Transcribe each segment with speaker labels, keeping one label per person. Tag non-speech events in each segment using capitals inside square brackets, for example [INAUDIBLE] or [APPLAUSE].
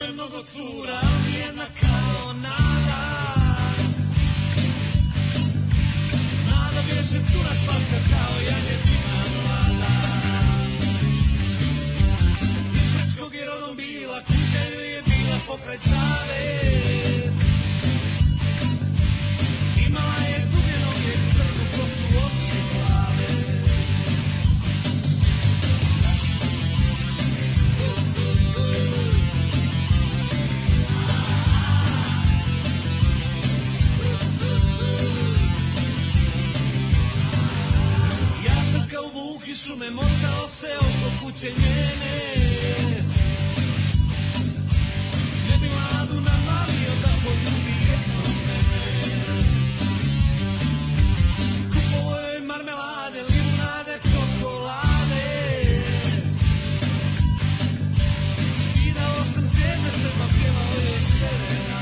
Speaker 1: mnogo cura, ali jedna kao nada. Nada bježe cura slatka kao janjetina mlada. Iz Brčkog je rodom bila, kuća joj je bila pokraj Save. Imala je duge noge, crnu kosu, oči plave. Ja sam kao vuk i šume motao se oko kuće njene Ne bi mladu namalio da poljubi jedno mene Kupovo joj marmelade, limunade, čokolade Skidao sam zvijezde s neba, pjevao joj serenade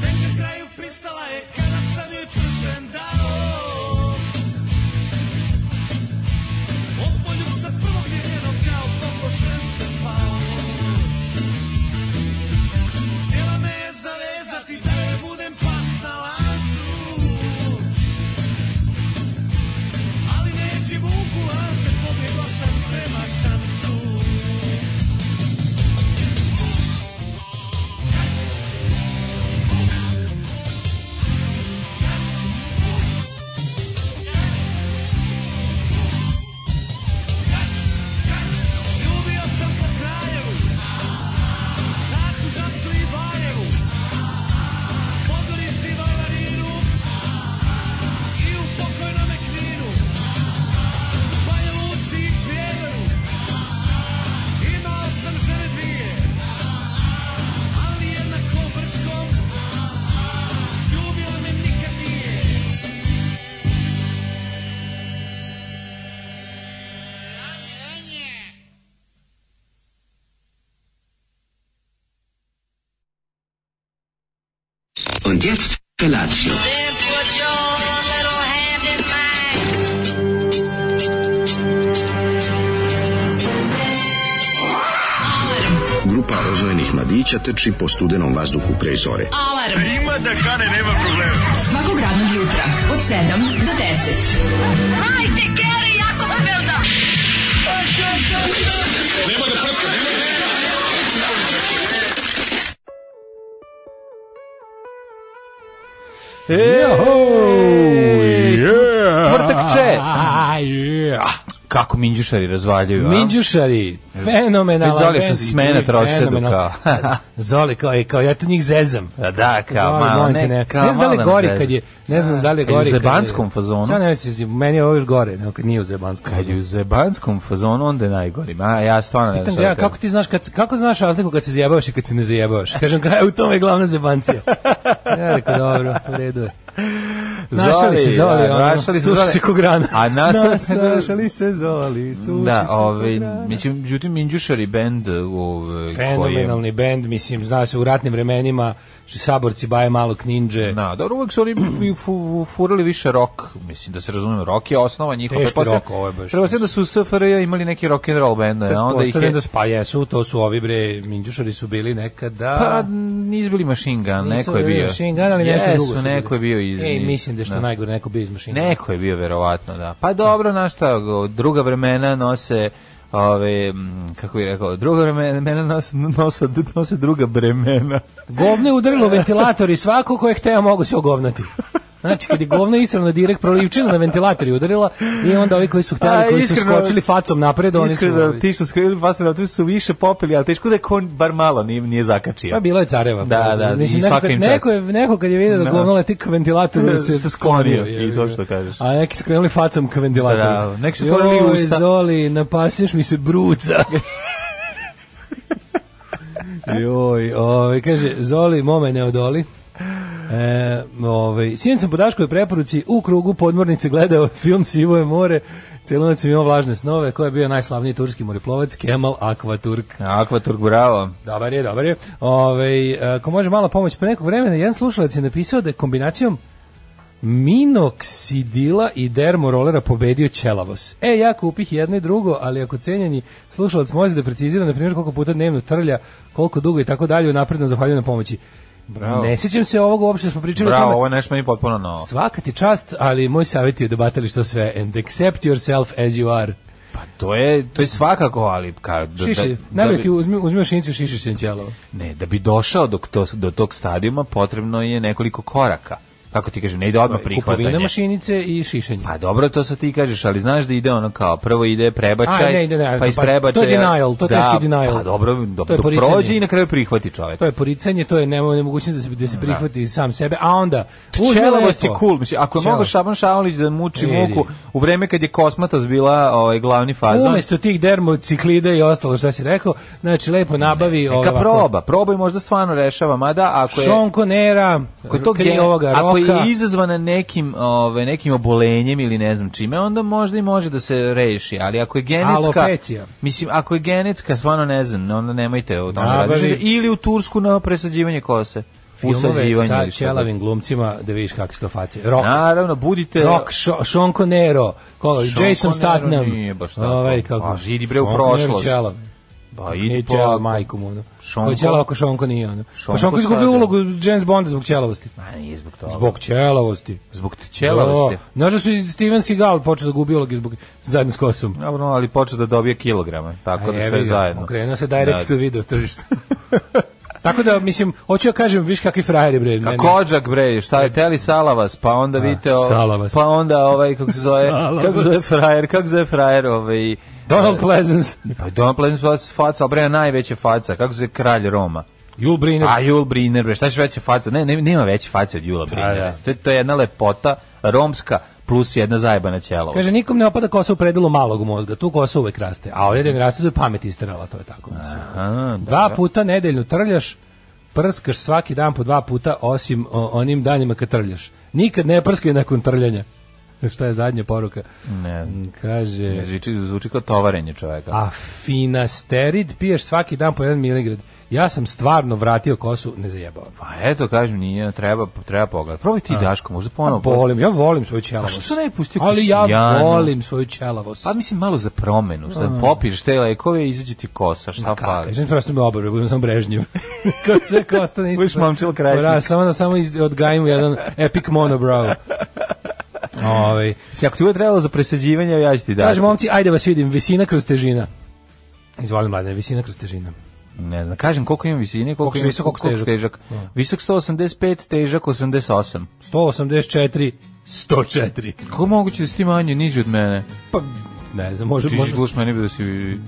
Speaker 1: Tek na kraju pristala je kada sam joj prsten dao Od poljubca prvog njenog kao pokošen se pao Htjela me je zavezati da joj budem pas na lancu Ali neće vuku lance, pobjegao sam prema šancu Ljubio sam po Kraljevu, Čačku, Žapcu i Valjevu, Podgorici, Varvarinu i u pokojnome Kninu, Banja Luci i Prijedoru. Imao sam žene dvije, ali jedna ko Brčkom, ljubila me nikad nije.
Speaker 2: Und jetzt Felatio.
Speaker 3: Grupa rozvojenih mladića teči po studenom vazduhu pre zore.
Speaker 4: Alarm.
Speaker 5: Ima da kane, nema problema.
Speaker 4: Svakog radnog jutra od 7 do 10. Hajde, Keri, jako se velda.
Speaker 6: Tvrtak će.
Speaker 7: A, yeah.
Speaker 6: Kako minđušari razvaljuju, a?
Speaker 7: Minđušari,
Speaker 6: E.
Speaker 7: fenomenalan.
Speaker 6: Već Zoli što
Speaker 7: bend
Speaker 6: se smene
Speaker 7: i
Speaker 6: trosedu,
Speaker 7: fenomenalan.
Speaker 6: kao.
Speaker 7: Zoli kao, e, kao ja to njih zezam.
Speaker 6: A [LAUGHS] da, kao
Speaker 7: Zoli,
Speaker 6: malo,
Speaker 7: molim te,
Speaker 6: ne,
Speaker 7: ne,
Speaker 6: kao
Speaker 7: ne znam da li je
Speaker 6: malo
Speaker 7: gori
Speaker 6: zezam.
Speaker 7: kad je, ne znam da li je
Speaker 6: Kad je u
Speaker 7: gori kad je.
Speaker 6: zebanskom fazonu.
Speaker 7: Sad ne znam, meni je ovo još gore, nego kad nije u zebanskom
Speaker 6: Kad je
Speaker 7: fazonu.
Speaker 6: u zebanskom fazonu, onda je najgori. A ja stvarno ne znam
Speaker 7: Pitam
Speaker 6: šta
Speaker 7: ga, ja, kako ti znaš, kad, kako znaš razliku kad se zajebavaš i kad se ne zajebavaš? Kažem, kao, e, u tome je glavna
Speaker 6: [LAUGHS]
Speaker 7: zebancija. Ja rekao, dobro, u redu je. Našali se Zoli,
Speaker 6: da,
Speaker 7: ono,
Speaker 6: našali se
Speaker 7: suši
Speaker 6: Zoli.
Speaker 7: se ko grana.
Speaker 6: A nasali-
Speaker 7: našali se Zoli, suši
Speaker 6: Da,
Speaker 7: se ko
Speaker 6: ovaj,
Speaker 7: grana.
Speaker 6: mislim, međutim, Minđušari bend, ovaj, koji je...
Speaker 7: Fenomenalni bend, mislim, zna se u ratnim vremenima, što saborci baje malo kninđe.
Speaker 6: Da, E, dobro, uvek su
Speaker 7: [CLEARS THROAT]
Speaker 6: oni fu- fu- furali više rok, mislim, da se razumemo, rok je osnova njihova.
Speaker 7: Teški
Speaker 6: Pretpostavljam-
Speaker 7: rock, ovo je baš,
Speaker 6: pretpostavljam da su u SFRJ imali neki rock and roll bend, a E, onda ih
Speaker 7: Pretpostavljam
Speaker 6: je...
Speaker 7: da su- pa jesu, to su ovi bre, minđušari su bili nekada...
Speaker 6: Pa, nisu bili Machine Gun,
Speaker 7: Nisu
Speaker 6: neko je
Speaker 7: bili
Speaker 6: bio.
Speaker 7: Machine Gun, ali nešto
Speaker 6: Jesu,
Speaker 7: drugo su bili.
Speaker 6: neko je bio iz...
Speaker 7: Ej,
Speaker 6: iz-
Speaker 7: mislim da je što
Speaker 6: da.
Speaker 7: najgore, neko bio iz mašina.
Speaker 6: Neko je bio verovatno, da. Pa dobro, na šta, go- druga vremena nose ove, m, kako bih rekao, druga vremena nose, nose, nose druga bremena.
Speaker 7: Govno je udarilo u ventilator i svako ko je hteo mogu se ogovnati. Znači, kad je govno israno direkt prolivčina na ventilator je udarila i onda ovi koji su hteli,
Speaker 6: A,
Speaker 7: koji
Speaker 6: iskreno-
Speaker 7: su skočili facom napred, oni su...
Speaker 6: Iskreno, ti što skrivili pasme, tu su više popili, ali teško da je kon bar malo nije, nije zakačio.
Speaker 7: Pa bilo je careva.
Speaker 6: Da,
Speaker 7: Pa,
Speaker 6: da, i
Speaker 7: neko
Speaker 6: svaka
Speaker 7: kad-
Speaker 6: im čast.
Speaker 7: neko, je, neko kad je vidio da
Speaker 6: Da.
Speaker 7: govno leti ka ventilatoru
Speaker 6: [LAUGHS]
Speaker 7: se,
Speaker 6: Se sklonio,
Speaker 7: je,
Speaker 6: i to što kažeš.
Speaker 7: A neki su krenuli facom ka ventilatoru.
Speaker 6: Bravo, neki su otvorili
Speaker 7: Joj,
Speaker 6: usta.
Speaker 7: Zoli, napasiš mi se
Speaker 6: [LAUGHS]
Speaker 7: bruca. Joj, ovaj, kaže, Zoli, mome ne odoli. E, ovaj, sinoć sam po Daškoj preporuci u krugu podmornice gledao film Sivo je more, celu noć sam imao vlažne snove, ko je bio najslavniji turski moriplovac, Kemal Akvaturk.
Speaker 6: Akvaturk, bravo.
Speaker 7: Dobar je, dobar je. e, Ove, ako može malo pomoć pre nekog vremena, jedan slušalac je napisao da je kombinacijom minoksidila i dermorolera pobedio Ćelavos. E, ja kupih jedno i drugo, ali ako cenjeni slušalac može da precizira, na primjer, koliko puta dnevno trlja, koliko dugo i tako dalje, napredno zahvaljujem na pomoći.
Speaker 6: Bravo.
Speaker 7: Ne sjećam se ovoga uopšte, smo pričali o
Speaker 6: Bravo,
Speaker 7: tome.
Speaker 6: ovo je nešto meni potpuno novo.
Speaker 7: Svaka ti čast, ali moj savjet je da batališ to sve and accept yourself as you are.
Speaker 6: Pa to je, to je svakako, ali... Ka, da,
Speaker 7: Šiši,
Speaker 6: da-
Speaker 7: da,
Speaker 6: da, bi-
Speaker 7: ti uzmi, uzmi mašinicu i šišiš se na ćelavo.
Speaker 6: Ne, da bi došao do, to, do tog stadijuma potrebno je nekoliko koraka. Kako ti kažem, ne ide odmah
Speaker 7: Kupovina
Speaker 6: prihvatanje.
Speaker 7: mašinice i šišenje.
Speaker 6: Pa dobro, to sad ti kažeš, ali znaš da ide ono kao, prvo ide prebačaj,
Speaker 7: A, ne, ne, ne,
Speaker 6: pa iz
Speaker 7: pa to je
Speaker 6: prebačaja...
Speaker 7: denial, to je
Speaker 6: da,
Speaker 7: teški denial.
Speaker 6: Pa dobro, do,
Speaker 7: To je
Speaker 6: do
Speaker 7: poricanje.
Speaker 6: prođe i na kraju prihvati čovek.
Speaker 7: To je poricanje, to je nemo nemogućnost da se, da se prihvati sam sebe, a onda uzmi
Speaker 6: Čelavost je
Speaker 7: lepo.
Speaker 6: cool. Mislim, ako je mogao
Speaker 7: Ćelavo.
Speaker 6: Šaban Šaolić da muči
Speaker 7: Vidi.
Speaker 6: muku u vreme kad je Kosmatos bila ovaj, glavni fazon,
Speaker 7: Umesto tih dermociklida i ostalo što si rekao, znači lepo nabavi
Speaker 6: neka
Speaker 7: ovako.
Speaker 6: proba, probaj možda stvarno rešava, mada ako je...
Speaker 7: Šonkonera,
Speaker 6: Ako je to
Speaker 7: kri
Speaker 6: gen-
Speaker 7: ovoga roka.
Speaker 6: ako je izazvana nekim, ove, nekim obolenjem ili ne znam čime, onda možda i može da se reši, ali ako je genetska...
Speaker 7: Alopecija.
Speaker 6: Mislim, ako je genetska, stvarno ne znam, onda nemojte o tome
Speaker 7: Nabavi-
Speaker 6: razmišljati. Ili u Tursku na presađivanje kose.
Speaker 7: filmove
Speaker 6: Usađivanje
Speaker 7: sa
Speaker 6: ili šta god.
Speaker 7: ćelavim glumcima da vidiš kakve su to facije. Rock,
Speaker 6: Naravno, budite...
Speaker 7: Rock, Šo- Sean Conero, ko,
Speaker 6: Sean
Speaker 7: Jason
Speaker 6: Conero
Speaker 7: Statham.
Speaker 6: nije baš tako.
Speaker 7: Ovaj, kako,
Speaker 6: Pa, idi bre u
Speaker 7: Sean Conero i
Speaker 6: prošlost.
Speaker 7: Ćelav.
Speaker 6: Pa
Speaker 7: Nije
Speaker 6: idi
Speaker 7: Ćelav,
Speaker 6: po...
Speaker 7: majku mu. ono.
Speaker 6: Sean
Speaker 7: Ko je Ćelav ako Sean nije ono.
Speaker 6: Sean
Speaker 7: Pa Sean
Speaker 6: Conero
Speaker 7: izgubio
Speaker 6: sad-
Speaker 7: ulogu James Bonda zbog ćelavosti.
Speaker 6: Ma nije zbog toga.
Speaker 7: Zbog ćelavosti.
Speaker 6: Zbog ćelavosti.
Speaker 7: Da. Znaš da su i Steven Seagal počeo da gubi ulogu zbog, zajedno s kosom.
Speaker 6: Dobro, ali počeo da dobije kilograme, tako da
Speaker 7: Evo
Speaker 6: sve
Speaker 7: ga,
Speaker 6: zajedno.
Speaker 7: Okrenuo se direct
Speaker 6: Da.
Speaker 7: to video tržište. [LAUGHS] Tako da, mislim, hoću ja kažem, viš kakvi frajeri bre.
Speaker 6: A
Speaker 7: meni.
Speaker 6: Kođak Pa bre, šta je Teli Salavas, pa onda vidite o-
Speaker 7: Salavas.
Speaker 6: pa onda ovaj kako se zove,
Speaker 7: Salavas.
Speaker 6: kako se zove frajer, kako se zove frajer, ovaj
Speaker 7: Donald Pleasance,
Speaker 6: pa Don Pleasant faca, ali bre najveća faca, kako se zove kralj Roma.
Speaker 7: Jul Briner.
Speaker 6: A Jul Briner, bre, šta će veća faca? Ne, ne, nema veće face od Jula Brinera.
Speaker 7: da.
Speaker 6: To, je, to je jedna lepota romska plus jedna zajebana ćelava.
Speaker 7: Kaže, nikom ne opada kosa u predelu malog mozga, tu kosa uvek raste, a ovdje da ne raste, to je pamet isterala, to je tako. Mislim.
Speaker 6: Aha, da.
Speaker 7: Dva puta nedeljno trljaš, prskaš svaki dan po dva puta, osim o, onim danima kad trljaš. Nikad ne prskaj nakon trljanja. [LAUGHS] Šta je zadnja poruka? Mm,
Speaker 6: Ne,
Speaker 7: Kaže,
Speaker 6: zvuči, zvuči kao tovarenje čoveka.
Speaker 7: a finasterid piješ svaki dan po jedan miligrad. Ja sam stvarno vratio kosu, ne zajebao.
Speaker 6: Pa eto, kažem, nije, treba, treba pogledati. Probaj ti Daško, možda ponovo.
Speaker 7: Volim, ja volim svoju ćelavost.
Speaker 6: A Ono, što ne bi pustio
Speaker 7: Ali ja
Speaker 6: Kristijanu?
Speaker 7: volim svoju ćelavost.
Speaker 6: Pa mislim malo za promenu, sad popiš te lekove i izađe ti kosa, šta
Speaker 7: Kako?
Speaker 6: fali?
Speaker 7: Znači prosto me obarve, budem sam brežnjiv. [LAUGHS] Kao sve kao ostane isto.
Speaker 6: Budeš momčilo krajišnik.
Speaker 7: Ora, samo da samo iz, odgajim jedan epic monobrow. Ovaj.
Speaker 6: Si ako ti bude trebalo za presađivanje, ja ću ti dati.
Speaker 7: Kaže, momci, ajde vas vidim, visina kroz težina. Izvolim, mladine, visina kroz težina.
Speaker 6: Ne znam, kažem koliko imam visine, koliko
Speaker 7: Koliko si
Speaker 6: imam
Speaker 7: visok, koliko si
Speaker 6: težak.
Speaker 7: težak.
Speaker 6: Visok 185, težak 88.
Speaker 7: 184, 104.
Speaker 6: Kako je moguće da si ti manje, niži od mene?
Speaker 7: Pa, ne znam, može,
Speaker 6: Ti ćeš
Speaker 7: može.
Speaker 6: gluš meni bi da si...
Speaker 7: Ne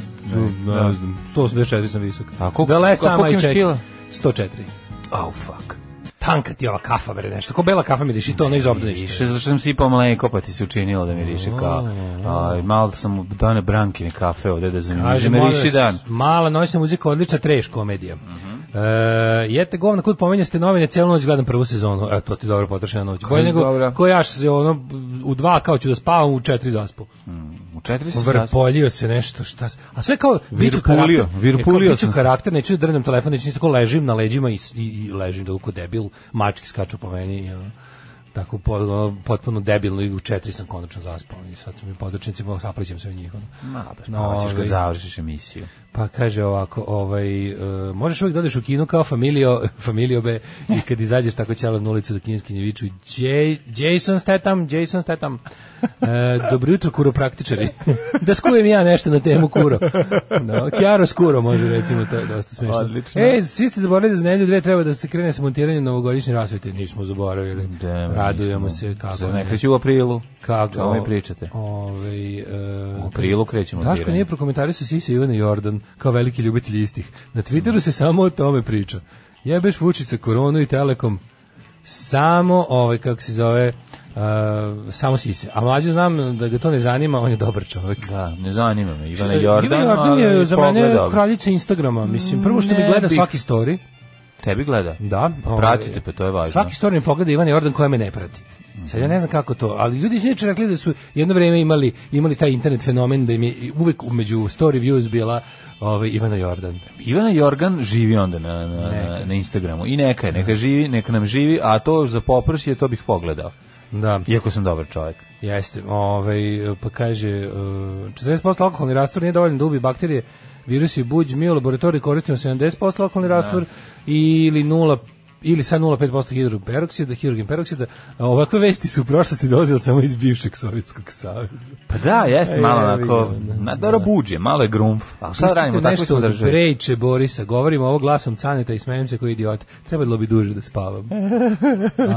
Speaker 7: znam, 184 sam visok.
Speaker 6: A koliko-
Speaker 7: da last
Speaker 6: a koliko
Speaker 7: time I
Speaker 6: imaš
Speaker 7: checked,
Speaker 6: kila?
Speaker 7: 104.
Speaker 6: Oh, fuck.
Speaker 7: Tanka ti je ova kafa, bre, nešto. Ko bela kafa mi diši, to ono iz obdaništa.
Speaker 6: Više, zašto sam sipao mleko, pa ti se učinilo da mi riše kao... Aj, malo sam dane brankine kafe ovde da
Speaker 7: Kaže,
Speaker 6: zamiže me riši
Speaker 7: molim
Speaker 6: dan.
Speaker 7: vas, Mala noćna muzika, odlična treš komedija. E, jete govna, kud pomenjaste novine, cijelu noć gledam prvu sezonu. E, to ti je dobro potrošena noć. Koje
Speaker 6: dobra.
Speaker 7: nego, ko ja što se ono, u dva kao ću da spavam, u četiri zaspu.
Speaker 6: U četiri se saspo-
Speaker 7: Vrpoljio se nešto, šta se- A sve kao, biću
Speaker 6: Virpulio,
Speaker 7: karakter.
Speaker 6: virpulio
Speaker 7: E, kao,
Speaker 6: sam
Speaker 7: Biću
Speaker 6: se.
Speaker 7: karakter, neću da drnem telefon, neću ništa, ko ležim na leđima i, s- i, i ležim da uko debil, mački skaču po meni i ono, tako po- ono, potpuno debilno i u četiri sam konačno zaspao i sad su mi podočnici, saplićem se u njih. ono.
Speaker 6: Ma, baš, pa ćeš kad
Speaker 7: Ovaj.
Speaker 6: završiš emisiju.
Speaker 7: Pa kaže ovako, ovaj, e, možeš uvijek da odeš u kino kao familio, [LAUGHS] familio be, i kad izađeš tako ćelo na ulicu do kineskinje viču "Jay- Jason Statham, Jason Statham. E, dobro jutro, kuropraktičari. [LAUGHS] da skujem ja nešto na temu kuro. No, Kjaro skuro može recimo, to je dosta smiješno.
Speaker 6: Odlično.
Speaker 7: E, svi ste zaboravili da za nedelju dve treba da se krene sa montiranjem novogodišnje rasvete. Nismo zaboravili.
Speaker 6: Da, mi
Speaker 7: Radujemo
Speaker 6: nismo.
Speaker 7: se kako.
Speaker 6: Zar
Speaker 7: ne.
Speaker 6: ne kreće u aprilu?
Speaker 7: Kako?
Speaker 6: Čemu mi pričate?
Speaker 7: Ovaj, e,
Speaker 6: U aprilu krećemo.
Speaker 7: Daško nije prokomentarisao Sisa Ivana Jordan kao veliki ljubitelj istih. Na Twitteru se samo o tome priča. Jebeš Vučica, koronu i Telekom. Samo, ovaj, kako se zove, uh, samo Sise. A mlađu znam da ga to ne zanima, on je dobar čovjek.
Speaker 6: Da, ne zanima me. Ivana
Speaker 7: E,
Speaker 6: Jordan,
Speaker 7: Ivan Jordan je
Speaker 6: ali
Speaker 7: za mene
Speaker 6: pogledao bi.
Speaker 7: kraljica Instagrama. Mislim, prvo što mi
Speaker 6: Ne
Speaker 7: gleda
Speaker 6: bih.
Speaker 7: svaki story.
Speaker 6: Tebi gleda?
Speaker 7: Da,
Speaker 6: Pa
Speaker 7: ovaj,
Speaker 6: pratite, pa to je važno. Mhm.
Speaker 7: Svaki story mi pogleda Ivan Jordan koja me ne prati. Sad ja ne znam kako to, ali ljudi su inače rekli da su jedno vrijeme imali imali taj internet fenomen da im je uvek među story views bila ovaj Ivana Jordan.
Speaker 6: Ivana Jorgan živi onda na, na, na, na Instagramu. I neka je, neka, živi, neka nam živi, a to za poprš je, to bih pogledao.
Speaker 7: Da.
Speaker 6: Iako sam dobar čovjek.
Speaker 7: Jeste, ovaj, pa kaže, uh, 40% alkoholni rastvor nije dovoljno da ubije bakterije, virusi buđ, mi u laboratoriji koristimo 70% alkoholni rastvor ili 0 ili sa 0,5% hidroperoksida, hidrogen peroksida. A Ovakve vesti su u prošlosti dolazile samo iz bivšeg Sovjetskog saveza.
Speaker 6: Pa da, jeste
Speaker 7: E,
Speaker 6: malo
Speaker 7: ja
Speaker 6: onako,
Speaker 7: vidim, da,
Speaker 6: na dobro
Speaker 7: da.
Speaker 6: buđe, malo je grumf. A šta radimo, tako
Speaker 7: nešto
Speaker 6: smo
Speaker 7: od
Speaker 6: državi.
Speaker 7: Brejče Borisa, govorim ovo glasom Caneta i smenim se koji idiot. Trebalo bi duže da
Speaker 6: [LAUGHS]
Speaker 7: spavam.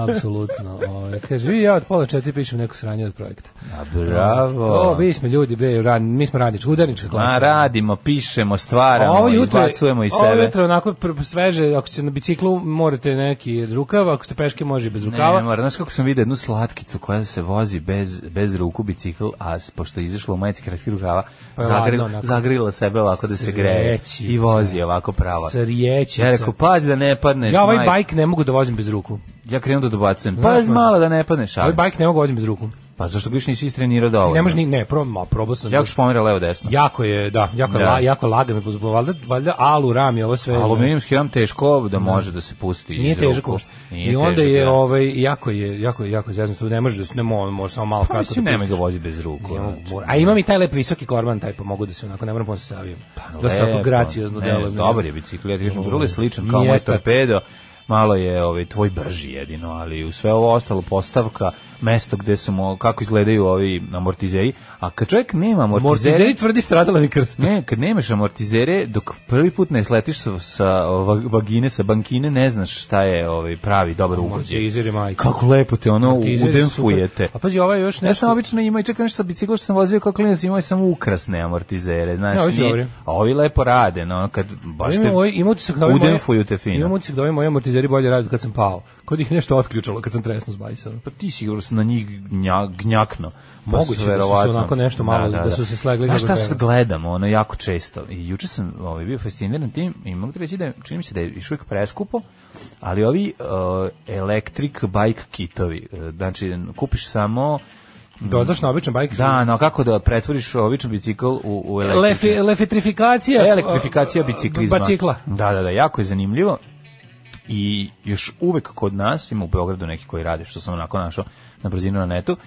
Speaker 7: Apsolutno. Ovaj, kaže, vi ja od pola četiri pišem neko sranje od projekta.
Speaker 6: A bravo.
Speaker 7: To, mi smo ljudi, bre, ran, mi smo radnička, udarnička klasa.
Speaker 6: Ma radimo, pišemo, stvaramo,
Speaker 7: ovo jutro,
Speaker 6: izbacujemo iz
Speaker 7: Ovo
Speaker 6: sebe.
Speaker 7: jutro onako pr- pr- sveže, ako ste na biciklu morate neki rukav, ako ste peške može i bez
Speaker 6: Ne,
Speaker 7: rukava.
Speaker 6: ne mora. Znaš kako sam vidio jednu slatkicu koja se vozi bez, bez ruku bicikl, a s- pošto je izašla u majici kratkih rukava,
Speaker 7: Pa je
Speaker 6: zagrila,
Speaker 7: ladno onako.
Speaker 6: zagrila sebe ovako da se greje
Speaker 7: Srećica.
Speaker 6: i vozi ovako pravo.
Speaker 7: Srijećica.
Speaker 6: Ja rekao, pazi da ne padneš.
Speaker 7: ja ovaj
Speaker 6: majko.
Speaker 7: bajk ne mogu da vozim bez ruku.
Speaker 6: Ja krenu da dobacujem.
Speaker 7: Znaš,
Speaker 6: Pazi
Speaker 7: možda.
Speaker 6: malo da ne padneš.
Speaker 7: Ovaj
Speaker 6: Ovaj
Speaker 7: bajk ne mogu da vozim bez ruku.
Speaker 6: Pa zašto ga još nisi istrenirao dovoljno?
Speaker 7: Ne može ni, ne, probam, ma, probao sam.
Speaker 6: Jako špomera levo desno.
Speaker 7: Jako je, da, jako, je
Speaker 6: Da.
Speaker 7: La, jako laga me, pozbog- valjda, valjda alu, ram je ovo sve.
Speaker 6: Aluminijumski ram teško da može da se pusti
Speaker 7: Nije
Speaker 6: iz
Speaker 7: težak
Speaker 6: ruku.
Speaker 7: uopšte.
Speaker 6: Nije
Speaker 7: I onda
Speaker 6: težak,
Speaker 7: je
Speaker 6: da.
Speaker 7: ovaj jako je jako je jako zezno tu ne može da se ne mo- može samo malo
Speaker 6: Pa
Speaker 7: kratko.
Speaker 6: mislim,
Speaker 7: da
Speaker 6: nemoj ga
Speaker 7: pustiš.
Speaker 6: vozi bez ruku.
Speaker 7: Ne mogu,
Speaker 6: znači.
Speaker 7: mora. A imam i taj lep visoki korban, taj pa mogu da se onako, ne moram pomoći sa avijem. Dosta
Speaker 6: Pa Lepo.
Speaker 7: tako graciozno
Speaker 6: Ne,
Speaker 7: deluje.
Speaker 6: Dobar je bicikl, ja ti kažem, vrlo je sličan kao moj
Speaker 7: Mjetak.
Speaker 6: torpedo. Malo je ovaj tvoj brži jedino, ali u sve ovo ostalo postavka, mesto gde su mo, kako izgledaju ovi amortizeri, a kad čovjek nema amortizeri,
Speaker 7: Mortizeri tvrdi stradala mi krst.
Speaker 6: Ne, kad nemaš amortizere, dok prvi put ne sletiš sa, sa va- vagine, sa bankine, ne znaš šta je ovaj pravi dobar ugođaj.
Speaker 7: Amortizeri, majko.
Speaker 6: Kako lepo te ono
Speaker 7: Amortizeri
Speaker 6: udenfujete.
Speaker 7: super. A pazi, ovo je još
Speaker 6: Ja sam
Speaker 7: nešto.
Speaker 6: obično imao i čekam nešto sa bicikla što sam vozio kao klinac, imao sam ukrasne amortizere, znaš,
Speaker 7: Ne, ovi su
Speaker 6: nije-
Speaker 7: dobri.
Speaker 6: a ovi lepo rade, no, kad baš te
Speaker 7: Imam ovaj, imam utisak da ovi moji-
Speaker 6: udenfuju te fino.
Speaker 7: Imam utisak da ovi moji amortizeri bolje rade od kad sam pao. Kod ih nešto otključalo kad sam tresno zbajsao.
Speaker 6: Pa ti sigurno se na njih gnja- gnjakno. Pa
Speaker 7: Moguće da su
Speaker 6: verovatno-
Speaker 7: se onako nešto malo, da su se slegli
Speaker 6: Znaš
Speaker 7: kako
Speaker 6: šta
Speaker 7: treba.
Speaker 6: sad gledam, ono, jako često. I juče sam ovaj, bio fasciniran tim i mogu ti reći da je- čini mi se da je još uvijek preskupo, ali ovi uh, electric bike kitovi, uh, znači kupiš samo
Speaker 7: Dodaš na običan bajk.
Speaker 6: Mm. Da, no kako da pretvoriš običan bicikl u, u električan?
Speaker 7: Lefi, lefitrifikacija.
Speaker 6: E, Elektrifikacija biciklizma.
Speaker 7: Bacikla.
Speaker 6: Da, da, da, jako je zanimljivo. I još uvek kod nas, ima u Beogradu neki koji rade, što sam onako našao na brzinu na netu,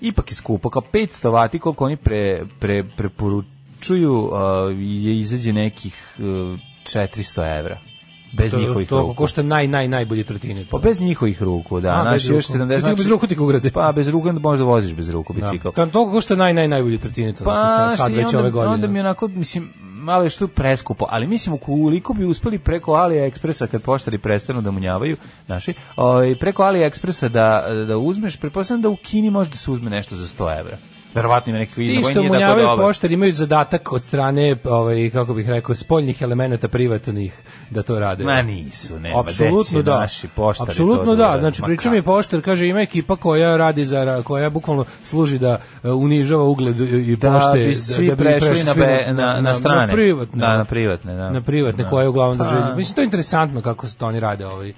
Speaker 6: ipak je skupo, kao 500 vati koliko oni pre, pre, preporučuju uh, je izađe nekih uh, 400 evra. Bez
Speaker 7: To-
Speaker 6: njihovih
Speaker 7: To
Speaker 6: ruku.
Speaker 7: košta naj, naj, najbolji trotinet.
Speaker 6: Pa bez njihovih ruku, da.
Speaker 7: A,
Speaker 6: naši
Speaker 7: bez
Speaker 6: još
Speaker 7: ruku.
Speaker 6: 70,
Speaker 7: Ti bez ruku ti ga ugrade.
Speaker 6: Pa bez ruku onda možda voziš bez ruku bicikl.
Speaker 7: Da. To toliko košta naj, naj, najbolji trotinet.
Speaker 6: Pa,
Speaker 7: onako, sa- sad
Speaker 6: i
Speaker 7: već
Speaker 6: onda,
Speaker 7: ove godine.
Speaker 6: onda mi onako, mislim, malo je što preskupo, ali mislim, ukoliko bi uspeli preko AliExpressa, kad poštari prestanu da munjavaju, naši, ovaj, preko AliExpressa da, da uzmeš, pretpostavljam da u Kini može da se uzme nešto za 100 evra. Verovatno ima neki vid
Speaker 7: Ti
Speaker 6: na koji
Speaker 7: što
Speaker 6: nije tako
Speaker 7: munjavaju
Speaker 6: dobar.
Speaker 7: poštar imaju zadatak od strane, ovaj, kako bih rekao, spoljnih elemenata privatnih da to rade.
Speaker 6: Ma nisu, nema,
Speaker 7: Apsolutno
Speaker 6: deci,
Speaker 7: da.
Speaker 6: naši poštari
Speaker 7: Apsolutno
Speaker 6: to
Speaker 7: da.
Speaker 6: rade,
Speaker 7: Znači
Speaker 6: ma
Speaker 7: priča
Speaker 6: kako.
Speaker 7: mi poštar kaže ima ekipa koja radi za koja bukvalno služi da e, unižava ugled i i
Speaker 6: Da
Speaker 7: pošte
Speaker 6: bi svi prešli na,
Speaker 7: svi
Speaker 6: be, na, na, strane.
Speaker 7: na privatne.
Speaker 6: Da, na privatne, da.
Speaker 7: na privatne
Speaker 6: Da.
Speaker 7: koje uglavnom
Speaker 6: Pa,
Speaker 7: drže. Mislim to je interesantno kako se to oni rade ovaj.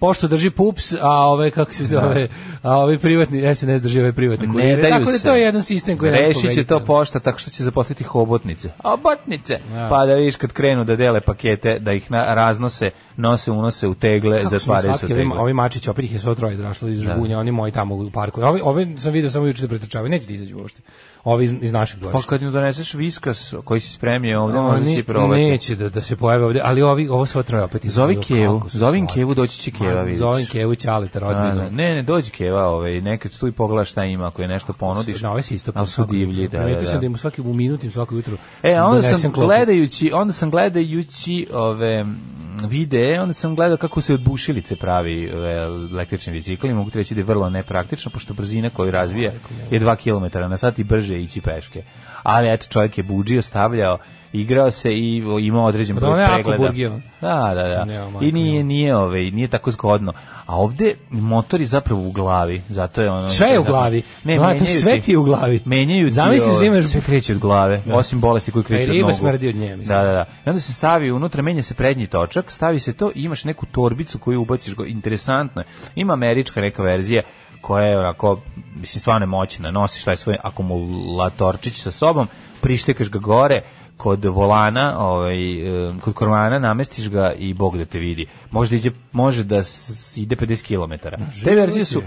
Speaker 7: Pošto drži pups, a ove kako se zove, a ovi privatni SNS drži ove privatne kurire.
Speaker 6: Ne daju
Speaker 7: Tako da
Speaker 6: se.
Speaker 7: to je jedan sistem koji ne
Speaker 6: Rešit će to pošta tako što će zaposliti hobotnice. Hobotnice! Pa da vidiš kad krenu da dele pakete, da ih na, raznose, nose, unose u tegle,
Speaker 7: Kako su mi
Speaker 6: zatvaraju se u
Speaker 7: slatki ovi,
Speaker 6: tegle.
Speaker 7: ovi mačići, opet ih je sve troje izrašlo iz žbunja, oni moji tamo u parku. Ovi, ovi sam vidio samo juče da pretrčavaju, neće da izađu uopšte. Ovi iz, iz našeg
Speaker 6: Pa
Speaker 7: dvorišta.
Speaker 6: kad im doneseš viskas koji si spremio ovde, možda će
Speaker 7: Oni
Speaker 6: i probati.
Speaker 7: neće da, da se pojave ovde, ali ovi, ovo sve troje opet izađu.
Speaker 6: Zovi Kevu,
Speaker 7: Kako su
Speaker 6: zovim
Speaker 7: slatki.
Speaker 6: Kevu, doći će Keva,
Speaker 7: Ma,
Speaker 6: vidiš.
Speaker 7: Zovim Kevu, Ćaleta,
Speaker 6: A,
Speaker 7: rodbinu.
Speaker 6: ne, ne, ne, dođi Keva, ovaj, nekad tu i pogledaš šta ima, ako je nešto ponudiš.
Speaker 7: Na ove se isto
Speaker 6: Ali su divlji, da, da,
Speaker 7: Primetio sam
Speaker 6: da.
Speaker 7: da im svaki u minutim, svako jutro.
Speaker 6: E, a onda
Speaker 7: donesem
Speaker 6: sam
Speaker 7: klopu.
Speaker 6: gledajući, onda sam gledajući ove mm, videe, onda sam gledao kako se od bušilice pravi e, električni bicikl i mogu ti reći da je vrlo nepraktično, pošto brzina koju razvija je 2 km na sat i brže je ići peške. Ali eto, čovjek je buđio, stavljao, igrao se i o, imao određen
Speaker 7: Da,
Speaker 6: broj
Speaker 7: Pa on je jako
Speaker 6: pregleda.
Speaker 7: burgio.
Speaker 6: Da, da, da.
Speaker 7: Nema, majko,
Speaker 6: I nije,
Speaker 7: nema.
Speaker 6: nije, ove, nije tako zgodno. A ovde motor je zapravo u glavi, zato je ono...
Speaker 7: Sve je u glavi.
Speaker 6: Ne,
Speaker 7: Mlato,
Speaker 6: menjaju
Speaker 7: sve ti je u glavi.
Speaker 6: Menjaju ti,
Speaker 7: Zamisliš da
Speaker 6: ove,
Speaker 7: imaš-
Speaker 6: sve kreće od glave, osim bolesti koju
Speaker 7: Pa i
Speaker 6: kreće od
Speaker 7: riba
Speaker 6: nogu.
Speaker 7: smrdi od nje, mislim.
Speaker 6: Da, da, da. I onda se stavi unutra, menja se prednji točak, stavi se to i imaš neku torbicu koju ubaciš. go- Interesantno je. Ima američka neka verzija koja je onako, mislim, stvarno je moćna. Nosiš taj svoj akumulatorčić sa sobom, prištekaš ga gore, kod volana, ovaj, e, kod kormana namestiš ga i Bog da te vidi. Možda iđe, može da s- ide 50 km. Te verzije su,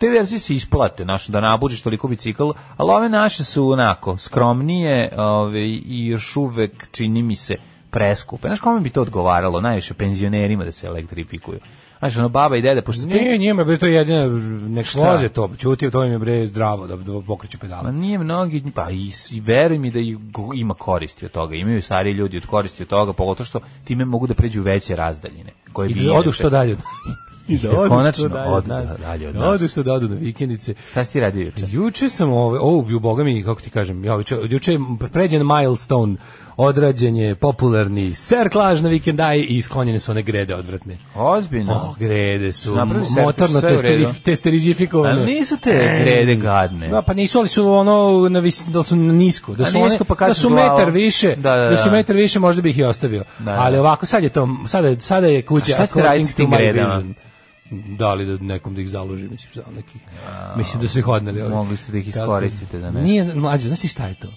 Speaker 6: te verzije se isplate, znaš, da nabuđeš toliko bicikl, ali ove naše su onako skromnije ove, i još uvek čini mi se preskupe. Znaš, kome bi to odgovaralo? Najviše penzionerima da se elektrifikuju. Znaš, ono, baba i dede, pošto ti-
Speaker 7: Nije, njima bre to je jedina nek
Speaker 6: Šta?
Speaker 7: voze to, ćuti, to im je bre zdravo da, da pokreću
Speaker 6: Pa
Speaker 7: pedale.
Speaker 6: nije mnogi, pa i, s- i veruj mi da i go- ima koristi od toga. Imaju stariji ljudi od koristi od toga, pogotovo što time mogu da pređu u veće razdaljine. Koje
Speaker 7: I
Speaker 6: bi
Speaker 7: da odu
Speaker 6: inače-
Speaker 7: što dalje.
Speaker 6: [LAUGHS]
Speaker 7: od- I
Speaker 6: da konačno
Speaker 7: od
Speaker 6: odu
Speaker 7: nas.
Speaker 6: da- dalje od
Speaker 7: Da
Speaker 6: nas.
Speaker 7: Odu što dalje na vikendice.
Speaker 6: Šta si ti radio juče?
Speaker 7: Juče sam ove, o, u boga mi, kako ti kažem, ja, juče, juče je pređen milestone, odrađen je popularni serklaž na vikendaji i sklonjene su one grede odvratne.
Speaker 6: Ozbiljno.
Speaker 7: O, grede su,
Speaker 6: Napravili serklaž,
Speaker 7: motorno
Speaker 6: sve u redu.
Speaker 7: testeri, testerizifikovane.
Speaker 6: Ali nisu te grede gadne.
Speaker 7: Da, pa nisu, ali su ono, na vis, da su nisko, da
Speaker 6: A
Speaker 7: su,
Speaker 6: nisko,
Speaker 7: one,
Speaker 6: pa
Speaker 7: da
Speaker 6: kažeš
Speaker 7: su
Speaker 6: glavom.
Speaker 7: metar više,
Speaker 6: Da, da, da.
Speaker 7: su metar više, možda bih i ostavio.
Speaker 6: Da, da.
Speaker 7: Ali ovako, sad je to, sada, je- sada je kuća.
Speaker 6: A šta ćete raditi s tim
Speaker 7: according to my
Speaker 6: gredama?
Speaker 7: vision. Da li da nekom da ih zaluži, mislim, za nekih. mislim da su ih odneli. ovi.
Speaker 6: Mogli ste da ih
Speaker 7: Tako.
Speaker 6: iskoristite za nešto.
Speaker 7: Nije, mlađo, znaš ti šta je to?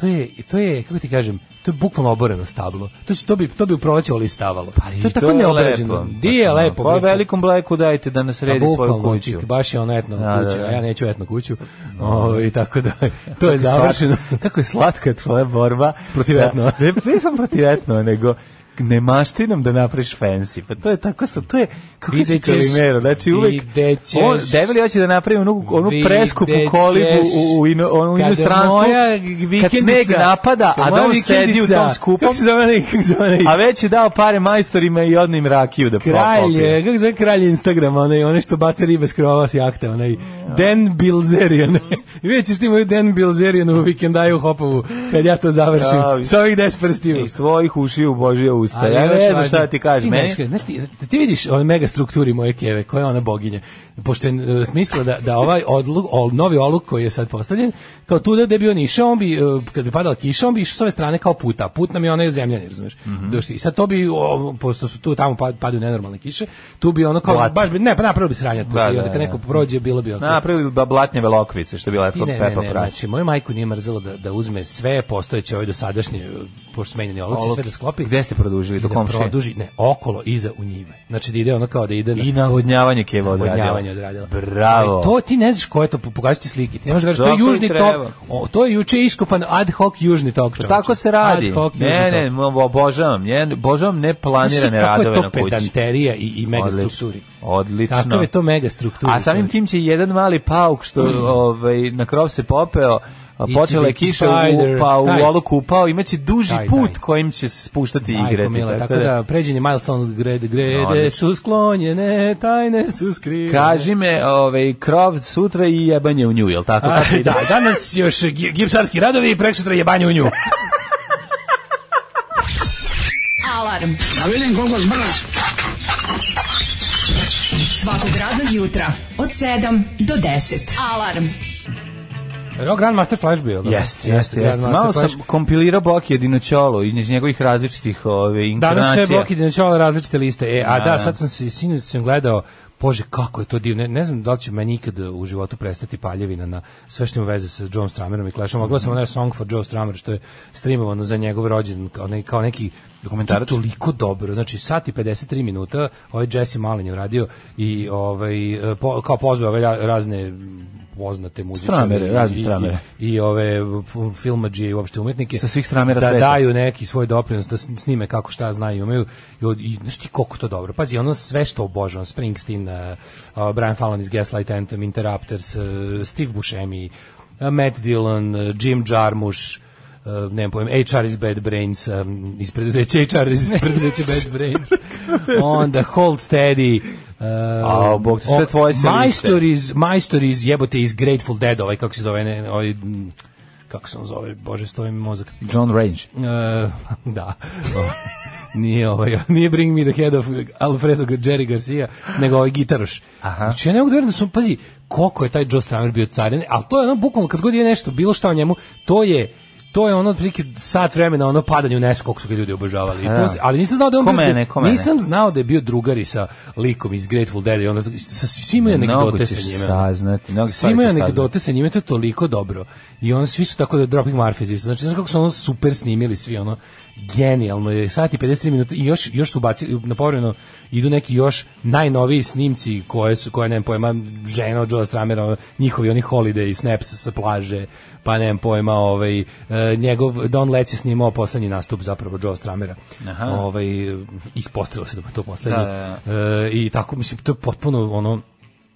Speaker 7: To je, to je, kako ti kažem, to je bukvalno oboreno stablo. To, su, to bi, to bi u proleće oli stavalo.
Speaker 6: Pa
Speaker 7: to je tako neobrađeno.
Speaker 6: lepo.
Speaker 7: Di je
Speaker 6: Pa,
Speaker 7: lepo? Znači,
Speaker 6: Pa
Speaker 7: bre, to-
Speaker 6: velikom bleku dajte da nas
Speaker 7: pa
Speaker 6: redi svoju
Speaker 7: bukvalno,
Speaker 6: kuću.
Speaker 7: čik, baš je ona etno
Speaker 6: Da, da,
Speaker 7: kuća,
Speaker 6: da.
Speaker 7: a ja neću etno kuću. Ovaj tako da [LAUGHS] to je
Speaker 6: Kako slat-
Speaker 7: završeno.
Speaker 6: Kako je slatka tvoja borba.
Speaker 7: Protivetno.
Speaker 6: Da, ne, ne samo protivetno, nego ne mašti nam da napraviš fancy. Pa to je tako, sa- to je, kako si
Speaker 7: Vidjet ćeš,
Speaker 6: kalimero, znači uvek,
Speaker 7: vidjet ćeš.
Speaker 6: on, debeli hoće da napravi onu, onu
Speaker 7: Vidjet
Speaker 6: preskupu kolibu
Speaker 7: ćeš.
Speaker 6: u, u, ino, onu
Speaker 7: Kada
Speaker 6: inostranstvu,
Speaker 7: moja
Speaker 6: kad sneg
Speaker 7: vikendica-
Speaker 6: napada,
Speaker 7: kad
Speaker 6: a
Speaker 7: moja
Speaker 6: da on sedi u
Speaker 7: vikendica-
Speaker 6: tom skupom,
Speaker 7: Kako se zove onaj- kako se zove onaj-
Speaker 6: a već je dao pare majstorima i odnim rakiju da
Speaker 7: Kralj,
Speaker 6: popije.
Speaker 7: je, kako se zove kralj Instagrama, onaj, onaj što baca ribe s krova s jahte, onaj Dan Bilzerian. [LAUGHS] I vidjet ćeš ti moju Dan Bilzerian u vikendaju u Hopovu, kad ja to završim,
Speaker 6: Ja,
Speaker 7: s ovih 10 prstiju.
Speaker 6: E, Iz tvojih ušiju Božija usta.
Speaker 7: Ali
Speaker 6: Pa Ja
Speaker 7: još
Speaker 6: ne znam
Speaker 7: važnije.
Speaker 6: šta ti kažem.
Speaker 7: ne
Speaker 6: Meni,
Speaker 7: znaš, znaš ti, ti vidiš ove mega strukturi moje keve, koja je ona boginja. Pošto je e, smisla da, da ovaj odluk, ol, novi oluk koji je sad postavljen, kao tuda gde bi on išao, on bi, e, kad bi padala kiša, on bi išao s ove strane kao puta. Put nam je onaj zemljanje, razumeš?
Speaker 6: Mhm.
Speaker 7: Došli. I sad to bi, o, pošto su tu tamo pad, padaju nenormalne kiše, tu bi ono kao,
Speaker 6: Blato.
Speaker 7: baš bi, ne, pa napravili bi sranjat put.
Speaker 6: Da,
Speaker 7: I
Speaker 6: da,
Speaker 7: onda kad
Speaker 6: da.
Speaker 7: neko prođe, bilo bi oko.
Speaker 6: napravili ba blatnje velokvice, što bi lepo
Speaker 7: Ti ne,
Speaker 6: Pepa
Speaker 7: ne, ne,
Speaker 6: Prać.
Speaker 7: znači, moju majku nije mrzelo da, da uzme sve postojeće ove dosadašnje, pošto smenjeni oluci,
Speaker 6: Oluk.
Speaker 7: sve da sklopi.
Speaker 6: Gde ste produžili,
Speaker 7: I
Speaker 6: do
Speaker 7: da
Speaker 6: komšije?
Speaker 7: produži, ne, okolo, iza u njive. Znači da ide ono kao da ide na
Speaker 6: I navodnjavanje keva odradila.
Speaker 7: odvodnjavanje odradila.
Speaker 6: Bravo.
Speaker 7: Ali To ti ne znaš ko je to, po- pokažu ti slike. Ti ne možeš da veruješ, to je
Speaker 6: Zato i
Speaker 7: južni
Speaker 6: treba. Pa
Speaker 7: tok. O, to je juče iskopan ad hoc južni tok. čoveče.
Speaker 6: Tako se radi.
Speaker 7: Ad hoc
Speaker 6: Ne,
Speaker 7: južni
Speaker 6: ne,
Speaker 7: tok.
Speaker 6: mo- obožavam. Ne, obožavam
Speaker 7: Znaš ti
Speaker 6: neplanirane
Speaker 7: kako
Speaker 6: radove
Speaker 7: je
Speaker 6: na
Speaker 7: to
Speaker 6: kući.
Speaker 7: pedanterija i, i
Speaker 6: Odlično.
Speaker 7: megastrukturi.
Speaker 6: Odlično.
Speaker 7: Kako je to megastrukturi.
Speaker 6: A samim tim će jedan mali pauk što
Speaker 7: Mm.
Speaker 6: ovaj, na krov se popeo, a
Speaker 7: It's
Speaker 6: počela je
Speaker 7: a big
Speaker 6: kiša, u,
Speaker 7: spider.
Speaker 6: pa u
Speaker 7: Taj.
Speaker 6: olu kupao, imaće duži
Speaker 7: Taj,
Speaker 6: put
Speaker 7: taj.
Speaker 6: kojim će se spuštati i igrati.
Speaker 7: Mila, tako da, pređenje milestone grede, grede
Speaker 6: Odlično.
Speaker 7: su sklonjene, tajne su skrivene.
Speaker 6: Kaži me, ovaj, krov sutra i jebanje u nju, jel
Speaker 7: [LAUGHS]
Speaker 6: tako?
Speaker 7: A,
Speaker 6: Kako ide?
Speaker 7: [LAUGHS] da, danas još gi- gipsarski radovi i preksutra jebanje u nju.
Speaker 4: Alarm.
Speaker 2: Da vidim koliko zbrz.
Speaker 4: Svakog radnog jutra od 7 do 10. Alarm.
Speaker 7: Rock Grandmaster Flash bio, da?
Speaker 6: Jeste, jeste, jeste.
Speaker 7: Grandmaster
Speaker 6: Malo
Speaker 7: Flash.
Speaker 6: sam kompilirao Boki Dinoćolo iz njegovih različitih ove,
Speaker 7: Danas
Speaker 6: inkarnacija.
Speaker 7: sve Boki Dinoćola različite liste. E, a
Speaker 6: Da,
Speaker 7: da,
Speaker 6: da.
Speaker 7: sad sam se sinoć sam gledao Bože, kako je to divno. Ne, ne znam da li će meni ikad u životu prestati paljevina na sve što ima veze sa Joe Stramerom i Clashom. Ogledao sam onaj Song for Joe Stramer što je streamovano za njegov rođen kao, ne, kao neki
Speaker 6: Dokumentarac?
Speaker 7: To je Toliko dobro. Znači, sat i 53 minuta ovaj Jesse Malin je uradio i ovaj, e, po, kao pozvao ove ra- razne m, poznate muzičare.
Speaker 6: Stramere,
Speaker 7: i-
Speaker 6: razne
Speaker 7: i-
Speaker 6: stramere.
Speaker 7: I, i, ove f- filmadžije i uopšte umetnike.
Speaker 6: Sa svih stramera
Speaker 7: da,
Speaker 6: sveta.
Speaker 7: Da, daju neki svoj doprinos da snime kako šta znaju i umeju i, od, i znaš ti koliko to dobro pazi ono sve što obožavam Springsteen uh, uh, Brian Fallon iz Gaslight Anthem Interrupters uh, Steve Buscemi uh, Matt Dillon uh, Jim Jarmusch Uh, nemam pojma, HR iz Bad Brains, um, iz preduzeća HR
Speaker 6: [LAUGHS]
Speaker 7: iz preduzeća Bad Brains, onda Hold Steady, uh,
Speaker 6: Au, Bog te, sve tvoje se liste.
Speaker 7: Majstor iz, majstor iz jebote iz Grateful Dead, ovaj kako se zove, ne, ovaj, mm, kako se on zove, bože, stoji mi mozak.
Speaker 6: John Range.
Speaker 7: E, [LAUGHS] da. nije ovaj, nije Bring Me the Head of Alfredo Jerry Garcia, nego ovaj gitaroš.
Speaker 6: Aha.
Speaker 7: Znači, ja ne mogu da verujem da su, pazi, koliko je taj Joe Stramer bio carjen, ali to je ono bukvalno kad god je nešto, bilo šta o njemu, to je to je ono otprilike sat vremena ono padanje u nesku koliko su ga ljudi obožavali. I
Speaker 6: Da.
Speaker 7: to, se- ali nisam znao da je on
Speaker 6: Ko
Speaker 7: bio-
Speaker 6: mene, ko mene?
Speaker 7: nisam znao da je bio drugari sa likom iz Grateful Dead i ono sa svima je
Speaker 6: Mnogo
Speaker 7: anegdote sa
Speaker 6: ćeš
Speaker 7: njime.
Speaker 6: saznati, mnogo
Speaker 7: Svi
Speaker 6: stvari
Speaker 7: imaju
Speaker 6: ćeš saznati.
Speaker 7: anegdote sa njime, to je toliko dobro. I oni svi su tako da Dropping Murphys isto. Znači, znaš kako su ono super snimili svi, ono, genijalno je, sat i 53 minuta i još, još su bacili, na povremeno idu neki još najnoviji snimci koje su, koje nemam pojma, žena od Joe Stramera, ono, njihovi oni holiday, snaps sa plaže, pa nemam pojma, ovaj, e, njegov, Don Lec je snimao poslednji nastup zapravo Joe Stramera.
Speaker 6: Aha.
Speaker 7: Ovaj, ispostavilo se da mu je to poslednji.
Speaker 6: Da, da,
Speaker 7: E, I tako, mislim, to je potpuno, ono,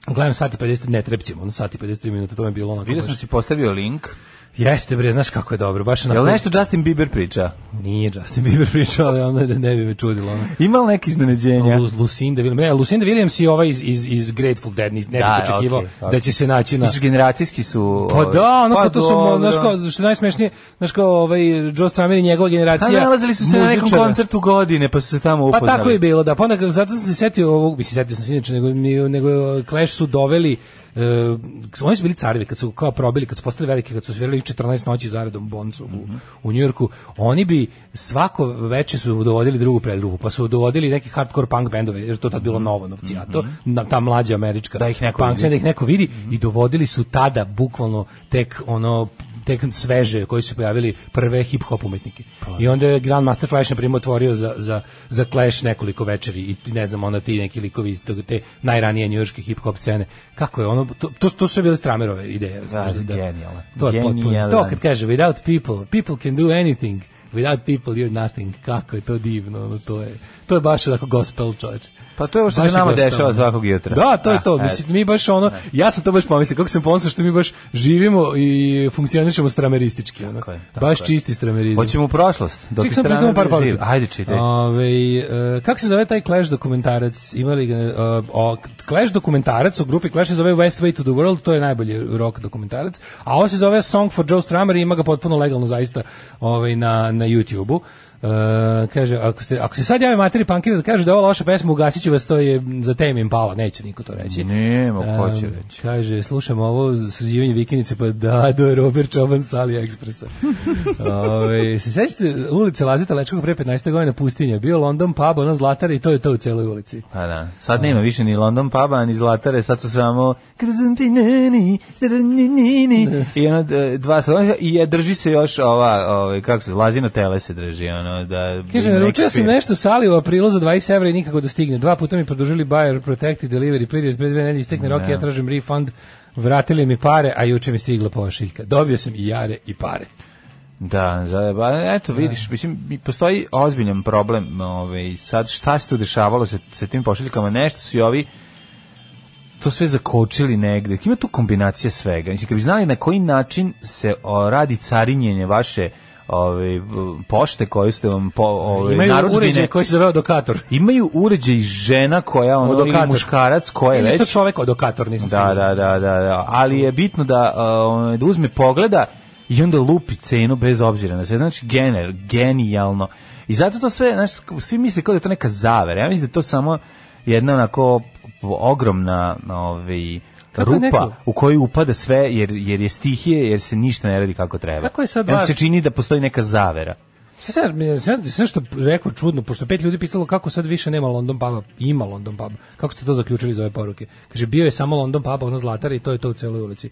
Speaker 7: Gledam sat i 50, ne trepćemo, ono sat i 53 minuta, to mi je bilo onako.
Speaker 6: Vidio
Speaker 7: baš-
Speaker 6: sam si postavio link.
Speaker 7: Jeste bre, znaš kako je dobro, baš onako.
Speaker 6: Je li nešto Justin Bieber priča?
Speaker 7: Nije Justin Bieber [LAUGHS] pričao, ali ono ne bi me čudilo. Ono.
Speaker 6: Ima li neke iznenađenja?
Speaker 7: Lu- Lucinda Williams, ne, Lucinda Williams i ovaj iz, iz, iz Grateful Dead, ni- ne bih
Speaker 6: Da,
Speaker 7: očekivao
Speaker 6: okej, okej.
Speaker 7: da će se naći na...
Speaker 6: Misliš, generacijski su...
Speaker 7: Pa
Speaker 6: ovaj,
Speaker 7: da, ono pa to su, mo-
Speaker 6: dobro.
Speaker 7: znaš kao, što je najsmešnije, znaš kao ovaj Joe Stramer i njegova
Speaker 6: Pa
Speaker 7: generacija
Speaker 6: nalazili su se na nekom
Speaker 7: muzičara.
Speaker 6: koncertu godine, pa su se tamo
Speaker 7: Pa
Speaker 6: upoznali.
Speaker 7: tako je bilo, da. Pa onda, zato sam se setio ovog, mislim, setio sam se inače, nego, nego Clash su doveli, e, oni su bili carevi kad su kao probili, kad su postali veliki, kad su svirali 14 noći zaredom u Boncu u, u Njujorku, oni bi svako veče su dovodili drugu predgrupu, pa su dovodili neke hardcore punk bendove, jer to tad bilo novo novcijato, na- ta mlađa američka
Speaker 6: Mhm. Da ih neko
Speaker 7: punk
Speaker 6: vidi.
Speaker 7: scena, da ih neko vidi i dovodili su tada bukvalno tek ono tek sveže koji su se pojavili prve hip hop umetnike.
Speaker 6: Pa,
Speaker 7: I onda je Grandmaster Flash na primjer otvorio za, za, za Clash nekoliko večeri i ti, ne znam onda ti neki likovi iz tog- te najranije njujorške hip hop scene. Kako je ono to to, to su bile Stramerove ideje, znaš
Speaker 6: Da, genijalno.
Speaker 7: To je potpuno-
Speaker 6: Genijalan.
Speaker 7: To kad kaže without people, people can do anything. Without people you're nothing. Kako je to divno, ono, to je to je baš onako gospel čovječe.
Speaker 6: Pa to je ovo što
Speaker 7: Baš
Speaker 6: se nama
Speaker 7: gospel,
Speaker 6: dešava
Speaker 7: da.
Speaker 6: svakog jutra.
Speaker 7: Da, to je
Speaker 6: Ah,
Speaker 7: to.
Speaker 6: eto.
Speaker 7: Mislim, mi baš ono, ja sam to baš pomislio, kako sam ponosno što mi baš živimo i funkcionišemo strameristički. Ono.
Speaker 6: Tako je, tako
Speaker 7: baš
Speaker 6: je.
Speaker 7: čisti stramerizam.
Speaker 6: Hoćemo u prošlost. Dok
Speaker 7: Ček, sam
Speaker 6: strana
Speaker 7: pitao par
Speaker 6: živi.
Speaker 7: poruka.
Speaker 6: Ajde, čitaj.
Speaker 7: Ovaj, e, kako se zove taj Clash dokumentarac? Imali ga, e, o, Clash dokumentarac u grupi Clash se zove West Way to the World, to je najbolji rock dokumentarac, a ovo se zove Song for Joe Strummer i ima ga potpuno legalno zaista ovaj, na, na YouTube-u. E, kaže, ako, ste, ako se sad jave materi punkira da kažu da je ovo loša pesma, ugasit ću vas, to je za tem im pala, neće niko to reći.
Speaker 6: Nema, ko će Ehm,
Speaker 7: Em,
Speaker 6: reći.
Speaker 7: Ehm, Kaže, slušam ovo za sređivanje vikendice, pa da, do je Robert Čoban sa
Speaker 6: [LAUGHS]
Speaker 7: AliExpressa. Ove, se sećate ulice Lazita Lečkog pre 15. godina pustinja? Bio London pub, ona zlatara i to je to u celoj ulici.
Speaker 6: Pa da. Sad nema više ni London puba, ni Zlatare, sad su samo Krzantinini, Sreninini i ono d- dva sa i je, drži se još ova, ovaj kako se Lazino tele se drži ono da
Speaker 7: Kaže,
Speaker 6: neki
Speaker 7: naručio sam
Speaker 6: svira.
Speaker 7: nešto sa Ali u aprilu za 20 evra i nikako da stigne. Dva puta mi produžili buyer protect i delivery period, pre dve nedelje istekne rok i ja tražim refund. Vratili mi pare, a juče mi stigla pošiljka. Dobio sam i jare i pare.
Speaker 6: Da, za, ba, eto vidiš, mislim mi- postoji ozbiljan problem, ovaj sad šta se tu dešavalo sa sa tim pošiljkama, nešto su i ovi to sve zakočili negde. Ima tu kombinacija svega. Mislim, kad bi znali na koji način se o, radi carinjenje vaše ove, v- pošte koje ste vam po, ove,
Speaker 7: Imaju
Speaker 6: narudžbine-
Speaker 7: uređaj koji se zove odokator.
Speaker 6: imaju uređaj žena koja ono,
Speaker 7: Odokator.
Speaker 6: ili muškarac koja je
Speaker 7: Ili je to
Speaker 6: već.
Speaker 7: čovek odokator, nisam
Speaker 6: Da,
Speaker 7: siguran.
Speaker 6: da, da, da, da. Ali je bitno da, uh, ono, da uzme pogleda i onda lupi cenu bez obzira na sve. Znači, gener, genijalno. I zato to sve, znači, svi misle kao da je to neka zavera. Ja mislim da je to samo jedna onako ogromna ovaj,
Speaker 7: Kako je neko-
Speaker 6: rupa u koju upada sve jer, jer je stihije, jer se ništa ne radi kako treba.
Speaker 7: Kako je sad
Speaker 6: I onda
Speaker 7: vas-
Speaker 6: se čini da postoji neka zavera.
Speaker 7: Sve sad, mi- sad, sve što rekao čudno, pošto pet ljudi pitalo kako sad više nema London puba, ima London puba. Kako ste to zaključili iz ove poruke? Kaže, bio je samo London puba, ona zlatara i to je to u celoj ulici.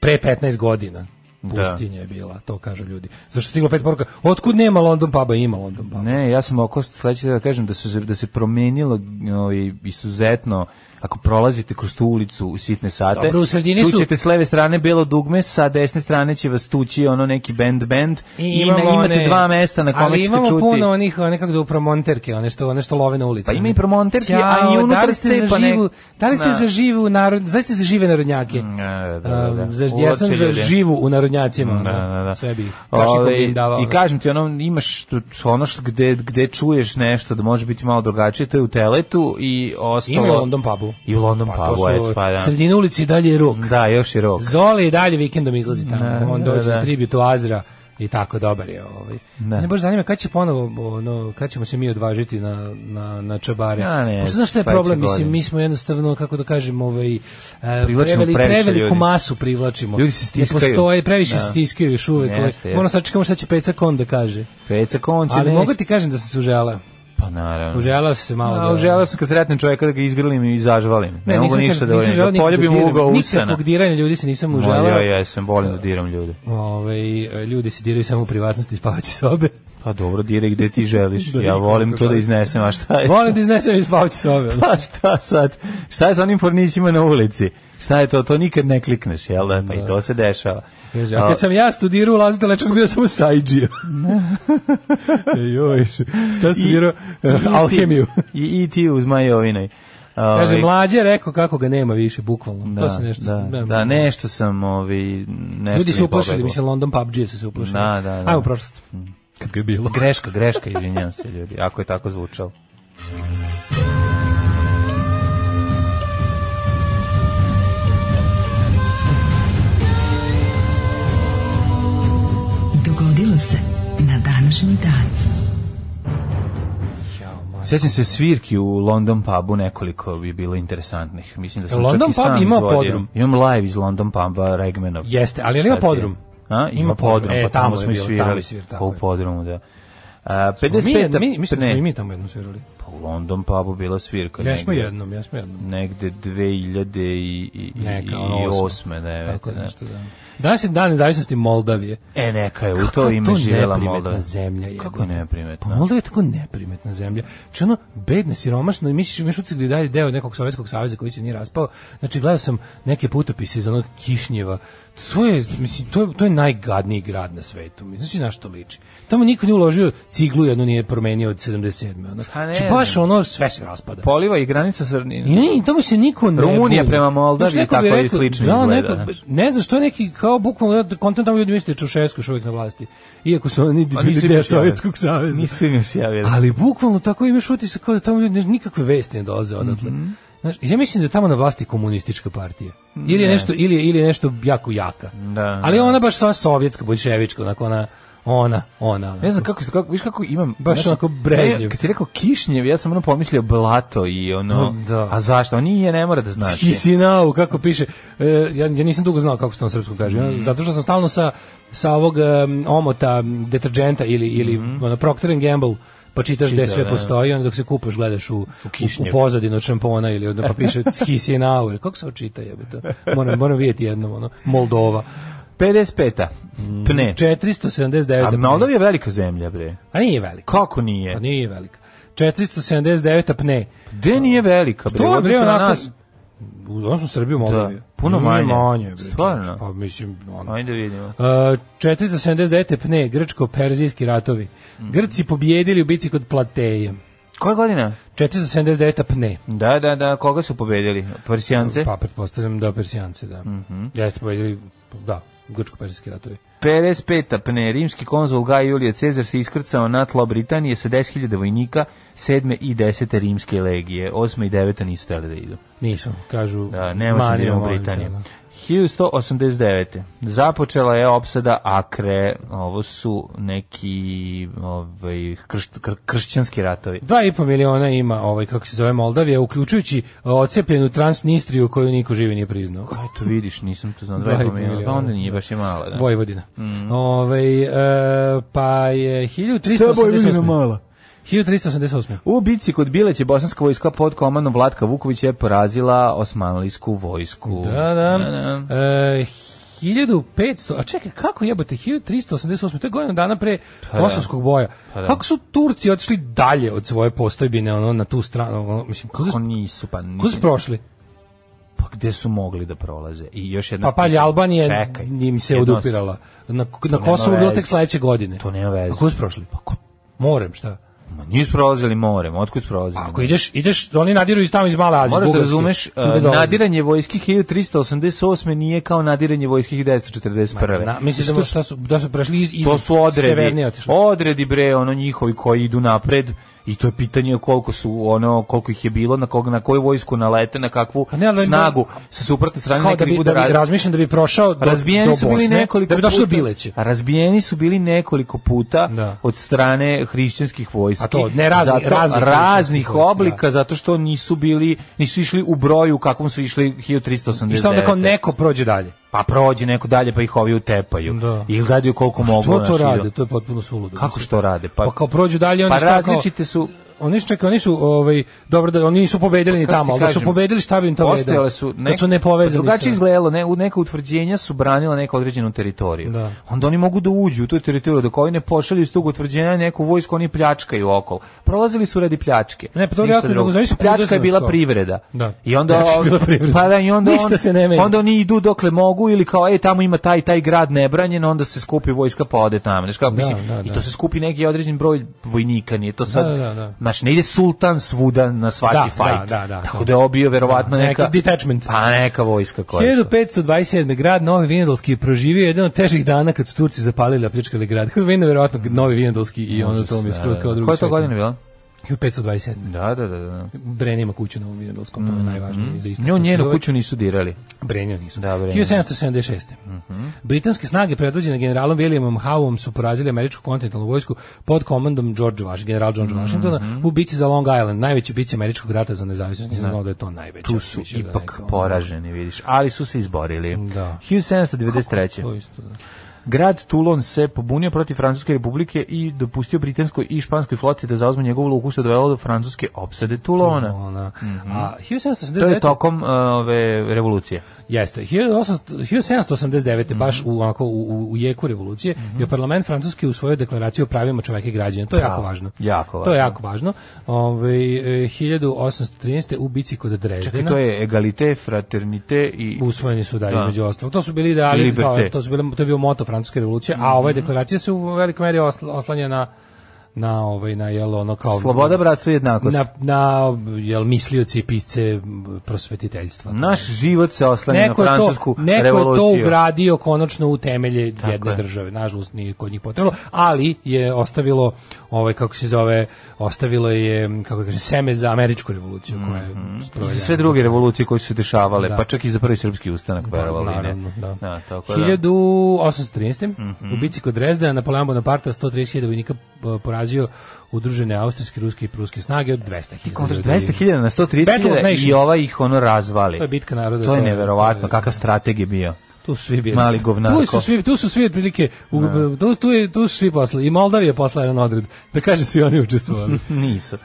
Speaker 7: Pre 15 godina pustinja je bila, to kažu ljudi. Zašto je stiglo pet poruka? Otkud nema London puba, ima London puba.
Speaker 6: Ne, ja sam oko sledeće da kažem da su se- da se promenilo ovaj izuzetno ako prolazite kroz tu ulicu u sitne sate.
Speaker 7: Dobro, u sredini su-
Speaker 6: čućete s leve strane belo dugme, sa desne strane će vas tući ono neki band band i ima,
Speaker 7: imamo
Speaker 6: imate
Speaker 7: one-
Speaker 6: dva mesta na kome
Speaker 7: ali
Speaker 6: ćete
Speaker 7: imamo
Speaker 6: čuti.
Speaker 7: puno onih, one kako zovu promonterke, one što, one što love na ulici.
Speaker 6: Pa ima i promonterke, a i
Speaker 7: Ćao, da
Speaker 6: unutar
Speaker 7: li ste za
Speaker 6: cepa ne-
Speaker 7: živu, Da li ste
Speaker 6: Da.
Speaker 7: za živu narod, zaista za žive narodnjake?
Speaker 6: Da, da, da, da.
Speaker 7: Um, za, ja sam
Speaker 6: Uvlače
Speaker 7: za
Speaker 6: ljude.
Speaker 7: živu u narodnjacima. ono.
Speaker 6: Da, da, da.
Speaker 7: Sve bih.
Speaker 6: Ovaj,
Speaker 7: Kašikom bi davao.
Speaker 6: I kažem ti, ono, imaš tu- ono što gde, gde čuješ nešto da može biti malo drugačije, to je u teletu i ostalo...
Speaker 7: Ima u London pubu.
Speaker 6: I u London
Speaker 7: Pa, to
Speaker 6: pubu, eto,
Speaker 7: su,
Speaker 6: pa da.
Speaker 7: Sredina ulici i dalje je rok.
Speaker 6: Da, još je rok.
Speaker 7: Zoli i dalje vikendom izlazi tamo.
Speaker 6: Da,
Speaker 7: On
Speaker 6: da,
Speaker 7: dođe
Speaker 6: da.
Speaker 7: na tribut u Azra i tako dobar je ovaj. Ne baš zanima kad će ponovo ono kad ćemo se mi odvažiti na na na čabare.
Speaker 6: Ja ne
Speaker 7: Pošto
Speaker 6: znam,
Speaker 7: znaš šta je
Speaker 6: sledeće
Speaker 7: problem, mislim
Speaker 6: godine.
Speaker 7: mi smo jednostavno kako da kažem ovaj e,
Speaker 6: Privlačimo
Speaker 7: preveli-
Speaker 6: previše
Speaker 7: preveliku
Speaker 6: ljudi.
Speaker 7: masu privlačimo.
Speaker 6: Ljudi se stiskaju.
Speaker 7: Ne postoje, previše
Speaker 6: Da.
Speaker 7: se stiskaju još uvek.
Speaker 6: Jeste,
Speaker 7: ovaj.
Speaker 6: jeste.
Speaker 7: Moramo sačekamo šta će Peca Kon da kaže.
Speaker 6: Peca Konče,
Speaker 7: Ali
Speaker 6: ne-
Speaker 7: mogu ti kažem da sam se užela.
Speaker 6: Pa naravno.
Speaker 7: Užela sam se malo.
Speaker 6: A, uželao sam kad sretnem čovjeka da ga izgrlim i zažvalim. Ne, mogu ništa da volim.
Speaker 7: želeo
Speaker 6: Da
Speaker 7: nikakvog
Speaker 6: poljubim
Speaker 7: diranja.
Speaker 6: ugao usana.
Speaker 7: Nikakvog diranja ljudi se nisam
Speaker 6: Ma,
Speaker 7: užela.
Speaker 6: Ja jesam, volim da diram ljude.
Speaker 7: Ovaj, ljudi se diraju samo u privatnosti i spavaće sobe.
Speaker 6: Pa dobro, diraj gde ti želiš.
Speaker 7: Da,
Speaker 6: ja
Speaker 7: nikomu
Speaker 6: volim
Speaker 7: kako
Speaker 6: to da
Speaker 7: hoće.
Speaker 6: iznesem, a šta je?
Speaker 7: Volim da iznesem iz spavaće sobe. ono.
Speaker 6: Pa šta sad? Šta je sa onim pornićima na ulici? Šta je to? To nikad ne klikneš, jel da? Pa i to se dešava.
Speaker 7: Kaže, a kad sam ja studirao u Lazda Lečkog bio sam
Speaker 6: [LAUGHS]
Speaker 7: u Sajđiju. E, Joj, šta studirao? [LAUGHS] Alhemiju.
Speaker 6: I, i ti uz Majovinoj.
Speaker 7: Kaže,
Speaker 6: Ovaj,
Speaker 7: mlađe je rekao kako ga nema više, bukvalno.
Speaker 6: da,
Speaker 7: to se nešto...
Speaker 6: da,
Speaker 7: ne,
Speaker 6: da, nešto sam, ovi, nešto
Speaker 7: Ljudi
Speaker 6: mi
Speaker 7: se
Speaker 6: je
Speaker 7: uplašili,
Speaker 6: pobeglo.
Speaker 7: mislim, London PUBG su se uplašili.
Speaker 6: Da, da, da.
Speaker 7: Ajmo u prošlost. Kako je bilo?
Speaker 6: Greška, greška, izvinjam se ljudi, ako je tako zvučalo.
Speaker 4: Dogodilo se na današnji dan.
Speaker 6: Sjećam se svirki u London pubu nekoliko bi bilo interesantnih. Mislim da sam
Speaker 7: London
Speaker 6: čak i
Speaker 7: pub
Speaker 6: sam
Speaker 7: ima
Speaker 6: izvodio.
Speaker 7: podrum?
Speaker 6: Imam live iz London puba Regmanov.
Speaker 7: Jeste, ali je li ima
Speaker 6: Sad je.
Speaker 7: podrum?
Speaker 6: A, ima,
Speaker 7: Ima podrum.
Speaker 6: podrum,
Speaker 7: E,
Speaker 6: pa
Speaker 7: tamo
Speaker 6: tamo,
Speaker 7: je
Speaker 6: smo i
Speaker 7: bilo,
Speaker 6: svirali.
Speaker 7: tamo je svir, tako
Speaker 6: u
Speaker 7: je.
Speaker 6: podrumu, da. A,
Speaker 7: Mi,
Speaker 6: 55.
Speaker 7: mi, mislim da
Speaker 6: ne,
Speaker 7: smo i mi tamo jednom svirali.
Speaker 6: pa u London pubu bila svirka.
Speaker 7: Jesmo
Speaker 6: negde-
Speaker 7: jednom, jesmo jednom.
Speaker 6: Negde 2000 i, i, i,
Speaker 7: Neka, ono,
Speaker 6: i
Speaker 7: osma.
Speaker 6: osme, devete,
Speaker 7: Tako
Speaker 6: ne.
Speaker 7: nešto, da. Danas je dan nezavisnosti Moldavije.
Speaker 6: E, neka je, u to
Speaker 7: Kako
Speaker 6: ime živjela
Speaker 7: neprimetna
Speaker 6: Moldova.
Speaker 7: zemlja je.
Speaker 6: Kako je
Speaker 7: Pa
Speaker 6: neprimetna?
Speaker 7: Moldova je tako neprimetna zemlja. Znači ono, bedna, siromašna, i misliš, imaš ucik da je dalje deo nekog sovjetskog saveza koji se nije raspao. Znači, gledao sam neke putopise iz onog Kišnjeva. To je, mislim, to je, to je najgadniji grad na svetu. Mislim, Znači, na što liči. Tamo niko nije uložio ciglu, jedno nije promenio od 77. Ono.
Speaker 6: Pa ne
Speaker 7: Znači, baš
Speaker 6: znam. Pa
Speaker 7: ono, sve se raspada.
Speaker 6: Poliva i granica sa...
Speaker 7: Ne, tamo se niko ne
Speaker 6: Rumunija
Speaker 7: buni.
Speaker 6: prema Moldaviji
Speaker 7: Znaš, neko bi
Speaker 6: tako i
Speaker 7: rekao,
Speaker 6: slično
Speaker 7: da,
Speaker 6: izgleda,
Speaker 7: neko-
Speaker 6: znaš.
Speaker 7: ne znam što je neki, kao bukvalno, ja kontam tamo ljudi misle da je Čušesko još uvijek na vlasti. Iako su oni
Speaker 6: Pa
Speaker 7: bili
Speaker 6: nisu
Speaker 7: deo
Speaker 6: još javili.
Speaker 7: Sovjetskog saveza.
Speaker 6: Nisam još ja vjerujem.
Speaker 7: Ali bukvalno tako imaš utisak kao da tamo ljudi ne- nikakve vesti ne dolaze odatle.
Speaker 6: Mhm.
Speaker 7: Znaš, ja mislim da je tamo na vlasti komunistička partija. Ili je nešto, ili, je- ili je nešto jako jaka.
Speaker 6: Da,
Speaker 7: Ali
Speaker 6: da.
Speaker 7: ona baš sva sovjetska, boljševička, onako ona, ona, ona. ona.
Speaker 6: Ne znam kako, kako viš kako imam
Speaker 7: Baš
Speaker 6: znači,
Speaker 7: onako Brežnjev.
Speaker 6: ja, Kad si rekao Kišnjev, ja sam ono pomislio blato i ono.
Speaker 7: Da, da.
Speaker 6: A zašto? On nije ne mora da znači.
Speaker 7: Kisinau, kako piše. E, ja, ja nisam dugo znao kako se to na srpskom kaže.
Speaker 6: Mhm.
Speaker 7: Ja, zato što sam stalno sa, sa ovog em, omota m, deterdženta ili, ili ono, Procter and Gamble pa čitaš gde
Speaker 6: Čita,
Speaker 7: sve
Speaker 6: Mhm. da.
Speaker 7: postoji, onda dok se kupaš gledaš u, u,
Speaker 6: kišnjev.
Speaker 7: u pozadinu od šampona ili onda pa
Speaker 6: [LAUGHS]
Speaker 7: piše Kisinau, kako se očita jebote. Moram, moram vidjeti jednom, ono, Moldova.
Speaker 6: 55. Pne.
Speaker 7: 479.
Speaker 6: E. A Moldova je velika zemlja, bre.
Speaker 7: A nije velika.
Speaker 6: Kako nije?
Speaker 7: Pa nije velika. 479. pne.
Speaker 6: Gde nije velika, bre?
Speaker 7: To je,
Speaker 6: u odnosu
Speaker 7: bre,
Speaker 6: na
Speaker 7: onako-
Speaker 6: nas.
Speaker 7: U odnosu na Srbiju, Moldaviju.
Speaker 6: puno
Speaker 7: Nije
Speaker 6: manje.
Speaker 7: manje bre,
Speaker 6: Stvarno?
Speaker 7: čoveče, Pa mislim, ono,
Speaker 6: Ajde vidimo.
Speaker 7: Uh, 479. pne, grčko-perzijski ratovi.
Speaker 6: Mm.
Speaker 7: Grci pobjedili u bici kod Plateje.
Speaker 6: Koja godina?
Speaker 7: 479. pne.
Speaker 6: Da, da, da, koga su pobedili? Persijance?
Speaker 7: Pa, pretpostavljam da Persijance, da.
Speaker 6: Mhm.
Speaker 7: Jeste pobjedili, da, grčko-perzijski ratovi.
Speaker 6: 55. Pne, rimski konzul Gaj Julije Cezar se iskrcao na tlo Britanije sa 10.000 vojnika 7. i 10. rimske legije. 8. i 9. nisu hteli da idu.
Speaker 7: Nisu, kažu,
Speaker 6: Da, nema se
Speaker 7: manimo,
Speaker 6: u
Speaker 7: molim te,
Speaker 6: Britaniji.
Speaker 7: da.
Speaker 6: 1189. Započela je opsada Akre. Ovo su neki ovaj, kršt, kr- kršćanski ratovi.
Speaker 7: Dva i po miliona ima, ovaj, kako se zove, Moldavija, uključujući uh, ocepljenu Transnistriju koju niko živi nije priznao.
Speaker 6: Aj, to vidiš, nisam to znao.
Speaker 7: Dva i po
Speaker 6: 2,5 miliona. Pa
Speaker 7: miliona,
Speaker 6: onda
Speaker 7: da.
Speaker 6: nije baš je mala. Da. Mhm.
Speaker 7: Vojvodina. Ovaj, e, pa je 1388. 1388.
Speaker 6: U bici kod Bileće bosanska vojska pod komandom Vlatka Vukovića je porazila osmanlijsku vojsku.
Speaker 7: Da, da.
Speaker 6: da.
Speaker 7: E, 1500, a čekaj, kako jebote, 1388, to je godina dana pre
Speaker 6: da.
Speaker 7: Kosovskog boja.
Speaker 6: Pa da.
Speaker 7: Kako su Turci otišli dalje od svoje postojbine ono, na tu stranu? Ono, mislim, kako
Speaker 6: Ko
Speaker 7: su,
Speaker 6: nisu, pa nisu.
Speaker 7: kako su prošli?
Speaker 6: Pa gde su mogli da prolaze? I još jedna...
Speaker 7: Pa pađe, Albanija
Speaker 6: Čekaj.
Speaker 7: njim se
Speaker 6: Jedno-
Speaker 7: odupirala. Na, na Kosovo je
Speaker 6: veze.
Speaker 7: bilo tek sledeće godine.
Speaker 6: To nema veze.
Speaker 7: A kako su prošli? Pa, ko, morem, šta?
Speaker 6: Ma nisu prolazili morem, otkud prolazili?
Speaker 7: Ako ideš, ideš, oni nadiru iz tamo iz Male Azije.
Speaker 6: Moraš da
Speaker 7: Bugarske.
Speaker 6: razumeš,
Speaker 7: Tu gde
Speaker 6: uh,
Speaker 7: dolaze.
Speaker 6: nadiranje vojskih 1388. nije kao nadiranje vojskih 1941.
Speaker 7: Zna, misliš da,
Speaker 6: Što
Speaker 7: šta su, da su prešli iz, iz
Speaker 6: to su odredi.
Speaker 7: severnije otišli.
Speaker 6: Odredi bre, ono njihovi koji idu napred I to je pitanje koliko su ono koliko ih je bilo, na koga na koju vojsku nalete, na kakvu
Speaker 7: Pa ne, ali oni-
Speaker 6: snagu sa suprotne strane
Speaker 7: Kao da
Speaker 6: nekad
Speaker 7: bi,
Speaker 6: i bude
Speaker 7: da bi,
Speaker 6: radi-
Speaker 7: razmišljam da bi prošao do,
Speaker 6: razbijeni
Speaker 7: do
Speaker 6: su bili
Speaker 7: Bosne,
Speaker 6: nekoliko
Speaker 7: da bi došao do
Speaker 6: puta-
Speaker 7: Bileće.
Speaker 6: A razbijeni su bili nekoliko puta
Speaker 7: Da.
Speaker 6: od strane hrišćanskih vojski.
Speaker 7: A to, ne, raznih-
Speaker 6: zato,
Speaker 7: raznih
Speaker 6: raznih
Speaker 7: hrišćanskih vojski,
Speaker 6: oblika zato što nisu bili nisu išli u broju kakvom su išli 1389.
Speaker 7: I šta onda kao neko prođe dalje.
Speaker 6: pa prođe neko dalje pa ih ovi utepaju.
Speaker 7: Da. Pa
Speaker 6: I gledaju koliko mogu.
Speaker 7: Što to
Speaker 6: znaš, i-
Speaker 7: rade? To je potpuno suludo.
Speaker 6: Kako što rade?
Speaker 7: Pa,
Speaker 6: Pa,
Speaker 7: kao prođu dalje, oni
Speaker 6: pa
Speaker 7: šta kao-
Speaker 6: različite su
Speaker 7: Oni su čekaj, oni su ovaj dobro da oni nisu pobedili ni
Speaker 6: Kako Pa ti
Speaker 7: tamo, ali da su
Speaker 6: kažem,
Speaker 7: pobedili šta bi im to
Speaker 6: postojale
Speaker 7: vredilo.
Speaker 6: su
Speaker 7: Kad su nepovezani.
Speaker 6: pa drugačije
Speaker 7: sa-
Speaker 6: izgledalo ne u neka utvrđenja su branila neku određenu teritoriju
Speaker 7: Da.
Speaker 6: onda oni mogu da uđu u tu teritoriju dok ovi ne pošalju iz tog utvrđenja neku vojsku oni pljačkaju okolo prolazili su radi pljačke
Speaker 7: Ne, pa to je
Speaker 6: Ništa
Speaker 7: jasno,
Speaker 6: drugo.
Speaker 7: nego zavisi od
Speaker 6: pljačka je
Speaker 7: poduzela
Speaker 6: bila
Speaker 7: što.
Speaker 6: privreda
Speaker 7: Da.
Speaker 6: i onda
Speaker 7: Pljačka je bila privreda.
Speaker 6: pa da i onda
Speaker 7: Ništa
Speaker 6: on-
Speaker 7: se ne menja.
Speaker 6: onda oni idu dokle mogu ili kao ej tamo ima taj taj grad nebranjen onda se skupi vojska pa ode tamo znači kako
Speaker 7: Da,
Speaker 6: mislim
Speaker 7: da, da.
Speaker 6: i to se skupi neki određen broj vojnika nije to sad
Speaker 7: da, da, da.
Speaker 6: znaš, ne ide sultan svuda na svaki
Speaker 7: Da,
Speaker 6: fajt
Speaker 7: da, da, da.
Speaker 6: tako da je obio verovatno
Speaker 7: Neki
Speaker 6: neka
Speaker 7: detachment.
Speaker 6: pa neka vojska koja. je.
Speaker 7: 1527. grad Novi Vinodolski je proživio jedan od težih dana kad su Turci zapalili, a pljačkali grad. Kako meni verovatno Novi Vinodolski i ono to mi je skroz kao drugi
Speaker 6: Koja je to godina bila?
Speaker 7: 527.
Speaker 6: Da, da, da. da.
Speaker 7: Brenja ima kuću na Novom Vinodolskom, to je najvažnije za istaknuti.
Speaker 6: Mhm. Nju, njenu kuću nisu dirali.
Speaker 7: Brenja nisu.
Speaker 6: Da, Mhm. Brenja.
Speaker 7: 1776. Britanske snage predvođene generalom Williamom Howeom su porazili američku kontinentalnu vojsku pod komandom George Wash, general George
Speaker 6: Mhm.
Speaker 7: Washingtona u bici za Long Island, najveći bici američkog rata za nezavisnost. Nisam znao da je to najveće.
Speaker 6: Tu su
Speaker 7: Mislim da je
Speaker 6: ipak
Speaker 7: kao-
Speaker 6: poraženi, vidiš. Ali su se izborili.
Speaker 7: Da.
Speaker 6: 1793.
Speaker 7: To isto, da.
Speaker 6: Mhm. Grad Toulon se pobunio protiv Francuske republike i dopustio britanskoj i španskoj floti da zauzme njegovu luku što je dovelo do francuske opsade Toulona.
Speaker 7: Ona.
Speaker 6: Mhm.
Speaker 7: A
Speaker 6: To je
Speaker 7: 1789.
Speaker 6: tokom uh, ove revolucije.
Speaker 7: Jeste. 1800 1789. baš
Speaker 6: Mhm.
Speaker 7: u, onako, u, u, u jeku revolucije je parlament francuski usvojio deklaraciju o pravima čoveka i građana. To je jako važno.
Speaker 6: jako
Speaker 7: To je
Speaker 6: važno.
Speaker 7: jako važno. Ovaj, eh, Ove, 1813. u bici kod Drezdena.
Speaker 6: Čekaj, to je egalite, fraternite i...
Speaker 7: usvojeni su da,
Speaker 6: Da.
Speaker 7: između ostalog. To su bili ideali,
Speaker 6: Liberté.
Speaker 7: kao, to, su bili, to je bio moto francuske revolucije, a
Speaker 6: Mhm.
Speaker 7: ova deklaracija se u velikoj meri osl- oslanja na na ovaj na jel ono kao
Speaker 6: Sloboda, bratstvo i jednakost.
Speaker 7: na, na jel mislioci i pisce m, prosvetiteljstva.
Speaker 6: Naš život se oslanja na
Speaker 7: neko je to,
Speaker 6: francusku
Speaker 7: neko je to
Speaker 6: revoluciju.
Speaker 7: ugradio konačno u temelje jedne
Speaker 6: je.
Speaker 7: države. Nažalost nije kod njih potrebno, ali je ostavilo ovaj kako se zove, ostavilo je kako kaže seme za američku revoluciju koja je
Speaker 6: I
Speaker 7: sprovedena.
Speaker 6: Mhm. sve druge revolucije koje su se dešavale,
Speaker 7: Da.
Speaker 6: pa čak i za prvi srpski ustanak, verovali ne.
Speaker 7: Naravno, da.
Speaker 6: Da, tako da. Mhm.
Speaker 7: 1813. U bici kod Drezdena Napoleon Bonaparte 130.000 vojnika p- porazio udružene austrijske, ruske i pruske snage od 200.000.
Speaker 6: Kontraš
Speaker 7: ljudi.
Speaker 6: 200.000 na
Speaker 7: Battle of
Speaker 6: 130.000
Speaker 7: Nations.
Speaker 6: i ova ih ono razvali.
Speaker 7: To je bitka naroda,
Speaker 6: To je
Speaker 7: to je- to
Speaker 6: neverovatno,
Speaker 7: je-
Speaker 6: kakav strateg je bio. [LAUGHS]
Speaker 7: Tu su svi bili.
Speaker 6: Mali govnarko.
Speaker 7: Tu su svi, tu su svi otprilike, u, tu, tu, je, tu su svi poslali. I Moldavija je poslala jedan odred. Da kaže svi
Speaker 6: [LAUGHS]
Speaker 7: oni učestvovali.
Speaker 6: Nisu.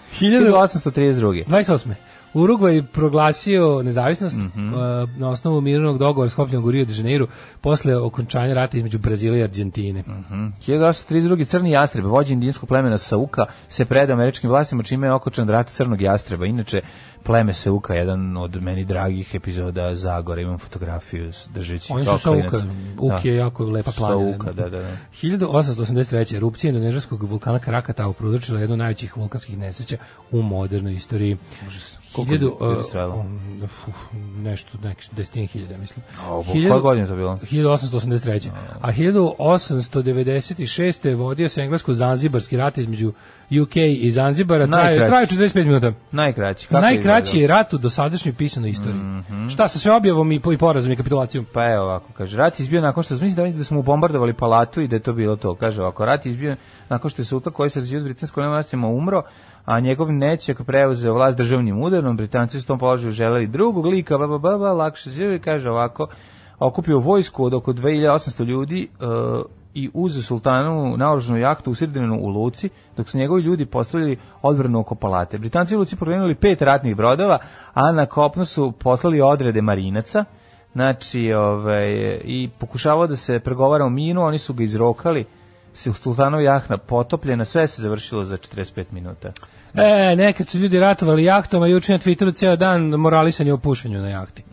Speaker 6: 1832.
Speaker 7: 1832. 28. Urugvaj je proglasio nezavisnost
Speaker 6: Mhm.
Speaker 7: a, na osnovu mirovnog dogovora sklopljenog u Rio de Janeiro posle okončanja rata između Brazila i Argentine.
Speaker 6: Mhm. 1832. Crni jastreb, vođe indijskog plemena Sauka, se preda američkim vlastima, čime je okočan rat crnog jastreba. Inače, pleme Sauka je jedan od meni dragih epizoda Zagora. Imam fotografiju s- držeći
Speaker 7: Oni
Speaker 6: kao
Speaker 7: su Sauka.
Speaker 6: klinac.
Speaker 7: Uk
Speaker 6: Da.
Speaker 7: je jako lepa planina.
Speaker 6: Sauka, da, da, da.
Speaker 7: 1883. erupcija indonežanskog vulkana Krakata uprozorčila jednu od najvećih vulkanskih nesreća u modernoj istoriji.
Speaker 6: Koliko ljudi
Speaker 7: uh,
Speaker 6: stradalo?
Speaker 7: um, fu, nešto, nekih desetin hiljada, mislim.
Speaker 6: Ovo,
Speaker 7: Hiljadu-
Speaker 6: koje godine je to bilo?
Speaker 7: 1883. A 1896. vodio se englesko-zanzibarski rat između UK i Zanzibara. Traje,
Speaker 6: Najkraći.
Speaker 7: traje 45 minuta.
Speaker 6: Najkraći. Kako je Mhm.
Speaker 7: Najkraći
Speaker 6: izgledalo?
Speaker 7: je rat u dosadašnjoj pisanoj istoriji. Šta sa sve objavom i, po- i porazom i kapitulacijom?
Speaker 6: Pa evo ovako, kaže, rat je izbio nakon što, mislim da, oni- da smo mu bombardovali palatu i da je to bilo to. Kaže ovako, rat je izbio nakon što je Sultan koji se razvio s britanskom vlastima umro, a njegov nećak preuzeo vlast državnim udarom, Britanci su u tom položaju želeli drugog lika, ba, ba, ba, ba, lakše žive, kaže ovako, okupio vojsku od oko 2800 ljudi e, i uzeo sultanovu naoružanu jahtu usredinu u Luci, dok su njegovi ljudi postavili odbranu oko palate. Britanci u Luci provenili pet ratnih brodova, a na kopnu su poslali odrede marinaca, Znači, ovaj, i pokušavao da se pregovara o minu, oni su ga izrokali, se Sultanov jahna potopljena, sve se završilo za 45 minuta.
Speaker 7: E, nekad su ljudi ratovali jahtama, juče na Twitteru ceo dan moralisanje o pušenju na jahti.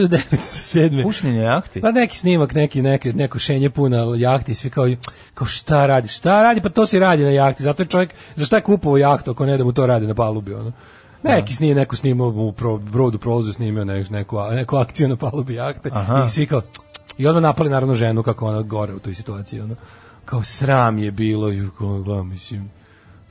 Speaker 7: 1907.
Speaker 6: Pušenje na jahti?
Speaker 7: Pa neki snimak, neki, neki, neko šenje puna jahti, svi kao, kao šta radi, šta radi, pa to si radi na jahti, zato je čovjek, za šta je kupovao jahtu ako ne da mu to radi na palubi, ono. Neki snimio, neko snimao u pro, brodu prolazu, snimio nek, neku, a- neku akciju na palubi jahte i svi kao, i odmah napali naravno ženu kako ona gore u toj situaciji, ono. Kao sram je bilo, i kao, gledam, mislim,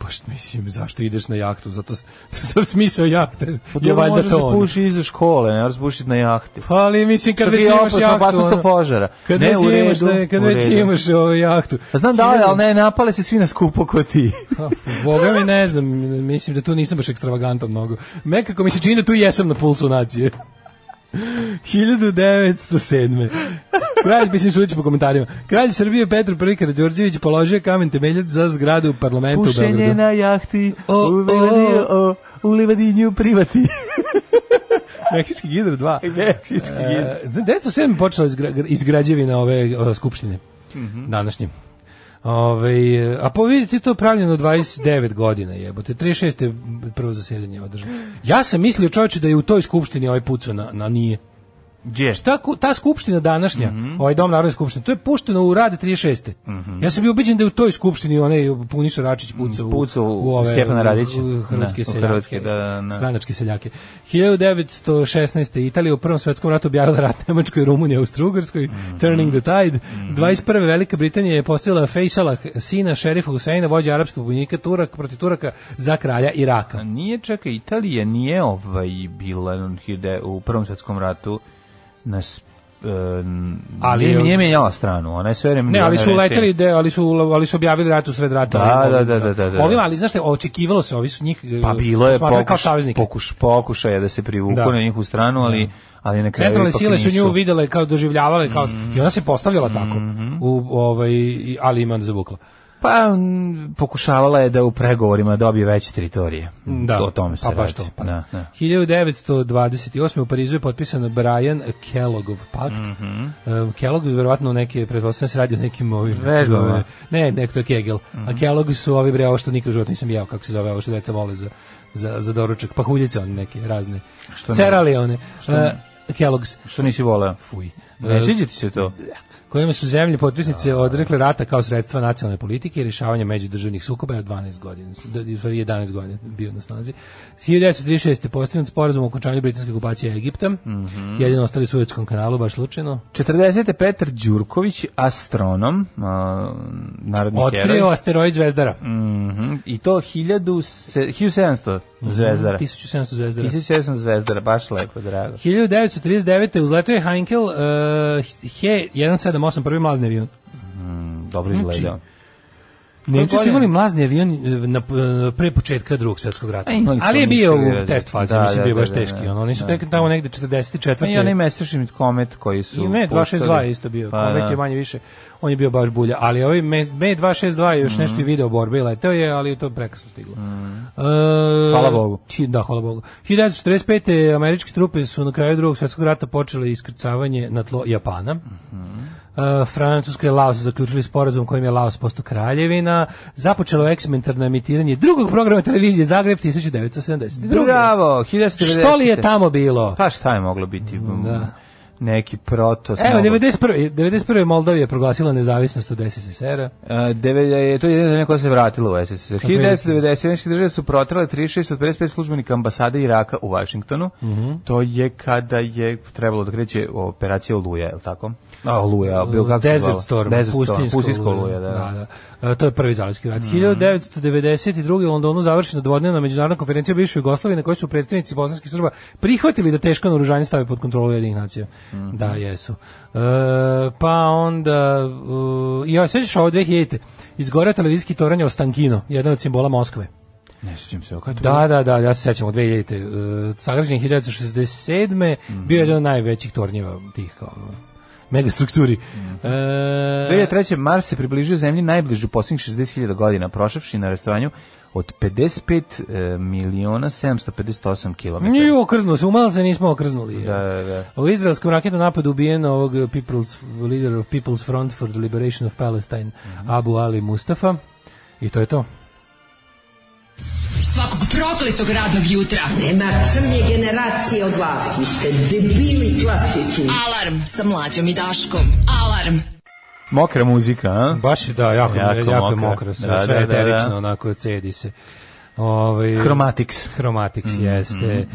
Speaker 7: Pa što mislim, zašto ideš na jahtu? Zato s- [LAUGHS] sam smisao jahte.
Speaker 6: Pa
Speaker 7: je
Speaker 6: dobro,
Speaker 7: valjda
Speaker 6: može
Speaker 7: to
Speaker 6: se
Speaker 7: ono.
Speaker 6: puši iza škole, ne može se pušiti na jahti.
Speaker 7: Pa ali mislim kad
Speaker 6: Što
Speaker 7: već
Speaker 6: je
Speaker 7: imaš
Speaker 6: opasna
Speaker 7: jahtu,
Speaker 6: opasnost
Speaker 7: ono-
Speaker 6: od požara.
Speaker 7: kad
Speaker 6: Ne,
Speaker 7: već
Speaker 6: u redu,
Speaker 7: imaš, ne, kad
Speaker 6: u
Speaker 7: već
Speaker 6: redu.
Speaker 7: imaš ovaj jahtu. Pa,
Speaker 6: Znam da li, ali ne, napale se svi na skupo ko
Speaker 7: [LAUGHS]
Speaker 6: ti.
Speaker 7: Boga mi ne znam, mislim da tu nisam baš ekstravagantan mnogo. Nekako mi se čini da tu jesam na pulsu nacije. 1907. Kralj, mislim sudeći po komentarima, kralj Srbije Petro I Karadžorđević položio je kamen temeljac za zgradu parlamenta u
Speaker 6: Pušenje
Speaker 7: Beogradu.
Speaker 6: na jahti,
Speaker 7: O,
Speaker 6: u, livadi- o, u livadinju
Speaker 7: [LAUGHS]
Speaker 6: privati.
Speaker 7: Meksički gidr 2.
Speaker 6: Meksički gid.
Speaker 7: Uh, 1907. počela izgra, izgrađevina ove o, skupštine današnje. Ove, a po vidite to je pravljeno 29 godina jebote, 36. je prvo zasjedanje je održano. Ja sam mislio čovječe da je u toj skupštini ovaj pucu na, na nije.
Speaker 6: Gdje
Speaker 7: Ta, ku- ta skupština današnja,
Speaker 6: Mhm.
Speaker 7: ovaj dom Narodne skupštine, to je pušteno u rad 36. Ja sam bio ubiđen da je u toj skupštini onaj Puniša Račić pucao u,
Speaker 6: Pucao u Stjepana Radića.
Speaker 7: u- u hrvatske
Speaker 6: Da, u
Speaker 7: seljake,
Speaker 6: hrvatske, da, da, da.
Speaker 7: stranačke seljake. 1916. Italija u Prvom svetskom ratu objavila rat Nemačkoj, Rumuniji, Austrougarskoj,
Speaker 6: Mhm.
Speaker 7: Turning the Tide. 21. Velika Britanija je postavila Faisalah, sina šerifa Huseina, vođa arapskog vojnika Turak protiv Turaka za kralja Iraka.
Speaker 6: Nije, čekaj, Italija nije ovaj bila on hide- u Prvom svjetskom ratu nas
Speaker 7: Ali
Speaker 6: ali nije,
Speaker 7: je-
Speaker 6: nije menjala stranu, ona je sve vreme
Speaker 7: Ne,
Speaker 6: bila
Speaker 7: ali
Speaker 6: na
Speaker 7: su
Speaker 6: resti.
Speaker 7: leteli, de, ali su ali su objavili rat u sred rata.
Speaker 6: Da,
Speaker 7: Ovim-
Speaker 6: da, da, da, da, da.
Speaker 7: Ovim, ali znaš šta, očekivalo se, ovi su njih eh,
Speaker 6: Pa bilo je
Speaker 7: smatrali kao
Speaker 6: pokuš,
Speaker 7: saveznike.
Speaker 6: pokuš, pokušaja da se privuku
Speaker 7: Da.
Speaker 6: na njihovu stranu, ali, ali na kraju
Speaker 7: Centralne
Speaker 6: ipak
Speaker 7: sile su nju
Speaker 6: nisu. Mhm.
Speaker 7: videle kao doživljavale kao i ona se postavljala tako. U ovaj i- ali ima onda zavukla.
Speaker 6: Pa m, pokušavala je da u pregovorima dobije veće teritorije.
Speaker 7: Da.
Speaker 6: O tome se
Speaker 7: pa, baš
Speaker 6: radi.
Speaker 7: to, pa.
Speaker 6: Da, da.
Speaker 7: 1928. u Parizu je potpisan Brian Kelloggov pakt.
Speaker 6: Mhm.
Speaker 7: E, Kellogg je verovatno neke, pretpostavljam se radi o nekim ovim... kako se
Speaker 6: Vežbama.
Speaker 7: zove- Ne, ne, to je Kegel.
Speaker 6: Mhm.
Speaker 7: A Kellogg su ovi bre, ovo što nikad u životu nisam jeo, kako se zove, ovo što deca vole za, za, za doručak. Pahuljice one neke, razne.
Speaker 6: Što ne?
Speaker 7: Cerali one. E, Kellogg's.
Speaker 6: Što nisi voleo?
Speaker 7: Fuj.
Speaker 6: Ne
Speaker 7: E,
Speaker 6: sviđa ti se to?
Speaker 7: kojima su zemlje potpisnice odrekle rata kao sredstva nacionalne politike i rješavanja međudržavnih sukoba je od 12 godina, da- u stvari 11 godina bio na snazi. 1936. je postavljen sporazum o okončanju britanske okupacije Egipta, jedino ostali su u Suetskom kanalu, baš slučajno.
Speaker 6: 40. Petar Đurković, astronom, a, narodni heroj.
Speaker 7: Otkrio asteroid Zvezdara.
Speaker 6: Mhm, I to 1000 se- 1700
Speaker 7: Mhm.
Speaker 6: zvezdara.
Speaker 7: 1700 Zvezdara.
Speaker 6: 1700 zvezdara, baš lepo, drago.
Speaker 7: 1939. uzletio je Heinkel uh, He-178, prvi mlazni avion.
Speaker 6: Dobro
Speaker 7: Znači,
Speaker 6: izgledao.
Speaker 7: Nemci su
Speaker 6: godine?
Speaker 7: imali mlazni avion e, na, e, pre početka drugog svjetskog rata.
Speaker 6: A Pa imali su
Speaker 7: Ali je
Speaker 6: oni
Speaker 7: bio
Speaker 6: isto
Speaker 7: u
Speaker 6: vjerojatno.
Speaker 7: test fazi,
Speaker 6: Da,
Speaker 7: mislim
Speaker 6: da,
Speaker 7: bio
Speaker 6: da,
Speaker 7: baš
Speaker 6: da,
Speaker 7: teški.
Speaker 6: da.
Speaker 7: Ono, oni su
Speaker 6: Da.
Speaker 7: tek tamo negde
Speaker 6: Pa
Speaker 7: 44.
Speaker 6: I onaj mesečni komet koji su...
Speaker 7: I Me 262 je
Speaker 6: puštali.
Speaker 7: isto bio,
Speaker 6: Pa,
Speaker 7: komet
Speaker 6: da.
Speaker 7: je manje više. On je bio baš bulja, ali ovaj Me, Me 262 je još
Speaker 6: Mhm.
Speaker 7: nešto i video borbe i leteo je, ali je to prekasno stiglo. E,
Speaker 6: Hvala Bogu.
Speaker 7: hi- Da, hvala Bogu. 1945. američke trupe su na kraju drugog svjetskog rata počele iskrcavanje na tlo Japana.
Speaker 6: Mhm.
Speaker 7: E, Francuska i Laos su zaključili sporazum kojim je Laos postao kraljevina. Započelo je eksperimentarno emitiranje drugog programa televizije Zagreb 1972.
Speaker 6: Bravo, 1990.
Speaker 7: Što li je tamo bilo?
Speaker 6: Pa šta je moglo biti?
Speaker 7: da.
Speaker 6: Neki proto...
Speaker 7: Evo, 91. 91. Moldavija je proglasila nezavisnost od SSSR-a.
Speaker 6: Uh, deved- je to je jedina zemlja koja se vratila u SSSR.
Speaker 7: je?
Speaker 6: 1997. države su protrale 36 od 55 službenika ambasade Iraka u Vašingtonu. To je kada je trebalo da kreće operacija Oluja, je li tako? A, Oluja, bilo kako se
Speaker 7: Desert
Speaker 6: zvala?
Speaker 7: Storm,
Speaker 6: Desert Storm,
Speaker 7: pustinjsko
Speaker 6: pustinjsko Oluja, da. Mhm. da.
Speaker 7: da, da. E, to je prvi zalivski rat. 1992. u Londonu završena dvodnevna međunarodna konferencija o bivšoj Jugoslaviji na kojoj su predstavnici bosanskih Srba prihvatili da teško naoružanje stave pod kontrolu jedinih nacija.
Speaker 6: Mhm.
Speaker 7: Da, jesu. E, pa onda, uh, ja, sećaš ovo 2000. Izgoreo televizijski toranj Ostankino, jedan od simbola Moskve.
Speaker 6: Ne sjećam se, kako je to?
Speaker 7: Da, da, da, ja se sećam od 2000. Uh, sagrađen je 1967.
Speaker 6: Mhm.
Speaker 7: Bio je jedan od najvećih tornjeva tih kao ono, megastrukturi.
Speaker 6: Mhm.
Speaker 7: E,
Speaker 6: 2003. Mars se približio zemlji najbližu posljednjih 60.000 godina, prošavši na restovanju od 55 e, miliona 758 kilometara.
Speaker 7: Nije okrznuo se, umalo se nismo okrznuli.
Speaker 6: Dakle. Da, da, da.
Speaker 7: U izraelskom raketnom napadu ubijen ovog people's, leader of People's Front for the Liberation of Palestine,
Speaker 6: Mhm.
Speaker 7: Abu Ali Mustafa. I to je to.
Speaker 4: Svakog prokletog radnog jutra.
Speaker 8: Nema crnje generacije od vas. Vi ste debili klasični.
Speaker 4: Alarm sa mlađom i Daškom. Alarm.
Speaker 6: Mokra muzika, a?
Speaker 7: Baš je, da, jako,
Speaker 6: Jako
Speaker 7: jako, jako je
Speaker 6: mokra.
Speaker 7: mokro, sve,
Speaker 6: Da,
Speaker 7: sve
Speaker 6: da, da,
Speaker 7: eterično,
Speaker 6: da.
Speaker 7: onako, cedi se. Ovaj
Speaker 6: Chromatics.
Speaker 7: Chromatics jeste.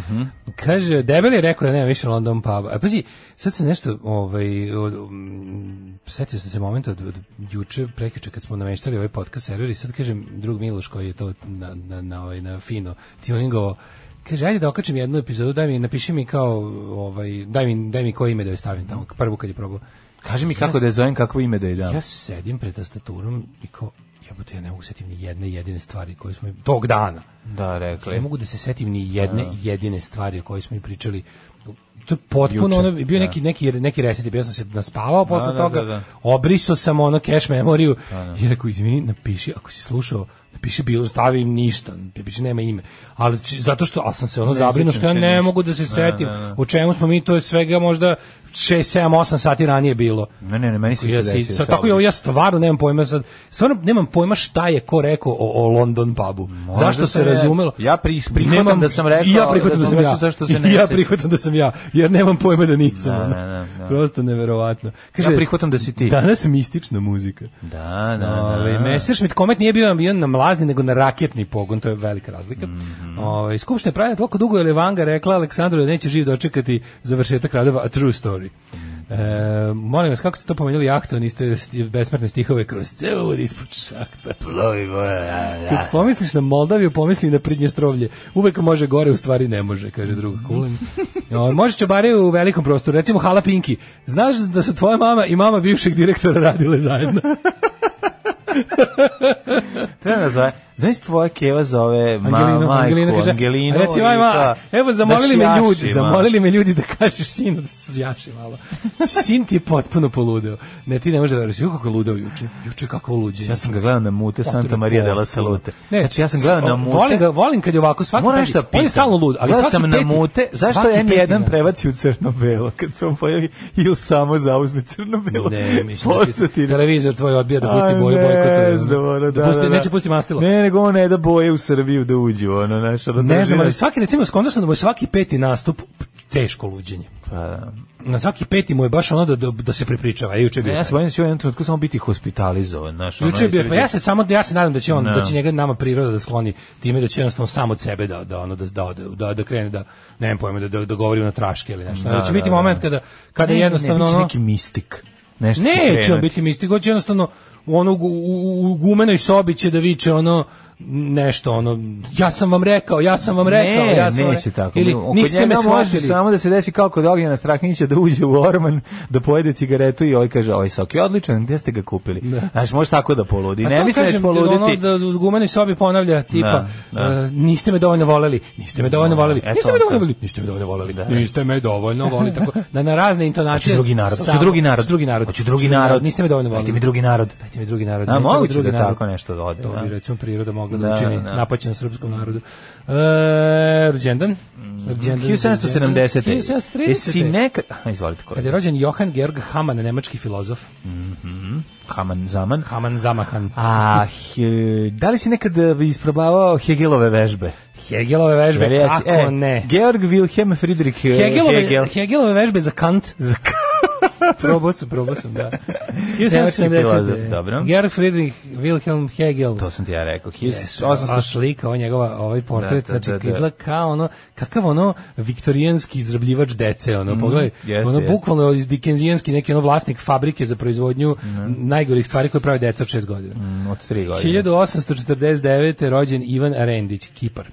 Speaker 7: Kaže Debel je rekao da nema više London puba. A pazi, sad se nešto ovaj od, mm, setio sam se momenta od, od juče, prekjuče kad smo nameštali ovaj podcast server i sad kažem drug Miloš koji je to na na na ovaj na fino tuningovo Kaže, ajde da okačem jednu epizodu, daj mi, napiši mi kao, ovaj, daj mi, daj mi koje ime da joj stavim tamo, prvu kad je probao.
Speaker 6: Kaži mi kako da je zovem, kakvo ime da je dam.
Speaker 7: Ja sedim pred tastaturom i kao, jebote, ja ne mogu setim ni jedne jedine stvari koje smo tog dana.
Speaker 6: Da,
Speaker 7: Ne
Speaker 6: rekli.
Speaker 7: mogu da se setim ni jedne jedine stvari o kojoj smo i pričali. To je potpuno
Speaker 6: Juče,
Speaker 7: ono, bio
Speaker 6: da.
Speaker 7: neki neki neki reset, ja sam se naspavao posle
Speaker 6: da,
Speaker 7: toga.
Speaker 6: da, da.
Speaker 7: Obrisao sam ono cache memoriju i rekao izvini, napiši ako si slušao napiši bilo stavim ništa, napiši nema ime. Ali či- zato što ali sam se ono zabrinuo što ja
Speaker 6: sjećam se
Speaker 7: ne
Speaker 6: ništa.
Speaker 7: mogu da se setim
Speaker 6: da, da.
Speaker 7: o čemu smo mi to je svega možda 6 7 8 sati ranije bilo.
Speaker 6: Ne, ne, ne, meni se
Speaker 7: Ja
Speaker 6: isto
Speaker 7: si,
Speaker 6: desio.
Speaker 7: sad,
Speaker 6: sa
Speaker 7: tako je, ovo, ja stvarno nemam pojma sad. Stvarno nemam pojma šta je ko rekao o, o London pubu. Zašto se
Speaker 6: sam ja-
Speaker 7: razumelo?
Speaker 6: ja pri- prihvatam
Speaker 7: Nemam-
Speaker 6: da sam rekao,
Speaker 7: I ja prihvatam
Speaker 6: da
Speaker 7: da,
Speaker 6: sam
Speaker 7: sam ja.
Speaker 6: nešto zašto
Speaker 7: [LAUGHS]
Speaker 6: se ne
Speaker 7: I ja
Speaker 6: sećam.
Speaker 7: prihvatam da sam ja, jer nemam pojma da nisam.
Speaker 6: Da,
Speaker 7: ono.
Speaker 6: da, da, da.
Speaker 7: Prosto neverovatno.
Speaker 6: Ja prihvatam da si ti.
Speaker 7: Danas mistična muzika.
Speaker 6: Da, da,
Speaker 7: Ove,
Speaker 6: da.
Speaker 7: Messerschmitt komet nije bio ambijen na mlazni, nego na raketni pogon, to je velika razlika.
Speaker 6: Mhm.
Speaker 7: Ove, Skupština je pravila toliko dugo, jer je Vanga rekla Aleksandru da neće živ dočekati završetak radova, a true story.
Speaker 6: Mhm.
Speaker 7: E, molim vas, kako ste to pomenuli jahto, niste sti- besmrtne stihove kroz ceo vod ispod šahta.
Speaker 6: Plovi, voja, da.
Speaker 7: Kad pomisliš na Moldaviju, pomisli na Pridnjestrovlje. Uvek može gore, u stvari ne može, kaže druga
Speaker 6: [LAUGHS]
Speaker 7: Kulin. O, može čobare u velikom prostoru, recimo Hala Pinki. Znaš da su tvoja mama i mama bivšeg direktora radile zajedno?
Speaker 6: Treba da zove. Znaš tvoja keva zove [LAUGHS] ma,
Speaker 7: Angelinu,
Speaker 6: majku,
Speaker 7: Angelinu, kaže,
Speaker 6: Angelinu.
Speaker 7: reci
Speaker 6: i
Speaker 7: majma,
Speaker 6: šta?
Speaker 7: evo zamolili
Speaker 6: Da
Speaker 7: me ljudi,
Speaker 6: sjaši, ma.
Speaker 7: zamolili me ljudi da kažeš sinu da se zjaši
Speaker 6: [LAUGHS]
Speaker 7: malo. Sin ti je potpuno poludeo. Ne, ti ne možeš da veruješ, Ju, kako je ludeo juče, juče kako luđe.
Speaker 6: Ja sam ga gledao na mute Santa Maria della Salute.
Speaker 7: Ne,
Speaker 6: znači ja sam gledao na mute.
Speaker 7: Volim ga, volim kad je ovako svaki
Speaker 6: Moram
Speaker 7: peti-
Speaker 6: nešto da
Speaker 7: On je
Speaker 6: pitam.
Speaker 7: stalno lud, ali
Speaker 6: Gledao
Speaker 7: svaki
Speaker 6: sam na
Speaker 7: peti-
Speaker 6: mute, zašto
Speaker 7: svaki peti
Speaker 6: N1
Speaker 7: nastup.
Speaker 6: prebaci u crno-belo kad se on pojavi ili samo zauzme crno-belo?
Speaker 7: Ne,
Speaker 6: [LAUGHS]
Speaker 7: mislim da
Speaker 6: Posle ti-
Speaker 7: ti televizor tvoj odbija da pusti
Speaker 6: A,
Speaker 7: boju
Speaker 6: ne
Speaker 7: bojkotuje.
Speaker 6: znam, ono, da,
Speaker 7: da, pusti,
Speaker 6: da, da.
Speaker 7: Neće pusti mastilo.
Speaker 6: Ne, nego on ne da boje u Srbiju da uđu, ono, znaš, ono,
Speaker 7: Ne
Speaker 6: drži
Speaker 7: znam, ali
Speaker 6: nas-
Speaker 7: svaki, recimo, skontao sam da mu je svaki peti nastup teško luđenje.
Speaker 6: Pa, da.
Speaker 7: Na svaki peti mu je baš ono da, da, da se prepričava. E, juče je bio
Speaker 6: Ne, ja se
Speaker 7: taj.
Speaker 6: bojim da će u jednom trenutku samo biti hospitalizovan, znaš, ono,
Speaker 7: Juče je bio,
Speaker 6: jesi
Speaker 7: pa ja se samo ja se nadam da će on
Speaker 6: Da.
Speaker 7: da će njega nama priroda da skloni time da će jednostavno samo od sebe da da ono da da da, da, da krene da nemam pojma da da, da govori na traške ili nešto. Da, će
Speaker 6: da,
Speaker 7: biti
Speaker 6: da.
Speaker 7: moment kada kada
Speaker 6: Ne, ne,
Speaker 7: jednostavno
Speaker 6: ne, bit će
Speaker 7: ono-
Speaker 6: neki mistik. Nešto će
Speaker 7: Ne, će on
Speaker 6: krenuti.
Speaker 7: biti mistik, on će jednostavno u ono u, u, u gumenoj sobi će da viče ono nešto ono ja sam vam rekao, ja sam vam rekao,
Speaker 6: ne,
Speaker 7: ja sam vam
Speaker 6: neće
Speaker 7: rekao.
Speaker 6: tako.
Speaker 7: Ili
Speaker 6: Oko
Speaker 7: niste
Speaker 6: njega
Speaker 7: me
Speaker 6: može
Speaker 7: shvatili.
Speaker 6: samo da se desi kao kod Ognjena Strahnića da uđe u Orman, da pojede cigaretu i ovaj kaže, ovaj sok je odličan, gdje ste ga kupili? Znaš, može tako da poludi.
Speaker 7: A
Speaker 6: Ne
Speaker 7: to
Speaker 6: mislim da će
Speaker 7: kažem, Ono
Speaker 6: poluditi.
Speaker 7: da u gumenoj sobi ponavlja tipa
Speaker 6: Da, da.
Speaker 7: e, niste me dovoljno voleli, niste me dovoljno
Speaker 6: Da,
Speaker 7: voleli,
Speaker 6: e,
Speaker 7: niste
Speaker 6: to
Speaker 7: me dovoljno
Speaker 6: sam.
Speaker 7: voleli, niste me dovoljno voleli, niste me dovoljno
Speaker 6: [LAUGHS]
Speaker 7: voleli, tako na, na razne
Speaker 6: Hoće
Speaker 7: intonacije.
Speaker 6: drugi narod. Hoće
Speaker 7: samo-
Speaker 6: drugi narod.
Speaker 7: hoću drugi narod.
Speaker 6: Hoće drugi narod.
Speaker 7: Niste me dovoljno voleli.
Speaker 6: Dajte mi drugi narod.
Speaker 7: Dajte mi drugi narod.
Speaker 6: A,
Speaker 7: ne,
Speaker 6: moguće
Speaker 7: drugi
Speaker 6: da
Speaker 7: narod.
Speaker 6: tako nešto da ode,
Speaker 7: To bi
Speaker 6: da.
Speaker 7: recimo priroda mogla da,
Speaker 6: Da,
Speaker 7: učini
Speaker 6: da.
Speaker 7: napaćen srpskom narodu. E, rođendan?
Speaker 6: Mm,
Speaker 7: Rođendan.
Speaker 6: 1770.
Speaker 7: 1730.
Speaker 6: Jesi nekad... Aha, izvolite
Speaker 7: Kad je
Speaker 6: kolega.
Speaker 7: rođen Johan Georg Hamann, nemački filozof.
Speaker 6: Haman Zaman.
Speaker 7: Hamann Zamahan.
Speaker 6: A he- da li si nekad e, isprobavao Hegelove vežbe?
Speaker 7: Hegelove vežbe,
Speaker 6: Jel jesi?
Speaker 7: kako
Speaker 6: E,
Speaker 7: ne?
Speaker 6: Georg Wilhelm Friedrich e,
Speaker 7: Hegelove,
Speaker 6: Hegel.
Speaker 7: Hegelove vežbe za Kant.
Speaker 6: Za k-
Speaker 7: [LAUGHS] probao sam, probao
Speaker 6: [LAUGHS]
Speaker 7: sam, da.
Speaker 6: Nemački filozof, dobro.
Speaker 7: Georg Friedrich Wilhelm Hegel.
Speaker 6: To sam ti ja rekao.
Speaker 7: A
Speaker 6: 1800
Speaker 7: slika, ova njegova, ovaj portret,
Speaker 6: Da, da, da,
Speaker 7: znači
Speaker 6: da.
Speaker 7: izgleda kao ono, kakav ono viktorijanski izrabljivač dece, ono, pogledaj,
Speaker 6: Mm, jeste,
Speaker 7: ono
Speaker 6: jeste.
Speaker 7: bukvalno iz dikenzijanski neki ono vlasnik fabrike za proizvodnju
Speaker 6: Mhm.
Speaker 7: najgorih stvari koje prave deca od 6 godina.
Speaker 6: od 3 godine.
Speaker 7: 1849. je rođen Ivan Rendić, Kipar.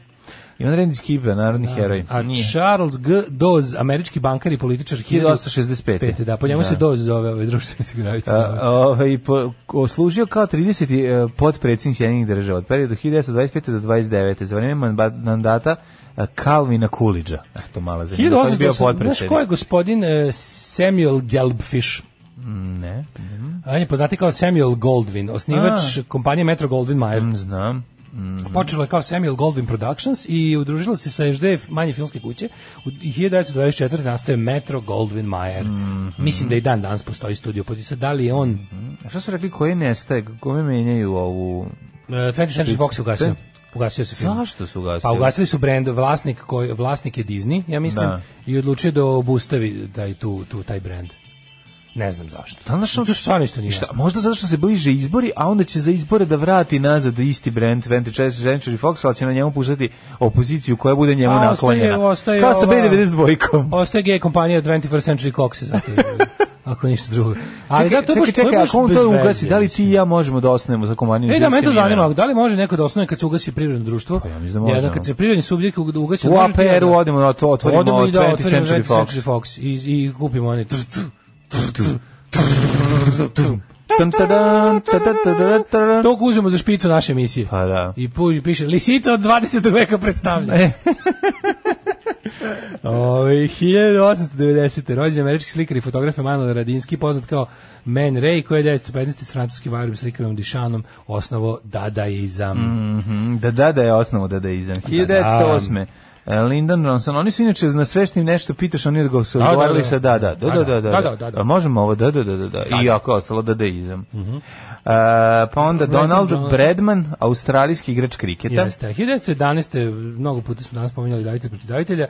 Speaker 6: Ivan Rendić Kipa, narodni heroj.
Speaker 7: A
Speaker 6: Nije.
Speaker 7: Charles G. Doz, američki bankar i političar
Speaker 6: 1865.
Speaker 7: 1865. Da, po njemu
Speaker 6: Da.
Speaker 7: se Doz zove ovaj, ove društvene osiguravice.
Speaker 6: A, ovaj, po, ko- služio kao 30. potpredsjednik Sjedinih država od periodu 1925. do 29. za vreme manba- mandata e, Kalvina Kulidža. Eto, mala zanimljiva. Što je bio
Speaker 7: 1880, Znaš ko je
Speaker 6: potpredsjednik?
Speaker 7: gospodin e, Samuel Gelbfish?
Speaker 6: Ne,
Speaker 7: On je poznati kao Samuel Goldwyn, osnivač kompanije Metro Goldwyn Mayer.
Speaker 6: ne znam. Mm.
Speaker 7: Počelo je kao Samuel Goldwyn Productions i udružilo se sa SD manje filmske kuće. U 1924. nastaje Metro Goldwyn Mayer.
Speaker 6: Mhm.
Speaker 7: Mislim da i dan danas postoji studio. Podisa, da li je on...
Speaker 6: A šta su rekli koji nestaje, kome menjaju ovu...
Speaker 7: e, 20th Century Fox je ugasio.
Speaker 6: Te?
Speaker 7: Ugasio se film.
Speaker 6: Zašto su ugasili?
Speaker 7: Pa ugasili su brend vlasnik koji vlasnik je Disney, ja mislim,
Speaker 6: Da.
Speaker 7: i odlučio da obustavi taj tu tu taj brend. Ne znam zašto.
Speaker 6: Da li znaš ono-
Speaker 7: to stvarno isto nije.
Speaker 6: Šta,
Speaker 7: jasno.
Speaker 6: možda zato što se bliže izbori, a onda će za izbore da vrati nazad isti brand 24 Century Fox, ali će na njemu puštati opoziciju koja bude njemu
Speaker 7: A, ostaje-
Speaker 6: naklonjena.
Speaker 7: ostaje
Speaker 6: Kao sa
Speaker 7: ova-
Speaker 6: B92-kom.
Speaker 7: Ostaje gej kompanija 21st Century
Speaker 6: [LAUGHS]
Speaker 7: Cox zato. ako ništa drugo. Ali da to je baš
Speaker 6: čekaj,
Speaker 7: je
Speaker 6: čekaj,
Speaker 7: baš
Speaker 6: ako on
Speaker 7: bez
Speaker 6: to
Speaker 7: veze,
Speaker 6: ugasi, da li ti
Speaker 7: mislim.
Speaker 6: i ja možemo da osnovimo za kompaniju?
Speaker 7: E da,
Speaker 6: Justina?
Speaker 7: mene to zanima, da li može neko da osnuje kad se ugasi privredno društvo?
Speaker 6: Pa ja mislim da može,
Speaker 7: Jedan,
Speaker 6: ono.
Speaker 7: kad se privredni subjekt ug- ugasi...
Speaker 6: U
Speaker 7: može ti
Speaker 6: APR-u
Speaker 7: jedan-
Speaker 6: odemo na to, otvorimo
Speaker 7: Odemo i da
Speaker 6: 20th
Speaker 7: otvorimo
Speaker 6: Century
Speaker 7: 20th
Speaker 6: Fox.
Speaker 7: Century Fox i, i kupimo [LAUGHS] oni... tr- tr-
Speaker 6: Tam, tadam, tadam, tadam, tadam.
Speaker 7: Tog uzmemo za špicu naše emisije.
Speaker 6: Pa da.
Speaker 7: I pu, piše, lisica od 20. veka predstavlja. [LAUGHS] Ove, 1890. rođen američki slikar i fotograf Emanuel Radinski, poznat kao Man Ray, koji je 1915. s francuskim vajrom slikarom Dišanom osnovo Dadaizam.
Speaker 6: Mhm, Da, da, da je osnovu dadaizam. 1908. E, Lyndon Johnson, oni su inače na sve što im nešto pitaš, oni odgo- su
Speaker 7: Da, da,
Speaker 6: odgovorili
Speaker 7: da.
Speaker 6: sa da, da, da, da, da, da,
Speaker 7: da, da.
Speaker 6: A možemo ovo, da, da, da, da, da, i ako je ostalo dadaizam. E, pa onda Donald
Speaker 7: Johnson.
Speaker 6: Bradman, australijski igrač kriketa,
Speaker 7: Jeste. 1911. mnogo puta smo danas spominjali davitelj protiv davitelja,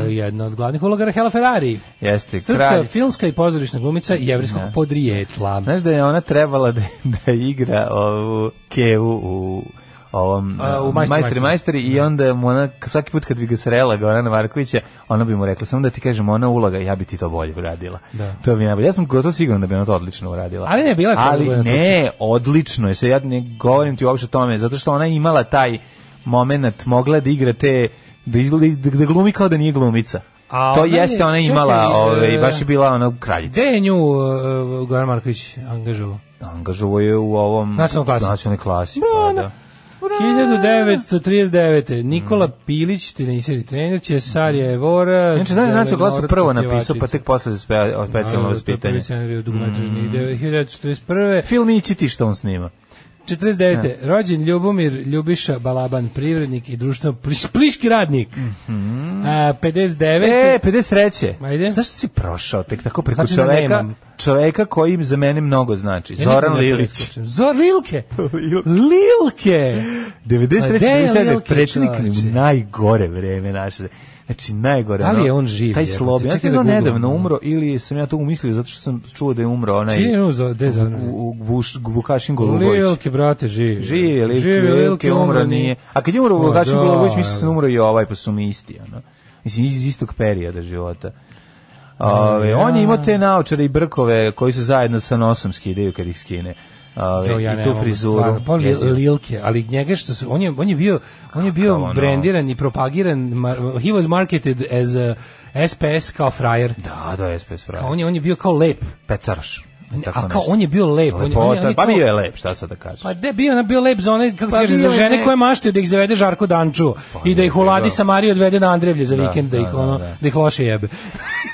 Speaker 7: e, jedna od glavnih uloga Rahela Ferrari.
Speaker 6: jeste,
Speaker 7: Srpska
Speaker 6: kraljica.
Speaker 7: filmska i pozorišna glumica jevrijskog podrijetla.
Speaker 6: Znaš da je ona trebala da, da igra ovu kevu u ovom
Speaker 7: A, u
Speaker 6: uh,
Speaker 7: Majstri,
Speaker 6: majstri majstri i onda mu ona svaki put kad bi ga srela Gorana Markovića ona bi mu rekla samo da ti kažem ona uloga ja bi ti to bolje uradila
Speaker 7: Da.
Speaker 6: to bi najbolje ja sam gotovo siguran da bi ona to odlično uradila
Speaker 7: Ali ne, bila je
Speaker 6: ali
Speaker 7: Gorana
Speaker 6: ne odlično je se ja ne govorim ti uopšte o tome zato što ona je imala taj momenat mogla da igra te da, izgleda, da, da glumi kao da nije glumica
Speaker 7: A
Speaker 6: to
Speaker 7: ona je-
Speaker 6: jeste ona je
Speaker 7: čekaj,
Speaker 6: imala ovaj
Speaker 7: e,
Speaker 6: baš je bila ona kraljica
Speaker 7: Gde je nju uh, Goran Marković angažovao?
Speaker 6: angažovao je u ovom
Speaker 7: Nacionalnoj klasi.
Speaker 6: nacionalnoj klasi, pa
Speaker 7: Brana.
Speaker 6: da.
Speaker 7: 1939. Nikola Pilić, teniseri trener, Cesarija Evora...
Speaker 6: Znači, znaš, nacionalnu klasu
Speaker 7: Zelenora,
Speaker 6: prvo napisao, pa
Speaker 7: pjevačica.
Speaker 6: tek posle za spe- specijalno
Speaker 7: Naravno, to je prvi
Speaker 6: vaspitanje.
Speaker 7: scenarij od dugometražnih ideja. 1941.
Speaker 6: Filmići ti što on snima.
Speaker 7: 49. Rođen Ljubomir Ljubiša Balaban, privrednik i društveno pliš- pliški radnik. A, 59.
Speaker 6: E, 53.
Speaker 7: Ajde.
Speaker 6: Zašto si prošao tek tako preko
Speaker 7: Znači da
Speaker 6: čoveka,
Speaker 7: nemam.
Speaker 6: čoveka koji za mene mnogo znači?
Speaker 7: Ja nikad
Speaker 6: Zoran
Speaker 7: ne
Speaker 6: Lilić. [LAUGHS]
Speaker 7: preskočim. Zoran Lilke. Lilke.
Speaker 6: 93.
Speaker 7: Gde je
Speaker 6: 97.
Speaker 7: Lilke,
Speaker 6: predsjednik
Speaker 7: čoveče?
Speaker 6: u najgore vreme naše. Znači, najgore.
Speaker 7: Da li
Speaker 6: ono,
Speaker 7: je on živ,
Speaker 6: Taj
Speaker 7: jebote?
Speaker 6: slob. Ja
Speaker 7: Čekaj
Speaker 6: sam
Speaker 7: da
Speaker 6: da
Speaker 7: googlam.
Speaker 6: nedavno umro ili sam ja to umislio zato što sam čuo da je umro onaj...
Speaker 7: Čiji je on za- gde je Zoran?
Speaker 6: u- u- Vuš- Vukašin Golubović.
Speaker 7: Lilke, brate, živi.
Speaker 6: Živi, Lilke, Lilke, umro nije. A kad je umro
Speaker 7: Ma
Speaker 6: Vukašin
Speaker 7: da,
Speaker 6: Golubović, mislim da sam
Speaker 7: evo.
Speaker 6: umro i ovaj, pa su mi isti, ono. Mislim, iz istog perioda života. Ove, On je imao te naočare i brkove koji se zajedno sa nosom skidaju kad ih skine. Ove,
Speaker 7: Jo, ja ne
Speaker 6: I tu
Speaker 7: mogu,
Speaker 6: frizuru.
Speaker 7: stvarno, pa li,
Speaker 6: Jezivo.
Speaker 7: Lilke, ali njega što su, on je, on je bio, on je bio
Speaker 6: ono?
Speaker 7: brandiran i propagiran, mar, he was marketed as a SPS kao frajer.
Speaker 6: Da, da, SPS
Speaker 7: A
Speaker 6: frajer.
Speaker 7: On je, on je bio kao lep.
Speaker 6: Pecaraš.
Speaker 7: a kao, on je bio lep. On, je- on, je- on je
Speaker 6: pa
Speaker 7: kao-
Speaker 6: bio je lep, šta sad da kažem.
Speaker 7: Pa de bio, ona bio lep za one, kako
Speaker 6: Pa
Speaker 7: ti kažem, za
Speaker 6: bio je
Speaker 7: žene
Speaker 6: ne-
Speaker 7: koje maštaju da ih zavede Žarko Danču i da ih uladi
Speaker 6: da.
Speaker 7: sa Marije odvede na Andrevlje za vikend, da,
Speaker 6: da,
Speaker 7: ih,
Speaker 6: da,
Speaker 7: ono, da.
Speaker 6: da.
Speaker 7: ih loše jebe. [LAUGHS]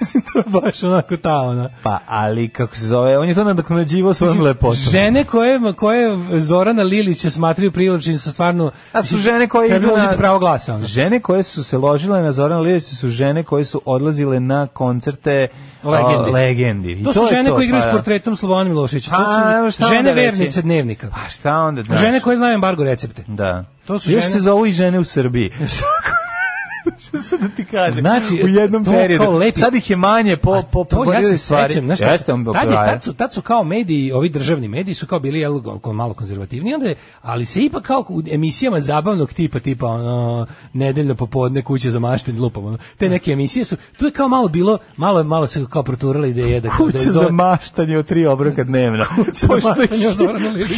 Speaker 7: Mislim, to je baš onako ta, ona.
Speaker 6: Pa, ali kako se zove, on je to nadoknađivao svojom lepotom.
Speaker 7: Žene koje, koje Zorana Lilića smatraju privlačnim su stvarno...
Speaker 6: A su žene koje
Speaker 7: Treba
Speaker 6: idu na-
Speaker 7: uzeti pravo glasa. Ono.
Speaker 6: Žene koje su se ložile na Zoran Lilića su žene koje su odlazile na koncerte
Speaker 7: Legendi.
Speaker 6: o, legendi. I
Speaker 7: To su
Speaker 6: je
Speaker 7: žene koje
Speaker 6: pa
Speaker 7: igraju s
Speaker 6: da.
Speaker 7: portretom Slobodana Miloševića. To
Speaker 6: A, evo
Speaker 7: su
Speaker 6: šta
Speaker 7: žene
Speaker 6: onda reći?
Speaker 7: vernice dnevnika.
Speaker 6: Pa šta onda znaš?
Speaker 7: Žene koje znaju embargo recepte.
Speaker 6: Da.
Speaker 7: To su
Speaker 6: Još
Speaker 7: žene-
Speaker 6: se zovu i žene u
Speaker 7: [LAUGHS]
Speaker 6: Srbiji. Šta sad da ti kažem?
Speaker 7: Znači,
Speaker 6: u jednom
Speaker 7: to
Speaker 6: periodu.
Speaker 7: kao lepi-
Speaker 6: Sad ih je manje Pa, po, po, po,
Speaker 7: To ja se sećam, znaš šta,
Speaker 6: Jeste, on bio
Speaker 7: tad, je,
Speaker 6: frajer.
Speaker 7: tad, su, tad su kao mediji, ovi državni mediji su kao bili jel, oko- malo konzervativni, onda je, ali se ipak kao u emisijama zabavnog tipa, tipa ono, nedeljno popodne kuće za maštenj lupom, ono, te neke emisije su, tu je kao malo bilo, malo, malo se kao proturala ideja da, da
Speaker 6: Kuća
Speaker 7: je Zor-
Speaker 6: za maštanje od tri obroka
Speaker 7: [LAUGHS]
Speaker 6: dnevno. Kuća
Speaker 7: za maštanje od Zorana Lilića.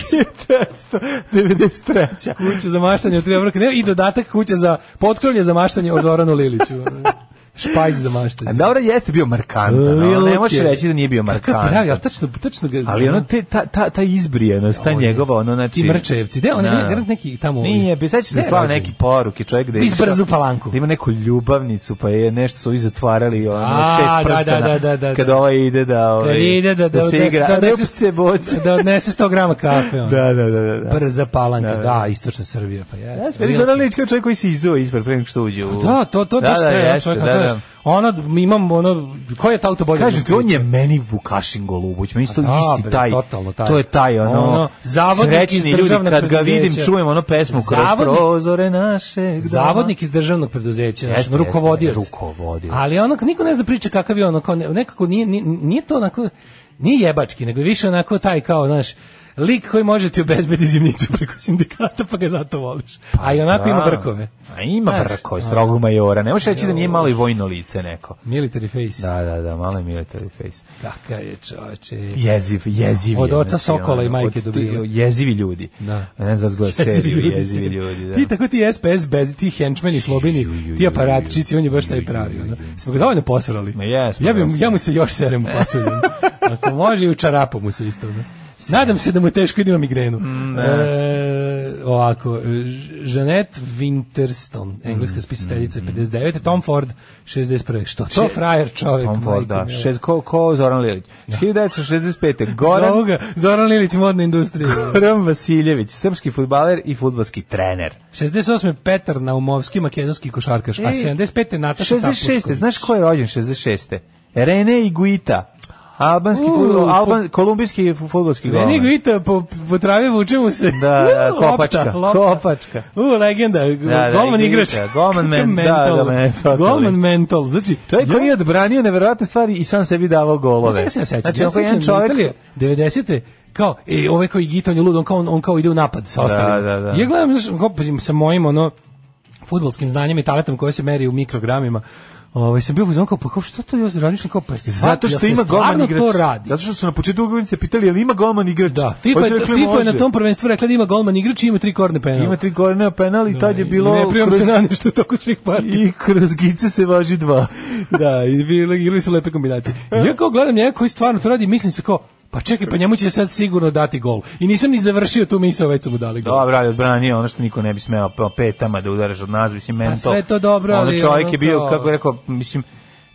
Speaker 6: 1993.
Speaker 7: kuća za maštanje od tri obroka, ne, i dodatak kuća za potkrovlje za maštanje od Zoranu Liliću. ono. Špajz za
Speaker 6: A
Speaker 7: maštanje.
Speaker 6: Dobro, jeste bio markantan. E, ali ono Ne možeš reći da nije bio
Speaker 7: Kako pravi,
Speaker 6: markantan.
Speaker 7: ali tačno, tačno ga...
Speaker 6: Ali ono te ta ta ta izbrijanost, ta
Speaker 7: On je-
Speaker 6: njegova ono znači
Speaker 7: Ti mrčevci, gde on je
Speaker 6: Da.
Speaker 7: garant neki tamo...
Speaker 6: Nije, bi sećaš da
Speaker 7: Gde je
Speaker 6: slao
Speaker 7: rođen?
Speaker 6: neki poruke, čovjek da je
Speaker 7: Iz
Speaker 6: išao-
Speaker 7: Brzu Palanku.
Speaker 6: Da ima neku ljubavnicu, pa je nešto su i zatvarali ono
Speaker 7: A,
Speaker 6: šest
Speaker 7: da,
Speaker 6: prstana.
Speaker 7: da, da, da,
Speaker 6: Kad
Speaker 7: da.
Speaker 6: ovaj ide da,
Speaker 7: Da
Speaker 6: ovaj,
Speaker 7: ide da, da,
Speaker 6: se
Speaker 7: da-
Speaker 6: igra,
Speaker 7: da-
Speaker 6: a
Speaker 7: da-
Speaker 6: ne pce boce.
Speaker 7: da odnese 100 grama kafe. ono.
Speaker 6: Da, da, da, da. da.
Speaker 7: Brza palanka, da,
Speaker 6: Da, da.
Speaker 7: istočna Srbija, pa jeste.
Speaker 6: Ja sam vidio Zoran Lić kao čovjek koji se izuo ispred pre nego što uđe u...
Speaker 7: Da, to to
Speaker 6: da,
Speaker 7: da,
Speaker 6: da, jeste,
Speaker 7: čovjek,
Speaker 6: da, da.
Speaker 7: Ono imam ono ko je ta auto bolje?
Speaker 6: Kaže ti on je meni Vukašin Golubović, meni isto
Speaker 7: A da,
Speaker 6: isti
Speaker 7: bre,
Speaker 6: taj.
Speaker 7: totalno taj.
Speaker 6: To je taj ono,
Speaker 7: Ono, zavodnik iz
Speaker 6: srećni ljudi
Speaker 7: državnog
Speaker 6: kad ga vidim
Speaker 7: preduzeća.
Speaker 6: čujem ono pesmu kroz
Speaker 7: Zavodnik-
Speaker 6: prozore naše.
Speaker 7: zavodnik iz državnog preduzeća, znači
Speaker 6: Jeste, jeste,
Speaker 7: rukovodilac.
Speaker 6: rukovodilac.
Speaker 7: Ali ono niko ne zna priča kakav je ono kao ne- nekako nije nije, nije to onako nije jebački, nego je više onako taj kao, znaš, lik koji može ti obezbedi zimnicu [LAUGHS] preko sindikata, pa ga zato voliš. A i onako ima brkove.
Speaker 6: A ima
Speaker 7: Znaš,
Speaker 6: brkove,
Speaker 7: ono,
Speaker 6: strogog majora. Ne možeš reći da nije malo i vojno lice neko.
Speaker 7: Military face.
Speaker 6: Da, da, da, malo je military face.
Speaker 7: Kaka je čoveče.
Speaker 6: Jeziv, jeziv.
Speaker 7: Od
Speaker 6: je,
Speaker 7: oca
Speaker 6: znači,
Speaker 7: Sokola
Speaker 6: ono,
Speaker 7: i majke
Speaker 6: od-
Speaker 7: Dubile.
Speaker 6: Jezivi ljudi.
Speaker 7: Da.
Speaker 6: Ne znam da gledaš seriju, jezivi ljudi. Da.
Speaker 7: Ti tako ti SPS bez ti henchmeni slobini,
Speaker 6: Ju, ju, ju,
Speaker 7: ti aparatčici, on je baš taj pravi. ono. Smo ga dovoljno posrali.
Speaker 6: Ma jesmo,
Speaker 7: ja, bi,
Speaker 6: jesmo.
Speaker 7: ja mu se još serem u
Speaker 6: [LAUGHS]
Speaker 7: pasulju. Ako može i u čarapu mu se isto. ono. Nadam se da mu je teško i da ima migrenu.
Speaker 6: Mm,
Speaker 7: E, ovako, Ž- Jeanette Winterston, engleska
Speaker 6: Mm,
Speaker 7: spisateljica 59. Tom Ford 61. Što to frajer čovjek?
Speaker 6: Tom Ford,
Speaker 7: majko
Speaker 6: da.
Speaker 7: mila.
Speaker 6: Šest, ko, ko Zoran Lilić? 1965. Goran
Speaker 7: Zovu ga Zoran Lilić, modna industrija.
Speaker 6: [LAUGHS] Goran Vasiljević, srpski futbaler i futbalski trener.
Speaker 7: 68. Petar Naumovski, makedonski košarkaš, a
Speaker 6: Ej,
Speaker 7: 75. Nataša
Speaker 6: 66.
Speaker 7: Capušković.
Speaker 6: Znaš ko je rođen 66. Rene Iguita. Albanski
Speaker 7: U,
Speaker 6: fudbal,
Speaker 7: po-
Speaker 6: alban, kolumbijski futbolski golman.
Speaker 7: Ne, nego i to, po, po travi vuče mu se.
Speaker 6: Da, da,
Speaker 7: [LAUGHS] U,
Speaker 6: kopačka, kopačka.
Speaker 7: U, legenda,
Speaker 6: da,
Speaker 7: golman
Speaker 6: igrač.
Speaker 7: igrač. [LAUGHS]
Speaker 6: Golman men- da,
Speaker 7: mental.
Speaker 6: da, men- totally.
Speaker 7: Golman mental, znači...
Speaker 6: Čovjek koji je odbranio neverovatne stvari i sam sebi davao golove.
Speaker 7: Čega se ja sećam?
Speaker 6: Znači,
Speaker 7: ja
Speaker 6: onako jedan
Speaker 7: sećam
Speaker 6: čovjek-
Speaker 7: Italije, 90. kao, e, ovaj koji gita, on je lud, on kao, on, kao ide u napad sa ostalima.
Speaker 6: da, da.
Speaker 7: Ja gledam, znaš, kao, pa, sa mojim, ono, futbolskim znanjem i talentom koji se meri u mikrogramima, Ovaj sam bio u zonku, pa kao što to ja radiš kao pa jesi
Speaker 6: Zato
Speaker 7: shvatio,
Speaker 6: što
Speaker 7: jel se
Speaker 6: ima golman
Speaker 7: stvarno
Speaker 6: igrač.
Speaker 7: to radi.
Speaker 6: Zato što su na početku ugovornice pitali je li ima golman igrač.
Speaker 7: Da, FIFA,
Speaker 6: Pa su
Speaker 7: je,
Speaker 6: rekli,
Speaker 7: FIFA je na
Speaker 6: može.
Speaker 7: tom prvenstvu rekla da ima golman igrač i ima tri korne penala.
Speaker 6: Ima tri gorena penal i tad je bilo...
Speaker 7: Ne primam
Speaker 6: kroz-
Speaker 7: se na ništa toliko svih partija.
Speaker 6: I kroz gice se važi dva.
Speaker 7: [LAUGHS] da, i bili, igrali su lepe kombinacije. I Ja kao gledam njega koji stvarno to radi, mislim se kao, pa čekaj, pa njemu će sad sigurno dati gol. I nisam ni završio tu misao, već su mu dali gol.
Speaker 6: Dobro, ali odbranio ono što niko ne bi smeo pa petama da udaraš od nazvi, mislim, meni
Speaker 7: A Pa sve je to dobro, ali
Speaker 6: Ono čovjek
Speaker 7: ono
Speaker 6: je bio,
Speaker 7: kao-
Speaker 6: kako je rekao, mislim,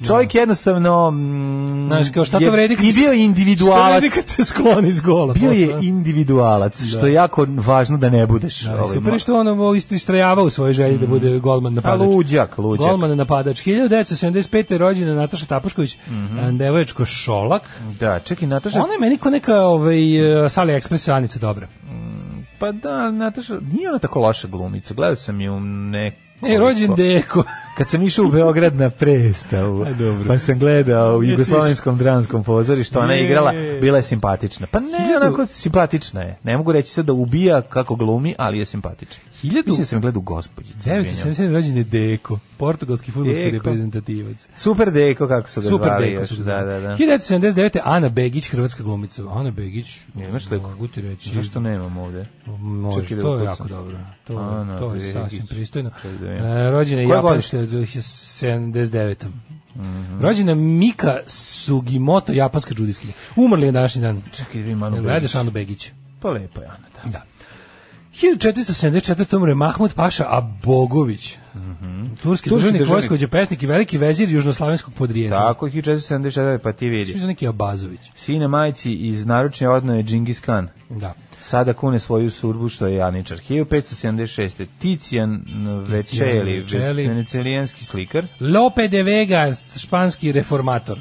Speaker 6: Čovjek jednostavno... Mm,
Speaker 7: Znaš, kao šta to
Speaker 6: je-
Speaker 7: vredi kad
Speaker 6: I bio je
Speaker 7: se- Šta
Speaker 6: individualac.
Speaker 7: vredi kad se skloni iz gola?
Speaker 6: Bio je
Speaker 7: posle?
Speaker 6: individualac, što je jako važno da ne budeš.
Speaker 7: Da,
Speaker 6: ovaj,
Speaker 7: super je što on ovo ist- istrajava u svojoj želji da bude golman
Speaker 6: Pa
Speaker 7: napadač.
Speaker 6: luđak, luđak.
Speaker 7: Golman napadač. 1975. je rođena Nataša Tapušković,
Speaker 6: Mhm.
Speaker 7: devojačko Šolak.
Speaker 6: Da, čekaj, Nataša,
Speaker 7: Ona je meni ko neka ovaj, eh, sa AliExpress Anica dobra. E,
Speaker 6: pa da, ali Nataša, nije ona tako loša glumica, gledao sam ju nekoliko.
Speaker 7: E, rođen deko.
Speaker 6: Kad sam išao u Beograd na predstavu,
Speaker 7: A, dobro.
Speaker 6: pa sam gledao u
Speaker 7: Jesi
Speaker 6: jugoslovenskom dramskom pozorištu, ona je
Speaker 7: Je.
Speaker 6: igrala, bila je simpatična. Pa ne, onako simpatična je. Ne mogu reći sad da ubija kako glumi, ali je simpatična.
Speaker 7: Hiljadu-
Speaker 6: Mislim da sam je gledao u gospođici. izvinjavam.
Speaker 7: 977 rođen je Deko, portugalski futbolski
Speaker 6: Deko.
Speaker 7: reprezentativac.
Speaker 6: Super deko, kako su ga
Speaker 7: Super
Speaker 6: zvali.
Speaker 7: Deko
Speaker 6: još,
Speaker 7: su
Speaker 6: da,
Speaker 7: ga zvali.
Speaker 6: da, da.
Speaker 7: 1979. Ana Begić, hrvatska glumica. Ana Begić,
Speaker 6: Ne, imaš sliku?
Speaker 7: mogu ti reći.
Speaker 6: Zašto nemam ovde?
Speaker 7: Može,
Speaker 6: Čekaj da
Speaker 7: to je
Speaker 6: ukucam.
Speaker 7: jako dobro. To,
Speaker 6: Ana
Speaker 7: to je
Speaker 6: Begić.
Speaker 7: sasvim pristojno.
Speaker 6: Čekaj da vidim.
Speaker 7: E, rođena je
Speaker 6: Koje
Speaker 7: Japanska 79.
Speaker 6: Mhm.
Speaker 7: Rođena Mika Sugimoto, japanska džudiskinja. Umrli je današnji dan.
Speaker 6: Čekaj, vidim Anu
Speaker 7: Jel Gledaš
Speaker 6: Begić.
Speaker 7: Anu Begić.
Speaker 6: Pa lepo je Ana, da.
Speaker 7: Da. 1474. umre Mahmud Paša Abogović. Turski, državnik,
Speaker 6: Mhm. državnik.
Speaker 7: vojskovođa, pesnik i veliki vezir južnoslavenskog podrijeta.
Speaker 6: Tako, 1474, pa ti
Speaker 7: Mislim
Speaker 6: vidi.
Speaker 7: da je neki Abazović.
Speaker 6: Sine majci iz naručne odnoje Džingis Khan.
Speaker 7: Da.
Speaker 6: Sada kune svoju surbu što je Janičar. 1576. Ticijan Večeli,
Speaker 7: Večeli.
Speaker 6: venecelijanski slikar.
Speaker 7: Lope de Vega, španski reformator.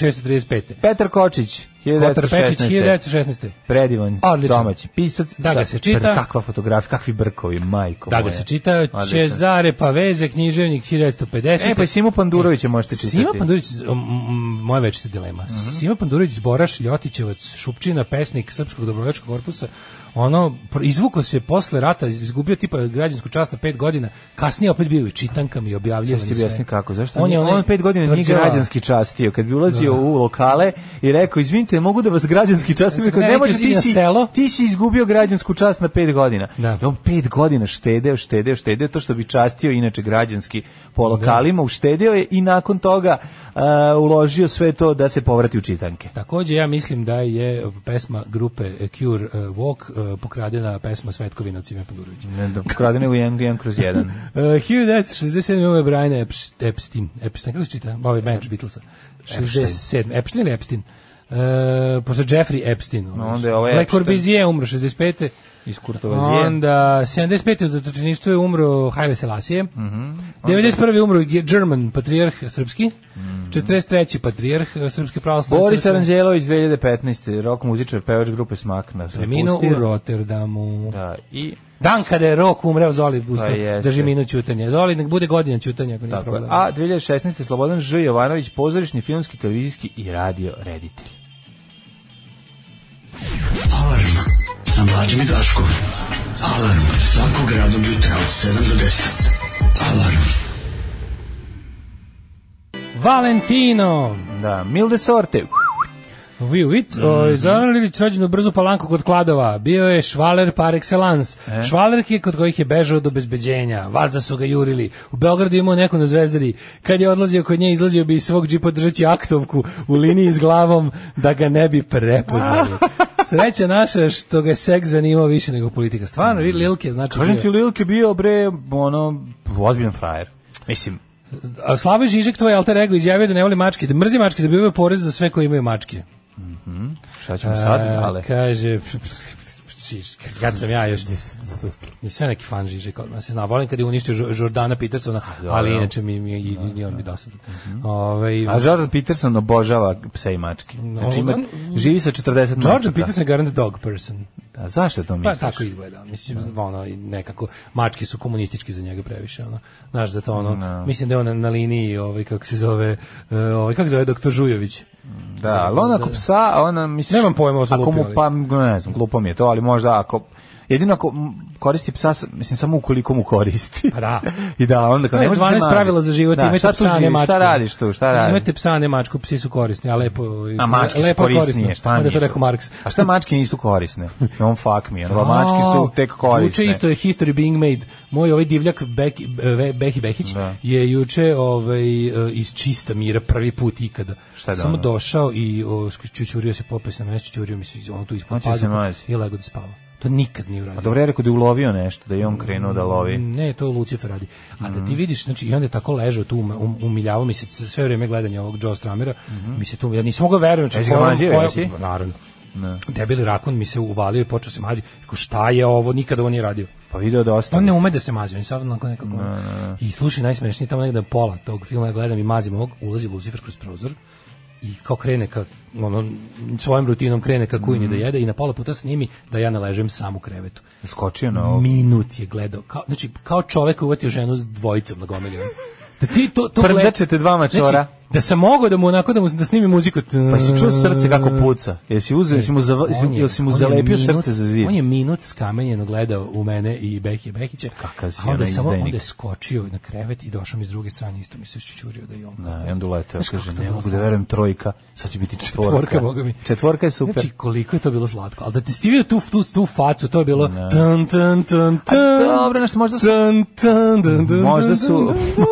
Speaker 7: 1635.
Speaker 6: Petar Kočić,
Speaker 7: Kotar Pečić,
Speaker 6: 1916.
Speaker 7: 1916.
Speaker 6: Predivan
Speaker 7: Odličan.
Speaker 6: domaći pisac.
Speaker 7: Da
Speaker 6: Sa-
Speaker 7: ga se čita.
Speaker 6: pre- Kakva fotografija, kakvi brkovi, majko
Speaker 7: Da ga
Speaker 6: moja.
Speaker 7: se čita,
Speaker 6: Odličan.
Speaker 7: Cezare Paveze, književnik 1950.
Speaker 6: E, pa i Simu Pandurovića možete čitati. Mhm.
Speaker 7: Sima Pandurović, m, m, moja večita dilema. Sima Pandurović, Zboraš, Ljotićevac, Šupčina, pesnik Srpskog dobrovoljačkog korpusa, ono, pr- izvuko se posle rata, izgubio tipa građansku čast na pet godina, kasnije opet bio i čitankama i objavljivan.
Speaker 6: Sad ću ti objasniti kako. Zašto?
Speaker 7: On
Speaker 6: On,
Speaker 7: je onaj
Speaker 6: on pet godina nije
Speaker 7: tvrđava.
Speaker 6: građanski častio. Kad bi ulazio u lokale i rekao, izvinite, mogu da vas građanski častim?
Speaker 7: Ja sam
Speaker 6: Rekao, ne
Speaker 7: rekao,
Speaker 6: može,
Speaker 7: si
Speaker 6: ti
Speaker 7: na
Speaker 6: si,
Speaker 7: Znači, selo.
Speaker 6: ti si izgubio građansku čast na pet godina.
Speaker 7: Da.
Speaker 6: I on pet godina štedeo, štedeo, štedeo to što bi častio inače građanski po lokalima. Uštedeo je i nakon toga uh, uložio sve to da se povrati u čitanke.
Speaker 7: Takođe ja mislim da je pesma grupe e, Cure e, Walk e, pokradena pesma Svetkovina od Sime Pandurovića.
Speaker 6: Ne, da, Ukradeno je u jedan, jedan kroz jedan.
Speaker 7: Uh, 1967. ovo je Brian Epst- Epstein. Epstein, kako se čita? Ovo je Bench Beatlesa. 67. Epstein ili Epstein? Uh, posle Jeffrey Epstein. ono,
Speaker 6: No, onda je ovo
Speaker 7: Le
Speaker 6: Epstein.
Speaker 7: Corbusier umro 65.
Speaker 6: Iz Kurtovazije.
Speaker 7: Onda 75. u zatočeništvu je umro Haile Selassie. Mm
Speaker 6: Mhm.
Speaker 7: 91. je umro Ge- German patrijarh srpski. 43. patrijarh eh, srpske pravoslavne
Speaker 6: Mhm. Boris
Speaker 7: crkve.
Speaker 6: Aranđelović 2015. Rok muzičar, pevač grupe Smakna.
Speaker 7: Preminuo u
Speaker 6: napustio.
Speaker 7: Rotterdamu.
Speaker 6: Da, i
Speaker 7: Dan kada je Rok umreo, Zoli ustao,
Speaker 6: jeste.
Speaker 7: drži minut ćutanja. Zoli, nek bude godina ćutanja, ako nije
Speaker 6: Tako je.
Speaker 7: problem.
Speaker 6: A 2016. Slobodan Ž. Jovanović, pozorišni, filmski, televizijski i radio reditelj.
Speaker 3: sa mlađom i Daškom. Alarm svakog radnog jutra od 7 do 10. Alarm.
Speaker 7: Valentino!
Speaker 6: Da, milde sorte.
Speaker 7: Vi uvit,
Speaker 6: Mhm.
Speaker 7: mm rođen u brzu palanku kod Kladova. Bio je švaler par excellence. E? Švalerke kod kojih je bežao od obezbeđenja. Vazda su ga jurili. U Beogradu je imao neko na zvezdari. Kad je odlazio kod nje, izlazio bi iz svog džipa držeći aktovku u liniji s glavom da ga ne bi
Speaker 6: [LAUGHS]
Speaker 7: prepoznali. Sreća naša što ga je seks zanimao više nego politika. Stvarno, mm. Lilke znači...
Speaker 6: Mhm. Kažem
Speaker 7: bio-
Speaker 6: ti, Lilke bio, bre, ono, ozbiljan frajer. Mislim,
Speaker 7: A Slavoj Žižek, tvoj alter ego, izjavio da ne voli mačke, da mrzi mačke, da bi uveo porez za sve koji imaju mačke.
Speaker 6: šta
Speaker 7: E,
Speaker 6: ćemo sad,
Speaker 7: A,
Speaker 6: ale...
Speaker 7: Kaže, p- p- p- Žižek, kad sam ja još... Nisam ja neki fan Žižek, odmah se zna. Volim kad je uništio Žo- Jordana Petersona, ali inače mi, mi, i, i on mi dosadan. Ovaj,
Speaker 6: Mhm. A Jordan Peterson obožava pse i mačke. Znači, ima,
Speaker 7: on-
Speaker 6: živi sa 40
Speaker 7: Jordan
Speaker 6: mačaka.
Speaker 7: Peterson je garant dog person.
Speaker 6: A zašto to
Speaker 7: Pa
Speaker 6: misliš?
Speaker 7: tako izgleda, mislim, ono, i nekako, mačke su komunistički za njega previše, ono, znaš da to ono, mislim da je ona na liniji, ovaj, kako se zove, eh, ovaj, kako se zove, doktor Žujović.
Speaker 6: Da, ali on ako psa, a ona misliš...
Speaker 7: Nemam pojma, ovo sam
Speaker 6: Ako mu,
Speaker 7: lupio,
Speaker 6: pa, ne znam, glupo mi je to, ali možda ako... Jedino ako m, koristi psa, s- mislim, samo ukoliko mu koristi.
Speaker 7: Pa da.
Speaker 6: [LAUGHS] I da, onda kao
Speaker 7: To
Speaker 6: ne
Speaker 7: je
Speaker 6: može
Speaker 7: 12 pravila za život,
Speaker 6: da,
Speaker 7: imate
Speaker 6: šta tu
Speaker 7: psa, ne
Speaker 6: živiš,
Speaker 7: mačku.
Speaker 6: Šta radiš tu, šta radiš?
Speaker 7: Imate psa, ne mačku, psi su korisni, a lepo...
Speaker 6: A mačke su
Speaker 7: lepo je
Speaker 6: korisnije, šta
Speaker 7: Onda je
Speaker 6: nisu?
Speaker 7: to rekao Marks.
Speaker 6: A šta mačke nisu korisne? Don't fuck me.
Speaker 7: [LAUGHS]
Speaker 6: Ono, mačke su tek korisne.
Speaker 7: Juče isto je History Being Made. Moj ovaj divljak Beki, Be- Behi Behić
Speaker 6: Da.
Speaker 7: je juče ovaj, e, iz čista mira prvi put ikada.
Speaker 6: Šta je
Speaker 7: Samo
Speaker 6: doneo?
Speaker 7: došao i o, sk- čučurio se popes na mesto, čučurio mi se iz- ono tu ispod
Speaker 6: Hoće se
Speaker 7: pazuha
Speaker 6: mlazi.
Speaker 7: i lego da spava. To nikad nije uradio.
Speaker 6: A Pa dobro, ja rekao da je ulovio nešto, da je on krenuo da lovi.
Speaker 7: Ne, to Lucifer radi. A da ti vidiš, znači, i onda je tako ležao tu, um- um- umiljavao mi se c- sve vrijeme gledanja ovog Joe Stramera, mi se tu, ja nisam mogao verujem. znači,
Speaker 6: Jesi ga
Speaker 7: kojom-
Speaker 6: mazio,
Speaker 7: kojom-
Speaker 6: jesi?
Speaker 7: Naravno. Debeli rakun mi se uvalio i počeo se mazi. Rekao, šta je ovo, nikada ovo nije radio.
Speaker 6: Pa video da
Speaker 7: On
Speaker 6: ostane.
Speaker 7: ne ume da se mazi, on je sad onako nekako... I slušaj, najsmešnije, tamo negde pola tog filma ja gledam i mazim ovog, ulazi Lucifer kroz prozor i kao krene ka, ono, svojom rutinom krene ka kujni
Speaker 6: Mm.
Speaker 7: da jede i na pola puta snimi da ja ne ležem sam u krevetu.
Speaker 6: Skočio na ovo.
Speaker 7: Minut je gledao. Kao, znači, kao čovek koji je uvatio ženu s dvojicom na gomili. Da ti to, to gleda-
Speaker 6: Prdačete dva mačora.
Speaker 7: Znači, da sam mogao da mu onako da, mu, da snimi muziku.
Speaker 6: Pa si čuo srce kako puca? Jesi uzeo, jesi mu, zava, jesi,
Speaker 7: On je-
Speaker 6: jesi mu
Speaker 7: on je
Speaker 6: zalepio
Speaker 7: minut-
Speaker 6: srce za zid?
Speaker 7: On je minut skamenjeno gledao u mene i Bekije Bekića.
Speaker 6: Kakav si
Speaker 7: a onda
Speaker 6: onaj
Speaker 7: je samo
Speaker 6: izdajnik.
Speaker 7: onda je skočio na krevet i došao mi s druge strane isto mi se ščurio da je on.
Speaker 6: Da, i onda uleteo,
Speaker 7: Znaš
Speaker 6: kaže,
Speaker 7: kako to
Speaker 6: ne
Speaker 7: bilo
Speaker 6: mogu da
Speaker 7: slatko?
Speaker 6: verujem trojka, sad će biti četvorka.
Speaker 7: Četvorka, boga mi.
Speaker 6: Četvorka je super.
Speaker 7: Znači, koliko je to bilo slatko. Ali da ti stivio tu, tu, tu facu, to je bilo...
Speaker 6: Da.
Speaker 7: Tan, tan, tan,
Speaker 6: A
Speaker 7: tan,
Speaker 6: dobro, nešto možda su-
Speaker 7: tan, tan, tan, tan,
Speaker 6: Možda
Speaker 7: tan,
Speaker 6: su...
Speaker 7: [LAUGHS] tan, tan.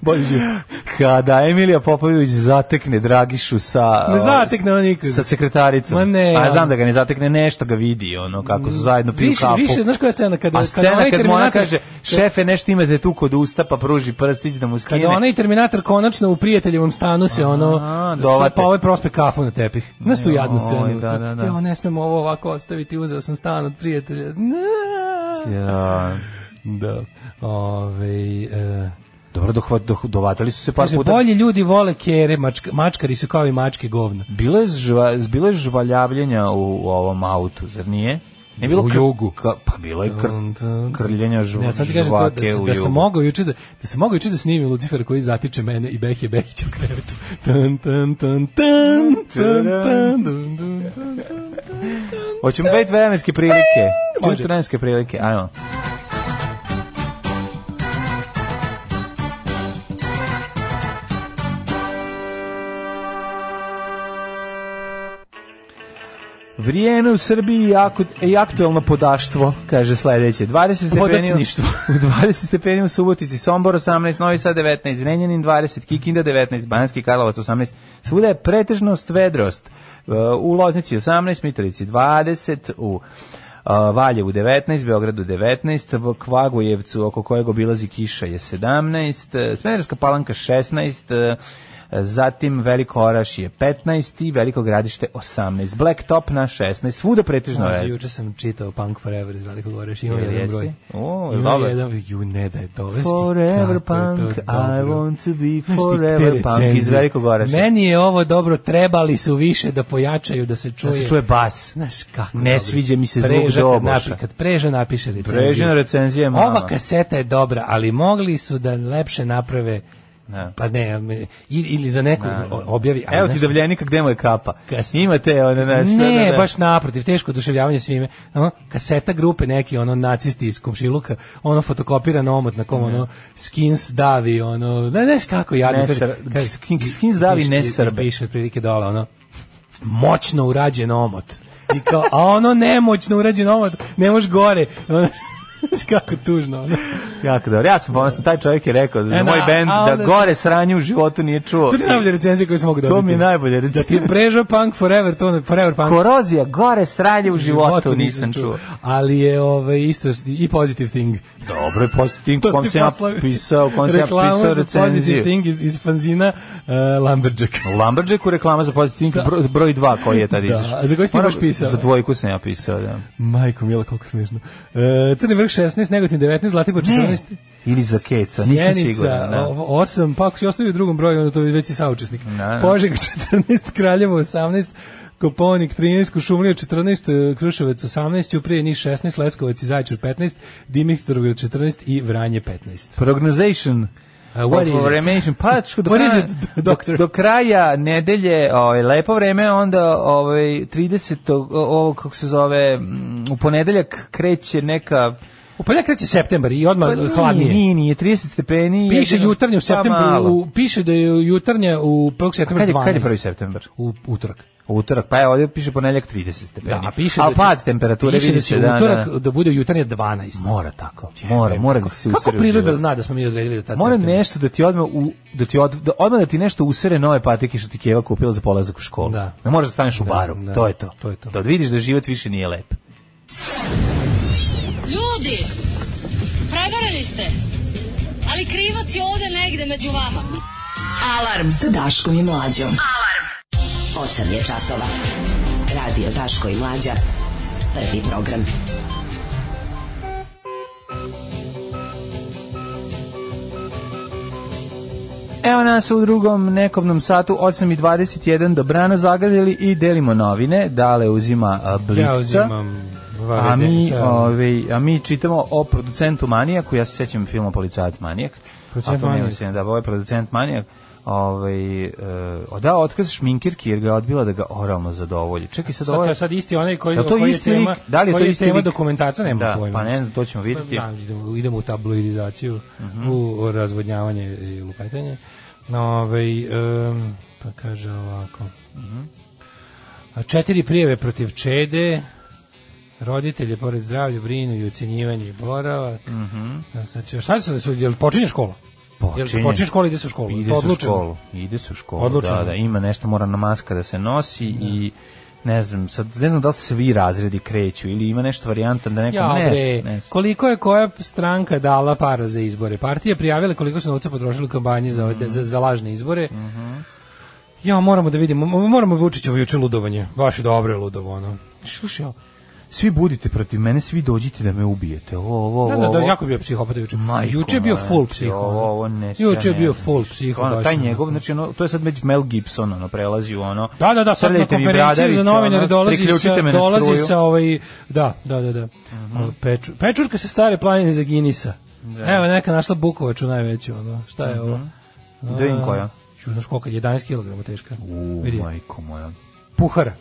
Speaker 6: Bolji život. Kada Emilija Popović zatekne Dragišu sa... ovaj,
Speaker 7: Ne zatekne on nikad.
Speaker 6: Sa sekretaricom.
Speaker 7: Ma ne,
Speaker 6: Pa ja
Speaker 7: ja.
Speaker 6: znam da ga ne zatekne, nešto ga vidi, ono, kako su zajedno piju
Speaker 7: Više,
Speaker 6: kafu.
Speaker 7: više, znaš koja je scena? Kada,
Speaker 6: A scena
Speaker 7: onaj
Speaker 6: kad mu ona
Speaker 7: Terminator-
Speaker 6: kaže, šefe, nešto imate tu kod usta, pa pruži prstić da mu skine.
Speaker 7: Kada onaj Terminator konačno u prijateljevom stanu se ono
Speaker 6: dovate.
Speaker 7: sa- pa ovaj prospe kafu na tepih. Znaš tu jadnu
Speaker 6: Joj,
Speaker 7: scenu.
Speaker 6: da, da, da.
Speaker 7: Ja ne smem ovo ovako ostaviti, uzeo sam stan od prijatelja. Ne.
Speaker 6: Ja.
Speaker 7: Da. Ovaj e,
Speaker 6: Dobro, dohvat, doh, dovatali su se par
Speaker 7: kaže,
Speaker 6: puta.
Speaker 7: bolji ljudi vole kere, mačka, mačkari su kao i mačke govna.
Speaker 6: Bilo je, žva, bilo je žvaljavljenja u, u ovom autu, zar nije? Ne bilo
Speaker 7: U jugu.
Speaker 6: Ka, pa bilo je kr,
Speaker 7: Dun, dun.
Speaker 6: krljenja žv,
Speaker 7: Ne, sad ti kažem to,
Speaker 6: žvake
Speaker 7: da,
Speaker 6: u
Speaker 7: da
Speaker 6: jugu.
Speaker 7: sam mogao juče da, da sam mogao juče da snimim Lucifera koji zatiče mene i Behije Behića u krevetu. Tan, tan, tan, tan, tan, tan, dun, dun, tan, tan.
Speaker 6: Hoćemo već vremenske prilike. Hoćemo
Speaker 7: Može.
Speaker 6: vremenske prilike, ajmo. Vrijeme u Srbiji i akut- i aktuelno podaštvo, kaže sledeće. 20 stepeni,
Speaker 7: Podatništvo.
Speaker 6: [LAUGHS] u 20 stepeni u Subotici, Sombor 18, Novi Sad 19, Renjanin 20, Kikinda 19, Banjski Karlovac 18. Svuda je pretežnost vedrost. Uh, U Loznici 18, Mitrovici 20, u uh, Valjevu 19, Beogradu 19, v Kvagujevcu oko kojeg obilazi kiša je 17, eh, Smederska palanka 16, eh, zatim Veliko Oraš je 15 i Veliko gradište 18, Blacktop na 16, svuda pretežno
Speaker 7: Mlađe,
Speaker 6: vedro.
Speaker 7: Znači, juče sam čitao Punk Forever iz Velikog Oreš, imam
Speaker 6: Jel
Speaker 7: jedan
Speaker 6: jesi?
Speaker 7: broj.
Speaker 6: O, je
Speaker 7: Imam
Speaker 6: dobar?
Speaker 7: jedan, ju ne da je dovesti.
Speaker 6: Forever
Speaker 7: kako je to
Speaker 6: punk,
Speaker 7: dobro.
Speaker 6: I want to be
Speaker 7: Znaš ti te
Speaker 6: forever punk iz
Speaker 7: recenzije?
Speaker 6: Velikog Oraša.
Speaker 7: Meni je ovo dobro, trebali su više da pojačaju, da se čuje.
Speaker 6: Da se čuje bas.
Speaker 7: Znaš kako
Speaker 6: Ne
Speaker 7: dobro.
Speaker 6: sviđa mi se zvuk
Speaker 7: Preža kad
Speaker 6: doboša.
Speaker 7: napi- Kad preža napiše recenziju.
Speaker 6: Prežina recenzija je mala.
Speaker 7: Ova kaseta je dobra, ali mogli su da lepše naprave
Speaker 6: Da.
Speaker 7: Pa ne, me- i- ili za neku o- objavi. ali
Speaker 6: Evo ti
Speaker 7: znaš-
Speaker 6: davljenika gde mu je kapa.
Speaker 7: Kas-
Speaker 6: Imate one naš...
Speaker 7: ne, baš naprotiv, teško oduševljavanje svime. Ono, kaseta grupe neki, ono, nacisti iz Komšiluka, ono, fotokopirano omot na kom, ono, skins davi, ono, ne znaš kako jadno.
Speaker 6: Ne
Speaker 7: kaže- [LAUGHS]
Speaker 6: Sr-
Speaker 7: kaže-
Speaker 6: Skins- Skins davi
Speaker 7: piše-
Speaker 6: ne Srbe.
Speaker 7: Piše otprilike dole, ono, moćno urađen omot. I kao, a ono nemoćno urađen omot, ne možeš gore. Ono, [LAUGHS] znaš kako tužno. Ono.
Speaker 6: Jako dobro. Ja sam ponosan, taj čovjek je rekao za
Speaker 7: E,
Speaker 6: moj
Speaker 7: da,
Speaker 6: bend
Speaker 7: a
Speaker 6: da
Speaker 7: onda-
Speaker 6: gore sranje u životu nije čuo.
Speaker 7: To ti je najbolja recenzija koju sam mogu dobiti.
Speaker 6: To mi je najbolje.
Speaker 7: Da ti je Brežo Punk Forever, to ono, Forever Punk.
Speaker 6: Korozija, gore sranje u životu nisam čuo.
Speaker 7: Ali je ovaj, isto i Positive Thing.
Speaker 6: Dobro je pozitiv,
Speaker 7: To
Speaker 6: kom
Speaker 7: ste
Speaker 6: sam ja
Speaker 7: poslali.
Speaker 6: pisao, kom sam ja
Speaker 7: Reklamu
Speaker 6: pisao
Speaker 7: za Positive
Speaker 6: recenziju.
Speaker 7: Thing iz, iz fanzina
Speaker 6: [LAUGHS]
Speaker 7: uh, Lumberjack.
Speaker 6: Lumberjacku reklama za pozitiv Thing broj 2 koji je tad izašao.
Speaker 7: a za koji si ti
Speaker 6: Moram-
Speaker 7: baš pisao?
Speaker 6: Za dvojku sam ja pisao, da.
Speaker 7: Majko mila, koliko smiješno. E, Crni vrh 16, Negotin 19, Zlatibor 14.
Speaker 6: Hmm. Ili za keca, nisam siguran.
Speaker 7: Sjenica,
Speaker 6: Da.
Speaker 7: ovo, osam, pa ako si ostavio u drugom broju, onda to je već i saučesnik.
Speaker 6: Da, da.
Speaker 7: [LAUGHS] Požeg 14, Kraljevo 18, Koponik 13, Kušumlija 14, eh, Kruševac 18, Ćuprije Niš 16, Leskovac i Zajčar 15, Dimitrovgrad 14 i Vranje 15.
Speaker 6: Prognozation.
Speaker 7: A what is it?
Speaker 6: Prognozation, Pa, što do,
Speaker 7: What
Speaker 6: kraja,
Speaker 7: is it,
Speaker 6: do,
Speaker 7: doctor?
Speaker 6: do kraja nedelje, ovaj, lepo vreme, onda ovaj, 30. o- ovo, kako se zove, mm, u ponedeljak kreće neka... pa,
Speaker 7: U poljak kreće septembar i odmah
Speaker 6: nije,
Speaker 7: Pa, hladnije.
Speaker 6: Nije, nije, 30 stepeni.
Speaker 7: Piše
Speaker 6: jedino-
Speaker 7: jutarnje u
Speaker 6: pa
Speaker 7: septembru,
Speaker 6: malo.
Speaker 7: u, piše da je jutarnje u 1.
Speaker 6: A
Speaker 7: septembra
Speaker 6: Kad je,
Speaker 7: 12.
Speaker 6: kad je 1. septembar?
Speaker 7: U utorak.
Speaker 6: Utorak, pa evo, ovdje piše ponedeljak 30 stepeni.
Speaker 7: Da, a piše
Speaker 6: Ali
Speaker 7: da će-
Speaker 6: pad temperature,
Speaker 7: Piše da
Speaker 6: vidi
Speaker 7: će
Speaker 6: se,
Speaker 7: u
Speaker 6: da,
Speaker 7: utorak
Speaker 6: da.
Speaker 7: da, bude jutarnje 12.
Speaker 6: Mora tako, mora, mora da se
Speaker 7: Kako
Speaker 6: usere u
Speaker 7: priroda
Speaker 6: život.
Speaker 7: zna da smo mi odredili da ta
Speaker 6: Mora
Speaker 7: septembra?
Speaker 6: Pa nešto da ti odmah u, da ti od, da odmah da ti nešto usere nove patike što ti Keva kupila za polazak u školu.
Speaker 7: Da.
Speaker 6: Ne možeš da staneš u
Speaker 7: Da,
Speaker 6: baru.
Speaker 7: da,
Speaker 6: to je to.
Speaker 7: to je to.
Speaker 6: Da vidiš da život više nije lep.
Speaker 9: Ljudi, prevarili ste. Ali krivac je ovde negde među vama.
Speaker 4: Alarm sa Daškom i Mlađom. Alarm. 8 je časova. Radio Daško i Mlađa. Prvi program.
Speaker 6: Evo nas u drugom nekobnom satu 8.21 dobrana zagazili i delimo novine. Dale uzima a, blica.
Speaker 7: Ja uzimam ono.
Speaker 6: A
Speaker 7: Varadin
Speaker 6: mi,
Speaker 7: sa-
Speaker 6: ovaj, a mi čitamo o producentu Manijaku, ja se sećam filma Policajac Manijak.
Speaker 7: Producent
Speaker 6: a to ne
Speaker 7: Manijak.
Speaker 6: mislim da ovo je producent Manijak. Ovaj, e, da, otkaz šminkirki jer ga je odbila da ga oralno zadovolji. Čekaj, sad,
Speaker 7: Sad,
Speaker 6: ovo
Speaker 7: to
Speaker 6: je...
Speaker 7: je sad isti onaj koji,
Speaker 6: Da, to je
Speaker 7: koji
Speaker 6: isti
Speaker 7: tema,
Speaker 6: lik. Da li je
Speaker 7: koji
Speaker 6: to isti
Speaker 7: tema
Speaker 6: lik?
Speaker 7: dokumentaca, nema
Speaker 6: Da,
Speaker 7: pojma.
Speaker 6: pa ne znam, to ćemo vidjeti. Mhm.
Speaker 7: Da, idemo, idemo u tabloidizaciju, u razvodnjavanje i lupetanje. No, ovaj, em, pa kaže ovako.
Speaker 6: Mhm.
Speaker 7: A Četiri prijeve protiv Čede, roditelje pored zdravlja brinu i ucenjivanje i boravak.
Speaker 6: Mhm.
Speaker 7: A sad će- šta se da su, jel počinje škola? Jel počinje škola, ide se u školu.
Speaker 6: Ide
Speaker 7: To
Speaker 6: se u
Speaker 7: odlučeno?
Speaker 6: školu. Ide se u školu,
Speaker 7: Odlučeno.
Speaker 6: da, da, ima nešto mora na maska da se nosi i ne znam, sad ne znam da li svi razredi kreću ili ima nešto varijanta da neko
Speaker 7: Ja,
Speaker 6: ne,
Speaker 7: bre,
Speaker 6: znam, ne znam.
Speaker 7: koliko je koja stranka dala para za izbore? Partije prijavile koliko su novca potrošili u kampanji za,
Speaker 6: Mhm.
Speaker 7: za, za lažne izbore. Ja, moramo da vidimo, mo- moramo Vučićevo juče ludovanje. Baš je dobro je ludovo, ono.
Speaker 6: Slušaj, ja, svi budite protiv mene, svi dođite da me ubijete. Ovo, ovo,
Speaker 7: Da,
Speaker 6: ovo.
Speaker 7: da, da,
Speaker 6: ovo.
Speaker 7: jako je bio psihopata juče.
Speaker 6: Majko
Speaker 7: juče je bio
Speaker 6: moja,
Speaker 7: full
Speaker 6: znači,
Speaker 7: psiho. ono.
Speaker 6: Ovo, ovo ne,
Speaker 7: juče
Speaker 6: ja
Speaker 7: je
Speaker 6: ne
Speaker 7: bio
Speaker 6: znam.
Speaker 7: full psiho.
Speaker 6: Ono,
Speaker 7: baš,
Speaker 6: taj
Speaker 7: ono.
Speaker 6: njegov, znači ono, to je sad već Mel Gibson, ono, prelazi u ono.
Speaker 7: Da, da, da, sad na
Speaker 6: srljajte mi
Speaker 7: konferenciji za
Speaker 6: bradavice,
Speaker 7: novinare
Speaker 6: ono,
Speaker 7: dolazi
Speaker 6: priključite
Speaker 7: sa,
Speaker 6: me na
Speaker 7: dolazi
Speaker 6: struju. Mhm.
Speaker 7: sa ovaj, da, da, da, da. Peču- pečurka se stare planine za Ginisa. Evo, neka našla Bukovaču najveću, ono, šta
Speaker 6: Mhm.
Speaker 7: je ovo?
Speaker 6: Da vidim koja.
Speaker 7: Ču, znaš koliko, je, 11 kg teška.
Speaker 6: U,
Speaker 7: Vidi.
Speaker 6: majko moja.
Speaker 7: Puhara.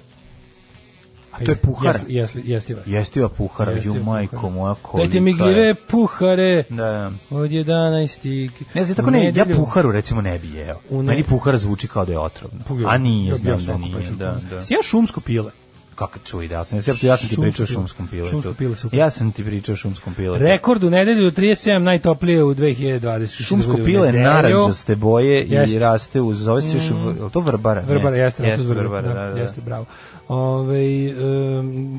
Speaker 6: A to je puhara.
Speaker 7: Jesli, jesli, jestiva.
Speaker 6: Jestiva puhara,
Speaker 7: Jestiva
Speaker 6: ju
Speaker 7: puhara.
Speaker 6: majko moja kolika.
Speaker 7: Dajte mi
Speaker 6: je.
Speaker 7: gljive puhare
Speaker 6: Da, da.
Speaker 7: od 11.
Speaker 6: Ne znam, tako
Speaker 7: U
Speaker 6: ne, ja
Speaker 7: nedelju-
Speaker 6: puharu recimo ne bi jeo.
Speaker 7: U ne-
Speaker 6: Meni puhar zvuči kao da je otrovno. A nije,
Speaker 7: Ja bi
Speaker 6: znam
Speaker 7: ja
Speaker 6: da
Speaker 7: svaku
Speaker 6: nije.
Speaker 7: pečurku.
Speaker 6: Da, da.
Speaker 7: pa Si ja šumsko pile.
Speaker 6: Kako čuj, da sam, ja sam, ja sam ti
Speaker 7: Šumsko
Speaker 6: pričao o
Speaker 7: pile.
Speaker 6: šumskom piletu.
Speaker 7: Šumsko pile, super.
Speaker 6: ja sam ti pričao o šumskom Znači, piletu.
Speaker 7: Rekord u nedelju 37 najtoplije u 2020.
Speaker 6: Šumsko
Speaker 7: Što bude u
Speaker 6: pile
Speaker 7: nedelju.
Speaker 6: naranđaste boje i
Speaker 7: Jeste. Mm.
Speaker 6: raste uz, zove se još, v- je li to vrbara? Ne.
Speaker 7: Vrbara, jeste, jeste,
Speaker 6: vrbara, da, da.
Speaker 7: Jeste, bravo. Ove,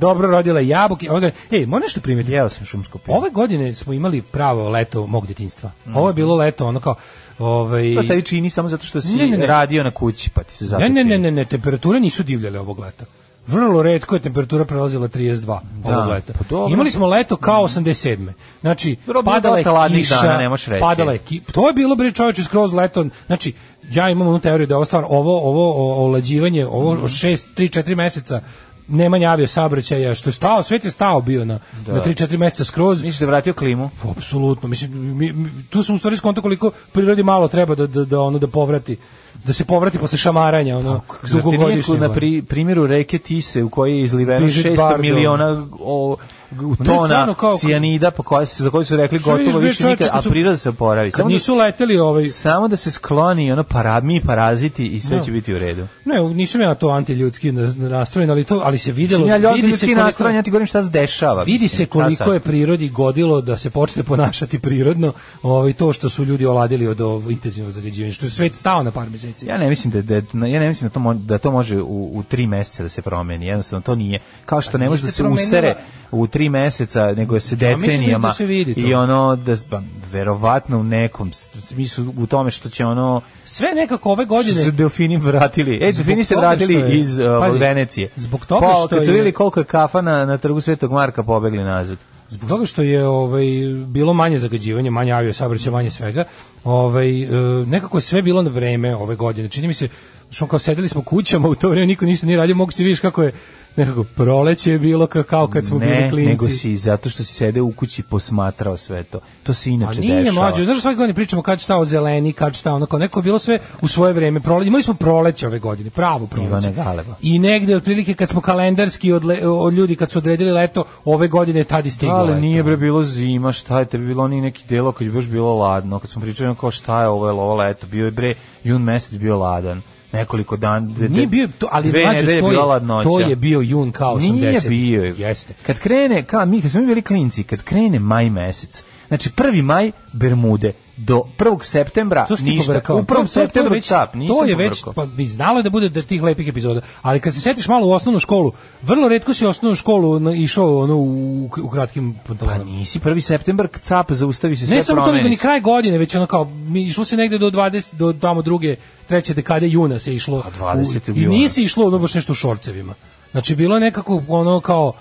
Speaker 7: dobro rodila je jabuke. Ovdje, ej, moram nešto primetiti.
Speaker 6: Jeo sam šumsko pile.
Speaker 7: Ove godine smo imali pravo leto mog djetinjstva. Ovo je bilo leto ono kao... Ovaj,
Speaker 6: To stavi čini samo zato što si
Speaker 7: Ne, ne, ne.
Speaker 6: radio na kući, pa ti se zato
Speaker 7: ne, ne,
Speaker 6: čini.
Speaker 7: ne, ne, ne, temperature nisu divljale ovog leta. Vrlo redko je temperatura prelazila 32
Speaker 6: Da,
Speaker 7: ovog leta.
Speaker 6: pa dobro. Mm.
Speaker 7: Imali smo leto kao 87. Znači,
Speaker 6: Dobro, bilo je
Speaker 7: padala je
Speaker 6: dosta ladnih
Speaker 7: kiša,
Speaker 6: dana, ne možeš reći.
Speaker 7: padala je ki... To je bilo, bre, čovječe, skroz leto. Znači,
Speaker 6: Mhm.
Speaker 7: ja imam onu teoriju da je ovo stvar, ovo, ovo o- olađivanje, ovo 6, 3, 4 meseca nemanja avio saobraćaja, što je stao, svet je stao bio na, na 3-4 meseca skroz.
Speaker 6: Misliš da je vratio klimu?
Speaker 7: Apsolutno, mislim mi, mi, tu sam u stvari skonto koliko prirodi malo treba da da da ono da povrati da se povrati posle šamaranja ono
Speaker 6: Zar ti nije
Speaker 7: dugogodišnje.
Speaker 6: na pri, primjeru reke Tise u kojoj je izliveno
Speaker 7: Brigitte
Speaker 6: 600
Speaker 7: Bardot.
Speaker 6: miliona o,
Speaker 7: je
Speaker 6: tona
Speaker 7: stvarno kao-
Speaker 6: cijanida po koja se, za koju su rekli
Speaker 7: Što je
Speaker 6: gotovo
Speaker 7: izbe-
Speaker 6: više
Speaker 7: čovječe,
Speaker 6: nikad, a
Speaker 7: kad su-
Speaker 6: priroda se oporavi.
Speaker 7: Kad
Speaker 6: Samo,
Speaker 7: nisu leteli ovaj
Speaker 6: da, samo da se skloni ono para, mi paraziti i sve će biti u redu.
Speaker 7: Ne, nisam ja to antiljudski na- na- nastrojen, ali to ali se videlo,
Speaker 6: Mislim, ja ljudi
Speaker 7: vidi se
Speaker 6: ljudski
Speaker 7: koliko-
Speaker 6: nastrojen, ja ti govorim šta se dešava.
Speaker 7: Vidi
Speaker 6: mislim,
Speaker 7: se
Speaker 6: šta sad?
Speaker 7: koliko je prirodi godilo da se počne ponašati prirodno, ovaj to što su ljudi oladili od ovog intenzivnog zagađivanja, što je svet stao na par meseci.
Speaker 6: Ja ne mislim da, da ja ne mislim da to mo- da to može u, u tri meseca da se promeni. Jednostavno to nije kao što ne može
Speaker 7: Pa nije
Speaker 6: da
Speaker 7: se
Speaker 6: se
Speaker 7: promenila.
Speaker 6: usere u tri meseca, nego se
Speaker 7: mislim da
Speaker 6: decenijama
Speaker 7: se vidi to.
Speaker 6: i ono da pa, verovatno u nekom s- smislu u tome što će ono
Speaker 7: Sve nekako ove
Speaker 6: što
Speaker 7: godine
Speaker 6: su delfini vratili. E,
Speaker 7: Zbog
Speaker 6: delfini se
Speaker 7: toga
Speaker 6: vratili
Speaker 7: što je-
Speaker 6: iz uh,
Speaker 7: pazi,
Speaker 6: Venecije.
Speaker 7: zbog toga
Speaker 6: Pa,
Speaker 7: što
Speaker 6: kad su
Speaker 7: je-
Speaker 6: vidjeli koliko je kafa na, na trgu Svetog Marka pobegli nazad.
Speaker 7: zbog toga što je ovaj bilo manje zagađivanja, manje avio saobraćaja, manje svega, ovaj e, nekako je sve bilo na vreme ove godine. Čini mi se što kao sedeli smo kućama u to vrijeme niko ništa nije radio, mogu se vidiš kako je nekako proleće je bilo ka- kao kad smo bili
Speaker 6: Ne,
Speaker 7: klinci.
Speaker 6: nego si zato što si sede u kući posmatrao sve to. To se
Speaker 7: A
Speaker 6: inače
Speaker 7: nije
Speaker 6: dešava.
Speaker 7: mlađe, znaš svake godine pričamo kad šta o zeleni, kad šta ono kao neko je bilo sve u svoje vreme. Prole, imali smo proleće ove godine, pravo proleće.
Speaker 6: Ivane Galeba.
Speaker 7: I negde otprilike kad smo kalendarski od, le- od ljudi kad su odredili leto, ove godine je tad i stiglo.
Speaker 6: Ali
Speaker 7: leto.
Speaker 6: nije bre bilo zima, šta je tebi bilo oni neki delo kad je baš bilo ladno, kad smo pričali ono kao šta je ovo, je li ovo leto, bio je bre jun mesec bio ladan, nekoliko dan, de,
Speaker 7: Nije bio to, ali
Speaker 6: dve
Speaker 7: mlađe, to
Speaker 6: nedelje
Speaker 7: je,
Speaker 6: bila ladnoća.
Speaker 7: to je bio jun kao 80.
Speaker 6: Nije bio. je.
Speaker 7: Jeste.
Speaker 6: Kad krene, kao mi, kad smo mi bili klinci, kad krene maj mesec, znači prvi maj Bermude, do 1. septembra
Speaker 7: To si ti
Speaker 6: ništa.
Speaker 7: pobrkao.
Speaker 6: U 1.
Speaker 7: To- to je
Speaker 6: septembru
Speaker 7: već-
Speaker 6: cap, nisam
Speaker 7: To je već,
Speaker 6: pobrkao.
Speaker 7: pa bi znalo je da bude da tih lepih epizoda. Ali kad se setiš malo u osnovnu školu, vrlo retko si u osnovnu školu ono, išao ono, u, u kratkim
Speaker 6: Pa
Speaker 7: pantalonama.
Speaker 6: nisi 1. septembar, cap, zaustavi se sve
Speaker 7: Ne samo to, nego
Speaker 6: promeni
Speaker 7: ni
Speaker 6: se.
Speaker 7: kraj godine, već ono kao, mi išlo se negde do 20, do tamo druge, treće dekade juna se išlo.
Speaker 6: A 20.
Speaker 7: u, I
Speaker 6: juna.
Speaker 7: nije se išlo ono baš nešto u šorcevima. Znači, bilo je nekako ono kao,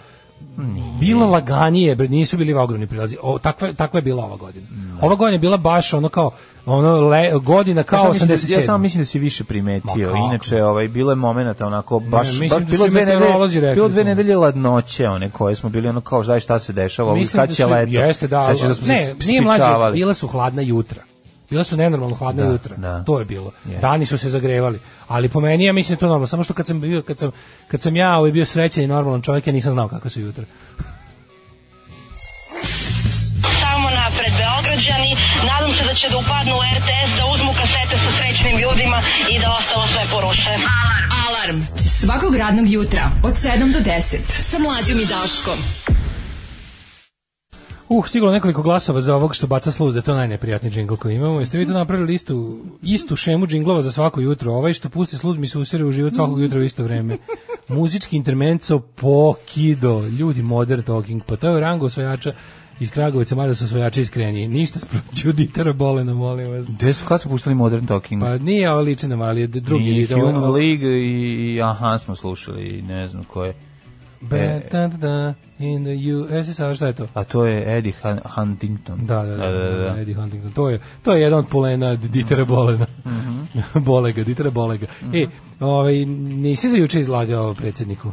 Speaker 7: bilo laganije, bre, nisu bili ogromni prilazi. O, takva, takva je bila ova godina. Ova godina je bila baš ono kao, ono le, godina
Speaker 6: Ja
Speaker 7: kao
Speaker 6: samo mislim da-
Speaker 7: 87.
Speaker 6: Ja samo mislim da si više
Speaker 7: Ma
Speaker 6: primetio.
Speaker 7: kako?
Speaker 6: Inače, ovaj, bilo je momenata onako baš...
Speaker 7: mislim
Speaker 6: baš
Speaker 7: da
Speaker 6: bilo
Speaker 7: su i
Speaker 6: dve nedelje-
Speaker 7: meteorolozi rekli
Speaker 6: Bilo dve
Speaker 7: to.
Speaker 6: nedelje ladnoće, one koje smo bili ono kao, znaš šta se dešava, ovi
Speaker 7: Mislim
Speaker 6: kad
Speaker 7: da
Speaker 6: će
Speaker 7: su-
Speaker 6: leto.
Speaker 7: Jeste, da.
Speaker 6: Sećaš da smo
Speaker 7: ne,
Speaker 6: se
Speaker 7: nije mlađe,
Speaker 6: ispričavali.
Speaker 7: bila su hladna jutra. Bila su nenormalno hladna
Speaker 6: Da,
Speaker 7: jutra.
Speaker 6: da.
Speaker 7: To je bilo.
Speaker 6: Jeste.
Speaker 7: Dani su se zagrevali. Ali po meni ja mislim da je to normalno. Samo što kad sam bio kad sam kad sam ja ovaj bio srećan i normalan čovjek, ja nisam znao kako su jutra.
Speaker 9: Samo napred Beograđani, nadam se da će da upadnu u RTS, da uzmu kasete sa srećnim ljudima i da ostalo sve poruše.
Speaker 4: Alarm. Alarm. Svakog radnog jutra od 7 do 10. Sa Mlađom i Daškom.
Speaker 7: Uh, stiglo nekoliko glasova za ovog što baca sluz, da je to najneprijatniji džingl koji imamo. Jeste vi to napravili istu, istu šemu džinglova za svako jutro? Ovaj što pusti sluz mi se usere u život svakog jutra u isto vreme. Muzički intermenco pokido. Ljudi, modern talking. Pa to je u rangu osvajača iz Kragovica, mada su osvajači iskreniji. Ništa [LAUGHS] sproću Ditera Bolena, molim vas.
Speaker 6: Gde su, kad su puštali Modern Talking?
Speaker 7: Pa nije ovo liči nam, ali je drugi.
Speaker 6: I
Speaker 7: video.
Speaker 6: Human League i, i Aha smo slušali i ne znam ko je.
Speaker 7: Ba, da, da, da, in the USSR, šta je to?
Speaker 6: A to je Eddie Han- Huntington.
Speaker 7: Da, da, da, da, Eddie Huntington. To je, to je jedan od polena Ditera Bolena.
Speaker 6: Mhm.
Speaker 7: [LAUGHS] Bolega, Ditera Bolega. E, ovaj, nisi se juče izlagao predsjedniku?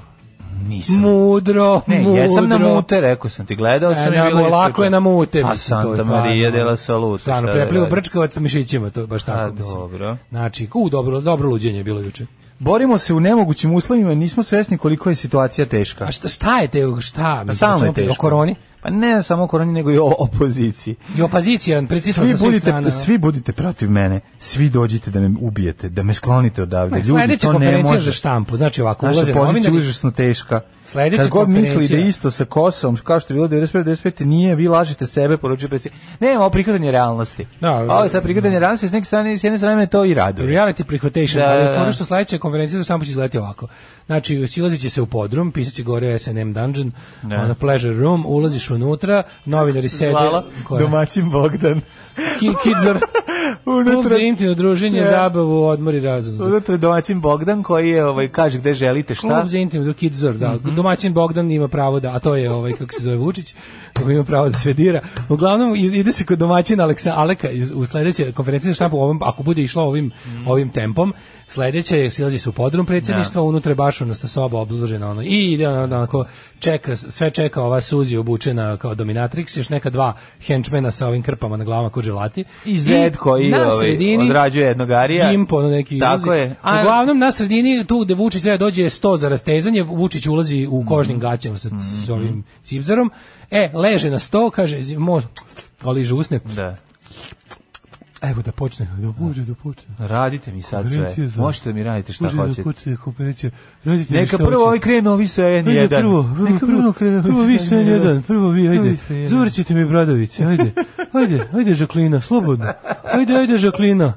Speaker 6: Nisam.
Speaker 7: Mudro,
Speaker 6: Ne,
Speaker 7: mudro.
Speaker 6: jesam na mute, rekao sam ti, gledao sam.
Speaker 7: E,
Speaker 6: i
Speaker 7: na,
Speaker 6: bilo je
Speaker 7: lako
Speaker 6: isključeno.
Speaker 7: je na mute.
Speaker 6: A
Speaker 7: mislim, to je
Speaker 6: Pa Santa
Speaker 7: stvarno,
Speaker 6: Maria
Speaker 7: ono,
Speaker 6: dela Salute.
Speaker 7: Stvarno,
Speaker 6: šta da
Speaker 7: preplivo
Speaker 6: radim.
Speaker 7: brčkavac sa mišićima, to je baš
Speaker 6: A,
Speaker 7: tako. mislim.
Speaker 6: dobro.
Speaker 7: Znači, u, dobro, dobro luđenje je bilo juče.
Speaker 6: Borimo se u nemogućim uslovima, i nismo svesni koliko je situacija teška.
Speaker 7: A šta, šta je te, šta?
Speaker 6: Pa
Speaker 7: Mislim,
Speaker 6: stalno je
Speaker 7: hoćemo
Speaker 6: teško.
Speaker 7: O koroni?
Speaker 6: Pa ne samo o koroni, nego i o opoziciji.
Speaker 7: I opozicija, pritisla
Speaker 6: Svi
Speaker 7: sa svih
Speaker 6: budite,
Speaker 7: strana.
Speaker 6: svi budite protiv mene. Svi dođite da me ubijete, da me sklonite odavde.
Speaker 7: Znači,
Speaker 6: Pa Ljudi,
Speaker 7: sledeća
Speaker 6: to ne
Speaker 7: konferencija za
Speaker 6: može.
Speaker 7: štampu, znači ovako,
Speaker 6: Naša
Speaker 7: ulaze
Speaker 6: pozicija je
Speaker 7: novinari,
Speaker 6: užasno teška.
Speaker 7: Sledeća
Speaker 6: Kad god misli da
Speaker 7: konferencija.
Speaker 6: je isto sa Kosovom, kao što je bilo 95-95, nije, vi lažete sebe, poručuje predsjednik. Ne, ovo je prihvatanje realnosti.
Speaker 7: Da,
Speaker 6: ovo je sad prihvatanje realnosti, s, neke strane, s jedne strane me to i raduje.
Speaker 7: Reality prihvatation,
Speaker 6: Da, da,
Speaker 7: ali
Speaker 6: da.
Speaker 7: ono što sledeća konferencija za štampu će izgledati ovako. Znači, silazit će se u podrum, pisat će gore SNM Dungeon,
Speaker 6: Da.
Speaker 7: ono pleasure room, ulaziš unutra, novinari sede...
Speaker 6: Zvala
Speaker 7: Koja?
Speaker 6: domaćin Bogdan. [LAUGHS]
Speaker 7: Ki- Kidzor,
Speaker 6: U
Speaker 7: Klub za intimno druženje,
Speaker 6: Ne.
Speaker 7: zabavu, odmor i razum.
Speaker 6: Unutra je domaćin Bogdan koji je, ovaj, kaže gde želite šta. Mhm.
Speaker 7: Klub za intimno, Kidzor, da. Domaćin Bogdan ima pravo da, a to je ovaj, kako se zove Vučić, koji ima pravo da sve dira. Uglavnom, iz- ide se kod domaćina Aleksa, Aleka iz- u sledećoj konferenciji za štampu, ovom, ako bude išlo ovim,
Speaker 6: Mhm.
Speaker 7: ovim tempom, sledeća je, silazi se u podrum predsjedništva, unutra je baš onasta soba obložena, ono, i ide ono, onako, čeka, sve čeka ova Suzi obučena kao dominatrix, još neka dva henčmena sa ovim krpama na glavama kod želati.
Speaker 6: I Zed koji,
Speaker 7: na
Speaker 6: ovaj,
Speaker 7: sredini
Speaker 6: odrađuje jednog Arija.
Speaker 7: Gimpo, ono neki
Speaker 6: Tako
Speaker 7: ulazi.
Speaker 6: je. A-
Speaker 7: Uglavnom, na sredini, tu gde Vučić treba dođe je 100 za rastezanje, Vučić ulazi
Speaker 6: Mhm.
Speaker 7: u kožnim gaćama sa s ovim cipzarom, e, leže na sto, kaže, zi- mo, oliže usne,
Speaker 6: Da.
Speaker 7: evo da počne, da počne, da počne.
Speaker 6: Radite mi sad sve.
Speaker 7: Konferencija za-
Speaker 6: Možete da mi radite šta
Speaker 7: Može da
Speaker 6: hoćete.
Speaker 7: počne konferencija, radite mi
Speaker 6: Neka
Speaker 7: šta
Speaker 6: prvo
Speaker 7: hoćete.
Speaker 6: ovaj krene ovi sa N1.
Speaker 7: Ajde, Prvo, prvo,
Speaker 6: Neka prvo krene
Speaker 7: prvo
Speaker 6: ovi
Speaker 7: vi
Speaker 6: sa
Speaker 7: sa
Speaker 6: N1.
Speaker 7: jedan, prvo vi, ajde.
Speaker 6: vi sa N1.
Speaker 7: Zurčite mi Bradoviće, ajde. Ajde, ajde Žaklina, slobodno. Ajde, ajde Žaklina.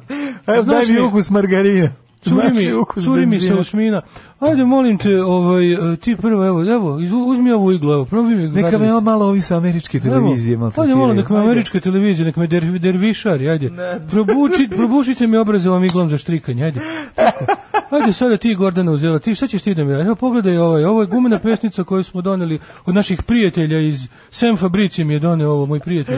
Speaker 6: Evo, daj
Speaker 7: Znaš
Speaker 6: mi
Speaker 7: mi-
Speaker 6: ukus margarina.
Speaker 7: Curi
Speaker 6: Znaš
Speaker 7: mi,
Speaker 6: ukus
Speaker 7: curi mi se
Speaker 6: benzina.
Speaker 7: usmina. Ajde, molim te, ovaj, e, ti prvo, evo, evo, iz- uzmi ovu iglu, evo, probi mi.
Speaker 6: Neka me
Speaker 7: Bradović.
Speaker 6: malo ovi sa američke televizije
Speaker 7: Evo,
Speaker 6: maltretiraju.
Speaker 7: Ajde, molim, nek me
Speaker 6: Ajde.
Speaker 7: američka televizija, nek me der, dervišari, ajde.
Speaker 6: Ne.
Speaker 7: Probuči, probušite mi obraze ovom iglom za štrikanje, ajde. Tako. Ajde, sada ti Gordana uzela, ti šta ćeš ti da mi radi? Evo, pogledaj ovaj, ovo je gumena pesnica koju smo doneli od naših prijatelja iz Sam Fabrici mi je doneo ovo, moj prijatelj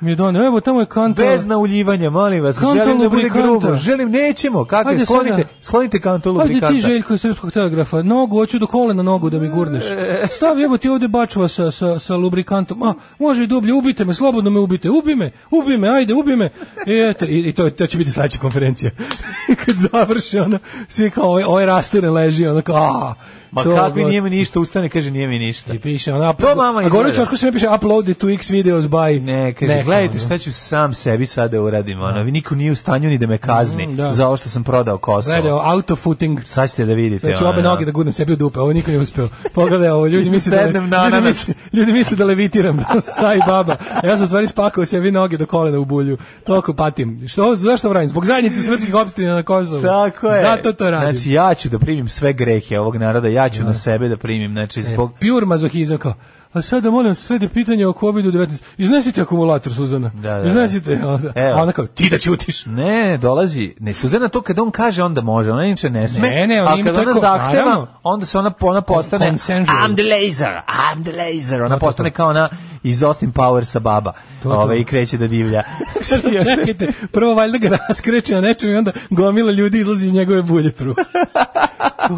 Speaker 7: mi je doneo. Evo, tamo je kanta.
Speaker 6: Bez nauljivanja, molim vas,
Speaker 7: Kanta
Speaker 6: želim da bude
Speaker 7: lubrikanta.
Speaker 6: grubo. Želim, nećemo. Kakve,
Speaker 7: Ajde
Speaker 6: sklonite,
Speaker 7: sada.
Speaker 6: sklonite kanto
Speaker 7: Ajde
Speaker 6: lubrikanta.
Speaker 7: ti Željko iz Srpskog telegrafa, nogu, hoću do kolena nogu da mi gurneš.
Speaker 6: E.
Speaker 7: Stavi evo ti ovde bačva sa, sa, sa lubrikantom. A, može i dublje, ubite me, slobodno me ubite. Ubi me, ubi me, ajde, ubi me. I, eto, i, i to, to će biti sledeća konferencija. [LAUGHS] Kad završi, ono, svi kao ovaj, ovaj rasturen leži, ono kao, a,
Speaker 6: Ma
Speaker 7: to,
Speaker 6: kakvi
Speaker 7: ono,
Speaker 6: nije mi ništa, ustane, kaže nije mi ništa.
Speaker 7: I piše, ono,
Speaker 6: To mama
Speaker 7: a gore
Speaker 6: izgleda.
Speaker 7: čošku se ne piše, uploaded to X videos by...
Speaker 6: Ne, kaže,
Speaker 7: neka,
Speaker 6: gledajte
Speaker 7: ono.
Speaker 6: šta ću sam sebi sada da uradim, ono, vi niko nije u stanju ni da me kazni
Speaker 7: Mm, da.
Speaker 6: za ovo što sam prodao Kosovo.
Speaker 7: Gledaj, ovo, auto footing.
Speaker 6: Sad ćete da vidite.
Speaker 7: Sve ću
Speaker 6: ono,
Speaker 7: obe
Speaker 6: da.
Speaker 7: noge da gurnem sebi u dupe, ovo niko nije uspeo. Pogledaj ovo,
Speaker 6: [LAUGHS]
Speaker 7: ljudi misle da,
Speaker 6: Sednem na
Speaker 7: ljudi
Speaker 6: ananas.
Speaker 7: misle, ljudi misle da levitiram, [LAUGHS] sa i baba. A ja sam u stvari spakao sebi noge do kolena u bulju. Toliko patim. Što, zašto ovo radim? Zbog zajednice srpskih opština na Kosovu.
Speaker 6: Tako je.
Speaker 7: Zato to radim.
Speaker 6: Znači, ja ću da primim sve grehe ovog naroda, ja ću na sebe da primim,
Speaker 7: E.
Speaker 6: znači, zbog...
Speaker 7: Pure mazohizam kao. A sada molim vas, slede pitanje o COVID-19. Iznesite akumulator, Suzana.
Speaker 6: Da, da, da.
Speaker 7: Iznesite. A onda-
Speaker 6: Evo.
Speaker 7: A ona kao, ti [LAUGHS] da ćutiš.
Speaker 6: Ne, dolazi, ne, Suzana to kad on kaže onda može, ona inače ne sme,
Speaker 7: Ne, ne, ona
Speaker 6: a
Speaker 7: ima
Speaker 6: kad
Speaker 7: to
Speaker 6: ona
Speaker 7: ko-
Speaker 6: zahteva,
Speaker 7: naravno.
Speaker 6: onda se ona, ona postane
Speaker 7: consensual.
Speaker 6: I'm the laser, I'm the laser, ona
Speaker 7: to,
Speaker 6: postane
Speaker 7: to.
Speaker 6: kao ona iz Austin Powersa baba,
Speaker 7: to.
Speaker 6: Ove, i kreće da
Speaker 7: [LAUGHS]
Speaker 6: divlja. Znači,
Speaker 7: Čekajte, prvo valjda ga raskreće na nečem i onda gomila ljudi izlazi iz njegove bulje
Speaker 6: [LAUGHS]
Speaker 7: prvo.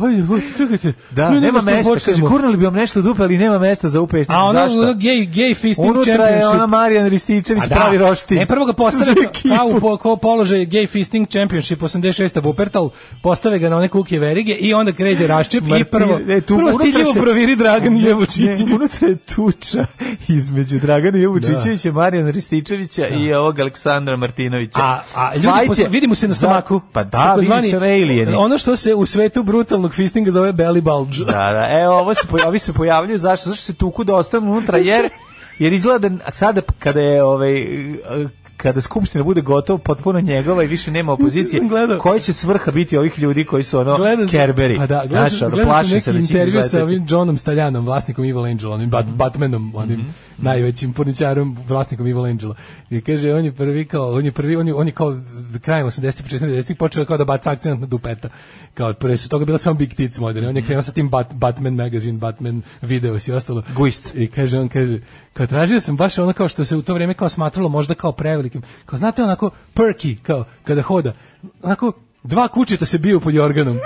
Speaker 7: Ajde, bo- čekajte.
Speaker 6: Da,
Speaker 7: mi
Speaker 6: nema
Speaker 7: nego što
Speaker 6: mesta, kaže,
Speaker 7: počnemo.
Speaker 6: gurnuli bi vam nešto duplo, ali nema mesta za upesnicu,
Speaker 7: A ono,
Speaker 6: zašto?
Speaker 7: ono gay, gay fisting
Speaker 6: Unutra je
Speaker 7: championship.
Speaker 6: ona Marijan Rističević
Speaker 7: A da.
Speaker 6: pravi roštilj.
Speaker 7: Ne, prvo ga postave
Speaker 6: Za ekipu.
Speaker 7: kao u po, kao položaj Gay Fisting Championship 86. Bupertal, postave ga na one kuke verige i onda kreće raščep i
Speaker 6: Martin-
Speaker 7: prvo,
Speaker 6: ne, e, tu
Speaker 7: prvo
Speaker 6: unutra
Speaker 7: stiljivo
Speaker 6: se-
Speaker 7: proviri Dragan Jevučić.
Speaker 6: Ne, unutra je tuča [LAUGHS] između Dragana Jevučićevića, Marijana Rističevića i ovog Aleksandra Martinovića.
Speaker 7: A, a ljudi,
Speaker 6: Fajt je-
Speaker 7: posle- vidimo se na
Speaker 6: Da,
Speaker 7: stomaku.
Speaker 6: Pa da, vidimo
Speaker 7: Takozvani-
Speaker 6: se na Alieni.
Speaker 7: Ono što se u svetu brutalnog fistinga zove belly bulge.
Speaker 6: Da, da, evo, ovo se, poja- ovi se pojavljaju, zašto? Zašto se tuku da ostanu unutra, jer, jer izgleda da sada kada je, ovaj, kada skupština bude gotova, potpuno njegova i više nema opozicije,
Speaker 7: Sam gledao-
Speaker 6: koja će svrha biti ovih ljudi koji su ono
Speaker 7: Gledao sam-
Speaker 6: kerberi?
Speaker 7: Pa da, gledao
Speaker 6: Znaš,
Speaker 7: sam,
Speaker 6: ono,
Speaker 7: gledao sam
Speaker 6: plaše
Speaker 7: neki
Speaker 6: se da će
Speaker 7: intervju sa
Speaker 6: izleteti.
Speaker 7: ovim Johnom Staljanom, vlasnikom Evil Angela, onim Bat- Batmanom, onim najvećim porničarom, vlasnikom Evil Angela. I kaže, on je prvi kao, on je prvi, on je, on je kao krajem 80-ih, početkom 90-ih počeo kao da baca akcent na dupeta. Kao, prvi su toga bila samo Big Tits moderne. On je krenuo sa tim Bat- Batman magazine, Batman videos i ostalo.
Speaker 6: Gujst.
Speaker 7: I kaže, on kaže, kao tražio sam baš ono kao što se u to vrijeme kao smatralo možda kao prevelikim. Kao, znate, onako, perky, kao, kada hoda. Onako, dva kućeta se biju pod jorganom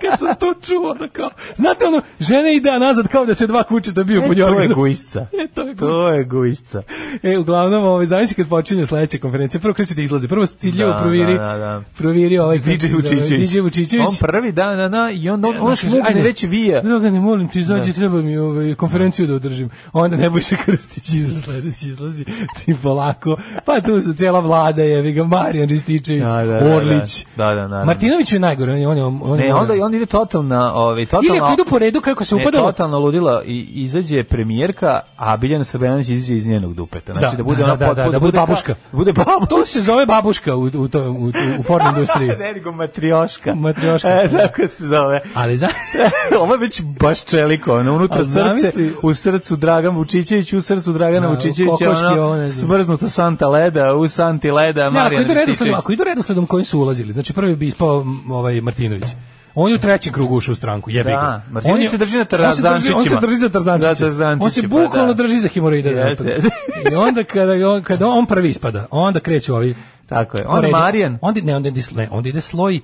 Speaker 7: kad sam to čuo, ono kao, znate ono, žene ide a nazad kao da se dva kuće dobiju
Speaker 6: E,
Speaker 7: pod
Speaker 6: to je
Speaker 7: jorganom.
Speaker 6: gujsca.
Speaker 7: [LAUGHS] E, to je
Speaker 6: To je gujsca.
Speaker 7: E, uglavnom, ovaj, zamisli kad počinje sledeća konferencija, prvo kreće da izlaze, prvo ciljevo
Speaker 6: Da,
Speaker 7: proviri,
Speaker 6: da, da, da.
Speaker 7: proviri ovaj kako se
Speaker 6: DJ
Speaker 7: zove,
Speaker 6: Vučićević.
Speaker 7: DJ Vučićević.
Speaker 6: On prvi, da, da, da, i onda on, on,
Speaker 7: Onda kaže,
Speaker 6: šmugne
Speaker 7: ajde, Znači,
Speaker 6: već vija.
Speaker 7: Dragane, molim ti, izađi, treba mi ovaj, konferenciju da održim. Onda Nebojša Krstić iza sledeći izlazi, [LAUGHS] ti polako. Pa tu su cijela vlada, jevi ga, Marijan Rističević,
Speaker 6: Da, da, da, da.
Speaker 7: Orlić.
Speaker 6: Da, da, naravno.
Speaker 7: Martinović je najgore, on je, on je, on je
Speaker 6: Ne, onda i on ide totalna, ovaj totalna.
Speaker 7: Ili ako idu po redu kako se
Speaker 6: Ne,
Speaker 7: upadalo.
Speaker 6: totalno ludila i izađe premijerka, a Biljana Srbljanović izađe iz njenog dupeta. Znači da, bude ona
Speaker 7: da, da,
Speaker 6: pot-
Speaker 7: da,
Speaker 6: pot-
Speaker 7: da bude
Speaker 6: ka-
Speaker 7: babuška.
Speaker 6: Bude babuška.
Speaker 7: To se zove babuška u, u, to, u, u porno industriji.
Speaker 6: [LAUGHS] Ne, nego matrioška.
Speaker 7: Matrioška.
Speaker 6: [LAUGHS] E, tako se zove. [LAUGHS]
Speaker 7: Ali za...
Speaker 6: Ovo je već baš čeliko, ono, unutra
Speaker 7: A
Speaker 6: srce,
Speaker 7: zamisli-
Speaker 6: u srcu Dragan Vučićević, u srcu Dragana
Speaker 7: Da, u
Speaker 6: Vučićevića,
Speaker 7: kokoške,
Speaker 6: ono,
Speaker 7: ovo ne znam.
Speaker 6: smrznuta Santa Leda, u Santi Leda,
Speaker 7: Ne, ako
Speaker 6: Marijan
Speaker 7: idu redosledom,
Speaker 6: Rističević.
Speaker 7: ako idu redosledom kojim su ulazili, znači prvi bi ispao m, ovaj Martinović. On je u trećem krugu ušao u stranku, jebi
Speaker 6: Da,
Speaker 7: ga.
Speaker 6: Martinović
Speaker 7: On je-
Speaker 6: se drži na
Speaker 7: On se drži, on se
Speaker 6: tarzančićima.
Speaker 7: drži za
Speaker 6: Da,
Speaker 7: tarzančiće.
Speaker 6: tarzančiće,
Speaker 7: on se
Speaker 6: pa
Speaker 7: bukvalno
Speaker 6: da.
Speaker 7: drži za hemoroide.
Speaker 6: Jeste, jeste.
Speaker 7: I onda kada, je on, kada on prvi ispada, onda kreću ovi...
Speaker 6: Tako je. Onda
Speaker 7: po redu.
Speaker 6: Marijan.
Speaker 7: Onda, ne, onda ide, sl- ne, onda ide sloj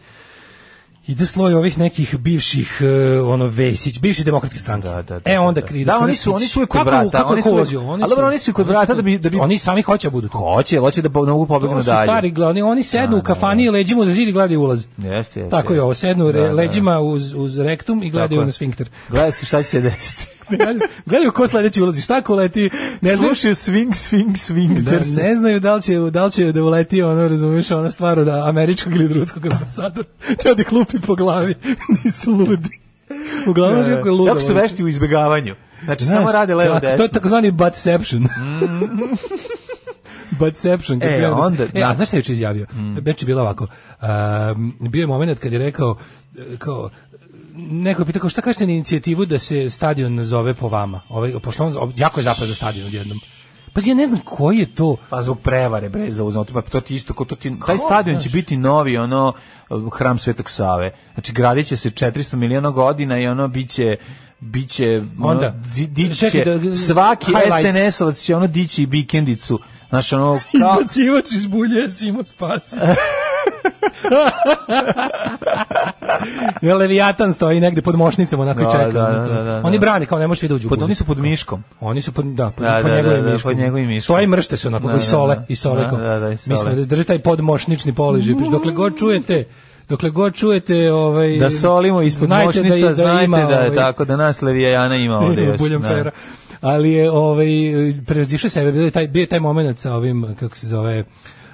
Speaker 7: ide sloj ovih nekih bivših eh, ono Vesić, bivši demokratske stranke.
Speaker 6: Da, da, da,
Speaker 7: e onda
Speaker 6: da.
Speaker 7: kri
Speaker 6: Da, oni su- oni su uvijek kod
Speaker 7: Kako-
Speaker 6: vrata,
Speaker 7: kako
Speaker 6: oni su
Speaker 7: ko
Speaker 6: uvijek-
Speaker 7: ulazio?
Speaker 6: Ali dobro, oni su i kod vrata da bi- da bi-
Speaker 7: Oni sami hoće da budu tu.
Speaker 6: Hoće, hoće da po- da mogu
Speaker 7: To
Speaker 6: pobegnu
Speaker 7: su
Speaker 6: dalje.
Speaker 7: stari glavni, oni sednu u kafani i leđima uz zid i gledaju ulaz.
Speaker 6: Jeste, jeste.
Speaker 7: Tako je ovo, sednu
Speaker 6: Da,
Speaker 7: re-
Speaker 6: da.
Speaker 7: leđima uz, uz rektum i
Speaker 6: Tako je.
Speaker 7: gledaju na sfinkter. [LAUGHS]
Speaker 6: Gledaj se šta će se desiti.
Speaker 7: Gledaju- gledaju ko sledeći ulazi, šta ko leti, ne znaju,
Speaker 6: Slušaju swing, swing, swing.
Speaker 7: da, ne znaju da li će, da li će da uleti ono, razumiješ, ona stvar od američkog ili ruskog ambasadora. [LAUGHS] Treba da ih lupi po glavi, [LAUGHS] nisu ludi. Uglavnom,
Speaker 6: Da,
Speaker 7: znaš
Speaker 6: da.
Speaker 7: kako Ono je
Speaker 6: E,
Speaker 7: ludo.
Speaker 6: Jako su vešti u izbegavanju. Znači, samo
Speaker 7: Znaš,
Speaker 6: rade levo
Speaker 7: tako, To
Speaker 6: desno. Mm.
Speaker 7: je takozvani buttception. [LAUGHS] buttception. kad
Speaker 6: E,
Speaker 7: krenu da se-
Speaker 6: onda- Mm.
Speaker 7: e, a znaš šta je juče izjavio? Već je bilo ovako. Um, bio je moment kad je rekao, e, kao, neko je pitao kao, šta kažete na inicijativu da se stadion nazove po vama? Ovaj, pošto on jako je zapad za stadion odjednom. Pazi, ja ne znam koji je to...
Speaker 6: Pa zbog prevare bre za uznote, pa to ti isto ko to ti taj stadion će biti novi ono hram Svetog Save. Znači gradiće se 400 miliona godina i ono biće biće ono,
Speaker 7: Onda,
Speaker 6: di- dići će
Speaker 7: čekaj da-
Speaker 6: svaki
Speaker 7: highlights.
Speaker 6: SNS-ovac će ono dići i vikendicu. Znači
Speaker 7: [LAUGHS]
Speaker 6: ono kao
Speaker 7: Izbacivač iz bulje, Simo spasi. [LAUGHS] Ja, Leviatan stoji negde pod mošnicama, onako i
Speaker 6: Da,
Speaker 7: čeka. ono
Speaker 6: da, da, da, da.
Speaker 7: Oni brane, kao ne možeš vi da uđu u
Speaker 6: pod,
Speaker 7: bulje.
Speaker 6: oni su pod miškom.
Speaker 7: Oni su pod, da, pod,
Speaker 6: Da,
Speaker 7: pod
Speaker 6: da,
Speaker 7: njegovim
Speaker 6: da, da,
Speaker 7: miškom.
Speaker 6: pod njegovim miškom.
Speaker 7: Stoje i mršte se onako,
Speaker 6: Da,
Speaker 7: da, i
Speaker 6: da,
Speaker 7: sole,
Speaker 6: da.
Speaker 7: i sole.
Speaker 6: Da,
Speaker 7: kao.
Speaker 6: da, da, i sole.
Speaker 7: Mislim, da drži taj podmošnični položaj. Dokle god čujete, dokle god čujete... Ovaj,
Speaker 6: Da solimo ispod
Speaker 7: znajte
Speaker 6: mošnica,
Speaker 7: i-
Speaker 6: znajte
Speaker 7: ima,
Speaker 6: da je
Speaker 7: ovaj,
Speaker 6: tako da nas Levijana
Speaker 7: [LAUGHS]
Speaker 6: ima ovde još.
Speaker 7: Buljam
Speaker 6: da.
Speaker 7: Fera. Ali je ovaj prevazišao sebe, bio je taj bio je taj momenat sa ovim kako se zove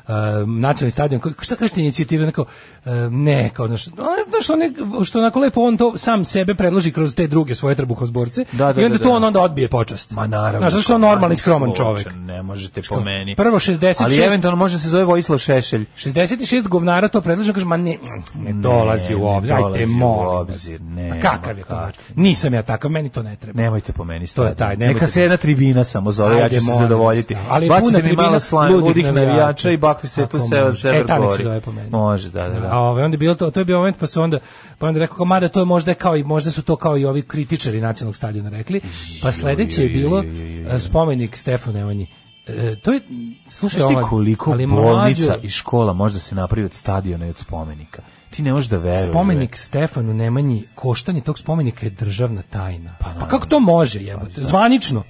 Speaker 7: um, nacionalni stadion, Ko- šta kažete inicijative, onako, um, ne, kao, znaš, ono, znaš, što, ne, što onako lepo on to sam sebe predloži kroz te druge svoje trbuhozborce
Speaker 6: Da, da,
Speaker 7: i onda
Speaker 6: da,
Speaker 7: tu
Speaker 6: da.
Speaker 7: on onda odbije počast.
Speaker 6: Ma naravno.
Speaker 7: Znaš, zašto on
Speaker 6: Ma,
Speaker 7: normalni, skroman
Speaker 6: slobodan,
Speaker 7: čovek?
Speaker 6: Ne možete po meni.
Speaker 7: Prvo 66
Speaker 6: Ali eventualno može se zove Vojislav Šešelj.
Speaker 7: 66 govnara to predlaže, kaže, ma ne, ne dolazi u
Speaker 6: ne
Speaker 7: obzir,
Speaker 6: dolazi
Speaker 7: ajte,
Speaker 6: u
Speaker 7: molim vas.
Speaker 6: obzir,
Speaker 7: Ma
Speaker 6: nema
Speaker 7: kakav je to
Speaker 6: kako.
Speaker 7: način? Nisam ja takav, meni to ne treba.
Speaker 6: Nemojte po meni
Speaker 7: To je
Speaker 6: stadion.
Speaker 7: taj, nemojte
Speaker 6: Neka se jedna tribina samo zove, ja
Speaker 7: Ajde,
Speaker 6: ću se
Speaker 7: molim
Speaker 6: zadovoljiti.
Speaker 7: vas, da. Ali je
Speaker 6: Bacite
Speaker 7: puna
Speaker 6: mi
Speaker 7: tribina
Speaker 6: malo slan,
Speaker 7: ludih
Speaker 6: ludih navijača
Speaker 7: navijača.
Speaker 6: i bakli se tu
Speaker 7: Ako
Speaker 6: se od
Speaker 7: može. E,
Speaker 6: sever
Speaker 7: ta nek se
Speaker 6: gori.
Speaker 7: zove po meni.
Speaker 6: Može, da, da,
Speaker 7: A
Speaker 6: da.
Speaker 7: ovaj onda je bilo to, to je bio moment pa su onda pa onda je rekao kao mada to je možda kao i možda su to kao i ovi kritičari nacionalnog stadiona rekli. Pa sledeće je bilo eh, spomenik Stefanu Nemanji. E, to je slušaj
Speaker 6: Znaš ti
Speaker 7: ovo,
Speaker 6: koliko
Speaker 7: ali
Speaker 6: bolnica
Speaker 7: mlađo,
Speaker 6: i škola može da se napravi od stadiona i od spomenika? Ti ne možeš da veruješ.
Speaker 7: spomenik Stefanu Nemanji, koštanje tog spomenika je državna tajna. Pa, kako to može, jebote? Zvanično.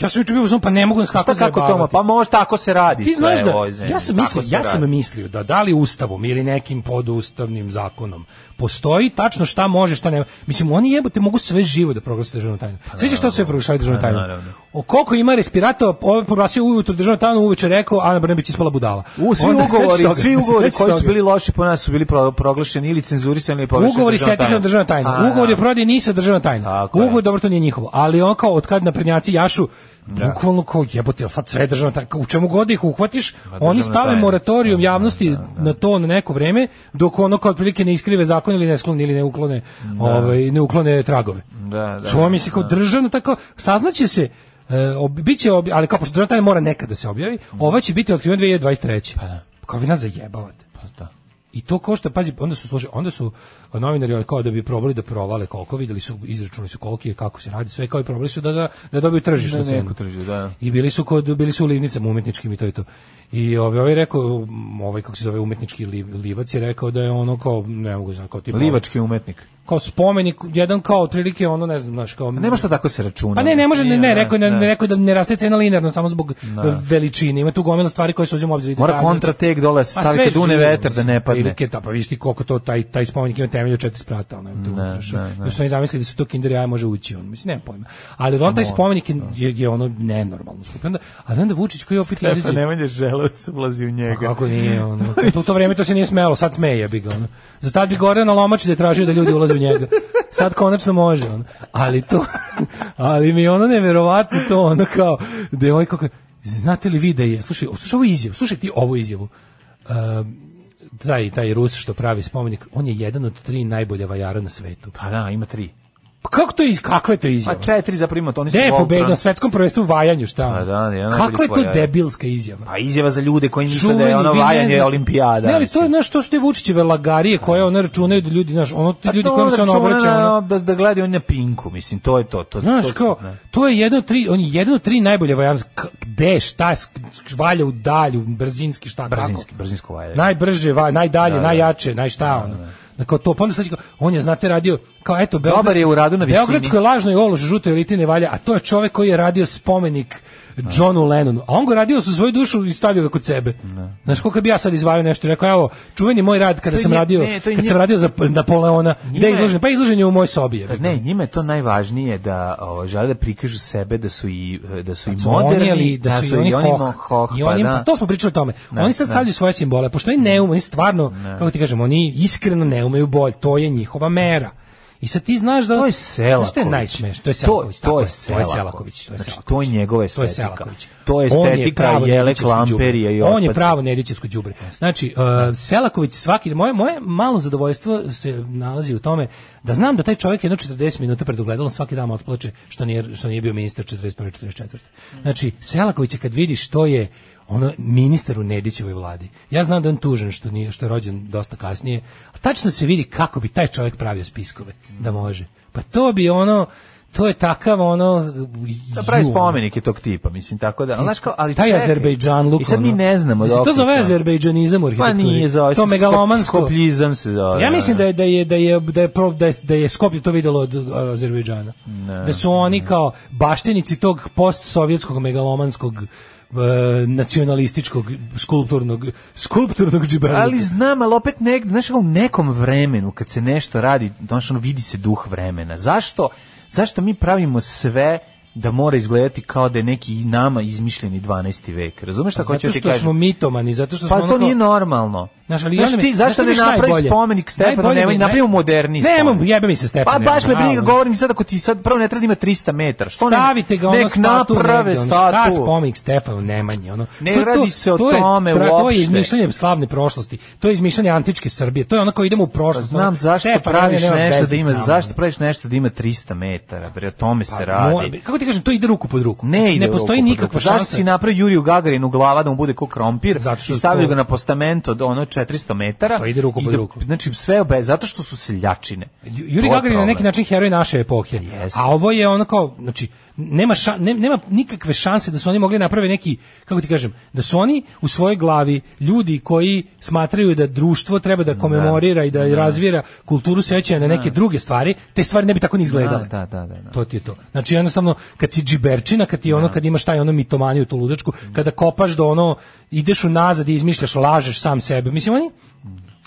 Speaker 7: Ja sam juče bio u fazonu, pa ne mogu nas
Speaker 6: bre.
Speaker 7: tako
Speaker 6: Pa Šta kako to?
Speaker 7: zajebavati.
Speaker 6: Pa može, tako se radi
Speaker 7: Ti
Speaker 6: sve
Speaker 7: znaš da,
Speaker 6: u ovoj zemlji.
Speaker 7: ja sam
Speaker 6: Tako
Speaker 7: mislio,
Speaker 6: se
Speaker 7: ja sam
Speaker 6: radi.
Speaker 7: mislio da da li ustavom ili nekim podustavnim zakonom postoji tačno šta može, šta nema. Mislim, oni jebote mogu sve živo da proglase državnom tajnom. Sveće što sve proglašavaju državnom
Speaker 6: Pa,
Speaker 7: tajnom.
Speaker 6: naravno.
Speaker 7: O koliko ima respiratora, ovaj proglasio ujutru državnom tajnom, uveče rekao, Ana Brnebić ispala budala.
Speaker 6: U, svi
Speaker 7: Onda, [LAUGHS] sećaš
Speaker 6: ugovori,
Speaker 7: toga?
Speaker 6: svi ugovori
Speaker 7: Sećaš
Speaker 6: koji su
Speaker 7: toga?
Speaker 6: bili loši po nas su bili pro- proglašeni ili cenzurisani ili proglašeni.
Speaker 7: Ugovori sa etikom državna tajna.
Speaker 6: A,
Speaker 7: Ugovor je
Speaker 6: da.
Speaker 7: prodaje nisu državna tajna.
Speaker 6: Tako je.
Speaker 7: Ugovor dobro to nije njihovo, ali on kao od kad naprednjaci jašu bukvalno kao jebote, jel sad sve državna tajna. U čemu god ih uhvatiš, oni
Speaker 6: državna
Speaker 7: stave
Speaker 6: tajna.
Speaker 7: moratorijum
Speaker 6: Da,
Speaker 7: javnosti na to na neko vreme dok ono kao otprilike ne iskrive zakon ili ne skloni ili ne uklone ovaj ne uklone tragove.
Speaker 6: Da, da.
Speaker 7: To mi se kao državno tako saznaće se e, ob, biće obj- ali kao pošto državna tajna mora nekad da se objavi,
Speaker 6: Mm.
Speaker 7: ova će biti otkrivena 2023. Pa da. Kao vi nas zajebavate.
Speaker 6: Pa da.
Speaker 7: I to košta, pazi, onda su slušaj, onda su e, novinari ono, kao da bi probali da provale koliko, videli su, izračunali su koliki je, kako se radi, sve kao i probali su da ga da dobiju tržišnu
Speaker 6: Da,
Speaker 7: cenu.
Speaker 6: neko trži, da.
Speaker 7: I bili su kod bili su u livnicama umetničkim i to i to. I ovaj ovaj rekao m, ovaj kako se zove umetnički liv, livac je rekao da je ono kao ne mogu znam kao tipa
Speaker 6: Livački umetnik.
Speaker 7: kao spomenik jedan kao otprilike ono ne znam znaš kao
Speaker 6: Nema što tako se računa.
Speaker 7: pa ne, ne može, ne, ne,
Speaker 6: Nije,
Speaker 7: rekao, je da-
Speaker 6: da.
Speaker 7: ne, rekao je da ne raste cena linearno samo zbog eh, veličine. Ima tu gomila stvari koje se uzimaju u obzir.
Speaker 6: Mora
Speaker 7: Detalje,
Speaker 6: kontratek dole, se
Speaker 7: Pa
Speaker 6: stavi
Speaker 7: sve
Speaker 6: kad une
Speaker 7: živo,
Speaker 6: vetar da ne
Speaker 7: mislim,
Speaker 6: padne.
Speaker 7: otprilike, da, pa vidiš ti koliko to taj taj spomenik ima temelju četiri sprata, ono tu.
Speaker 6: Ne,
Speaker 7: znaš,
Speaker 6: ne, ne.
Speaker 7: da su oni zamislili da su to kinder jaje može ući, on mislim nema pojma. Ali on taj spomenik je, je, je ono nenormalno skup. Onda, ali onda Vučić koji opet izađe Pa
Speaker 6: Nemanja želeo da se ulazi u njega.
Speaker 7: ono. Kako nije ono? U to, to vreme to se nije smelo, sad smeje bi ga ono. Za tad bi gore na lomači da je tražio da ljudi ulaze ulaze u njega. Sad konačno može on. Ali to, ali mi je ono neverovatno to, ono kao, devojka koja, znate li vi da je, slušaj, o, slušaj ovo izjavu, slušaj ti ovu izjavu. Um, taj, taj Rus što pravi spomenik, on je jedan od tri najbolja vajara na svetu.
Speaker 6: Pa da, ima tri.
Speaker 7: Pa kako to iz kakve to izjave?
Speaker 6: Pa četiri za primat, oni su
Speaker 7: Ne,
Speaker 6: Voltron.
Speaker 7: pobedio na svetskom prvenstvu u vajanju, šta?
Speaker 6: Pa da, jedan
Speaker 7: Kako je to
Speaker 6: najbolji vajar.
Speaker 7: debilska izjava?
Speaker 6: Pa izjava za ljude koji misle da
Speaker 7: Čuveni,
Speaker 6: je ono
Speaker 7: vi ne
Speaker 6: vajanje
Speaker 7: znate.
Speaker 6: olimpijada.
Speaker 7: Ne, ali to je
Speaker 6: mislim.
Speaker 7: znaš, to su te Vučićeve lagarije koje ona računaju da ljudi, znaš, ono ti
Speaker 6: Pa
Speaker 7: ljudi
Speaker 6: to
Speaker 7: kojima se on
Speaker 6: računa
Speaker 7: obraća,
Speaker 6: na-
Speaker 7: ono,
Speaker 6: da, da gledaju on na pinku, mislim, to je to. to
Speaker 7: Znaš
Speaker 6: to,
Speaker 7: kao,
Speaker 6: ne.
Speaker 7: to je jedno od tri, on je jedno od tri najbolje vajarske, gde, šta, s- valja u dalju, brzinski, šta,
Speaker 6: Brzinski,
Speaker 7: kako.
Speaker 6: brzinsko vajanje.
Speaker 7: Najbrže, va, najdalje,
Speaker 6: ovaj, Da, da.
Speaker 7: najjače, najšta, ono. Da, kao to, pa onda sad će kao, on je, znate, radio, kao eto, Beogradsko-
Speaker 6: Dobar je u radu na visini.
Speaker 7: Beogradsko je lažno i ološ, žuto eliti ne valja, a to je čovek koji je radio spomenik Johnu Lennonu, a on ga radio sa svoju dušu i stavio ga kod sebe. Znaš, koliko bi ja sad izvajao nešto i rekao, evo, čuveni moj rad kada
Speaker 6: To je
Speaker 7: sam
Speaker 6: nje-
Speaker 7: radio,
Speaker 6: ne, to je
Speaker 7: kad
Speaker 6: nje-
Speaker 7: sam radio za Napoleona,
Speaker 6: Njima
Speaker 7: gde
Speaker 6: je-
Speaker 7: je izložen? Pa izložen je u mojoj sobi. jebi
Speaker 6: Kad
Speaker 7: ga.
Speaker 6: Pa ne, njima je to najvažnije da o, žele da prikažu sebe da su i e, da su i
Speaker 7: su oni,
Speaker 6: moderni,
Speaker 7: ali da su i oni hoh,
Speaker 6: hoh,
Speaker 7: i
Speaker 6: pa
Speaker 7: oni,
Speaker 6: da.
Speaker 7: to smo pričali o tome.
Speaker 6: Ne,
Speaker 7: oni sad
Speaker 6: ne.
Speaker 7: stavljaju svoje simbole, pošto oni ne umeju, oni stvarno, kako ti kažem, oni iskreno ne umeju bolj, to je njihova mera. I sad ti znaš da...
Speaker 6: To je
Speaker 7: Znaš
Speaker 6: Selaković.
Speaker 7: što je najsmešno? To je
Speaker 6: To,
Speaker 7: Selaković.
Speaker 6: to
Speaker 7: tako
Speaker 6: je
Speaker 7: To je
Speaker 6: Selaković.
Speaker 7: Selaković. To je,
Speaker 6: Znači,
Speaker 7: Selaković.
Speaker 6: to je njegova estetika.
Speaker 7: Selaković.
Speaker 6: To je
Speaker 7: On
Speaker 6: estetika
Speaker 7: pravo
Speaker 6: Jele
Speaker 7: Nedićevsko đubre.
Speaker 6: Klamperija i
Speaker 7: On je
Speaker 6: otpadca.
Speaker 7: pravo Nedićevsko đubre. Znači, uh, Selaković svaki... Moje, moje malo zadovoljstvo se nalazi u tome da znam da taj čovjek jedno 40 minuta pred ogledalom svaki dan otplače što nije, što nije bio ministar 41. 44. Znači, Selaković je kad vidiš to je ono ministar u Nedićevoj vladi. Ja znam da je on tužen što nije što je rođen dosta kasnije, a tačno se vidi kako bi taj čovjek pravio spiskove da može. Pa to bi ono to je takav ono
Speaker 6: Da pravi
Speaker 7: ju, ono.
Speaker 6: spomenike tog tipa, mislim, tako da. Ali, znaš kao, ali
Speaker 7: taj
Speaker 6: čekaj.
Speaker 7: Azerbejdžan luk.
Speaker 6: I sad mi
Speaker 7: ono.
Speaker 6: ne znamo
Speaker 7: Jesi
Speaker 6: da
Speaker 7: to zove
Speaker 6: okrećemo.
Speaker 7: azerbejdžanizam
Speaker 6: Pa
Speaker 7: u arhitekturi?
Speaker 6: nije zove.
Speaker 7: To
Speaker 6: skop-
Speaker 7: megalomansko.
Speaker 6: Skopljizam se zove.
Speaker 7: Ja mislim da je da je da je da je pro- da je, da je Skopje to videlo od uh, Azerbejdžana. Da su oni kao baštinici tog postsovjetskog megalomanskog uh, nacionalističkog skulpturnog skulpturnog džiberluka.
Speaker 6: Ali znam, ali opet negde, znaš, kao u nekom vremenu, kad se nešto radi, znaš, ono, vidi se duh vremena. Zašto, zašto mi pravimo sve da mora izgledati kao da je neki i nama izmišljeni 12. vek. Razumeš šta hoću
Speaker 7: Pa zato
Speaker 6: ti
Speaker 7: što
Speaker 6: kažem?
Speaker 7: smo mitomani, zato što smo
Speaker 6: Pa
Speaker 7: ono
Speaker 6: to
Speaker 7: kao-
Speaker 6: nije normalno.
Speaker 7: Znaš, ali
Speaker 6: Znaš
Speaker 7: ja ne-
Speaker 6: ti,
Speaker 7: znaš
Speaker 6: zašto
Speaker 7: šta
Speaker 6: ne
Speaker 7: misliš
Speaker 6: napravi
Speaker 7: najbolje?
Speaker 6: spomenik Stefanu
Speaker 7: Najbolje
Speaker 6: Nemanji,
Speaker 7: mi-
Speaker 6: napravimo
Speaker 7: naj-
Speaker 6: moderni
Speaker 7: Nemam,
Speaker 6: spomenik.
Speaker 7: jebem se Stefanu
Speaker 6: Pa baš me
Speaker 7: Nemanji,
Speaker 6: briga,
Speaker 7: bravo.
Speaker 6: govorim sad ako ti sad prvo ne treba da ima 300 metara. Što ne-
Speaker 7: Stavite ga ono
Speaker 6: nek
Speaker 7: statu
Speaker 6: naprave
Speaker 7: negde, ono, šta
Speaker 6: statu.
Speaker 7: spomenik Stefanu Nemanji, ono.
Speaker 6: Ne radi se o
Speaker 7: je
Speaker 6: tome
Speaker 7: tra- To je
Speaker 6: uopšte.
Speaker 7: izmišljanje slavne prošlosti, to je izmišljanje antičke Srbije, to je ono kao idemo u prošlost.
Speaker 6: Pa Znam
Speaker 7: ono,
Speaker 6: zašto
Speaker 7: Stefan Nemanja
Speaker 6: praviš
Speaker 7: nema
Speaker 6: nešto
Speaker 7: veze
Speaker 6: da ima,
Speaker 7: s nama, ono.
Speaker 6: zašto praviš nešto da ima 300 metara, bre, o tome se radi.
Speaker 7: Mo- kako ti kažem, to ide ruku pod ruku.
Speaker 6: Ne,
Speaker 7: Znači,
Speaker 6: ide
Speaker 7: ne postoji
Speaker 6: ruku pod
Speaker 7: nikakva
Speaker 6: ruku. Zašto
Speaker 7: šansa.
Speaker 6: si napravio Juriju Gagarinu glava da mu bude ko krompir
Speaker 7: Zato što
Speaker 6: i stavio
Speaker 7: to-
Speaker 6: ga na postament od ono 400 metara?
Speaker 7: To ide ruku
Speaker 6: i
Speaker 7: pod
Speaker 6: da-
Speaker 7: ruku.
Speaker 6: Znači sve obe, zato što su seljačine.
Speaker 7: Ju-
Speaker 6: To
Speaker 7: Juri
Speaker 6: je
Speaker 7: Gagarin je na
Speaker 6: problem.
Speaker 7: neki način heroj naše epohe.
Speaker 6: Jeste.
Speaker 7: A ovo je ono kao, znači, nema, ša- ne- nema nikakve šanse da su oni mogli napraviti neki, kako ti kažem, da su oni u svojoj glavi ljudi koji smatraju da društvo treba da komemorira i da razvira kulturu sećanja na neke druge stvari, te stvari ne bi tako ni izgledale.
Speaker 6: Da, da, da, da.
Speaker 7: To ti je to. Znači jednostavno kad si džiberčina, kad ti ono kad imaš taj ono mitomaniju tu ludačku, kada kopaš do ono ideš unazad i izmišljaš, lažeš sam sebe. Mislim oni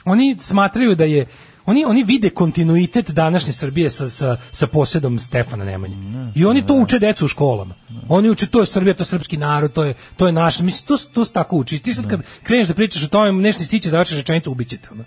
Speaker 7: oni smatraju da je Oni, oni vide kontinuitet današnje Srbije sa, sa, sa posjedom Stefana Nemanje. I oni to uče decu u školama. Oni uče to je Srbija, to je srpski narod, to je, to je naš. Mislim, to, s- to se tako uči. Ti sad kad kreneš da pričaš o tome, nešto ti stiće, završiš rečenicu, ubićete. Ono.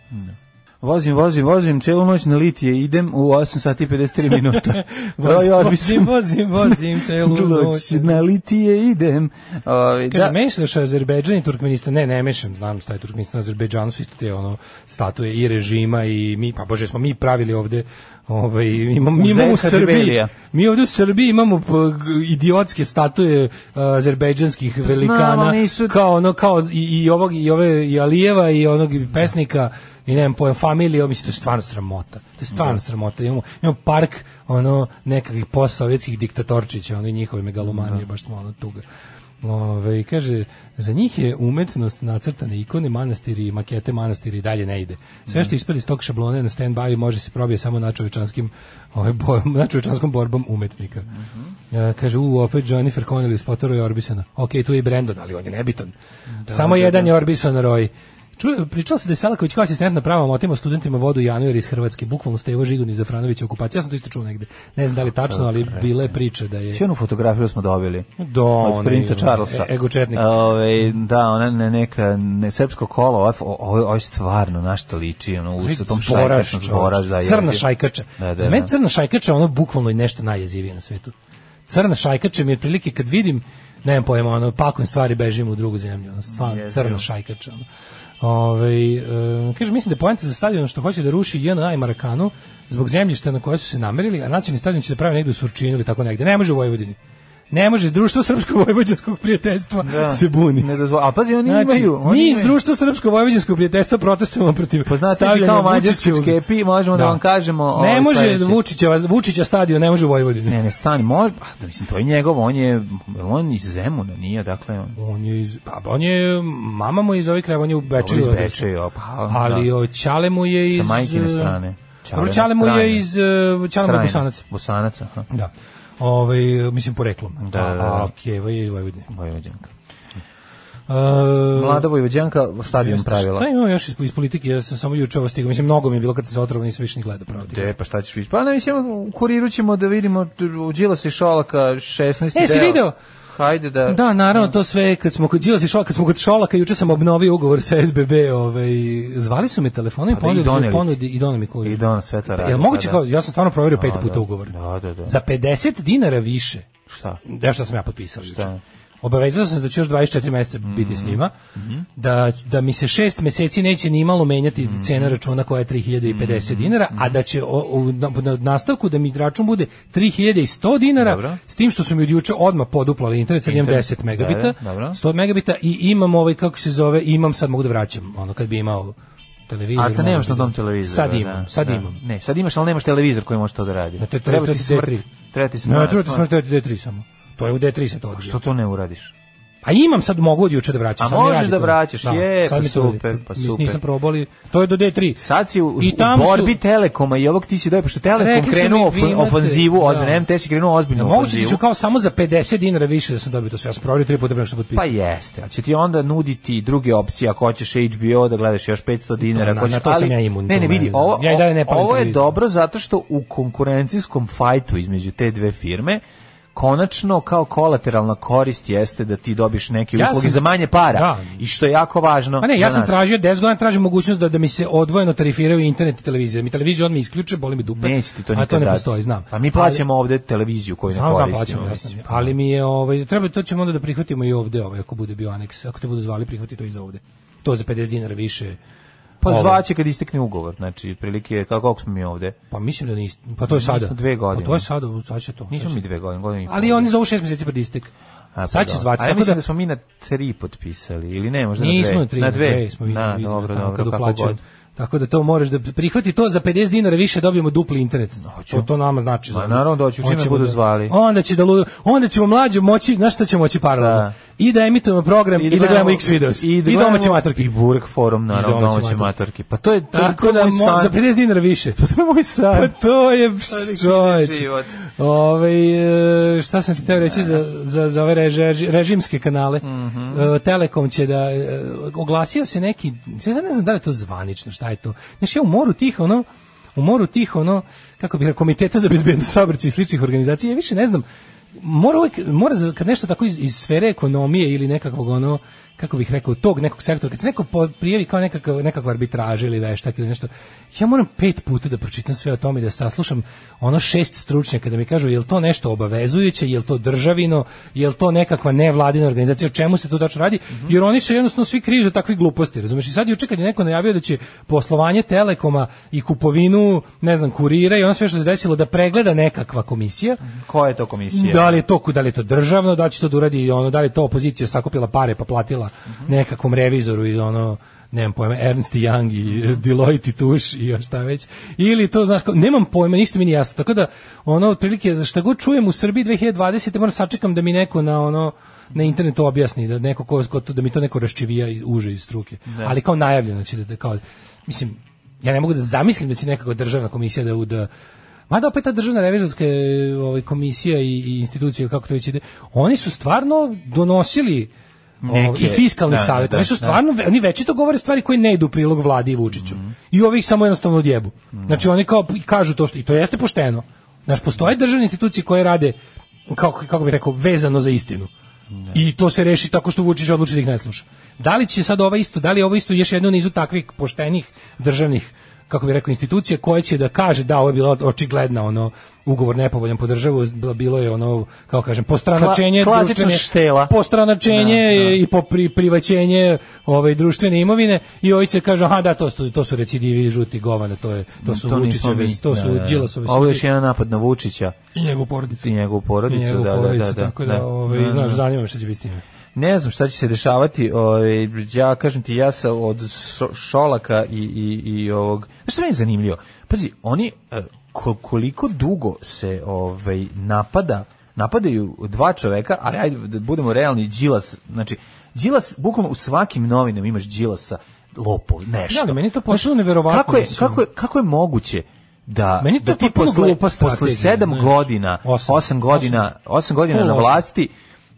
Speaker 6: Vozim, vozim, vozim, celu noć na litije idem u 8 sati i 53
Speaker 7: [LAUGHS]
Speaker 6: minuta. Broj
Speaker 7: vozim,
Speaker 6: odbisan.
Speaker 7: vozim,
Speaker 6: [LAUGHS]
Speaker 7: vozim, celu noć.
Speaker 6: Na litije idem. Ove,
Speaker 7: Kaže,
Speaker 6: da,
Speaker 7: da. mešaš Azerbejdžan i Turkmenistan. Ne, ne mešam, znam šta je Turkmenistan. Azerbejdžanu su isto te ono, statue i režima i mi, pa bože, smo mi pravili ovde ovaj, imamo, mi
Speaker 6: Muzej
Speaker 7: imamo u Srbiji,
Speaker 6: Hadžiberija.
Speaker 7: mi ovde u Srbiji imamo p- g- idiotske statue uh, azerbejdžanskih velikana,
Speaker 6: Pa ali nisu-
Speaker 7: kao ono, kao i, i ovog, i ove, i Alijeva, i onog pesnika, i nemam pojem, familije, mislim, to je stvarno sramota. To je stvarno sramota. Imamo, imamo park, ono, nekakvih postsovjetskih diktatorčića, ono, i njihove megalomanije, baš smo, ono, tuga. Ove, kaže, za njih je umetnost nacrtane ikone, manastiri i makete manastiri i dalje ne ide. Sve što ispred iz tog šablona je na stand-by može se probije samo na čovečanskim, ovaj, bo, [LAUGHS] na čovečanskom borbom umetnika.
Speaker 6: Mhm.
Speaker 7: E, kaže, u, opet Jennifer Connelly iz Potoro i Orbisona. Ok, tu je i Brandon, ali on je nebitan. samo jedan je Orbison Roy. Ču, pričalo se da je Salaković kao asistent na pravom otima studentima vodu januar iz Hrvatske, bukvalno Stevo Žigon i Zafranović okupacija. Ja sam to isto čuo negde. Ne znam da li je tačno, ali bila je priča da je...
Speaker 6: Svi onu fotografiju smo dobili.
Speaker 7: Do,
Speaker 6: od
Speaker 7: onaj,
Speaker 6: princa Charlesa.
Speaker 7: e- egočetnik.
Speaker 6: Ove, da, ona ne, neka ne, srpsko kolo, ovaj, ovo- ovo ovo je stvarno na što liči, ono, u sa tom
Speaker 7: Zboraš,
Speaker 6: šajkačnom
Speaker 7: Ovaj
Speaker 6: zboraš.
Speaker 7: čovječe.
Speaker 6: Da, jezivo.
Speaker 7: crna šajkača.
Speaker 6: Da, da,
Speaker 7: Za mene
Speaker 6: da.
Speaker 7: crna šajkača je ono bukvalno i nešto najjezivije na svetu. Crna šajkača mi je otprilike kad vidim, nemam pojma, ono, pakujem stvari, bežim u drugu zemlju. Ono, stvarno, crna šajkača. Ono. Ove, e, kaže, mislim da je poenta za stadion što hoće da ruši JNA i Marakanu zbog zemljišta na koje su se namerili, a nacionalni stadion će da pravi negde u Surčinu ili tako negde. Ne može u Vojvodini. Ne može, društvo [LAUGHS] srpsko-vojvođanskog prijateljstva
Speaker 6: Da.
Speaker 7: se buni.
Speaker 6: Ne dozvo- a pazi, oni
Speaker 7: Znači,
Speaker 6: imaju... Oni
Speaker 7: mi iz
Speaker 6: imaju-
Speaker 7: Društva srpsko-vojvođanskog prijateljstva protestujemo protiv
Speaker 6: Poznate
Speaker 7: stavljanja
Speaker 6: znači, kao mađarski
Speaker 7: Vučićevog-
Speaker 6: kepi, možemo da, vam kažemo...
Speaker 7: Ne
Speaker 6: ovaj,
Speaker 7: može
Speaker 6: sledeće.
Speaker 7: Vučića, Vučića stadion, ne može u Vojvodini.
Speaker 6: Ne, ne, stani, može, a, da, mislim, to je njegov, on je, jel on iz Zemuna, nije, dakle, on,
Speaker 7: On je iz, pa on je, mama mu je iz ovih krajeva, on je u Bečeju.
Speaker 6: Ovo iz
Speaker 7: odnosno.
Speaker 6: Bečeja, pa,
Speaker 7: Ali
Speaker 6: da.
Speaker 7: o, Ćale mu je iz...
Speaker 6: sa majkine strane.
Speaker 7: Dobro, Ćale mu je
Speaker 6: Krajine.
Speaker 7: iz... e, Ćale mu je
Speaker 6: Krajine.
Speaker 7: Bosanac.
Speaker 6: Bosanac, aha,
Speaker 7: Da. Ove, mislim, poreklom.
Speaker 6: Da, da, da.
Speaker 7: A, a Keva je iz Vojvodine.
Speaker 6: Vojvođanka.
Speaker 7: E,
Speaker 6: Mlada Vojvođanka, stadion
Speaker 7: Jeste,
Speaker 6: pravila.
Speaker 7: Šta imamo još iz, iz politike? Ja sam samo juče ovo stigao. Mislim, mnogo mi je bilo kad sam se otrovao, nisam više ni gledao pravo.
Speaker 6: De, pa šta ćeš vidjeti? Pa ne, mislim, u kuriru ćemo da vidimo u Đilasa i Šolaka 16.
Speaker 7: E, si
Speaker 6: deo.
Speaker 7: video?
Speaker 6: Hajde da...
Speaker 7: Da, naravno, to sve kad smo kod Đilasa i Šolaka, kad smo kod Šolaka, juče sam obnovio ugovor sa SBB, ovaj zvali su me telefonom i
Speaker 6: Pa i
Speaker 7: ponudili su
Speaker 6: doneli ti.
Speaker 7: ponudi i doneli mi kurir.
Speaker 6: I don sve to radi.
Speaker 7: Jel moguće
Speaker 6: pa
Speaker 7: kao ja sam stvarno proverio pet
Speaker 6: Da,
Speaker 7: puta
Speaker 6: da.
Speaker 7: ugovor.
Speaker 6: Da, da, da.
Speaker 7: Za 50 dinara više.
Speaker 6: Šta?
Speaker 7: Da što sam ja potpisao juče. Obavezao sam se da ću još 24 meseca biti
Speaker 6: Mhm,
Speaker 7: s njima, da, da mi se 6 meseci neće ni malo menjati
Speaker 6: Mhm.
Speaker 7: cena računa koja je 3050 dinara, a da će o- u, na, na nastavku da mi račun bude 3100 dinara,
Speaker 6: Dobro.
Speaker 7: s tim što su mi od juče odmah poduplali internet, sad imam
Speaker 6: Internet,
Speaker 7: 10 megabita,
Speaker 6: da, dobro.
Speaker 7: 100 megabita i imam ovaj, kako se zove, imam sad mogu da vraćam, ono kad bi imao televizor.
Speaker 6: A te
Speaker 7: možda
Speaker 6: nemaš
Speaker 7: bi
Speaker 6: na
Speaker 7: da-
Speaker 6: tom televizoru.
Speaker 7: Sad
Speaker 6: da,
Speaker 7: imam, sad
Speaker 6: da.
Speaker 7: imam.
Speaker 6: Ne, sad imaš, ali nemaš televizor koji može to da radi.
Speaker 7: Na te-
Speaker 6: Treba ti
Speaker 7: te- te-
Speaker 6: smrt.
Speaker 7: te-
Speaker 6: Treba ti smrt.
Speaker 7: Ne, treba ti smrtati D3 samo. To je u D3 se to odbija.
Speaker 6: Što to ne uradiš?
Speaker 7: Pa imam sad mogu od juče da vraćam.
Speaker 6: A
Speaker 7: sad mi
Speaker 6: možeš
Speaker 7: radi
Speaker 6: da
Speaker 7: to.
Speaker 6: vraćaš, je,
Speaker 7: sad
Speaker 6: pa
Speaker 7: mi to radi.
Speaker 6: super, pa
Speaker 7: Nis-
Speaker 6: super.
Speaker 7: Nisam probao, ali to je do D3.
Speaker 6: Sad si u, u
Speaker 7: I tamo su-
Speaker 6: borbi Telekoma i ovog ti si dobio, pošto Telekom
Speaker 7: Rekli su
Speaker 6: krenuo
Speaker 7: mi, vi
Speaker 6: ofo-
Speaker 7: imate-
Speaker 6: ofanzivu,
Speaker 7: da.
Speaker 6: ozbiljno, MTS je krenuo
Speaker 7: Ja,
Speaker 6: ozbiljno
Speaker 7: moguće da
Speaker 6: ofanzivu.
Speaker 7: ću kao samo za 50 dinara više da sam dobio to sve. Ja sam provjerio tri puta pre nego što potpisao.
Speaker 6: Pa jeste, ali će ti onda nuditi druge opcije, ako hoćeš HBO da gledaš još 500 dinara,
Speaker 7: na-
Speaker 6: ako hoćeš,
Speaker 7: na to sam ja imun,
Speaker 6: ne,
Speaker 7: to
Speaker 6: ne,
Speaker 7: me
Speaker 6: vidi,
Speaker 7: ne znam.
Speaker 6: ovo,
Speaker 7: Ja i dalje ne palim
Speaker 6: ovo je
Speaker 7: televizor.
Speaker 6: dobro zato što u konkurencijskom fajtu između te dve firme, konačno kao kolateralna korist jeste da ti dobiš neke
Speaker 7: Ja
Speaker 6: usluge
Speaker 7: sam-
Speaker 6: za manje para
Speaker 7: Da.
Speaker 6: i što je jako važno
Speaker 7: Pa ne, ja
Speaker 6: za
Speaker 7: sam
Speaker 6: nas.
Speaker 7: tražio 10 godina tražim mogućnost da da mi se odvojeno tarifiraju internet i televizija. Mi televiziju odmah isključe, boli me dupe.
Speaker 6: Neće ti to
Speaker 7: A
Speaker 6: nikad
Speaker 7: to ne
Speaker 6: dati.
Speaker 7: postoji, znam.
Speaker 6: Pa mi plaćamo ovde televiziju koju ne
Speaker 7: Znam, znam,
Speaker 6: koristimo.
Speaker 7: plaćamo, jasno
Speaker 6: mislim. Pa
Speaker 7: mi je. Ali mi je, ovaj, treba, to ćemo onda da prihvatimo i ovde, ovaj, ako bude bio aneks. Ako te budu zvali, prihvati to i za ovde. To za 50 dinara više.
Speaker 6: Pa
Speaker 7: Ovaj.
Speaker 6: zvaće kad istekne ugovor, znači, prilike, kako koliko smo mi ovde?
Speaker 7: Pa mislim da niste. Pa to je sada.
Speaker 6: smo dve godine.
Speaker 7: Pa to je sada, sad će to.
Speaker 6: Nismo
Speaker 7: sad
Speaker 6: mi
Speaker 7: će-
Speaker 6: dve godine, godine i pol.
Speaker 7: Ali oni zovu šest mjeseci pred istek.
Speaker 6: A, pa
Speaker 7: sad će
Speaker 6: da.
Speaker 7: zvati.
Speaker 6: A ja
Speaker 7: Tako
Speaker 6: mislim
Speaker 7: da,
Speaker 6: da smo mi na tri potpisali, ili ne, možda
Speaker 7: nismo
Speaker 6: na
Speaker 7: na
Speaker 6: dve.
Speaker 7: tri, na dve, smo vidjeli.
Speaker 6: Na,
Speaker 7: vidjeli,
Speaker 6: dobro,
Speaker 7: tamo
Speaker 6: dobro,
Speaker 7: kad
Speaker 6: kako
Speaker 7: uplaćujem.
Speaker 6: god.
Speaker 7: Tako da to moraš da prihvati to za 50 dinara više dobijemo dupli internet.
Speaker 6: Hoću.
Speaker 7: To, to nama znači.
Speaker 6: Ma,
Speaker 7: za-
Speaker 6: naravno da hoću, čim me
Speaker 7: Hoćemo
Speaker 6: budu
Speaker 7: da-
Speaker 6: zvali.
Speaker 7: Onda će da ludo, onda ćemo mlađe moći, znaš šta ćemo moći paralelno?
Speaker 6: Da.
Speaker 7: I da emitujemo program i da, gledamo X videos i,
Speaker 6: gledamo-
Speaker 7: domaće matorke.
Speaker 6: I Burg forum, naravno,
Speaker 7: I domaće
Speaker 6: domaće
Speaker 7: matorke.
Speaker 6: matorke. Pa to je to, to
Speaker 7: Tako
Speaker 6: je
Speaker 7: da
Speaker 6: moj
Speaker 7: mo-
Speaker 6: san.
Speaker 7: za 50 dinara
Speaker 6: [LAUGHS]
Speaker 7: više.
Speaker 6: To je moj
Speaker 7: Pa
Speaker 6: san.
Speaker 7: to je
Speaker 6: neki
Speaker 7: čovječ.
Speaker 6: život.
Speaker 7: Ove, e, šta sam ti teo reći za, za, za ove reži- režimske kanale? E, Telekom će da... e, Oglasio se neki... Ja sad ne znam da li je to zvanično, šta je to. Znaš, ja u moru tih, ono, u moru tih, ono, kako bih rekao, komiteta za bezbednost saobraćaja i sličnih organizacija, ja više ne znam, mora uvek, mora za- kad nešto tako iz, iz sfere ekonomije ili nekakvog ono, kako bih rekao, tog nekog sektora, kad se neko po- prijavi kao nekakav, nekakva arbitraža ili veštak ili nešto, ja moram pet puta da pročitam sve o tome i da saslušam ono šest stručnjaka da mi kažu je li to nešto obavezujuće, je li to državino, je li to nekakva nevladina organizacija, o čemu se tu tačno radi, jer oni se jednostavno svi kriju za takve gluposti, razumeš? I sad juče kad je neko najavio da će poslovanje Telekoma i kupovinu, ne znam, kurira i ono sve što se desilo da pregleda nekakva komisija,
Speaker 6: Koja je to komisija?
Speaker 7: da li je to da li je to državno, da li će to da uradi ono, da li je to opozicija sakupila pare pa platila nekakvom revizoru iz ono nemam pojma, Ernst i Young i e, Deloitte i Tuš i još šta već. Ili to, znaš, kao, nemam pojma, ništa mi nije jasno. Tako da, ono, otprilike, za šta god čujem u Srbiji 2020. moram sačekam da mi neko na, ono, na internetu objasni, da neko ko, ko to, da mi to neko raščivija i uže iz struke. Ali kao najavljeno, znači, da, da kao, mislim, ja ne mogu da zamislim da će nekako državna komisija da, u- da Mada opet ta državna revizorska e, ovaj, komisija i, i institucija, ili kako to već ide, oni su stvarno donosili
Speaker 6: Neki-
Speaker 7: i fiskalni
Speaker 6: da,
Speaker 7: savjet.
Speaker 6: da,
Speaker 7: oni su
Speaker 6: da.
Speaker 7: stvarno, oni večito govore stvari koje ne idu u prilog vladi i Vučiću. I ovih samo jednostavno odjebu. Znači oni kao kažu to što, i to jeste pošteno. Znaš, postoje državne institucije koje rade, kako, kako bih rekao, vezano za istinu. I to se reši tako što Vučić odluči da ih ne sluša. Da li će sad ovo isto, da li je ovo isto još jedno u nizu takvih poštenih državnih kako bi rekao institucije koje će da kaže da ovo je bila očigledna ono ugovor nepovoljan po državu bilo je ono kako kažem postranačenje
Speaker 6: Kla- klasično
Speaker 7: društvene-
Speaker 6: štela.
Speaker 7: postranačenje
Speaker 6: Da, da.
Speaker 7: i po pri, privaćenje ovaj društvene imovine i ovi se kaže aha da to su to su recidivi žuti govana to je to su
Speaker 6: To nismo
Speaker 7: Vučićevi
Speaker 6: mi.
Speaker 7: to
Speaker 6: Da,
Speaker 7: su
Speaker 6: da, da.
Speaker 7: Đilasovi
Speaker 6: Ovo je
Speaker 7: svi-
Speaker 6: još jedan napad na Vučića
Speaker 7: i njegovu porodicu
Speaker 6: i njegovu porodicu.
Speaker 7: I njegovu
Speaker 6: da, da,
Speaker 7: porodicu,
Speaker 6: da, da,
Speaker 7: tako da,
Speaker 6: da.
Speaker 7: ovaj,
Speaker 6: Da,
Speaker 7: znaš,
Speaker 6: da.
Speaker 7: zanima me šta će biti s time.
Speaker 6: Ne znam šta će se dešavati, ovaj, ja kažem ti, ja sam od Šo- Šolaka i, i, i ovog... Znaš što meni je zanimljivo? Pazi, oni e, ko- koliko dugo se ovaj, napada, napadaju dva čoveka, ali ajde da budemo realni, Đilas, znači, Đilas, bukvalno u svakim novinom imaš Đilasa, lopov, nešto.
Speaker 7: Da, ali meni je to potpuno neverovatno,
Speaker 6: Kako je,
Speaker 7: mislim.
Speaker 6: kako je, kako je moguće da,
Speaker 7: Meni je to
Speaker 6: da ti
Speaker 7: potpuno
Speaker 6: posle,
Speaker 7: glupa
Speaker 6: posle
Speaker 7: strategija,
Speaker 6: sedam
Speaker 7: znaš.
Speaker 6: godina,
Speaker 7: Osam.
Speaker 6: osam, godina,
Speaker 7: Osam.
Speaker 6: osam godina
Speaker 7: Full
Speaker 6: na
Speaker 7: osam.
Speaker 6: vlasti,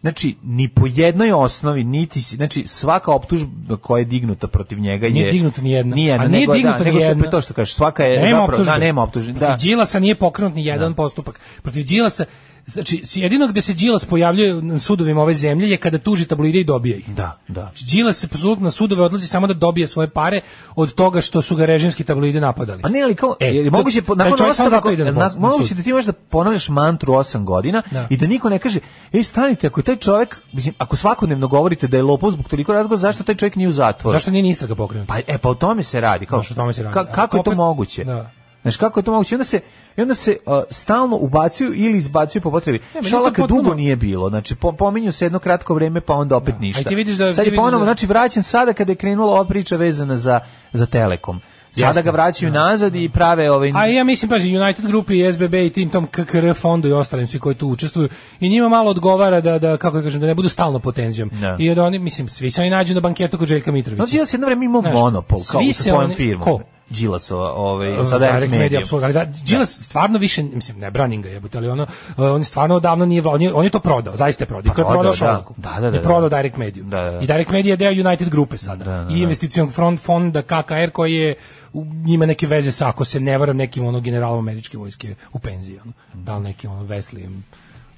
Speaker 6: znači, ni po jednoj osnovi, niti, si- znači, svaka optužba koja je dignuta protiv njega je...
Speaker 7: Nije dignuta ni jedna.
Speaker 6: Nijedna,
Speaker 7: A nije
Speaker 6: nego,
Speaker 7: dignuta
Speaker 6: da,
Speaker 7: ni
Speaker 6: nego su
Speaker 7: jedna.
Speaker 6: opet to što kažeš, svaka je
Speaker 7: nema
Speaker 6: zapravo...
Speaker 7: optužbe.
Speaker 6: Da,
Speaker 7: Pa
Speaker 6: nema optužbe. Da.
Speaker 7: Protiv Đilasa nije pokrenut ni jedan postupak. Protiv Đilasa Znači, jedino gde se Đilas pojavljuje na sudovima ove zemlje je kada tuži tabloide i dobije ih.
Speaker 6: Da, da.
Speaker 7: Znači, Đilas se apsolutno na sudove odlazi samo da dobije svoje pare od toga što su ga režimski tabloidi napadali.
Speaker 6: Pa ne, ali kao,
Speaker 7: E,
Speaker 6: jer je
Speaker 7: to-
Speaker 6: moguće, po-
Speaker 7: taj
Speaker 6: nakon
Speaker 7: čovjek samo
Speaker 6: osam,
Speaker 7: zato ide na
Speaker 6: na-
Speaker 7: posao, na
Speaker 6: moguće
Speaker 7: sud.
Speaker 6: da ti možeš da ponavljaš mantru osam godina
Speaker 7: Da.
Speaker 6: i da niko ne kaže, ej, stanite, ako je taj čovjek, mislim, ako svakodnevno govorite da je lopov zbog toliko razgleda, zašto taj čovjek nije u zatvoru?
Speaker 7: Zašto nije ni istraga pokrenuta?
Speaker 6: Pa e pa o tome se radi, kao
Speaker 7: Znaš, o tome se radi.
Speaker 6: Ka-
Speaker 7: Ali
Speaker 6: kako je to
Speaker 7: opet-
Speaker 6: moguće?
Speaker 7: Da.
Speaker 6: Znaš, kako je to moguće? I onda se, i onda se uh, stalno ubacuju ili izbacuju po potrebi.
Speaker 7: meni je to
Speaker 6: Šolaka
Speaker 7: potpuno-
Speaker 6: dugo nije bilo. Znači, po, pominju se jedno kratko vreme, pa onda opet ništa.
Speaker 7: A i ti vidiš da-
Speaker 6: Sad
Speaker 7: ti
Speaker 6: je
Speaker 7: vidiš
Speaker 6: ponovo,
Speaker 7: da-
Speaker 6: znači, vraćan sada kada je krenula ova priča vezana za, za Telekom. Sada
Speaker 7: Jasno.
Speaker 6: ga vraćaju nazad i prave ovaj...
Speaker 7: A ja mislim, paži, United Group i SBB i tim tom KKR fondu i ostalim svi koji tu učestvuju i njima malo odgovara da, da kako da kažem, da ne budu stalno pod tenzijom.
Speaker 6: Da.
Speaker 7: I da oni, mislim, svi se oni nađu na banketu kod Željka Mitrovića.
Speaker 6: Znači, Đilas je jedno vreme imao
Speaker 7: Znaš,
Speaker 6: monopol, kao
Speaker 7: svi
Speaker 6: sa
Speaker 7: se
Speaker 6: svojom
Speaker 7: oni-
Speaker 6: firmom.
Speaker 7: ko?
Speaker 6: Đilasova, ovaj,
Speaker 7: Uh,
Speaker 6: sada je
Speaker 7: Direct Media,
Speaker 6: medijom.
Speaker 7: apsolutno. Ali da, Đilas stvarno više, mislim, ne branim ga jebote, ali ono, uh, on stvarno odavno nije vla, on je, on je to prodao, zaista je prodao. I to je
Speaker 6: Prodao,
Speaker 7: prodao
Speaker 6: Pa, da.
Speaker 7: Šolaku.
Speaker 6: Da, da, da,
Speaker 7: I prodao
Speaker 6: da.
Speaker 7: Direct Media.
Speaker 6: Da, da, da.
Speaker 7: I Direct Media je deo United grupe sada. I investicijon front fonda KKR koji je u- ima neke veze sa, ako se ne varam, nekim ono generalom američke vojske u penziji. Ono. Da li nekim ono Wesleyem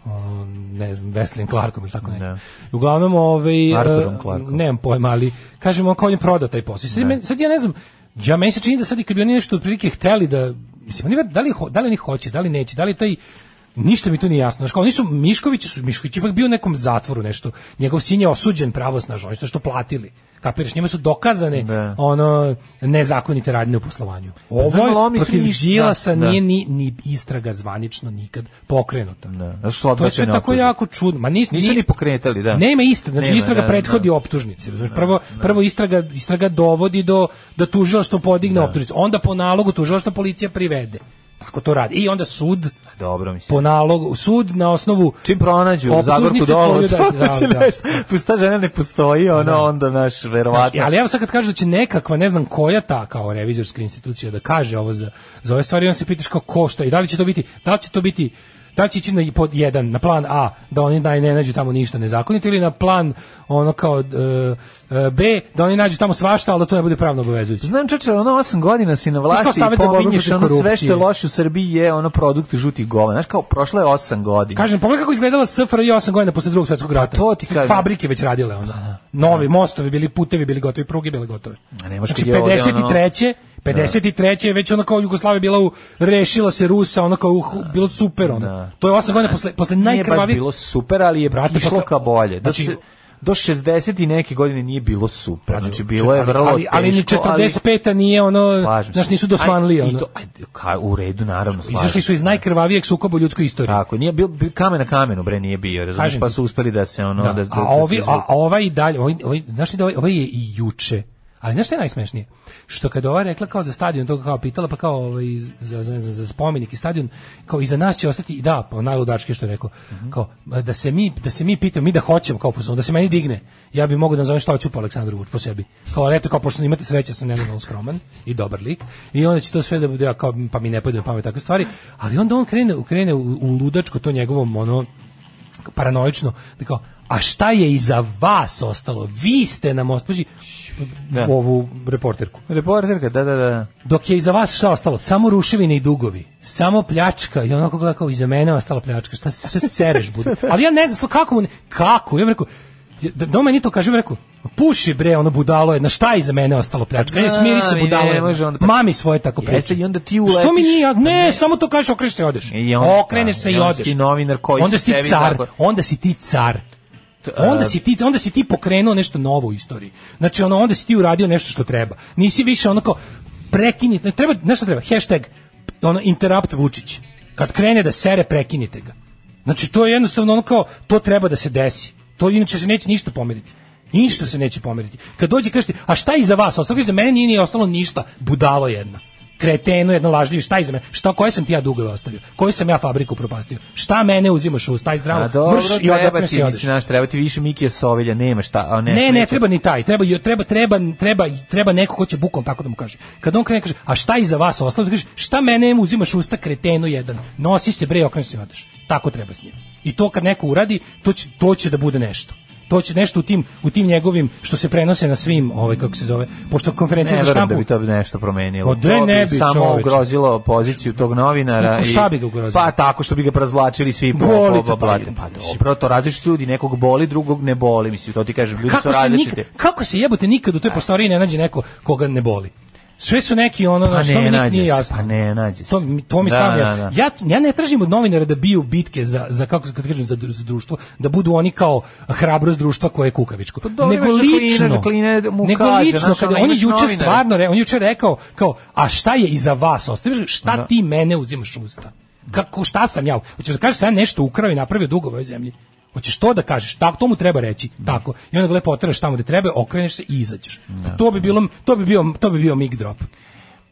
Speaker 7: ono, ne znam, Wesleyem Clarkom ili tako neko. Uglavnom, ovaj,
Speaker 6: Arturom
Speaker 7: e,
Speaker 6: Clarkom.
Speaker 7: nemam pojma, ali kažem, on kao on je proda taj posao. I Sad, meni- sad ja ne znam, ja meni se čini da sad i kad bi oni nešto otprilike hteli da, mislim, oni ver- da li, ho- da li oni hoće, da li neće, da li taj, ništa mi tu nije jasno. Znaš, kao oni su, Mišković su, Mišković je ipak bio u nekom zatvoru nešto, njegov sin je osuđen pravosnažno, oni su što platili. Kapiraš, njima su dokazane
Speaker 6: Da.
Speaker 7: ono nezakonite radnje u poslovanju.
Speaker 6: znam, ali
Speaker 7: Ovo
Speaker 6: oni
Speaker 7: je
Speaker 6: su
Speaker 7: protiv
Speaker 6: ništa-
Speaker 7: Đilasa
Speaker 6: da.
Speaker 7: nije ni, ni istraga zvanično nikad pokrenuta.
Speaker 6: Da. Znaš, su
Speaker 7: To je sve
Speaker 6: odbačene
Speaker 7: tako
Speaker 6: optužbe.
Speaker 7: jako čudno. Ma nis,
Speaker 6: Nisu
Speaker 7: ni-
Speaker 6: ni pokretali, da.
Speaker 7: Nema istraga, znači
Speaker 6: Nema,
Speaker 7: istraga
Speaker 6: da,
Speaker 7: prethodi
Speaker 6: da.
Speaker 7: optužnici, razumeš? Prvo prvo istraga istraga dovodi do da tužilaštvo podigne optužnicu, onda po nalogu tužilaštva policija privede. Tako to radi. I onda sud
Speaker 6: Dobro, mislim.
Speaker 7: po nalogu sud na osnovu
Speaker 6: Čim pronađu
Speaker 7: Optužnice
Speaker 6: Zagorku Dolovac,
Speaker 7: koju da- da,
Speaker 6: [LAUGHS] hoće
Speaker 7: da.
Speaker 6: nešto. Pošto ta žena ne postoji, ono onda naš verovatno.
Speaker 7: Ali evo sad kad kažu da će nekakva, ne znam koja ta kao revizorska institucija da kaže ovo za, za ove stvari, on se pitaš kao ko šta i da li će to biti, da li će to biti da li će ići na pod jedan, na plan A, da oni naj ne nađu tamo ništa nezakonito ili na plan ono kao e, e, B, da oni nađu tamo svašta, ali da to ne bude pravno obavezujuće.
Speaker 6: Znam čoče, ono 8 godina si na
Speaker 7: Znaš
Speaker 6: vlasti
Speaker 7: kao Savjet
Speaker 6: i
Speaker 7: za borbu
Speaker 6: pominješ
Speaker 7: protiv
Speaker 6: ono sve što
Speaker 7: korupcije.
Speaker 6: je loše u Srbiji je ono produkt žutih govana. Znaš kao, prošlo je 8 godina.
Speaker 7: Kažem, pogledaj kako izgledala SFRJ 8 godina posle drugog svetskog rata.
Speaker 6: Pa to ti kažem.
Speaker 7: Fabrike već radile onda. Novi mostovi bili, putevi bili gotovi, pruge bile gotove.
Speaker 6: A ne možeš
Speaker 7: Znači
Speaker 6: kad je ovdje ono-
Speaker 7: 53. 53. je već ono kao Jugoslavija bila u, rešila se Rusa, ono kao uh, bilo super ono. To je 8 godina posle, posle
Speaker 6: Nije baš
Speaker 7: najkrvavije.
Speaker 6: bilo super, ali je
Speaker 7: Brate,
Speaker 6: išlo
Speaker 7: posle-
Speaker 6: ka bolje. Da
Speaker 7: znači-
Speaker 6: se, do 60 i neke godine nije bilo super. Znači, bilo je
Speaker 7: Ali-
Speaker 6: vrlo
Speaker 7: ali, ali,
Speaker 6: teško,
Speaker 7: ni 45. nije ono,
Speaker 6: Slažem
Speaker 7: znaš,
Speaker 6: se.
Speaker 7: nisu dosmanlije.
Speaker 6: Aj, i
Speaker 7: Ono.
Speaker 6: to, aj, ka, u redu, naravno, slažem
Speaker 7: Izašli su iz
Speaker 6: se.
Speaker 7: najkrvavijeg sukoba u ljudskoj istoriji.
Speaker 6: Tako, nije bio bi- kamen na kamenu, bre, nije bio, razumiješ,
Speaker 7: Kažem
Speaker 6: pa
Speaker 7: ti.
Speaker 6: su uspeli da se ono, da, da, da,
Speaker 7: a ovi,
Speaker 6: se
Speaker 7: a,
Speaker 6: izvuku.
Speaker 7: a ovaj i dalje, ovaj, ovaj, znaš li da ovaj, ovaj je i juče, ali znaš šta je najsmešnije? Što kada ova rekla kao za stadion, to kao pitala, pa kao ovaj, za, za, za, za spomenik i stadion, kao i za nas će ostati, i da, pa najludački što je rekao,
Speaker 6: Mhm.
Speaker 7: kao, ma, da se mi, da se mi pitamo, mi da hoćemo, kao fuzon, da se meni digne, ja bi mogao da nazovem šta hoću po Aleksandru Vuč po sebi. Kao, ali eto, kao, pošto imate sreće, ja sam nenormalno skroman i dobar lik, i onda će to sve da bude, ja kao, pa mi ne pojde na pamet takve stvari, ali onda on krene, krene u, u ludačko to njegovom, ono, paranoično, da kao, a šta je iza vas ostalo? Vi ste nam ospođi
Speaker 6: Da.
Speaker 7: ovu reporterku.
Speaker 6: Reporterka, da, da, da.
Speaker 7: Dok je iza vas šta ostalo? Samo ruševine i dugovi. Samo pljačka. I onako gleda kao iza mene je ostala pljačka. Šta, se- šta se sereš
Speaker 6: [LAUGHS]
Speaker 7: bude? Ali ja ne znam stvarno kako mu ne- Kako? Ja bih rekao, ja- da, da on meni to kaže, ja bih rekao, "Ma puši bre, ono budalo je, na šta je iza mene ostalo pljačka?
Speaker 6: Da,
Speaker 7: Ja, smiri se
Speaker 6: mi
Speaker 7: budalo
Speaker 6: ne
Speaker 7: je.
Speaker 6: može onda- pa-
Speaker 7: Mami svoje tako
Speaker 6: Jeste,
Speaker 7: priča.
Speaker 6: i onda ti
Speaker 7: Što mi
Speaker 6: uletiš- pa
Speaker 7: nije, ne, samo to kažeš, okreneš se i odeš.
Speaker 6: I onda-
Speaker 7: okreneš se
Speaker 6: i
Speaker 7: i,
Speaker 6: onda si
Speaker 7: odeš.
Speaker 6: ti novinar koji
Speaker 7: onda
Speaker 6: se
Speaker 7: si ti
Speaker 6: sebi
Speaker 7: car,
Speaker 6: tako-
Speaker 7: onda si ti car. Onda si ti onda si ti pokrenuo nešto novo u istoriji. Znači ono onda si ti uradio nešto što treba. Nisi više ono kao prekini, ne, treba nešto treba hashtag ono interrupt Vučić. Kad krene da sere prekinite ga. Znači to je jednostavno ono kao to treba da se desi. To inače se neće ništa pomeriti. Ništa se neće pomeriti. Kad dođe kažete, a šta je iza vas? Ostalo kažete, meni nije, nije ostalo ništa. Budalo jedna. Kreteno jedno lažljivo, šta iza mene? Šta, koje sam ti ja dugove ostavio? Koju sam ja fabriku propastio? Šta mene uzimaš u staj zdravo?
Speaker 6: A dobro,
Speaker 7: mrš i
Speaker 6: treba
Speaker 7: odakle
Speaker 6: ti,
Speaker 7: si
Speaker 6: mislim,
Speaker 7: odeš.
Speaker 6: znaš, treba ti više Mikija Sovelja, nema šta. A ne,
Speaker 7: Ne, ne
Speaker 6: neće.
Speaker 7: treba ni taj, treba treba treba treba treba neko ko će bukom tako da mu kaže. Kad on krene kaže, a šta iza vas ostalo? Kaže, šta mene uzimaš usta kreteno jedan. Nosi se bre, okreni se i odeš. Tako treba s njim. I to kad neko uradi, to će to će da bude nešto. To će nešto u tim u tim njegovim što se prenose na svim, ovaj kako se zove, pošto konferencija
Speaker 6: Ne
Speaker 7: za
Speaker 6: verujem
Speaker 7: štampu.
Speaker 6: da bi to nešto promenilo.
Speaker 7: Ma de,
Speaker 6: To
Speaker 7: ne bi,
Speaker 6: samo
Speaker 7: čoveče.
Speaker 6: ugrozilo poziciju tog novinara.
Speaker 7: Ma šta bi ga ugrozilo?
Speaker 6: Pa tako što bi ga razvlačili svi. po-
Speaker 7: Boli
Speaker 6: po-
Speaker 7: te,
Speaker 6: po-
Speaker 7: pa
Speaker 6: blate.
Speaker 7: idem.
Speaker 6: Pa dobro, to različiti ljudi, nekog boli, drugog ne boli. Mislim, to ti kažem, ljudi su
Speaker 7: kako se nikad,
Speaker 6: različiti. Pa
Speaker 7: kako se jebote nikad u toj prostoriji ne nađe neko koga ne boli. Sve su neki ono
Speaker 6: Pa
Speaker 7: na što
Speaker 6: ne,
Speaker 7: mi nikad
Speaker 6: nađe
Speaker 7: nije
Speaker 6: se,
Speaker 7: jasno.
Speaker 6: pa ne, nađe se.
Speaker 7: To, mi- to mi
Speaker 6: Da,
Speaker 7: stvarno
Speaker 6: da,
Speaker 7: jasno. Ja, ja ne tražim od novinara da biju bitke za, za kako se- kad kažem, za, dru- za društvo, da budu oni kao hrabrost društva koje je kukavičko.
Speaker 6: Pa dobro,
Speaker 7: nego
Speaker 6: imaš Žaklina,
Speaker 7: lično,
Speaker 6: Žaklina mu
Speaker 7: nego
Speaker 6: kaže,
Speaker 7: lično,
Speaker 6: znaš,
Speaker 7: kada
Speaker 6: ono,
Speaker 7: on je
Speaker 6: imaš
Speaker 7: juče
Speaker 6: novinare.
Speaker 7: stvarno, re- on je juče rekao kao, a šta je iza vas ostavio? Šta ti mene uzimaš u usta? Kako, šta sam ja? Hoćeš da kažeš da sam ja nešto ukrao i napravio dugo u ovoj zemlji? Hoćeš to da kažeš, tako to mu treba reći, tako. I onda ga lepo oteraš tamo gde treba, okreneš se i izađeš. To bi bilo, to bi bio, to bi bio mic drop.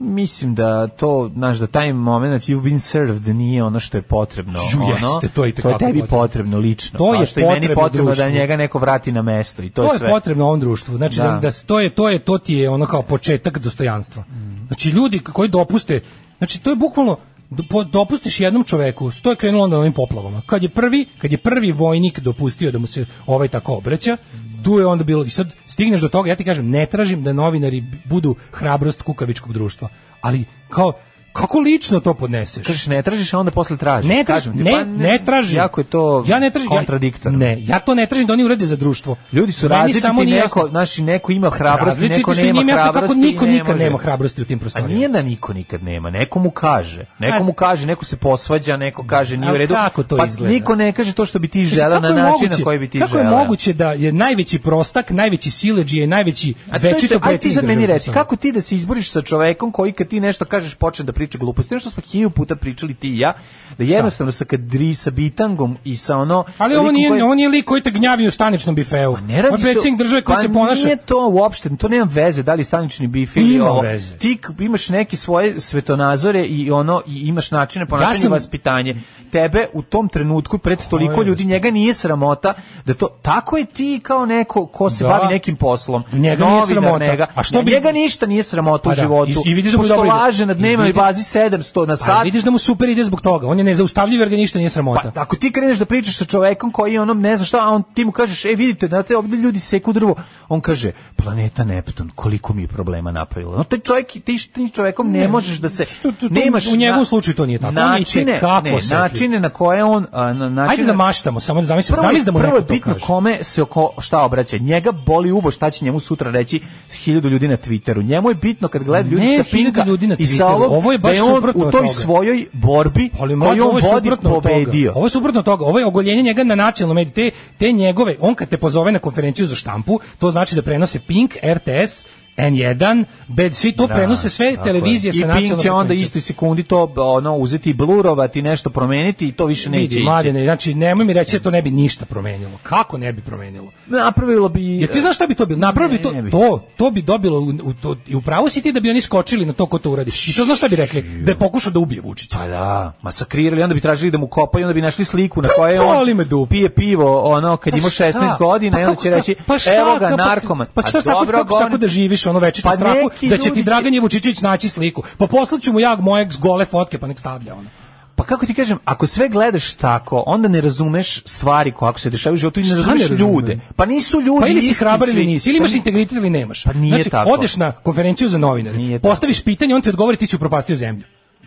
Speaker 6: Mislim da to, znaš, da taj moment you've been served nije ono što je potrebno.
Speaker 7: Ju,
Speaker 6: ono,
Speaker 7: jeste, to je itekako
Speaker 6: tebi
Speaker 7: potrebno.
Speaker 6: potrebno lično.
Speaker 7: To
Speaker 6: kao
Speaker 7: je
Speaker 6: što i meni
Speaker 7: potrebno
Speaker 6: potrebno da
Speaker 7: društvu.
Speaker 6: njega neko vrati na mesto i to,
Speaker 7: to
Speaker 6: je
Speaker 7: je
Speaker 6: sve.
Speaker 7: potrebno ovom društvu. Znači
Speaker 6: Da.
Speaker 7: da, da se- to je to je to ti je ono kao početak dostojanstva. Znači ljudi koji dopuste, znači to je bukvalno do- po- dopustiš jednom čoveku, sto je krenulo onda na ovim poplavama. Kad je prvi, kad je prvi vojnik dopustio da mu se ovaj tako obraća, tu je onda bilo i sad stigneš do toga, ja ti kažem, ne tražim da novinari budu hrabrost kukavičkog društva, ali kao kako lično to podneseš?
Speaker 6: Kažeš ne tražiš, a onda posle tražiš.
Speaker 7: Ne tražim,
Speaker 6: Kažem ti,
Speaker 7: ne,
Speaker 6: pa
Speaker 7: ne tražim.
Speaker 6: Jako je to
Speaker 7: ja ne tražim, ja-
Speaker 6: kontradiktorno.
Speaker 7: ne, ja to ne tražim da oni urade za društvo.
Speaker 6: Ljudi su
Speaker 7: Meni
Speaker 6: različiti,
Speaker 7: samo nije
Speaker 6: neko,
Speaker 7: jasno- Pa
Speaker 6: znači neko ima hrabrosti,
Speaker 7: Različiti
Speaker 6: neko
Speaker 7: su i
Speaker 6: nema
Speaker 7: njima jasno
Speaker 6: hrabrosti.
Speaker 7: kako niko
Speaker 6: i ne
Speaker 7: nikad
Speaker 6: može.
Speaker 7: nema hrabrosti u tim
Speaker 6: A
Speaker 7: prostorijama.
Speaker 6: nije da niko nikad nema, neko mu kaže, neko
Speaker 7: A-
Speaker 6: mu kaže, neko se posvađa, neko kaže nije u
Speaker 7: Ali
Speaker 6: redu.
Speaker 7: kako to
Speaker 6: pa
Speaker 7: izgleda?
Speaker 6: niko ne kaže to što bi ti
Speaker 7: Mislim,
Speaker 6: želeo na
Speaker 7: kako je
Speaker 6: način
Speaker 7: moguće-
Speaker 6: na koji bi ti
Speaker 7: Kako
Speaker 6: želeo.
Speaker 7: je moguće da je najveći prostak, najveći sileđija i najveći
Speaker 6: A
Speaker 7: večito
Speaker 6: čovječe, aj ti
Speaker 7: predsjednik
Speaker 6: sad meni
Speaker 7: države
Speaker 6: reci,
Speaker 7: Srbije?
Speaker 6: kako ti da se izboriš sa čovekom koji kad ti nešto kažeš počne da priča gluposti, nešto smo hiljadu puta pričali ti i ja, da jednostavno sa kadri, sa bitangom i sa ono...
Speaker 7: Ali ovo
Speaker 6: likom
Speaker 7: nije,
Speaker 6: koji-
Speaker 7: on nije lik koji te gnjavi u staničnom bifeu.
Speaker 6: Pa ne radi
Speaker 7: Ovo je
Speaker 6: se-
Speaker 7: predsjednik države koji
Speaker 6: pa
Speaker 7: se ponaša.
Speaker 6: Nije to uopšte, to nema veze, da li stanični bif ili
Speaker 7: Ima
Speaker 6: ovo.
Speaker 7: veze.
Speaker 6: Ti k- imaš neke svoje svetonazore i ono i imaš načine ponašanja
Speaker 7: Ja
Speaker 6: i
Speaker 7: sam-
Speaker 6: vaspitanje. Tebe u tom trenutku pred toliko
Speaker 7: je
Speaker 6: ljudi njega nije sramota da to tako je ti kao neko ko se
Speaker 7: Da.
Speaker 6: bavi nekim poslom.
Speaker 7: Njega nije
Speaker 6: novinar,
Speaker 7: sramota.
Speaker 6: njega-
Speaker 7: A što bi-
Speaker 6: njega ništa nije sramota u
Speaker 7: Pa da,
Speaker 6: životu.
Speaker 7: i- i vidiš da mu je
Speaker 6: pošto
Speaker 7: dobro ide.
Speaker 6: laže na
Speaker 7: I
Speaker 6: dnevnoj
Speaker 7: vidi-
Speaker 6: bazi 700 na
Speaker 7: Pa
Speaker 6: sat.
Speaker 7: vidiš da mu super ide zbog toga. On je nezaustavljiv jer ga ništa nije sramota.
Speaker 6: Pa, ako ti kreneš da pričaš sa čovekom koji je onom ne zna šta, a on ti mu kažeš, e vidite, znate, ovdje ljudi seku drvo. On kaže, planeta Neptun, koliko mi je problema napravila. No, taj čovjek, ti s tim čovekom ne, možeš da se...
Speaker 7: Što- to- to-
Speaker 6: nemaš
Speaker 7: u njegovom
Speaker 6: na-
Speaker 7: slučaju to nije tako. On je
Speaker 6: Načine,
Speaker 7: itekako
Speaker 6: ne,
Speaker 7: osetljiv.
Speaker 6: načine na koje on... a, na, načine,
Speaker 7: Ajde da maštamo, samo da zamislim,
Speaker 6: znači Prvo,
Speaker 7: zamislim da mu
Speaker 6: prvo je
Speaker 7: neko to
Speaker 6: bitno
Speaker 7: kaže.
Speaker 6: kome se oko šta obraća. Njega boli uvo šta će njemu sutra reći hiljadu ljudi na Twitteru. Njemu je bitno kad gleda ljudi
Speaker 7: Ne,
Speaker 6: sa
Speaker 7: hiljadu
Speaker 6: Pinka
Speaker 7: ljudi na
Speaker 6: i sa
Speaker 7: Twitteru.
Speaker 6: ovog,
Speaker 7: Ovo je baš
Speaker 6: da je on
Speaker 7: suprotno
Speaker 6: u
Speaker 7: od
Speaker 6: toj
Speaker 7: toga.
Speaker 6: svojoj borbi
Speaker 7: Ali
Speaker 6: koju
Speaker 7: mlađe,
Speaker 6: Pa on
Speaker 7: ovo je
Speaker 6: vodi
Speaker 7: suprotno od toga.
Speaker 6: pobedio.
Speaker 7: Ovo je suprotno od toga. Ovo je ogoljenje njega na nacionalnom mediju. Te, te njegove, on kad te pozove na konferenciju za štampu, to znači da prenose Pink, RTS, N1, B, svi to prenose sve
Speaker 6: Tako je.
Speaker 7: televizije sa
Speaker 6: I Pink će
Speaker 7: nacionalnom
Speaker 6: onda
Speaker 7: frekvencijom.
Speaker 6: isti sekundi to ono uzeti i blurovati, nešto promeniti i to više neće
Speaker 7: Vidi,
Speaker 6: ići.
Speaker 7: mladene, znači nemoj mi reći da to ne bi ništa promenilo. Kako ne bi promenilo?
Speaker 6: Napravilo bi...
Speaker 7: Jer ti znaš šta bi to bilo? Napravili bi to,
Speaker 6: Ne, ne bi.
Speaker 7: to, to bi dobilo u, u to, i upravo si ti da bi oni skočili na to ko to uradi. I to znaš šta bi rekli? Da je pokušao da ubije Vučića.
Speaker 6: Pa da, masakrirali, onda bi tražili da mu kopaju, onda bi našli sliku na kojoj je
Speaker 7: boli Pa me
Speaker 6: on
Speaker 7: dupe.
Speaker 6: pije pivo, ono, kad
Speaker 7: Pa
Speaker 6: ima
Speaker 7: šta?
Speaker 6: 16 godina, i onda
Speaker 7: kako-
Speaker 6: će reći,
Speaker 7: pa šta,
Speaker 6: evo ga,
Speaker 7: kako-
Speaker 6: narkoman.
Speaker 7: Pa šta, šta tako,
Speaker 6: dobro,
Speaker 7: kako, tako
Speaker 6: Goran,
Speaker 7: da živiš ono večito
Speaker 6: Pa
Speaker 7: pa strahu,
Speaker 6: neki
Speaker 7: da će
Speaker 6: ljudi
Speaker 7: ti
Speaker 6: će-
Speaker 7: Dragan Jevučićević naći sliku. Pa poslaću mu ja moje gole fotke, pa nek stavlja ono.
Speaker 6: Pa kako ti kažem, ako sve gledaš tako, onda ne razumeš stvari kako se dešavaju u životu i ne
Speaker 7: Šta ne
Speaker 6: razumeš
Speaker 7: razumem?
Speaker 6: ljude. Pa nisu ljudi
Speaker 7: Pa ili si
Speaker 6: isti
Speaker 7: hrabar ili
Speaker 6: svi.
Speaker 7: nisi, ili
Speaker 6: Pa
Speaker 7: imaš
Speaker 6: ni-
Speaker 7: integritet ili nemaš.
Speaker 6: Pa nije
Speaker 7: znači,
Speaker 6: tako.
Speaker 7: odeš na konferenciju za novinare,
Speaker 6: Nije tako.
Speaker 7: postaviš pitanje, on ti odgovori, ti si upropastio zemlju.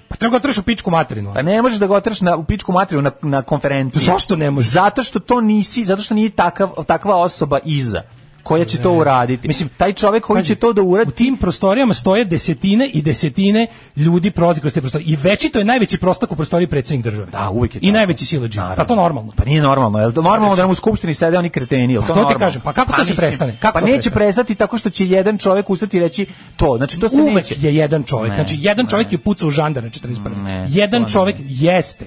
Speaker 7: Pa treba ga otraš u pičku materinu. ono.
Speaker 6: Pa ne možeš da ga otraš na u pičku materiju na, na konferenciji.
Speaker 7: Zašto ne možeš?
Speaker 6: Zato što to nisi, zato što nije takav, takva osoba iza koja će to uraditi. Mislim, taj čovjek koji
Speaker 7: Pazi,
Speaker 6: će to da uradi,
Speaker 7: U tim prostorijama stoje desetine i desetine ljudi prolazi kroz te prostorije. I večito je najveći prostak u prostoriji predsjednik države.
Speaker 6: Da, uvijek je
Speaker 7: I
Speaker 6: tako.
Speaker 7: najveći silađi.
Speaker 6: Naravno.
Speaker 7: Pa to normalno. Znači-
Speaker 6: Pa nije normalno, jel? Normalno da nam u skupštini sede oni kreteni, jel?
Speaker 7: Pa to ti
Speaker 6: normalno?
Speaker 7: kažem, pa kako to se
Speaker 6: mislim,
Speaker 7: prestane? Kako
Speaker 6: pa
Speaker 7: to
Speaker 6: neće
Speaker 7: prestane?
Speaker 6: prestati tako što će jedan čovjek ustati i reći to. Znači to se
Speaker 7: Uvek
Speaker 6: neće.
Speaker 7: je jedan čovjek.
Speaker 6: Ne,
Speaker 7: znači jedan
Speaker 6: ne.
Speaker 7: čovjek je pucao u žandar na 41.
Speaker 6: Ne,
Speaker 7: jedan
Speaker 6: to ne.
Speaker 7: čovjek jeste.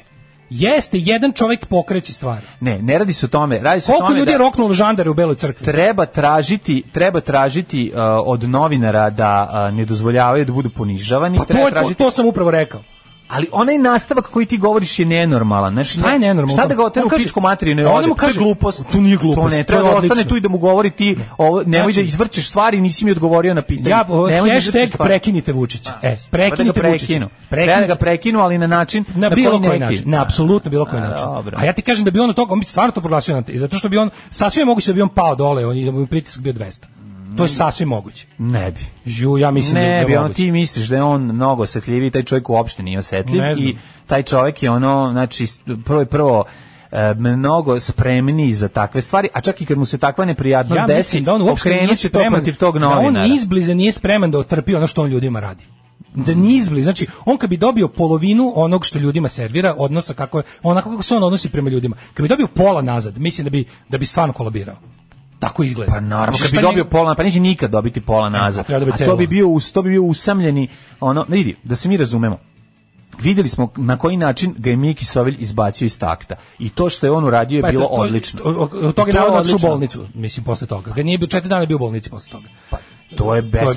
Speaker 7: Jeste, jedan čovjek pokreće stvari.
Speaker 6: Ne, ne radi se o tome. Radi se o
Speaker 7: Koliko
Speaker 6: tome
Speaker 7: ljudi je
Speaker 6: Znači, da
Speaker 7: roknulo žandare u Beloj crkvi?
Speaker 6: treba tražiti, treba tražiti uh, od novinara da uh, ne dozvoljavaju da budu ponižavani,
Speaker 7: Pa to,
Speaker 6: treba
Speaker 7: je, to,
Speaker 6: tražiti
Speaker 7: to sam upravo rekao.
Speaker 6: Ali onaj nastavak koji ti govoriš je nenormalan. Znači,
Speaker 7: Šta je nenormalno?
Speaker 6: Šta da ga otera
Speaker 7: On
Speaker 6: u
Speaker 7: kaže-
Speaker 6: pičku materiju ne
Speaker 7: A onda
Speaker 6: ode?
Speaker 7: mu
Speaker 6: To je
Speaker 7: kaže-
Speaker 6: glupost.
Speaker 7: To nije glupost,
Speaker 6: To
Speaker 7: to je
Speaker 6: ne treba da ostane
Speaker 7: odlično.
Speaker 6: tu i da mu govori ti, ovo, nemoj
Speaker 7: Znači-
Speaker 6: da izvrćeš stvari, nisi mi odgovorio na pitanje.
Speaker 7: Ja, o,
Speaker 6: Nemoj da izvrćeš
Speaker 7: hashtag
Speaker 6: stvari.
Speaker 7: prekinite Vučića. E,
Speaker 6: Pa, Treba da
Speaker 7: prekinite
Speaker 6: ga
Speaker 7: Vučića.
Speaker 6: prekinu. Treba da
Speaker 7: Prekinite
Speaker 6: ga prekinu, ali na način
Speaker 7: na bilo
Speaker 6: neki.
Speaker 7: koji način, na apsolutno bilo koji
Speaker 6: A,
Speaker 7: način.
Speaker 6: dobro.
Speaker 7: A ja ti kažem da bi on od toga, on bi stvarno to proglasio na te, zato što bi on sasvim je moguće da bi on pao dole, on i da mu bi pritisak bio 200. To je sasvim moguće.
Speaker 6: Ne bi.
Speaker 7: Ju, ja mislim da je
Speaker 6: Mm. Ne bi, ono
Speaker 7: moguće.
Speaker 6: ti misliš da je on mnogo osjetljiviji, taj čovjek uopšte nije osjetljiv
Speaker 7: Ne znam.
Speaker 6: i taj čovjek je ono, znači, prvo i prvo e, mnogo spremniji za takve stvari, a čak i kad mu se takva neprijatnost
Speaker 7: ja
Speaker 6: desi,
Speaker 7: mislim da on uopšte nije
Speaker 6: okrenut će to
Speaker 7: spreman,
Speaker 6: protiv tog
Speaker 7: Da
Speaker 6: novinara.
Speaker 7: on izbliza nije spreman da otrpi ono što on ljudima radi. Da ni izbliza, znači on kad bi dobio polovinu onog što ljudima servira, odnosa kako je, onako kako se on odnosi prema ljudima. Kad bi dobio pola nazad, mislim da bi da bi stvarno kolabirao. Tako izgleda.
Speaker 6: Pa naravno,
Speaker 7: Znači,
Speaker 6: kad
Speaker 7: šta
Speaker 6: bi
Speaker 7: njega-
Speaker 6: dobio pola, pa neće nikad dobiti pola nazad.
Speaker 7: treba dobiti
Speaker 6: A to
Speaker 7: celo.
Speaker 6: bi bio, us- to bi bio usamljeni, ono, ne vidi, da se mi razumemo. Vidjeli smo na koji način ga je Miki Sovelj izbacio iz takta. I to što je on uradio je
Speaker 7: Pa eto,
Speaker 6: bilo
Speaker 7: to-
Speaker 6: odlično.
Speaker 7: o- o- Od toga
Speaker 6: I to
Speaker 7: je
Speaker 6: je
Speaker 7: narod otišao u
Speaker 6: odlično.
Speaker 7: bolnicu, mislim, posle toga. Ga nije bio, četiri dana je bio u bolnici posle toga. Pa,
Speaker 6: To je besmislica.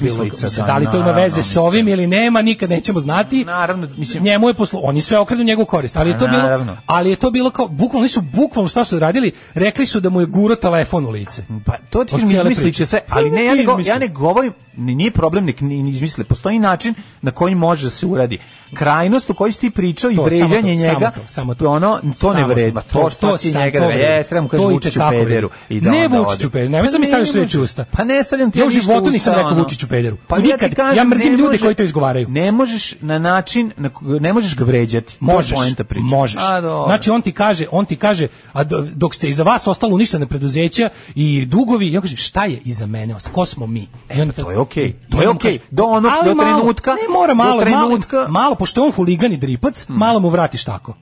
Speaker 7: mislim, da li to ima
Speaker 6: naravno,
Speaker 7: veze s ovim ili nema, nikad nećemo znati.
Speaker 6: Naravno, mislim-
Speaker 7: njemu je poslu, oni sve okrenu njegovu korist, ali je to bilo,
Speaker 6: Naravno.
Speaker 7: ali je to bilo kao bukvalno oni su bukvalno šta su radili, rekli su da mu je guro telefon u lice.
Speaker 6: Pa to ti
Speaker 7: Od
Speaker 6: kažem,
Speaker 7: cijele
Speaker 6: izmislit će
Speaker 7: priče.
Speaker 6: sve,
Speaker 7: Pa
Speaker 6: ali ne, ja ne, go-
Speaker 7: izmisli.
Speaker 6: ja ne govorim, ni- nije problem, nek ni ni izmisle, postoji način na koji može da se uradi. Krajnost u kojoj si ti pričao i
Speaker 7: To, samo
Speaker 6: vređanje
Speaker 7: to, samo
Speaker 6: njega,
Speaker 7: to, samo to.
Speaker 6: ono, to ne
Speaker 7: Samo
Speaker 6: vredi,
Speaker 7: to,
Speaker 6: to, to,
Speaker 7: to
Speaker 6: što ti
Speaker 7: sam-
Speaker 6: njega
Speaker 7: to
Speaker 6: da vredi,
Speaker 7: vredi.
Speaker 6: jes, trebam
Speaker 7: To
Speaker 6: kažem Vučiću
Speaker 7: itekako vredi.
Speaker 6: pederu. I da
Speaker 7: Ne
Speaker 6: onda
Speaker 7: Vučiću
Speaker 6: ode.
Speaker 7: pederu, nemoj sad mi
Speaker 6: ne
Speaker 7: stavljaš sve
Speaker 6: može.
Speaker 7: u usta.
Speaker 6: Pa ne stavljam ti
Speaker 7: Ja u
Speaker 6: ništa
Speaker 7: životu
Speaker 6: usta,
Speaker 7: nisam rekao
Speaker 6: ono.
Speaker 7: Vučiću pederu.
Speaker 6: ti
Speaker 7: Nikad.
Speaker 6: kažem,
Speaker 7: Ja mrzim
Speaker 6: ne
Speaker 7: ljude
Speaker 6: može-
Speaker 7: koji to izgovaraju.
Speaker 6: Ne možeš na način, na ko- ne možeš ga vređati. To je
Speaker 7: Možeš,
Speaker 6: poenta priče.
Speaker 7: možeš.
Speaker 6: A, dobro.
Speaker 7: Znači on ti kaže, on ti kaže, a do- dok ste iza vas ostalo uništene preduzeća i dugovi, ja kaže šta je iza mene ostalo? Ko smo mi? I onda
Speaker 6: to je okej, to je okej. Do onog-
Speaker 7: Ali
Speaker 6: do
Speaker 7: malo,
Speaker 6: trenutka-
Speaker 7: Ne mora
Speaker 6: do
Speaker 7: malo,
Speaker 6: trenutka- Hmm.
Speaker 7: malo, malo pošto je on huligan i dripac, malo mu vratiš tako.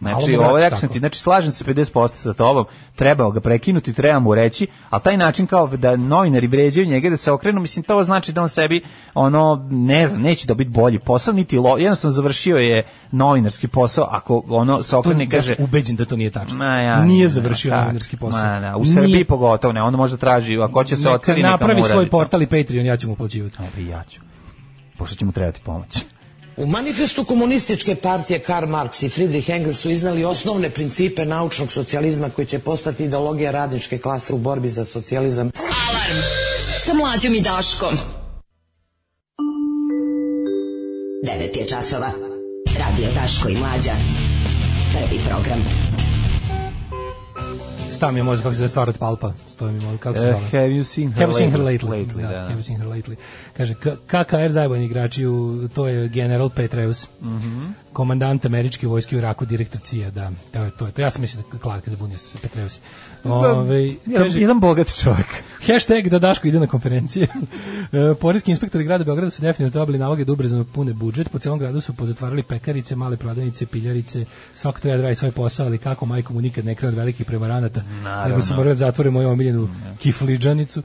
Speaker 7: Malo
Speaker 6: Znači,
Speaker 7: mu
Speaker 6: ovo
Speaker 7: vratiš
Speaker 6: rekao sam
Speaker 7: tako.
Speaker 6: ti, znači slažem se 50% sa tobom, trebao ga prekinuti, treba mu reći, ali taj način kao da novinari vređaju njega da se okrenu, mislim to znači da on sebi ono ne znam, neće dobiti bolji posao niti lo, jednostavno završio je novinarski posao ako ono se
Speaker 7: To
Speaker 6: okrene i
Speaker 7: ja sam
Speaker 6: kaže
Speaker 7: ubeđen da to nije tačno.
Speaker 6: Ma ja,
Speaker 7: nije
Speaker 6: ne,
Speaker 7: završio
Speaker 6: tak,
Speaker 7: novinarski posao.
Speaker 6: Ma, da, u
Speaker 7: Nije.
Speaker 6: Srbiji pogotovo ne, on može traži, ako će se
Speaker 7: Neka
Speaker 6: oceni neka
Speaker 7: napravi
Speaker 6: mu uradi.
Speaker 7: svoj portal i Patreon, ja ću mu uplaćivati.
Speaker 6: Ajde, ja ću. Pošto će mu trebati pomoć.
Speaker 10: U manifestu komunističke partije Karl Marx i Friedrich Engels su iznali osnovne principe naučnog socijalizma koji će postati ideologija radničke klase u borbi za socijalizam.
Speaker 4: Alarm sa mlađom i Daškom. 9 je časova. Radio Daško i Mlađa. Prvi program.
Speaker 7: Sta mi je mozak kako se zove stvar od palpa. Stoji mi mozak kako se
Speaker 6: Eh,
Speaker 7: zove.
Speaker 6: have you seen her
Speaker 7: Have you seen her
Speaker 6: lately?
Speaker 7: lately?
Speaker 6: Lately,
Speaker 7: da,
Speaker 6: da.
Speaker 7: Have you seen her lately? Kaže, K- KKR zajebani igrači, u, to je general Petreus,
Speaker 6: Mhm.
Speaker 7: komandant američke vojske u Iraku, direktor CIA, da. To je to. Je, to. Ja sam mislio da Clark je zabunio se sa Petreus. Ove,
Speaker 6: jedan,
Speaker 7: kaže,
Speaker 6: jedan bogat čovjek.
Speaker 7: Hashtag da Daško ide na konferencije. [LAUGHS] E, Poreski inspektori grada Beograda su definitivno dobili naloge da ubrzano pune budžet. Po celom gradu su pozatvarali pekarice, male prodavnice, piljarice. Svako treba da radi svoj posao, ali kako majkom mu nikad ne krije od velikih prevaranata. Nego su morali da zatvore moju omiljenu kifliđanicu.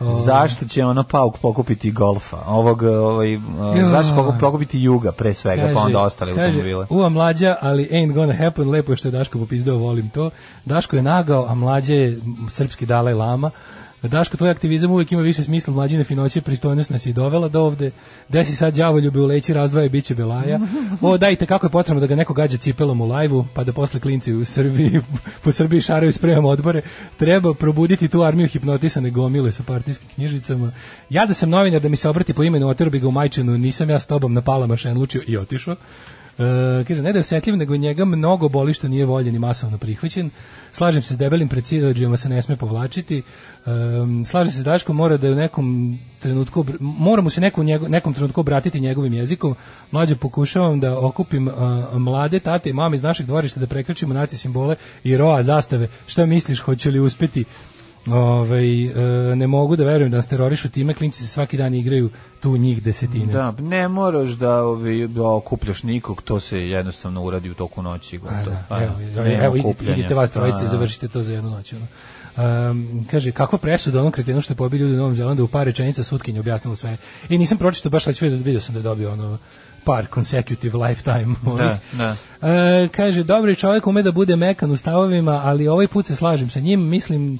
Speaker 7: O,
Speaker 6: Mm. Zašto će ono Pauk pokupiti golfa? Ovog, ovaj, uh,
Speaker 7: Joj.
Speaker 6: zašto će pokup- pokupiti juga pre svega, pa onda ostale
Speaker 7: kaže,
Speaker 6: automobile?
Speaker 7: Ua mlađa, ali ain't gonna happen, lepo je što je Daško popizdao, volim to. Daško je nagao, a mlađa je m, srpski Dalaj Lama. Daško, tvoj aktivizam uvijek ima više smisla, mlađine finoće, pristojnost nas je i dovela do ovde. Desi sad đavoljube u leći, razdvaja i bit će belaja. O, dajte, kako je potrebno da ga neko gađa cipelom u lajvu, pa da posle klinci u Srbiji, [LAUGHS] po Srbiji šaraju s premom odbore. Treba probuditi tu armiju hipnotisane gomile sa partijskim knjižicama. Ja da sam novinar da mi se obrati po imenu, otero bi ga u majčinu, nisam ja s tobom na palama šenlučio i otišao. E, kaže, ne da je osjetljiv, nego njega mnogo boli što nije voljen i masovno prihvaćen. Slažem se s debelim predsjedođijama se ne sme povlačiti. E, slažem se s Daškom, mora da je u nekom trenutku, obr- mora mu se neko, u njego- nekom trenutku obratiti njegovim jezikom. Mlađe pokušavam da okupim a, mlade tate i mame iz našeg dvorišta da prekračimo naci simbole i roa zastave. Šta misliš, hoće li uspeti? Ovaj, e, ne mogu da verujem da nas terorišu time, klinci se svaki dan igraju tu njih desetine.
Speaker 6: Da, ne moraš da, ovi, da okupljaš nikog, to se jednostavno uradi u toku noći.
Speaker 7: Pa
Speaker 6: Gotovo.
Speaker 7: da,
Speaker 6: Pa
Speaker 7: evo,
Speaker 6: da,
Speaker 7: evo,
Speaker 6: nema
Speaker 7: evo, idite,
Speaker 6: okupljanja.
Speaker 7: idite vas
Speaker 6: Pa
Speaker 7: trojice i
Speaker 6: da.
Speaker 7: završite to za jednu noć. Ono. Um, kaže, kakva presuda onom kretenu što je pobio ljudi u Novom Zelandu u par rečenica sutkinje objasnila sve. I nisam pročitao baš, ali ću vidio, vidio sam da je dobio ono par consecutive lifetime. ovaj. ovih.
Speaker 6: da.
Speaker 7: E, kaže, dobri čovjek ume da bude mekan u stavovima, ali ovaj put se slažem sa njim, mislim,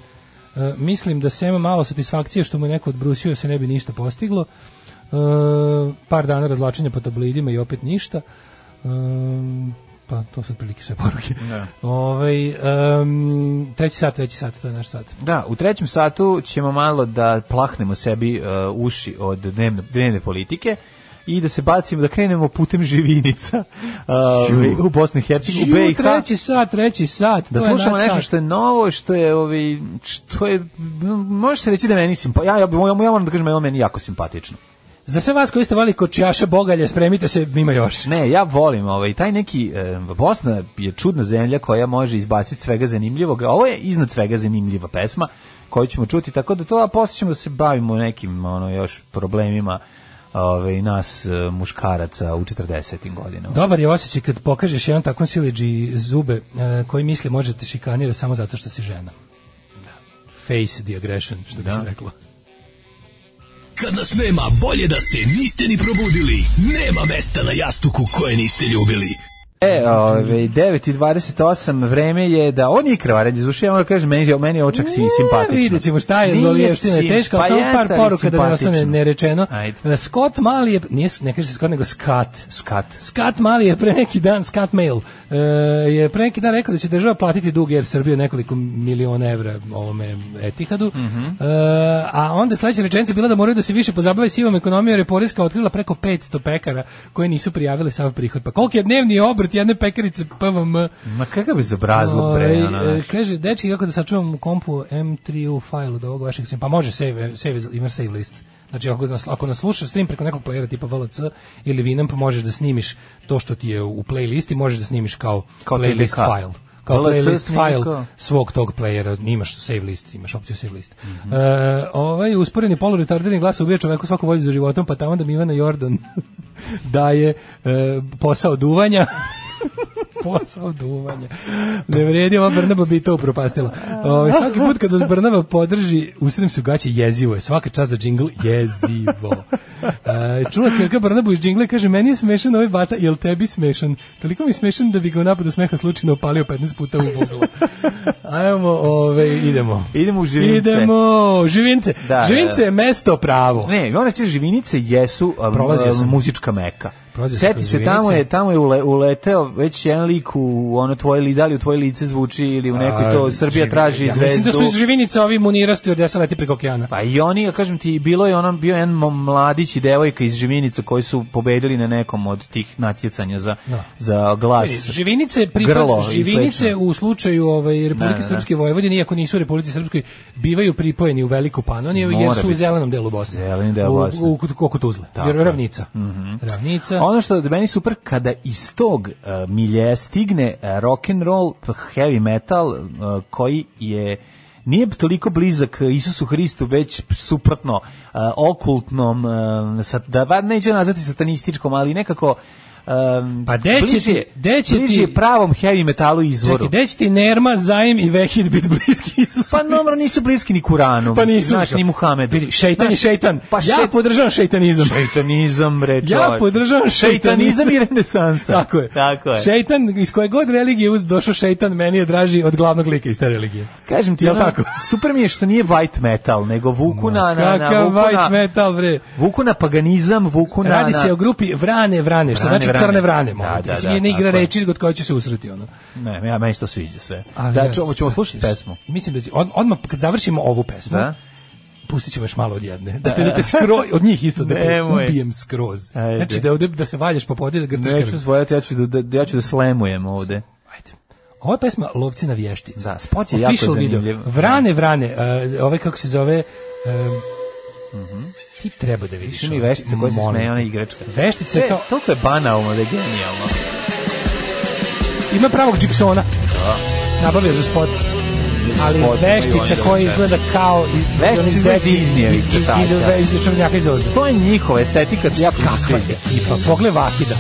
Speaker 7: e, mislim da se ima malo satisfakcije što mu je neko odbrusio se ne bi ništa postiglo. E, par dana razlačenja po tablidima i opet ništa. E, pa to su otprilike sve poruke. Ovaj, em, treći sat, treći sat, to je naš sat.
Speaker 6: Da, u trećem satu ćemo malo da plahnemo sebi e, uši od dnevne, dnevne politike i da se bacimo, da krenemo putem živinica e, u Bosni i Hercegovini, u
Speaker 7: Ju,
Speaker 6: BiH.
Speaker 7: treći sat, treći sat.
Speaker 6: Da
Speaker 7: to je
Speaker 6: slušamo
Speaker 7: naš
Speaker 6: nešto
Speaker 7: sat.
Speaker 6: što je novo, što je ovi što je m, može se reći da je meni simpa ja ja, ja, ja moram da kažem da je ovo meni jako simpatično.
Speaker 7: Za sve vas koji ste vali kočijaša bogalje, spremite se, ima još.
Speaker 6: Ne, ja volim ovaj taj neki e, Bosna je čudna zemlja koja može izbaciti svega zanimljivog. a Ovo je iznad svega zanimljiva pesma koju ćemo čuti, tako da to a posle ćemo se bavimo nekim ono još problemima ovaj nas e, muškaraca u 40. godinama.
Speaker 7: Dobar je osjećaj kad pokažeš jedan takvom sileđi zube e, koji misli možete šikanira samo zato što si žena. Face the aggression, što bi se reklo.
Speaker 1: Kad nas nema, bolje da se niste ni probudili. Nema mesta na jastuku koje niste ljubili.
Speaker 6: E, ovaj 9:28 vreme je da on je krvarenje zuši, ja moram kažem meni je meni je očak si simpatično.
Speaker 7: Vidjet ćemo šta je
Speaker 6: Nije
Speaker 7: zlovještina
Speaker 6: sim-
Speaker 7: teška,
Speaker 6: pa
Speaker 7: ali samo
Speaker 6: jeste,
Speaker 7: par
Speaker 6: ali
Speaker 7: poruka da ne ostane
Speaker 6: simpatično.
Speaker 7: nerečeno.
Speaker 6: Ajde.
Speaker 7: E, Scott Mali je, nije, ne kaže se Scott, nego Scott.
Speaker 6: Skat.
Speaker 7: Scott Mali je pre neki dan, Scott Mail, e, je pre neki dan rekao da će država platiti dug Air Srbije nekoliko miliona evra ovome Etihadu, E, a onda sledeća rečenica je bila da moraju da se više pozabave sivom ekonomijom jer je Poreska otkrila preko 500 pekara koje nisu prijavile sav prihod. Pa koliki je dnevni obrt jedne pekarice PVM?
Speaker 6: Ma kakav je zabrazlog
Speaker 7: Ovaj,
Speaker 6: bre, ono,
Speaker 7: e,
Speaker 6: znaš.
Speaker 7: kaže, dečki, kako da sačuvam u kompu M3U file od ovog vašeg streama? Pa može save, save, imaš save list. Znači, ako nas, ako nas slušaš stream preko nekog playera tipa VLC ili Winamp, možeš da snimiš to što ti je u playlisti, možeš da snimiš kao,
Speaker 6: Kao
Speaker 7: playlist
Speaker 6: TDK.
Speaker 7: file. Kao
Speaker 6: VLC
Speaker 7: playlist
Speaker 6: snimi
Speaker 7: file
Speaker 6: kao-
Speaker 7: svog tog playera, imaš save list, imaš opciju save list.
Speaker 6: Mhm.
Speaker 7: E, ovaj usporeni poluretardirani glas ubija čoveku svaku volju za životom, pa tamo da mi Ivana Jordan [LAUGHS] daje e, posao duvanja. posao duvanja. Ne vredi, ova Brnaba bi i to upropastila. Ovaj, svaki put kad vas Brnaba podrži, usrem se u gaće, jezivo je. Svaka čast za džingl, jezivo. E, čula cvjerka Brnabu iz džingle, kaže, meni je smešan ovaj bata, jel tebi smešan? Toliko mi je smešan da bi ga u napadu smeha slučajno opalio 15 puta u buglu. Ajmo, ovaj, idemo.
Speaker 6: Idemo u živince.
Speaker 7: Idemo, živince.
Speaker 6: Da,
Speaker 7: živince
Speaker 6: da.
Speaker 7: je mesto pravo.
Speaker 6: Ne, ona će živinice jesu a,
Speaker 7: Prolazio
Speaker 6: a,
Speaker 7: sam.
Speaker 6: muzička meka.
Speaker 7: Prolazio sam
Speaker 6: Sjeti
Speaker 7: kroz
Speaker 6: se tamo
Speaker 7: živinice.
Speaker 6: je tamo je ule- uleteo već jedan lik u ono tvoje li da li u tvoje lice zvuči ili u nekoj to
Speaker 7: A,
Speaker 6: Srbija
Speaker 7: živi-
Speaker 6: traži
Speaker 7: ja
Speaker 6: zvezdu.
Speaker 7: Mislim da su iz živinica ovi munirasti od desa leti preko okeana.
Speaker 6: Pa i oni, ja kažem ti, bilo je onom bio jedan mo- mladić i devojka iz Živinica koji su pobedili na nekom od tih natjecanja za,
Speaker 7: Da.
Speaker 6: za glas.
Speaker 7: Živinice pripad,
Speaker 6: Grlo i
Speaker 7: živinice
Speaker 6: slično.
Speaker 7: u slučaju ovaj Republike
Speaker 6: Da, da, da.
Speaker 7: Srpske Vojvodine, iako nisu u Republici Srpskoj, bivaju pripojeni u Veliku Panoniju jer
Speaker 6: Mora
Speaker 7: su u
Speaker 6: biti.
Speaker 7: zelenom delu Bosne.
Speaker 6: Zeleni deo
Speaker 7: U-
Speaker 6: Bosne.
Speaker 7: U, kut- oko Tuzle.
Speaker 6: Tako
Speaker 7: jer
Speaker 6: je.
Speaker 7: ravnica. Ravnica.
Speaker 6: Ono što je od meni super kada iz tog uh, miljeja stigne uh, rock and roll, p- heavy metal uh, koji je nije toliko blizak uh, Isusu Hristu već p- suprotno uh, okultnom uh, sat, da ba- neću nazvati satanističkom, ali nekako um,
Speaker 7: Pa de će
Speaker 6: bliže,
Speaker 7: ti- de će
Speaker 6: bliže
Speaker 7: ti-
Speaker 6: je pravom heavy metalu izvoru.
Speaker 7: Čekaj, gde će ti Nerma, Zajm i Vehid biti bliski Isusu?
Speaker 6: Pa dobro, nisu bliski ni Kuranu,
Speaker 7: Pa
Speaker 6: mislim,
Speaker 7: nisu.
Speaker 6: znaš, ni Muhamedu.
Speaker 7: Vidi, šeitan je
Speaker 6: Znaš,
Speaker 7: šeitan.
Speaker 6: Pa
Speaker 7: ja
Speaker 6: šeit-
Speaker 7: podržavam šeitanizam.
Speaker 6: Šeitanizam, bre,
Speaker 7: Ja
Speaker 6: čoveče.
Speaker 7: podržavam šeitanizam
Speaker 6: Šeitanizam i renesansa.
Speaker 7: [LAUGHS] Tako je.
Speaker 6: Tako je.
Speaker 7: Šeitan, iz koje god religije uz- došao šeitan, meni je draži od glavnog lika iz te religije.
Speaker 6: Kažem ti,
Speaker 7: Jel
Speaker 6: ono,
Speaker 7: tako?
Speaker 6: super mi je što nije white metal, nego vuku na, na, na,
Speaker 7: Kakav
Speaker 6: vuku
Speaker 7: white
Speaker 6: na,
Speaker 7: metal, bre.
Speaker 6: vuku na paganizam, vuku na...
Speaker 7: Radi
Speaker 6: na-
Speaker 7: se o grupi Vrane Vrane, što
Speaker 6: Vrane,
Speaker 7: znači
Speaker 6: Vrane.
Speaker 7: crne vrane,
Speaker 6: Da,
Speaker 7: molim te.
Speaker 6: da,
Speaker 7: Mislim,
Speaker 6: da,
Speaker 7: jedna igra
Speaker 6: tako je.
Speaker 7: reči kod koje će se usreti ono.
Speaker 6: Ne, ja, meni se to sviđa sve.
Speaker 7: Ali
Speaker 6: da,
Speaker 7: ja
Speaker 6: ču, ćemo
Speaker 7: sad
Speaker 6: slušati
Speaker 7: ćeš-
Speaker 6: pesmu.
Speaker 7: Mislim da će, od, odmah kad završimo ovu pesmu,
Speaker 6: Da? E.
Speaker 7: pustit ćemo još malo od jedne. Da te, da te skro, od njih isto, da te
Speaker 6: Nemoj.
Speaker 7: ubijem skroz.
Speaker 6: Ajde.
Speaker 7: Znači, da, ovde- da se valjaš po podi, da grtaš
Speaker 6: Neću
Speaker 7: krv.
Speaker 6: svojati, ja ću da, da, ja ću da slemujem ovde.
Speaker 7: Ajde. Ovo je pesma Lovci na vještica.
Speaker 6: Da, spot je jako
Speaker 7: Official video.
Speaker 6: zanimljiv.
Speaker 7: Vrane, vrane, uh, ove kako se zove... Uh, Ti treba da vidiš.
Speaker 6: Čini Mhm. mi
Speaker 7: ovo,
Speaker 6: veštice koja se E,
Speaker 7: molim
Speaker 6: smeje,
Speaker 7: te.
Speaker 6: ona igračka.
Speaker 7: Veštice
Speaker 6: Sve,
Speaker 7: kao...
Speaker 6: toliko je banalno da je genijalno.
Speaker 7: Ima pravog džipsona. Nabavio za spot.
Speaker 6: Spot
Speaker 7: Ali
Speaker 6: imaju oni
Speaker 7: veštica
Speaker 6: dobro
Speaker 7: koja
Speaker 6: tebe.
Speaker 7: izgleda kao... iz-
Speaker 6: Veštica
Speaker 7: oni
Speaker 6: izgleda
Speaker 7: veći-
Speaker 6: Disneyevih
Speaker 7: iz-
Speaker 6: crtača.
Speaker 7: iz- iz- iz- čovnjaka iz Oza.
Speaker 6: To je njihova estetika, ja
Speaker 7: Kakva je ekipa. Pogled Vahida.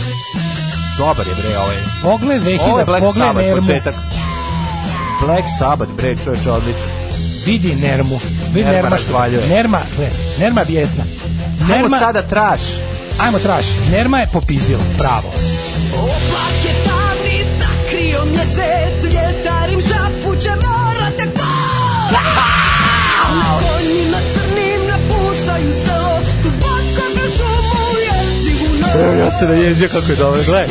Speaker 6: Dobar je bre ovaj.
Speaker 7: Pogled
Speaker 6: Ovo je
Speaker 7: Vahida,
Speaker 6: Black
Speaker 7: pogled
Speaker 6: Sabbath
Speaker 7: Nermu.
Speaker 6: početak. Black Sabbath bre, čoveče odlično.
Speaker 7: Vidi Nermu. Vidi
Speaker 6: Nerma
Speaker 7: Nerma što
Speaker 6: razvaljuje.
Speaker 7: Nerma, gle, Nerma bijesna.
Speaker 6: Ajmo
Speaker 7: Nerma,
Speaker 6: sada traš.
Speaker 7: ajmo traš. Nerma je popizdila, pravo.
Speaker 9: Oblak je tamni, sakrio mjesec, vjetarim šapuće mora te bol. U konjima crnim napuštaju selo, duboko kroz šumu je sigurno.
Speaker 6: Ja se naježio kako je dobro, gle.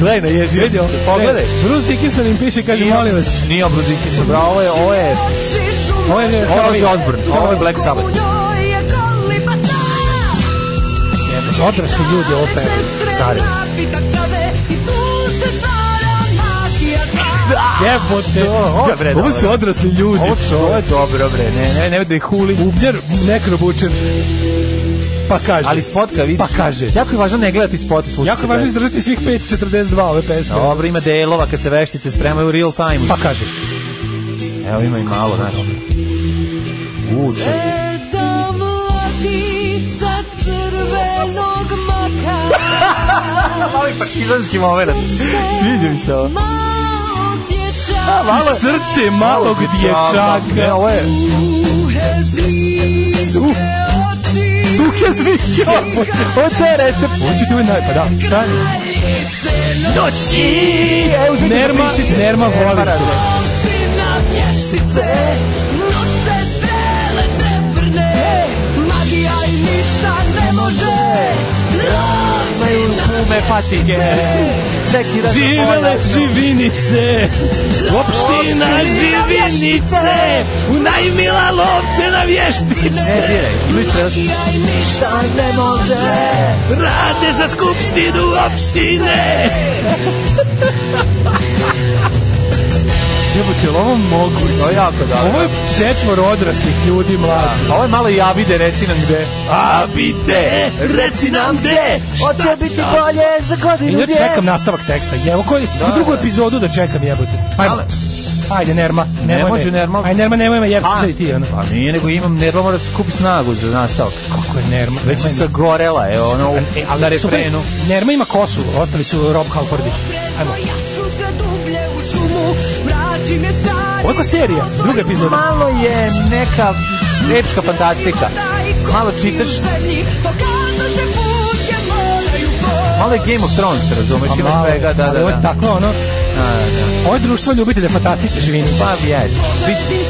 Speaker 6: Gle, naježio se. Pogledaj.
Speaker 7: Bruce Dickinson im piše, kaže, molim vas.
Speaker 6: Nije obrudiki su, bravo, ovo je, ovo je,
Speaker 9: Oči šume,
Speaker 7: Ovo je,
Speaker 6: ovo je Osborn, ovo je Black
Speaker 9: u
Speaker 6: Sabbath.
Speaker 9: njoj je kolibata.
Speaker 7: odrasli ljudi ovo pevaju.
Speaker 9: Care.
Speaker 7: Jebote.
Speaker 6: ovo je bre dobro.
Speaker 7: Ovo su odrasli ljudi.
Speaker 6: Ovo su, ovo je dobro bre, ne, ne, ne, da je huli.
Speaker 7: Ubljar, nekrobučer. Pa kaže.
Speaker 6: Ali spotka vidi.
Speaker 7: Pa kaže.
Speaker 6: Jako je važno ne gledati spot, slušati.
Speaker 7: Jako je važno
Speaker 6: pesmu.
Speaker 7: izdržati svih 5.42 ove pesme.
Speaker 6: Dobro, ima delova kad se veštice spremaju u real time.
Speaker 7: Pa kaže.
Speaker 6: Evo ima i malo, znaš. Uče. Mali partizanski moment. Sviđa mi se ovo. A, malo je-
Speaker 7: Srce malog
Speaker 6: Ne,
Speaker 7: dječaka.
Speaker 6: ovo je
Speaker 7: Su.
Speaker 6: suhe zviće. Ovo je ceo recept.
Speaker 7: Hoćete ovaj naj, pa da. Stani.
Speaker 6: Noći. E, uzmite
Speaker 7: Nerma,
Speaker 6: zapišite.
Speaker 7: Nerma voli.
Speaker 6: Nerma radi. Imaju gume, patike. Neki raz-
Speaker 7: Živele živinice, opština živinice, u najmila lovce na
Speaker 6: Ne,
Speaker 7: vještice,
Speaker 6: diraj. Imaju strelac.
Speaker 7: rade za skupštinu opštine. Jebote, jel ovo moguće?
Speaker 6: To je jako dobro.
Speaker 7: Ovo je četvor odraslih ljudi mlađi.
Speaker 6: A Ovo je malo i Abide, reci nam gde.
Speaker 7: Abide, reci nam gde,
Speaker 6: Hoće biti bolje za
Speaker 7: I
Speaker 6: godinu
Speaker 7: ja čekam nastavak teksta. Evo koji da, drugu epizodu da čekam jebote. Ajmo.
Speaker 6: Ale-
Speaker 7: Ajde Nerma, nemoj me.
Speaker 6: može Nerma.
Speaker 7: Aj Nerma nemoj me jebati
Speaker 6: A.
Speaker 7: sad i ti ono.
Speaker 6: Pa nije, nego imam nerva, mora se kupi snagu za nastavak.
Speaker 7: Kako je Nerma?
Speaker 6: Već je
Speaker 7: Nemoj me.
Speaker 6: sagorela, je ono, u-
Speaker 7: E, ali
Speaker 6: na
Speaker 7: super,
Speaker 6: refrenu.
Speaker 7: Nerma ima kosu, ostali su Rob Halfordi. Ajmo. Ovo je ko serija, druga epizoda.
Speaker 6: Malo je neka epska fantastika. Malo čitaš, malo je Game of Thrones, razumeš,
Speaker 7: A
Speaker 6: ima
Speaker 7: Pa malo je,
Speaker 6: svega, da,
Speaker 7: ali
Speaker 6: da,
Speaker 7: Ovo je
Speaker 6: da.
Speaker 7: tako ono,
Speaker 6: Da, da.
Speaker 7: ovo je društvo ljubitelja fantastike živinice.
Speaker 6: Pa, jes. Vi-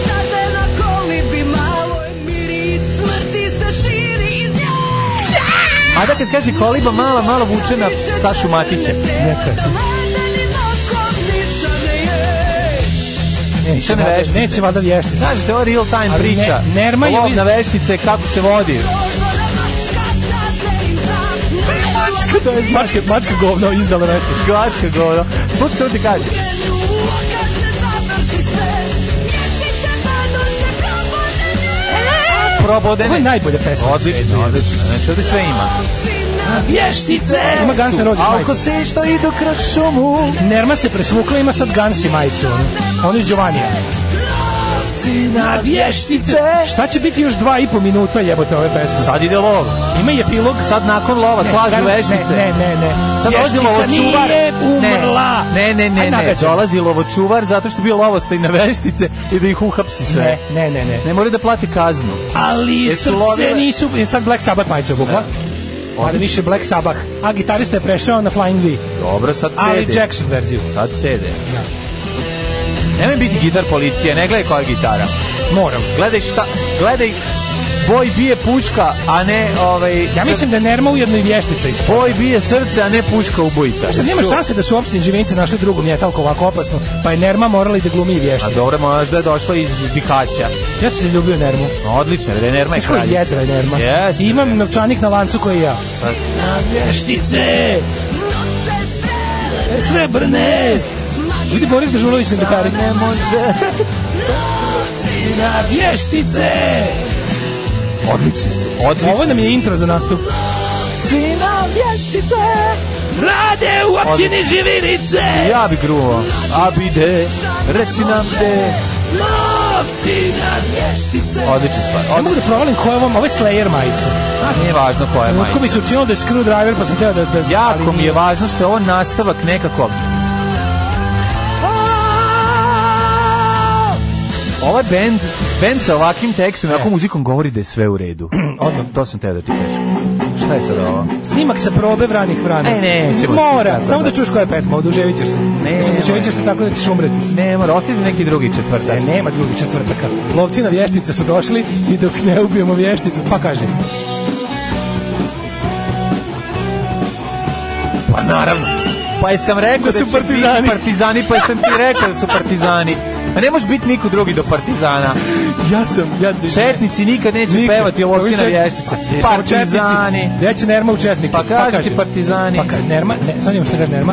Speaker 6: A da kad kaže koliba mala, malo vuče na Sašu Matića.
Speaker 7: Neka.
Speaker 6: Ništa
Speaker 7: Neće,
Speaker 6: ne
Speaker 7: valjda-
Speaker 6: veštice.
Speaker 7: neće vada vještica.
Speaker 6: Znaš, to je real time
Speaker 7: Ali ne-
Speaker 6: priča.
Speaker 7: Nerma je
Speaker 6: Lov
Speaker 7: vid-
Speaker 6: na veštice, kako se vodi.
Speaker 9: Mačka
Speaker 6: To je
Speaker 7: Mačka, mačka govno izdala nešto.
Speaker 6: Glačka govno. Slušaj što ti kaže. Probodene.
Speaker 7: Ovo je najbolja pesma.
Speaker 6: Odlično, odlično. Znači, ovde sve ima.
Speaker 7: Vještice! Ima Guns N' Roses majicu.
Speaker 6: se što idu kroz šumu...
Speaker 7: Nerma se presvukla, ima sad Gansi majicu. ono. Ono je Giovanija. Na vještice! Šta će biti još dva i po minuta jebote ove pesme?
Speaker 6: Sad ide lov.
Speaker 7: Ima i epilog,
Speaker 6: Sad nakon lova slažu
Speaker 7: Gar-
Speaker 6: veštice.
Speaker 7: Ne, ne, ne.
Speaker 6: Sad dolazi lovočuvar.
Speaker 7: nije umrla.
Speaker 6: Ne, ne, ne,
Speaker 7: Aj,
Speaker 6: ne. ne.
Speaker 7: nagađam.
Speaker 6: Dolazi lovočuvar zato što je bio lovostaj na veštice i da ih uhapsi sve.
Speaker 7: Ne,
Speaker 6: Ne,
Speaker 7: ne, ne, ne.
Speaker 6: mora da plati kaznu.
Speaker 7: Ali
Speaker 6: Jesu
Speaker 7: srce
Speaker 6: lovile?
Speaker 7: nisu... e, Sad Black Sabbath majicu obukla. Ali više Black Sabbath. A gitarista je prešao na Flying V.
Speaker 6: Dobro, sad sede.
Speaker 7: Ali Jackson verziju.
Speaker 6: Sad sede. Nemoj biti gitar policije, ne gledaj koja je gitara.
Speaker 7: Moram.
Speaker 6: Gledaj šta, gledaj Boj bije puška, a ne ovaj
Speaker 7: Ja mislim da je Nerma ujedno i vještica iz
Speaker 6: Boj bije srce, a ne puška u bujta.
Speaker 7: Šta, nema šanse da su opštine živenice našli drugu mjetalku ovako opasnu, pa je Nerma morala i da glumi i
Speaker 6: A
Speaker 7: vještica.
Speaker 6: dobro, možda je došla iz Bihaća.
Speaker 7: Ja sam se ljubio Nermu.
Speaker 6: Odlično, da je Nerma je
Speaker 7: Znaš koja
Speaker 6: kraljica.
Speaker 7: jedra je Nerma?
Speaker 6: Jeste,
Speaker 7: I Imam
Speaker 6: bre.
Speaker 7: novčanik na lancu koji ja. Vještice! Srebrne! Vidi Boris Dežulović na gitari. Ne može. Na vještice!
Speaker 6: Odlični su, odlični.
Speaker 7: Ovo nam je intro za nastup. Cina vještice! Rade u općini Živinice!
Speaker 6: Ja bi gruvao. A bi de, reci nam de.
Speaker 7: Novci na vještice!
Speaker 6: Odlična stvar.
Speaker 7: Ne mogu da provalim koja je ovo, ovo je Slayer majica.
Speaker 6: Odlična. Nije važno koja je
Speaker 7: Kako mi
Speaker 6: majka.
Speaker 7: se učinilo da je Screwdriver, pa sam teo da... da ali
Speaker 6: Jako mi je
Speaker 7: nije.
Speaker 6: važno što je ovo nastavak nekako... Ovaj band, band sa ovakvim tekstom, ovakvom muzikom govori da je sve u [CLEARS THROAT] redu. Odmah, to sam teo da ti kažem. Šta je sad ovo?
Speaker 7: Snimak sa probe vranih vrana.
Speaker 6: E, nećemo.
Speaker 7: Mora, samo da čuješ koja je pesma, oduževit ćeš se.
Speaker 6: Ne,
Speaker 7: Mislim, oduževit ćeš se tako da ćeš umreti.
Speaker 6: Ne, mora, ostaje za neki drugi četvrtak.
Speaker 7: E, nema drugi četvrtaka. Lovci na vještice su došli i dok ne ubijemo vješticu, pa kaže,
Speaker 6: Pa naravno. Pa jesam rekao da,
Speaker 7: su
Speaker 6: će biti
Speaker 7: partizani.
Speaker 6: partizani, pa jesam ti rekao da su partizani. A ne može biti niko drugi do partizana.
Speaker 7: ja sam, ja...
Speaker 6: Četnici nikad neće
Speaker 7: Nikad. Pa
Speaker 6: pevati lovci na vještice.
Speaker 7: Jesam u četnici.
Speaker 6: Partizani.
Speaker 7: Ja će Nerma u četnike.
Speaker 6: Pa kaži ti partizani.
Speaker 7: Pa kaže Nerma, ne, sad njemu što kaže Nerma.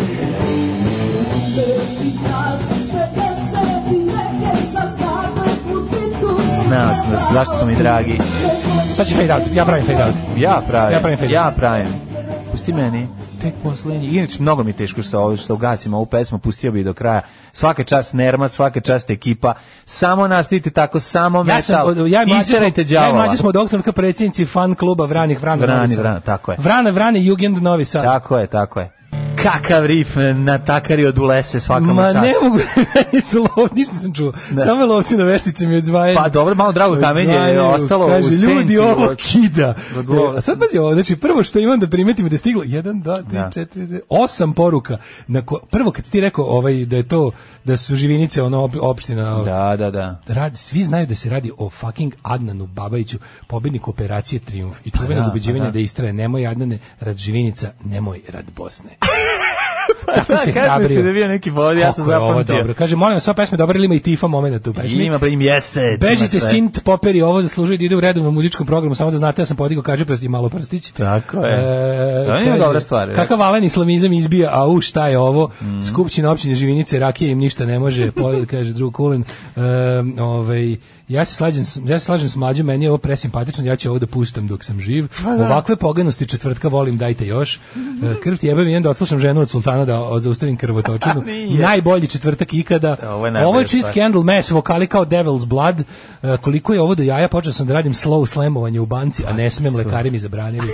Speaker 6: Znao sam da su, zašto su mi dragi.
Speaker 7: Sad će fade out, ja pravim fade out.
Speaker 6: Ja pravim.
Speaker 7: Ja pravim fade.
Speaker 6: Ja pravim. Pusti meni. Tek poslednji. Inače, mnogo mi je teško što, ovo- što ugasim ovu pesmu, pustio bi je do kraja. Svaka čast Nerma, svaka čast ekipa. Samo nastavite tako, samo metal.
Speaker 7: Ja sam, od- ja i mlađi smo,
Speaker 6: Isterajte
Speaker 7: ja i
Speaker 6: đavola.
Speaker 7: mlađi smo doktorka predsjednici fan kluba Vranih Vrana.
Speaker 6: Vrani,
Speaker 7: Novi Sad.
Speaker 6: Vrana, tako je.
Speaker 7: Vrana, Vrana, Jugend Novi Sad.
Speaker 6: Tako je, tako je. Kakav rif
Speaker 7: e,
Speaker 6: natakari od ulese svakam
Speaker 7: Ma
Speaker 6: čast.
Speaker 7: ne mogu, meni su lov, ništa sam čuo. Samo je lovci na veštice mi odzvajaju.
Speaker 6: Pa dobro, malo drago kamenje je
Speaker 7: Odzvajaju,
Speaker 6: ostalo
Speaker 7: kaže,
Speaker 6: u senci.
Speaker 7: ljudi, ovo
Speaker 6: od-
Speaker 7: kida.
Speaker 6: od lova.
Speaker 7: E, a sad pazi ovo, znači prvo što imam da primetim da je stiglo 1, 2, 3,
Speaker 6: Da.
Speaker 7: 4, 5, 8 poruka. Na ko, prvo kad si ti rekao ovaj, da je to, da su živinice ono op, opština, ovaj,
Speaker 6: Da, da, da.
Speaker 7: radi, svi znaju da se radi o fucking Adnanu Babajiću, pobedniku operacije Triumf i čuvenog
Speaker 6: da,
Speaker 7: ubeđivanja
Speaker 6: pa
Speaker 7: da,
Speaker 6: da.
Speaker 7: istraje nemoj Adnane, rad Živinica, nemoj rad
Speaker 6: [LAUGHS]
Speaker 7: Bosne.
Speaker 6: Pa,
Speaker 7: Tako se
Speaker 6: kažete
Speaker 7: hrabrio.
Speaker 6: da je bio neki vod, ja sam
Speaker 7: Znači, Kako je ovo
Speaker 6: zapamtio.
Speaker 7: dobro. Kaže, molim vas, ova pesma je dobra ili ima i tifa momenta u pesmi?
Speaker 6: Ima bre im jesec. ima sve.
Speaker 7: Bežite sint poperi, ovo zaslužuje da ide u redovnom muzičkom programu, samo da znate ja sam podigao kaže prst i malo prstić. E,
Speaker 6: Tako je. To je Mm.
Speaker 7: kaže,
Speaker 6: dobra stvar.
Speaker 7: Kakav valen islamizam izbija, a u šta je ovo? Skupština općine Živinice, rakije im ništa ne
Speaker 6: [LAUGHS]
Speaker 7: može, po, kaže drug Kulin. E, ovaj, ja se slažem, s- ja se slažem s mlađom, meni je ovo presimpatično, ja ću ovo da pustam dok sam živ.
Speaker 6: Pa
Speaker 7: Ovakve poganosti četvrtka volim, dajte još. E, krv ti jebem, idem da odslušam ženu od sultana da o- zaustavim krvotočinu.
Speaker 6: [LAUGHS] Nije.
Speaker 7: Najbolji četvrtak ikada.
Speaker 6: Ovo je najbolja
Speaker 7: Ovo je čist
Speaker 6: stvar.
Speaker 7: Candle Mass, vokali kao Devil's Blood. E, koliko je ovo do jaja, počeo sam da radim slow slamovanje u banci, a ne smem, lekari mi zabranili.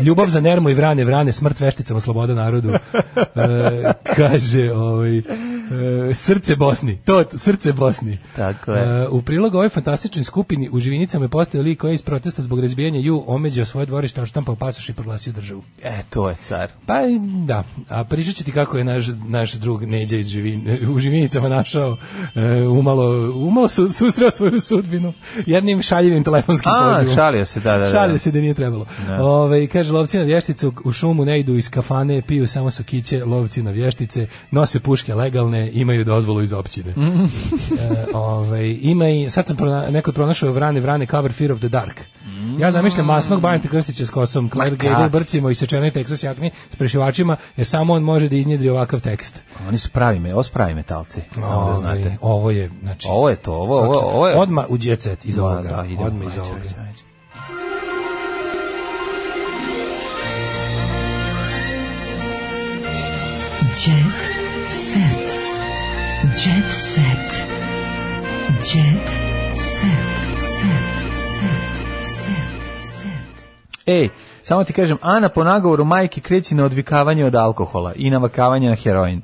Speaker 7: Ljubav za Nermu i Vrane, Vrane, smrt vešticama, sloboda narodu. E, kaže, ovaj, e, srce Bosni, to, srce Bosni.
Speaker 6: Tako je.
Speaker 7: E, u prilogu ovoj fantastičnoj skupini u Živinicama je postao lik koji je iz protesta zbog razbijanja ju omeđao svoje dvorište, odštampao pasoš i proglasio državu.
Speaker 6: E, to je car.
Speaker 7: Pa da, a pričat ću ti kako je naš, naš drug Neđa iz Živin, u Živinicama našao, e, umalo, umalo su, susreo svoju sudbinu jednim šaljivim telefonskim
Speaker 6: A,
Speaker 7: pozivom.
Speaker 6: šalio se, da, da, da.
Speaker 7: Šalio se da nije trebalo. Ove, kaže, lovci na vještice u- u šumu ne idu iz kafane, piju samo sokiće, lovci na vještice, nose puške legalne, imaju dozvolu iz općine.
Speaker 6: Mhm.
Speaker 7: E, ovaj, ima i, sad sam prona, neko je pronašao vrane, vrane cover Fear of the Dark. Ja
Speaker 6: Mm.
Speaker 7: zamišljam masnog Bajanta Krstića s kosom, Claire Gable
Speaker 6: kak.
Speaker 7: brcima i sečenoj Texas jakni s prešivačima, jer samo on može da iznjedri ovakav tekst.
Speaker 6: Oni su pravi, me, ovo su pravi metalci. Samo da
Speaker 7: Ovaj,
Speaker 6: znate.
Speaker 7: Ovo je, znači...
Speaker 6: Ovo je to, ovo, ovo, ovo je...
Speaker 7: Odma u djecet iz
Speaker 6: Da,
Speaker 7: ovoga.
Speaker 6: da, idemo,
Speaker 7: Odma iz
Speaker 6: ajde,
Speaker 7: ovoga.
Speaker 6: ajde, ajde.
Speaker 4: Jet set. Jet set. Jet set. Set. Set. Set. Set.
Speaker 6: Ej, E, samo ti kažem, Ana po nagovoru majke kreći na odvikavanje od alkohola i navakavanje na heroin.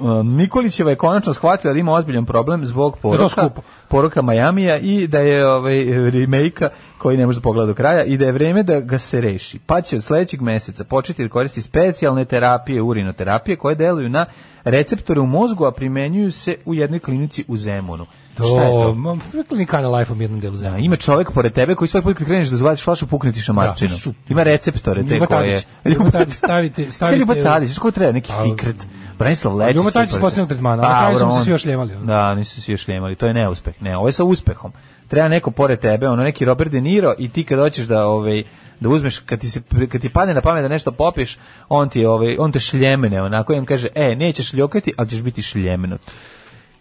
Speaker 6: Um, Nikolićeva je konačno shvatila da ima ozbiljan problem zbog poroka,
Speaker 7: skupo.
Speaker 6: poroka Majamija i da je ovaj, remake koji ne može da pogleda do kraja i da je vreme da ga se reši. Pa će od sledećeg meseca početi da koristi specijalne terapije, urinoterapije koje deluju na receptore u mozgu, a primenjuju se u jednoj klinici u Zemunu.
Speaker 7: To, Šta je to? Ma, kanal life u jednom delu zemlje.
Speaker 6: ima čovjek pored tebe koji svaki put kad kreneš da zvadiš flašu pukneti šamarčinu.
Speaker 7: Da, šup.
Speaker 6: ima receptore te
Speaker 7: Ljubo
Speaker 6: koje.
Speaker 7: Tadić. Ljubo Tadić,
Speaker 6: [LAUGHS]
Speaker 7: stavite- stavite-
Speaker 6: Ljubo Tadić, znaš ko treba neki
Speaker 7: Pa,
Speaker 6: fikret. Branislav Lečić.
Speaker 7: Ljubo Tadić
Speaker 6: super.
Speaker 7: s posebnog tretmana, a na
Speaker 6: Pa,
Speaker 7: kraju smo
Speaker 6: dobro,
Speaker 7: se
Speaker 6: on-
Speaker 7: svi ošljemali, ono.
Speaker 6: Da, nisu se svi ošljemali, to je neuspeh. Ne, ovo je sa uspehom. Treba neko pored tebe, ono neki Robert De Niro i ti kad hoćeš da ovaj da uzmeš kad ti se kad ti padne na pamet da nešto popiješ, on ti ovaj on te šljemene, onako im kaže: "E, nećeš ljokati, ali ćeš biti šljemenut."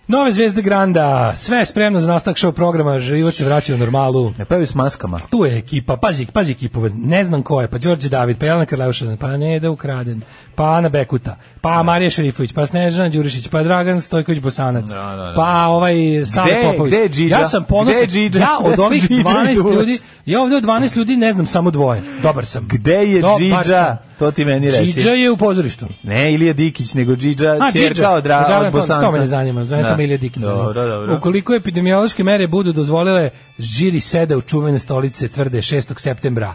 Speaker 7: Nove zvezde Granda, sve je spremno za nastavak show programa, život se vraća u normalu.
Speaker 6: Ne pravi s maskama.
Speaker 7: Tu je ekipa, pazi, pazi ekipu, ne znam ko je, pa Đorđe David, pa Jelena Karleušan, pa Neda Ukraden, pa Ana Bekuta, pa Marija Šerifović, pa Snežana Đurišić, pa Dragan Stojković Bosanac,
Speaker 6: da.
Speaker 7: pa ovaj Sale
Speaker 6: Gde-
Speaker 7: Popović.
Speaker 6: gde je Džidža?
Speaker 7: Ja sam ponosan,
Speaker 6: Gde je Džidža?
Speaker 7: ja od
Speaker 6: Ja sam
Speaker 7: ovih
Speaker 6: Džidža i
Speaker 7: 12
Speaker 6: Duvac.
Speaker 7: ljudi, ja ovdje od 12 ljudi ne znam samo dvoje, dobar sam.
Speaker 6: Gde je
Speaker 7: Dobar
Speaker 6: Džidža?
Speaker 7: sam.
Speaker 6: To ti meni reci.
Speaker 7: Džidža je u pozorištu.
Speaker 6: Ne Ilija Dikić, nego Džidža,
Speaker 7: A,
Speaker 6: čerka
Speaker 7: Džidža,
Speaker 6: od, Ra-
Speaker 7: Dragan,
Speaker 6: od
Speaker 7: to-
Speaker 6: Bosanca.
Speaker 7: To me ne zanima, zanima
Speaker 6: Da.
Speaker 7: samo Ilija Dikić. zanima.
Speaker 6: Dobro, dobro.
Speaker 7: Ukoliko epidemiološke mere budu dozvolile, žiri seda u čuvene stolice tvrde 6. septembra.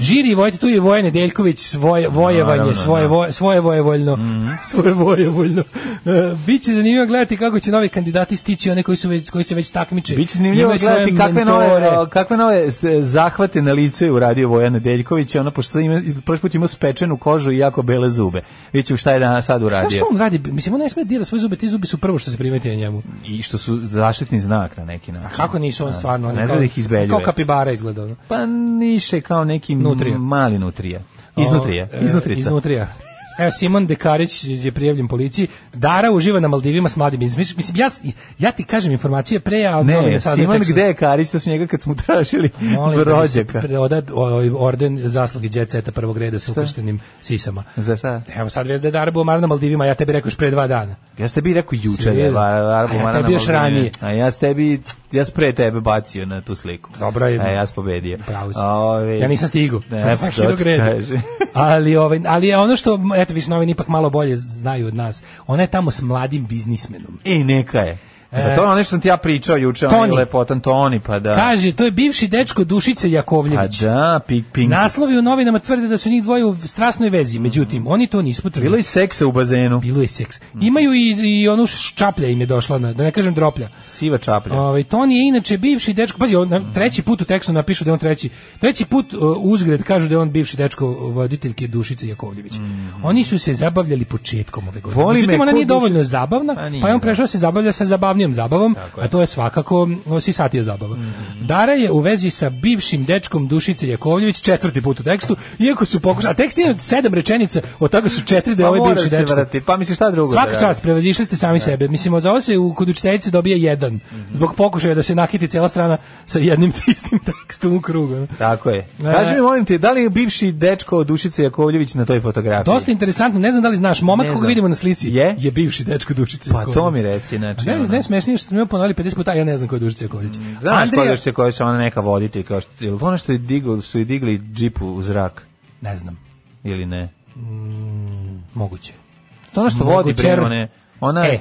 Speaker 7: Žiri i Vojte, tu je Voje Nedeljković, svoje vojevanje,
Speaker 6: Mhm. Naravno,
Speaker 7: svoje,
Speaker 6: da. Mhm.
Speaker 7: vo, svoje vojevoljno. [LAUGHS] Svoje vojevoljno. E, Biće zanimljivo gledati kako će novi kandidati stići, one koji, su već, koji se već takmiče.
Speaker 6: Biće zanimljivo
Speaker 7: Imaju svoje
Speaker 6: gledati kakve
Speaker 7: mentore.
Speaker 6: nove, kakve nove e, zahvate na lice je uradio Vojana Deljković, ona pošto sad ima, prošli put imao spečenu kožu i jako bele zube. Vidjet ćemo šta je danas sad
Speaker 7: Znaš
Speaker 6: uradio.
Speaker 7: što on radi? Mislim, on ne sme da dira svoje zube, ti zubi su prvo što se primeti na njemu.
Speaker 6: I što su zaštitni znak na neki način.
Speaker 7: Kako nisu on
Speaker 6: Da. Pa
Speaker 7: stvarno? on je
Speaker 6: Ne zna
Speaker 7: kao-
Speaker 6: da ih izbeljuje.
Speaker 7: Kao kapibara izgleda. ono.
Speaker 6: Pa niše kao neki
Speaker 7: Nutrija.
Speaker 6: nutrija. mali nutrija. Iznutrija.
Speaker 7: O, e,
Speaker 6: Iznutrica.
Speaker 7: Iznutrija. Evo, Simon Dekarić je prijavljen policiji. Dara uživa na Maldivima s mladim. iz- Mislim, ja, ja ti kažem informacije pre, a
Speaker 6: Ne,
Speaker 7: novine saznaju
Speaker 6: Simon
Speaker 7: tek što-
Speaker 6: gde je Karić, to su njega kad smo [LAUGHS] tražili
Speaker 7: Molim da mi se
Speaker 6: rođaka.
Speaker 7: preoda o- o- orden zasluge djeceta prvog reda sa ukrštenim sisama.
Speaker 6: Za šta?
Speaker 7: Evo sad vez da je Dara Bumara na Maldivima, ja tebi rekao još pre dva dana.
Speaker 6: Ja ste bi rekao juče
Speaker 7: Svi.
Speaker 6: je Varbu
Speaker 7: A ja
Speaker 6: Marana
Speaker 7: tebi još
Speaker 6: Maldini.
Speaker 7: ranije.
Speaker 6: A ja s tebi, ja s pre tebe bacio na tu sliku.
Speaker 7: Dobro je.
Speaker 6: A ja sam pobedio.
Speaker 7: Bravo si.
Speaker 6: Ove,
Speaker 7: Ja nisam stigao.
Speaker 6: Ne,
Speaker 7: Sam svaki
Speaker 6: to
Speaker 7: do greda.
Speaker 6: kaže. [LAUGHS]
Speaker 7: ali, ovaj, ali je ono što, eto, više novine ipak malo bolje znaju od nas. Ona je tamo s mladim biznismenom.
Speaker 6: I neka je.
Speaker 7: E,
Speaker 6: Pa to je ono što sam ti ja pričao juče, on
Speaker 7: Toni.
Speaker 6: je lepotan Toni, pa da.
Speaker 7: Kaže, to je bivši dečko Dušice
Speaker 6: pa
Speaker 7: Jakovljević.
Speaker 6: da, pik, pink.
Speaker 7: Naslovi u novinama tvrde da su njih dvoje u strasnoj vezi, međutim, oni to nisu potvrdili.
Speaker 6: Bilo je seksa u bazenu.
Speaker 7: Bilo je seks. Imaju i, i onu ščaplja im je došla, na, da ne kažem droplja.
Speaker 6: Siva čaplja.
Speaker 7: Ovaj Toni je inače bivši dečko, pazi, on, na- treći put u tekstu napišu da je on treći. Treći put uh, uzgred kažu da je on bivši dečko voditeljke Dušice Jakovljević. Oni su se zabavljali početkom ove godine.
Speaker 6: Mhm. Voli me
Speaker 7: Međutim, ona
Speaker 6: ko
Speaker 7: nije
Speaker 6: Dušica-
Speaker 7: dovoljno zabavna,
Speaker 6: Pa nije,
Speaker 7: pa je on
Speaker 6: da.
Speaker 7: prešao da se zabavlja sa zabavnijom zabavom, a to je svakako o, sisatija zabava.
Speaker 6: Mhm.
Speaker 7: Dara je u vezi sa bivšim dečkom Dušice Jakovljević četvrti put u tekstu, iako su pokušali, a tekst ima sedam rečenica, od toga su četiri da je
Speaker 6: pa
Speaker 7: ovaj
Speaker 6: mora
Speaker 7: bivši
Speaker 6: se
Speaker 7: dečko.
Speaker 6: vrati. Pa mislim šta drugo da
Speaker 7: Svaka
Speaker 6: radi?
Speaker 7: čast, prevazišli ste sami sebe. Mislim, za ovo se u, kod učiteljice dobija jedan,
Speaker 6: Mhm.
Speaker 7: zbog pokušaja da se nakiti cijela strana sa jednim [LAUGHS] te istim tekstom u krugu. ono.
Speaker 6: Tako je.
Speaker 7: Ne.
Speaker 6: Kaži mi, molim te, da li je bivši dečko od Dušice Jakovljević na toj fotografiji?
Speaker 7: Dosta interesantno, ne znam da li znaš, momak
Speaker 6: Ne
Speaker 7: koga
Speaker 6: znam.
Speaker 7: vidimo na slici
Speaker 6: Je?
Speaker 7: bivši dečko Dušice.
Speaker 6: Pa
Speaker 7: Jakovljević.
Speaker 6: to mi reci, znači.
Speaker 7: Ne,
Speaker 6: ono.
Speaker 7: ne smešnije što smo joj ponovili 50 puta, a ja ne znam ko je Dušica Jakovljević.
Speaker 6: Znaš pa
Speaker 7: Andrija-
Speaker 6: Andrija... koja se koja se ona neka voditi kao što je li to ono što je digao su i digli džipu u zrak
Speaker 7: Ne znam,
Speaker 6: ili ne?
Speaker 7: moguće.
Speaker 6: To ono što
Speaker 7: Mogu
Speaker 6: vodi
Speaker 7: čer-
Speaker 6: prema ne. Ona
Speaker 7: E.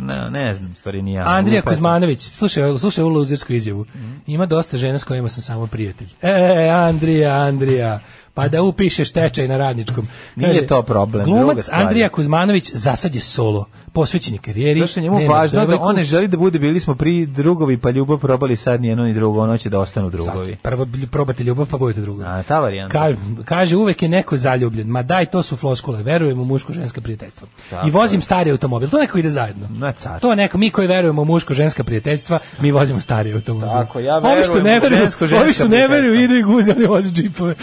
Speaker 6: ne, ne znam, stvari ni ja.
Speaker 7: Andrija
Speaker 6: Glupa je.
Speaker 7: Kuzmanović, slušaj, ovo- slušaj ovu luzersku izjavu. Ima dosta žena s kojima sam samo prijatelj. E, Andrija, Andrija, pa da upišeš tečaj na radničkom.
Speaker 6: Nije to problem, druga
Speaker 7: Glumac
Speaker 6: stvar je.
Speaker 7: Andrija Kuzmanović za sad je solo, posvećen je karijeri. ovaj
Speaker 6: Zašto je njemu
Speaker 7: nema
Speaker 6: važno da
Speaker 7: devojku.
Speaker 6: on ne želi da bude bili smo pri drugovi pa ljubav probali sad ni jedno ni drugo, ono će da ostanu drugovi.
Speaker 7: Sad, Prvo bili- probate ljubav, pa budete drugo.
Speaker 6: A ta varijanta.
Speaker 7: Ka- kaže, uvek je neko zaljubljen. Ma daj, to su floskule. Verujem u muško-ženska prijateljstva.
Speaker 6: Tako Mm.
Speaker 7: I vozim stari automobil. To nekako ide zajedno.
Speaker 6: Na car.
Speaker 7: To neko, mi koji verujemo u muško-ženska prijateljstva, mi vozimo stari automobil.
Speaker 6: Tako, ja
Speaker 7: Ovi što ne
Speaker 6: verujem u
Speaker 7: veruju,
Speaker 6: žensko-ženska
Speaker 7: ovi što ne
Speaker 6: prijateljstva.
Speaker 7: veruju, idu i guze, oni voze
Speaker 6: [LAUGHS]
Speaker 7: džipove.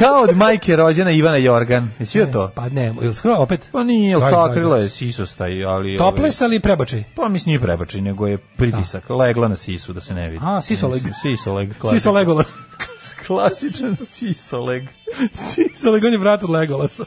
Speaker 6: Kao od majke rođena Ivana Jorgan. Jesi bio to?
Speaker 7: Pa ne, ili skoro opet?
Speaker 6: Pa nije, jel
Speaker 7: Daj, daj,
Speaker 6: sakrila
Speaker 7: daj.
Speaker 6: je sisostaj, ali... ovaj,
Speaker 7: Toples, ali prebačaj.
Speaker 6: Pa mislim nije prebačaj, nego je pritisak. Legla na sisu da se ne vidi.
Speaker 7: A, sisoleg.
Speaker 6: Mislim, Sisoleg.
Speaker 7: Siso
Speaker 6: klasičan.
Speaker 7: Legolas.
Speaker 6: [LAUGHS] Klasičan sisoleg.
Speaker 7: Siso Legolas je brat od Legolasa.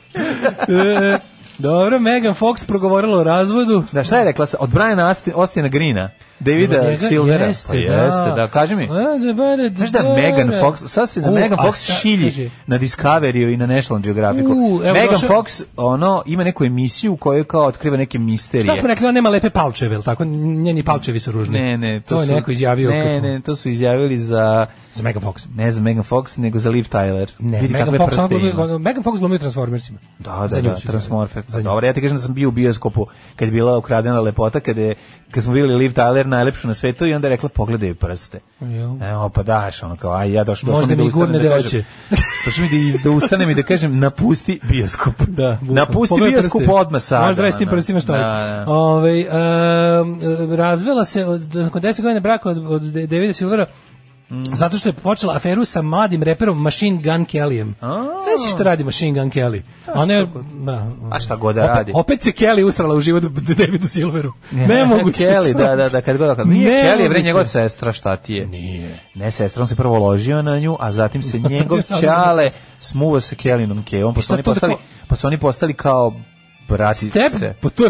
Speaker 7: E, dobro, Megan Fox progovorila o razvodu.
Speaker 6: Da, šta je rekla? sa- Od Briana Asti- Ostina Grina, Davida
Speaker 7: Njega-
Speaker 6: Silvera.
Speaker 7: Jeste,
Speaker 6: Pa jeste, da. Kaži mi,
Speaker 7: A, da bare,
Speaker 6: znaš da
Speaker 7: bare.
Speaker 6: Megan Fox, sad se na
Speaker 7: U,
Speaker 6: Megan
Speaker 7: a
Speaker 6: Fox
Speaker 7: sad,
Speaker 6: šilji
Speaker 7: kaže,
Speaker 6: na Discoveryu i na National Geographicu.
Speaker 7: U, evo,
Speaker 6: Megan
Speaker 7: došao-
Speaker 6: Fox, ono, ima neku emisiju u kojoj kao otkriva neke misterije.
Speaker 7: Šta smo rekli, on nema lepe palčeve, jel tako? Njeni palčevi su ružni.
Speaker 6: Ne, ne,
Speaker 7: to, je
Speaker 6: su-
Speaker 7: neko izjavio. kad
Speaker 6: Ne,
Speaker 7: smo-
Speaker 6: ne, to su izjavili za
Speaker 7: Za Megan Fox.
Speaker 6: ne za Megan Fox, nego za Liv Tyler.
Speaker 7: Ne,
Speaker 6: Vidi
Speaker 7: Megan
Speaker 6: kakve
Speaker 7: Fox,
Speaker 6: prste
Speaker 7: ona glumi-
Speaker 6: ima.
Speaker 7: ona- Megan Fox glumi u Transformersima.
Speaker 6: Da,
Speaker 7: Za
Speaker 6: da,
Speaker 7: nju
Speaker 6: da,
Speaker 7: su-
Speaker 6: Transmorfe.
Speaker 7: za nju.
Speaker 6: Dobro, ja ti kažem da sam bio u bioskopu kad je bila ukradena lepota, kad, je, kad smo videli Liv Tyler stvar najlepšu na svetu i onda je rekla pogledaj prste. Jo. Evo pa daš, ono kao, aj ja došao
Speaker 7: Možda mi gurne da hoće.
Speaker 6: Došao mi da, iz, da ustanem i da kažem napusti bioskop.
Speaker 7: Da,
Speaker 6: bukla. Napusti ono, Pogledaj bioskop prste. odmah sada.
Speaker 7: Možda radi s tim prstima šta hoćeš.
Speaker 6: [LAUGHS]
Speaker 7: Da, da. Ove, um, razvela se od, nakon 10 godina braka od, od Davida Silvera
Speaker 6: Mhm.
Speaker 7: Mm. Zato što je počela aferu sa mladim reperom Machine Gun Kellyem. Sveći što radi Machine Gun Kelly. A, ona je,
Speaker 6: da, a šta god da radi.
Speaker 7: Opet se Kelly usrala u život Davidu Silveru.
Speaker 6: [LAUGHS] Ne,
Speaker 7: ne mogu
Speaker 6: Kelly, da, da, da, kad god kad. Nije ne Kelly, bre njegova sestra, šta ti je? Nije. Ne, sestra, on se prvo ložio na nju, a zatim
Speaker 7: [LAUGHS]
Speaker 6: se njegov
Speaker 7: ono
Speaker 6: ćale smuva sa Kellynom Kevom, pa su oni postali, pa su oni postali kao brati
Speaker 7: Step,
Speaker 6: se.
Speaker 7: Pa to je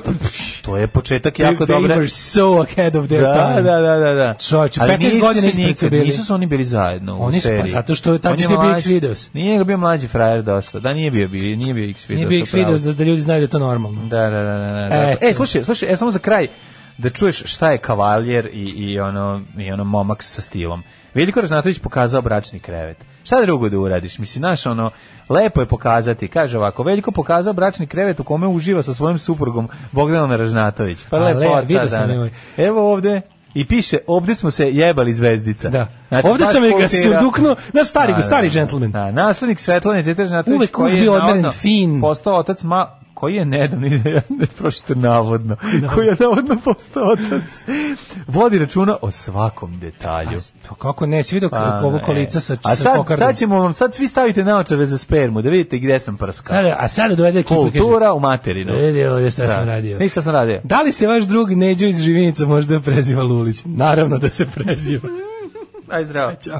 Speaker 6: to je početak jako
Speaker 7: they,
Speaker 6: dobre.
Speaker 7: They were so ahead of their
Speaker 6: da,
Speaker 7: time.
Speaker 6: Da, da, da, da.
Speaker 7: Čovječe, 15 godina ispred su bili.
Speaker 6: Nisu su oni bili zajedno
Speaker 7: oni
Speaker 6: u seriji.
Speaker 7: Oni su, pa zato što je tamo što je bio X-Videos.
Speaker 6: Nije ga bio mlađi frajer dosta. Da, nije bio, bio nije bio X-Videos.
Speaker 7: Nije bio X-Videos da, da ljudi znaju da je to normalno.
Speaker 6: Da, da, da. da, da. E, e, slušaj, slušaj, e, samo za kraj da čuješ šta je kavaljer i, i, ono, i ono momak sa stilom. Veliko Ražnatović pokazao bračni krevet. Šta drugo da uradiš? Mislim, znaš, ono, lepo je pokazati. Kaže ovako, Veljko pokazao bračni krevet u kome uživa sa svojim suprugom Bogdanom Ražnatović. Pa lepo, le,
Speaker 7: vidio sam ovaj.
Speaker 6: Evo ovde, i piše, ovde smo se jebali zvezdica.
Speaker 7: Da. Znači, ovde sam ga suduknuo, na stari, da, stari džentlmen.
Speaker 6: Da, naslednik Svetlane Tetež Natović,
Speaker 7: koji je navodno fin.
Speaker 6: postao otac ma, koji je nedavno, [LAUGHS] ne prošite navodno, da. koji je navodno postao otac, vodi računa o svakom detalju. E,
Speaker 7: A, Pa kako ne, svi dok ovo kolica sa
Speaker 6: Pa A sad,
Speaker 7: sa
Speaker 6: sad ćemo vam, sad svi stavite naočave za spermu, da vidite gde sam prska.
Speaker 7: Sad, a sad dovede ekipu.
Speaker 6: Kultura u materinu.
Speaker 7: Da vidi ovdje šta da. sam radio.
Speaker 6: Ništa sam radio.
Speaker 7: Da li se vaš drug Neđo iz Živinica možda preziva Lulić? Naravno da se preziva. [LAUGHS]
Speaker 6: Aj zdravo.
Speaker 7: Ćao.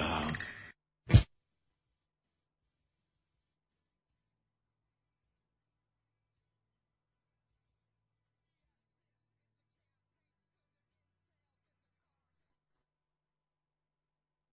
Speaker 4: 10.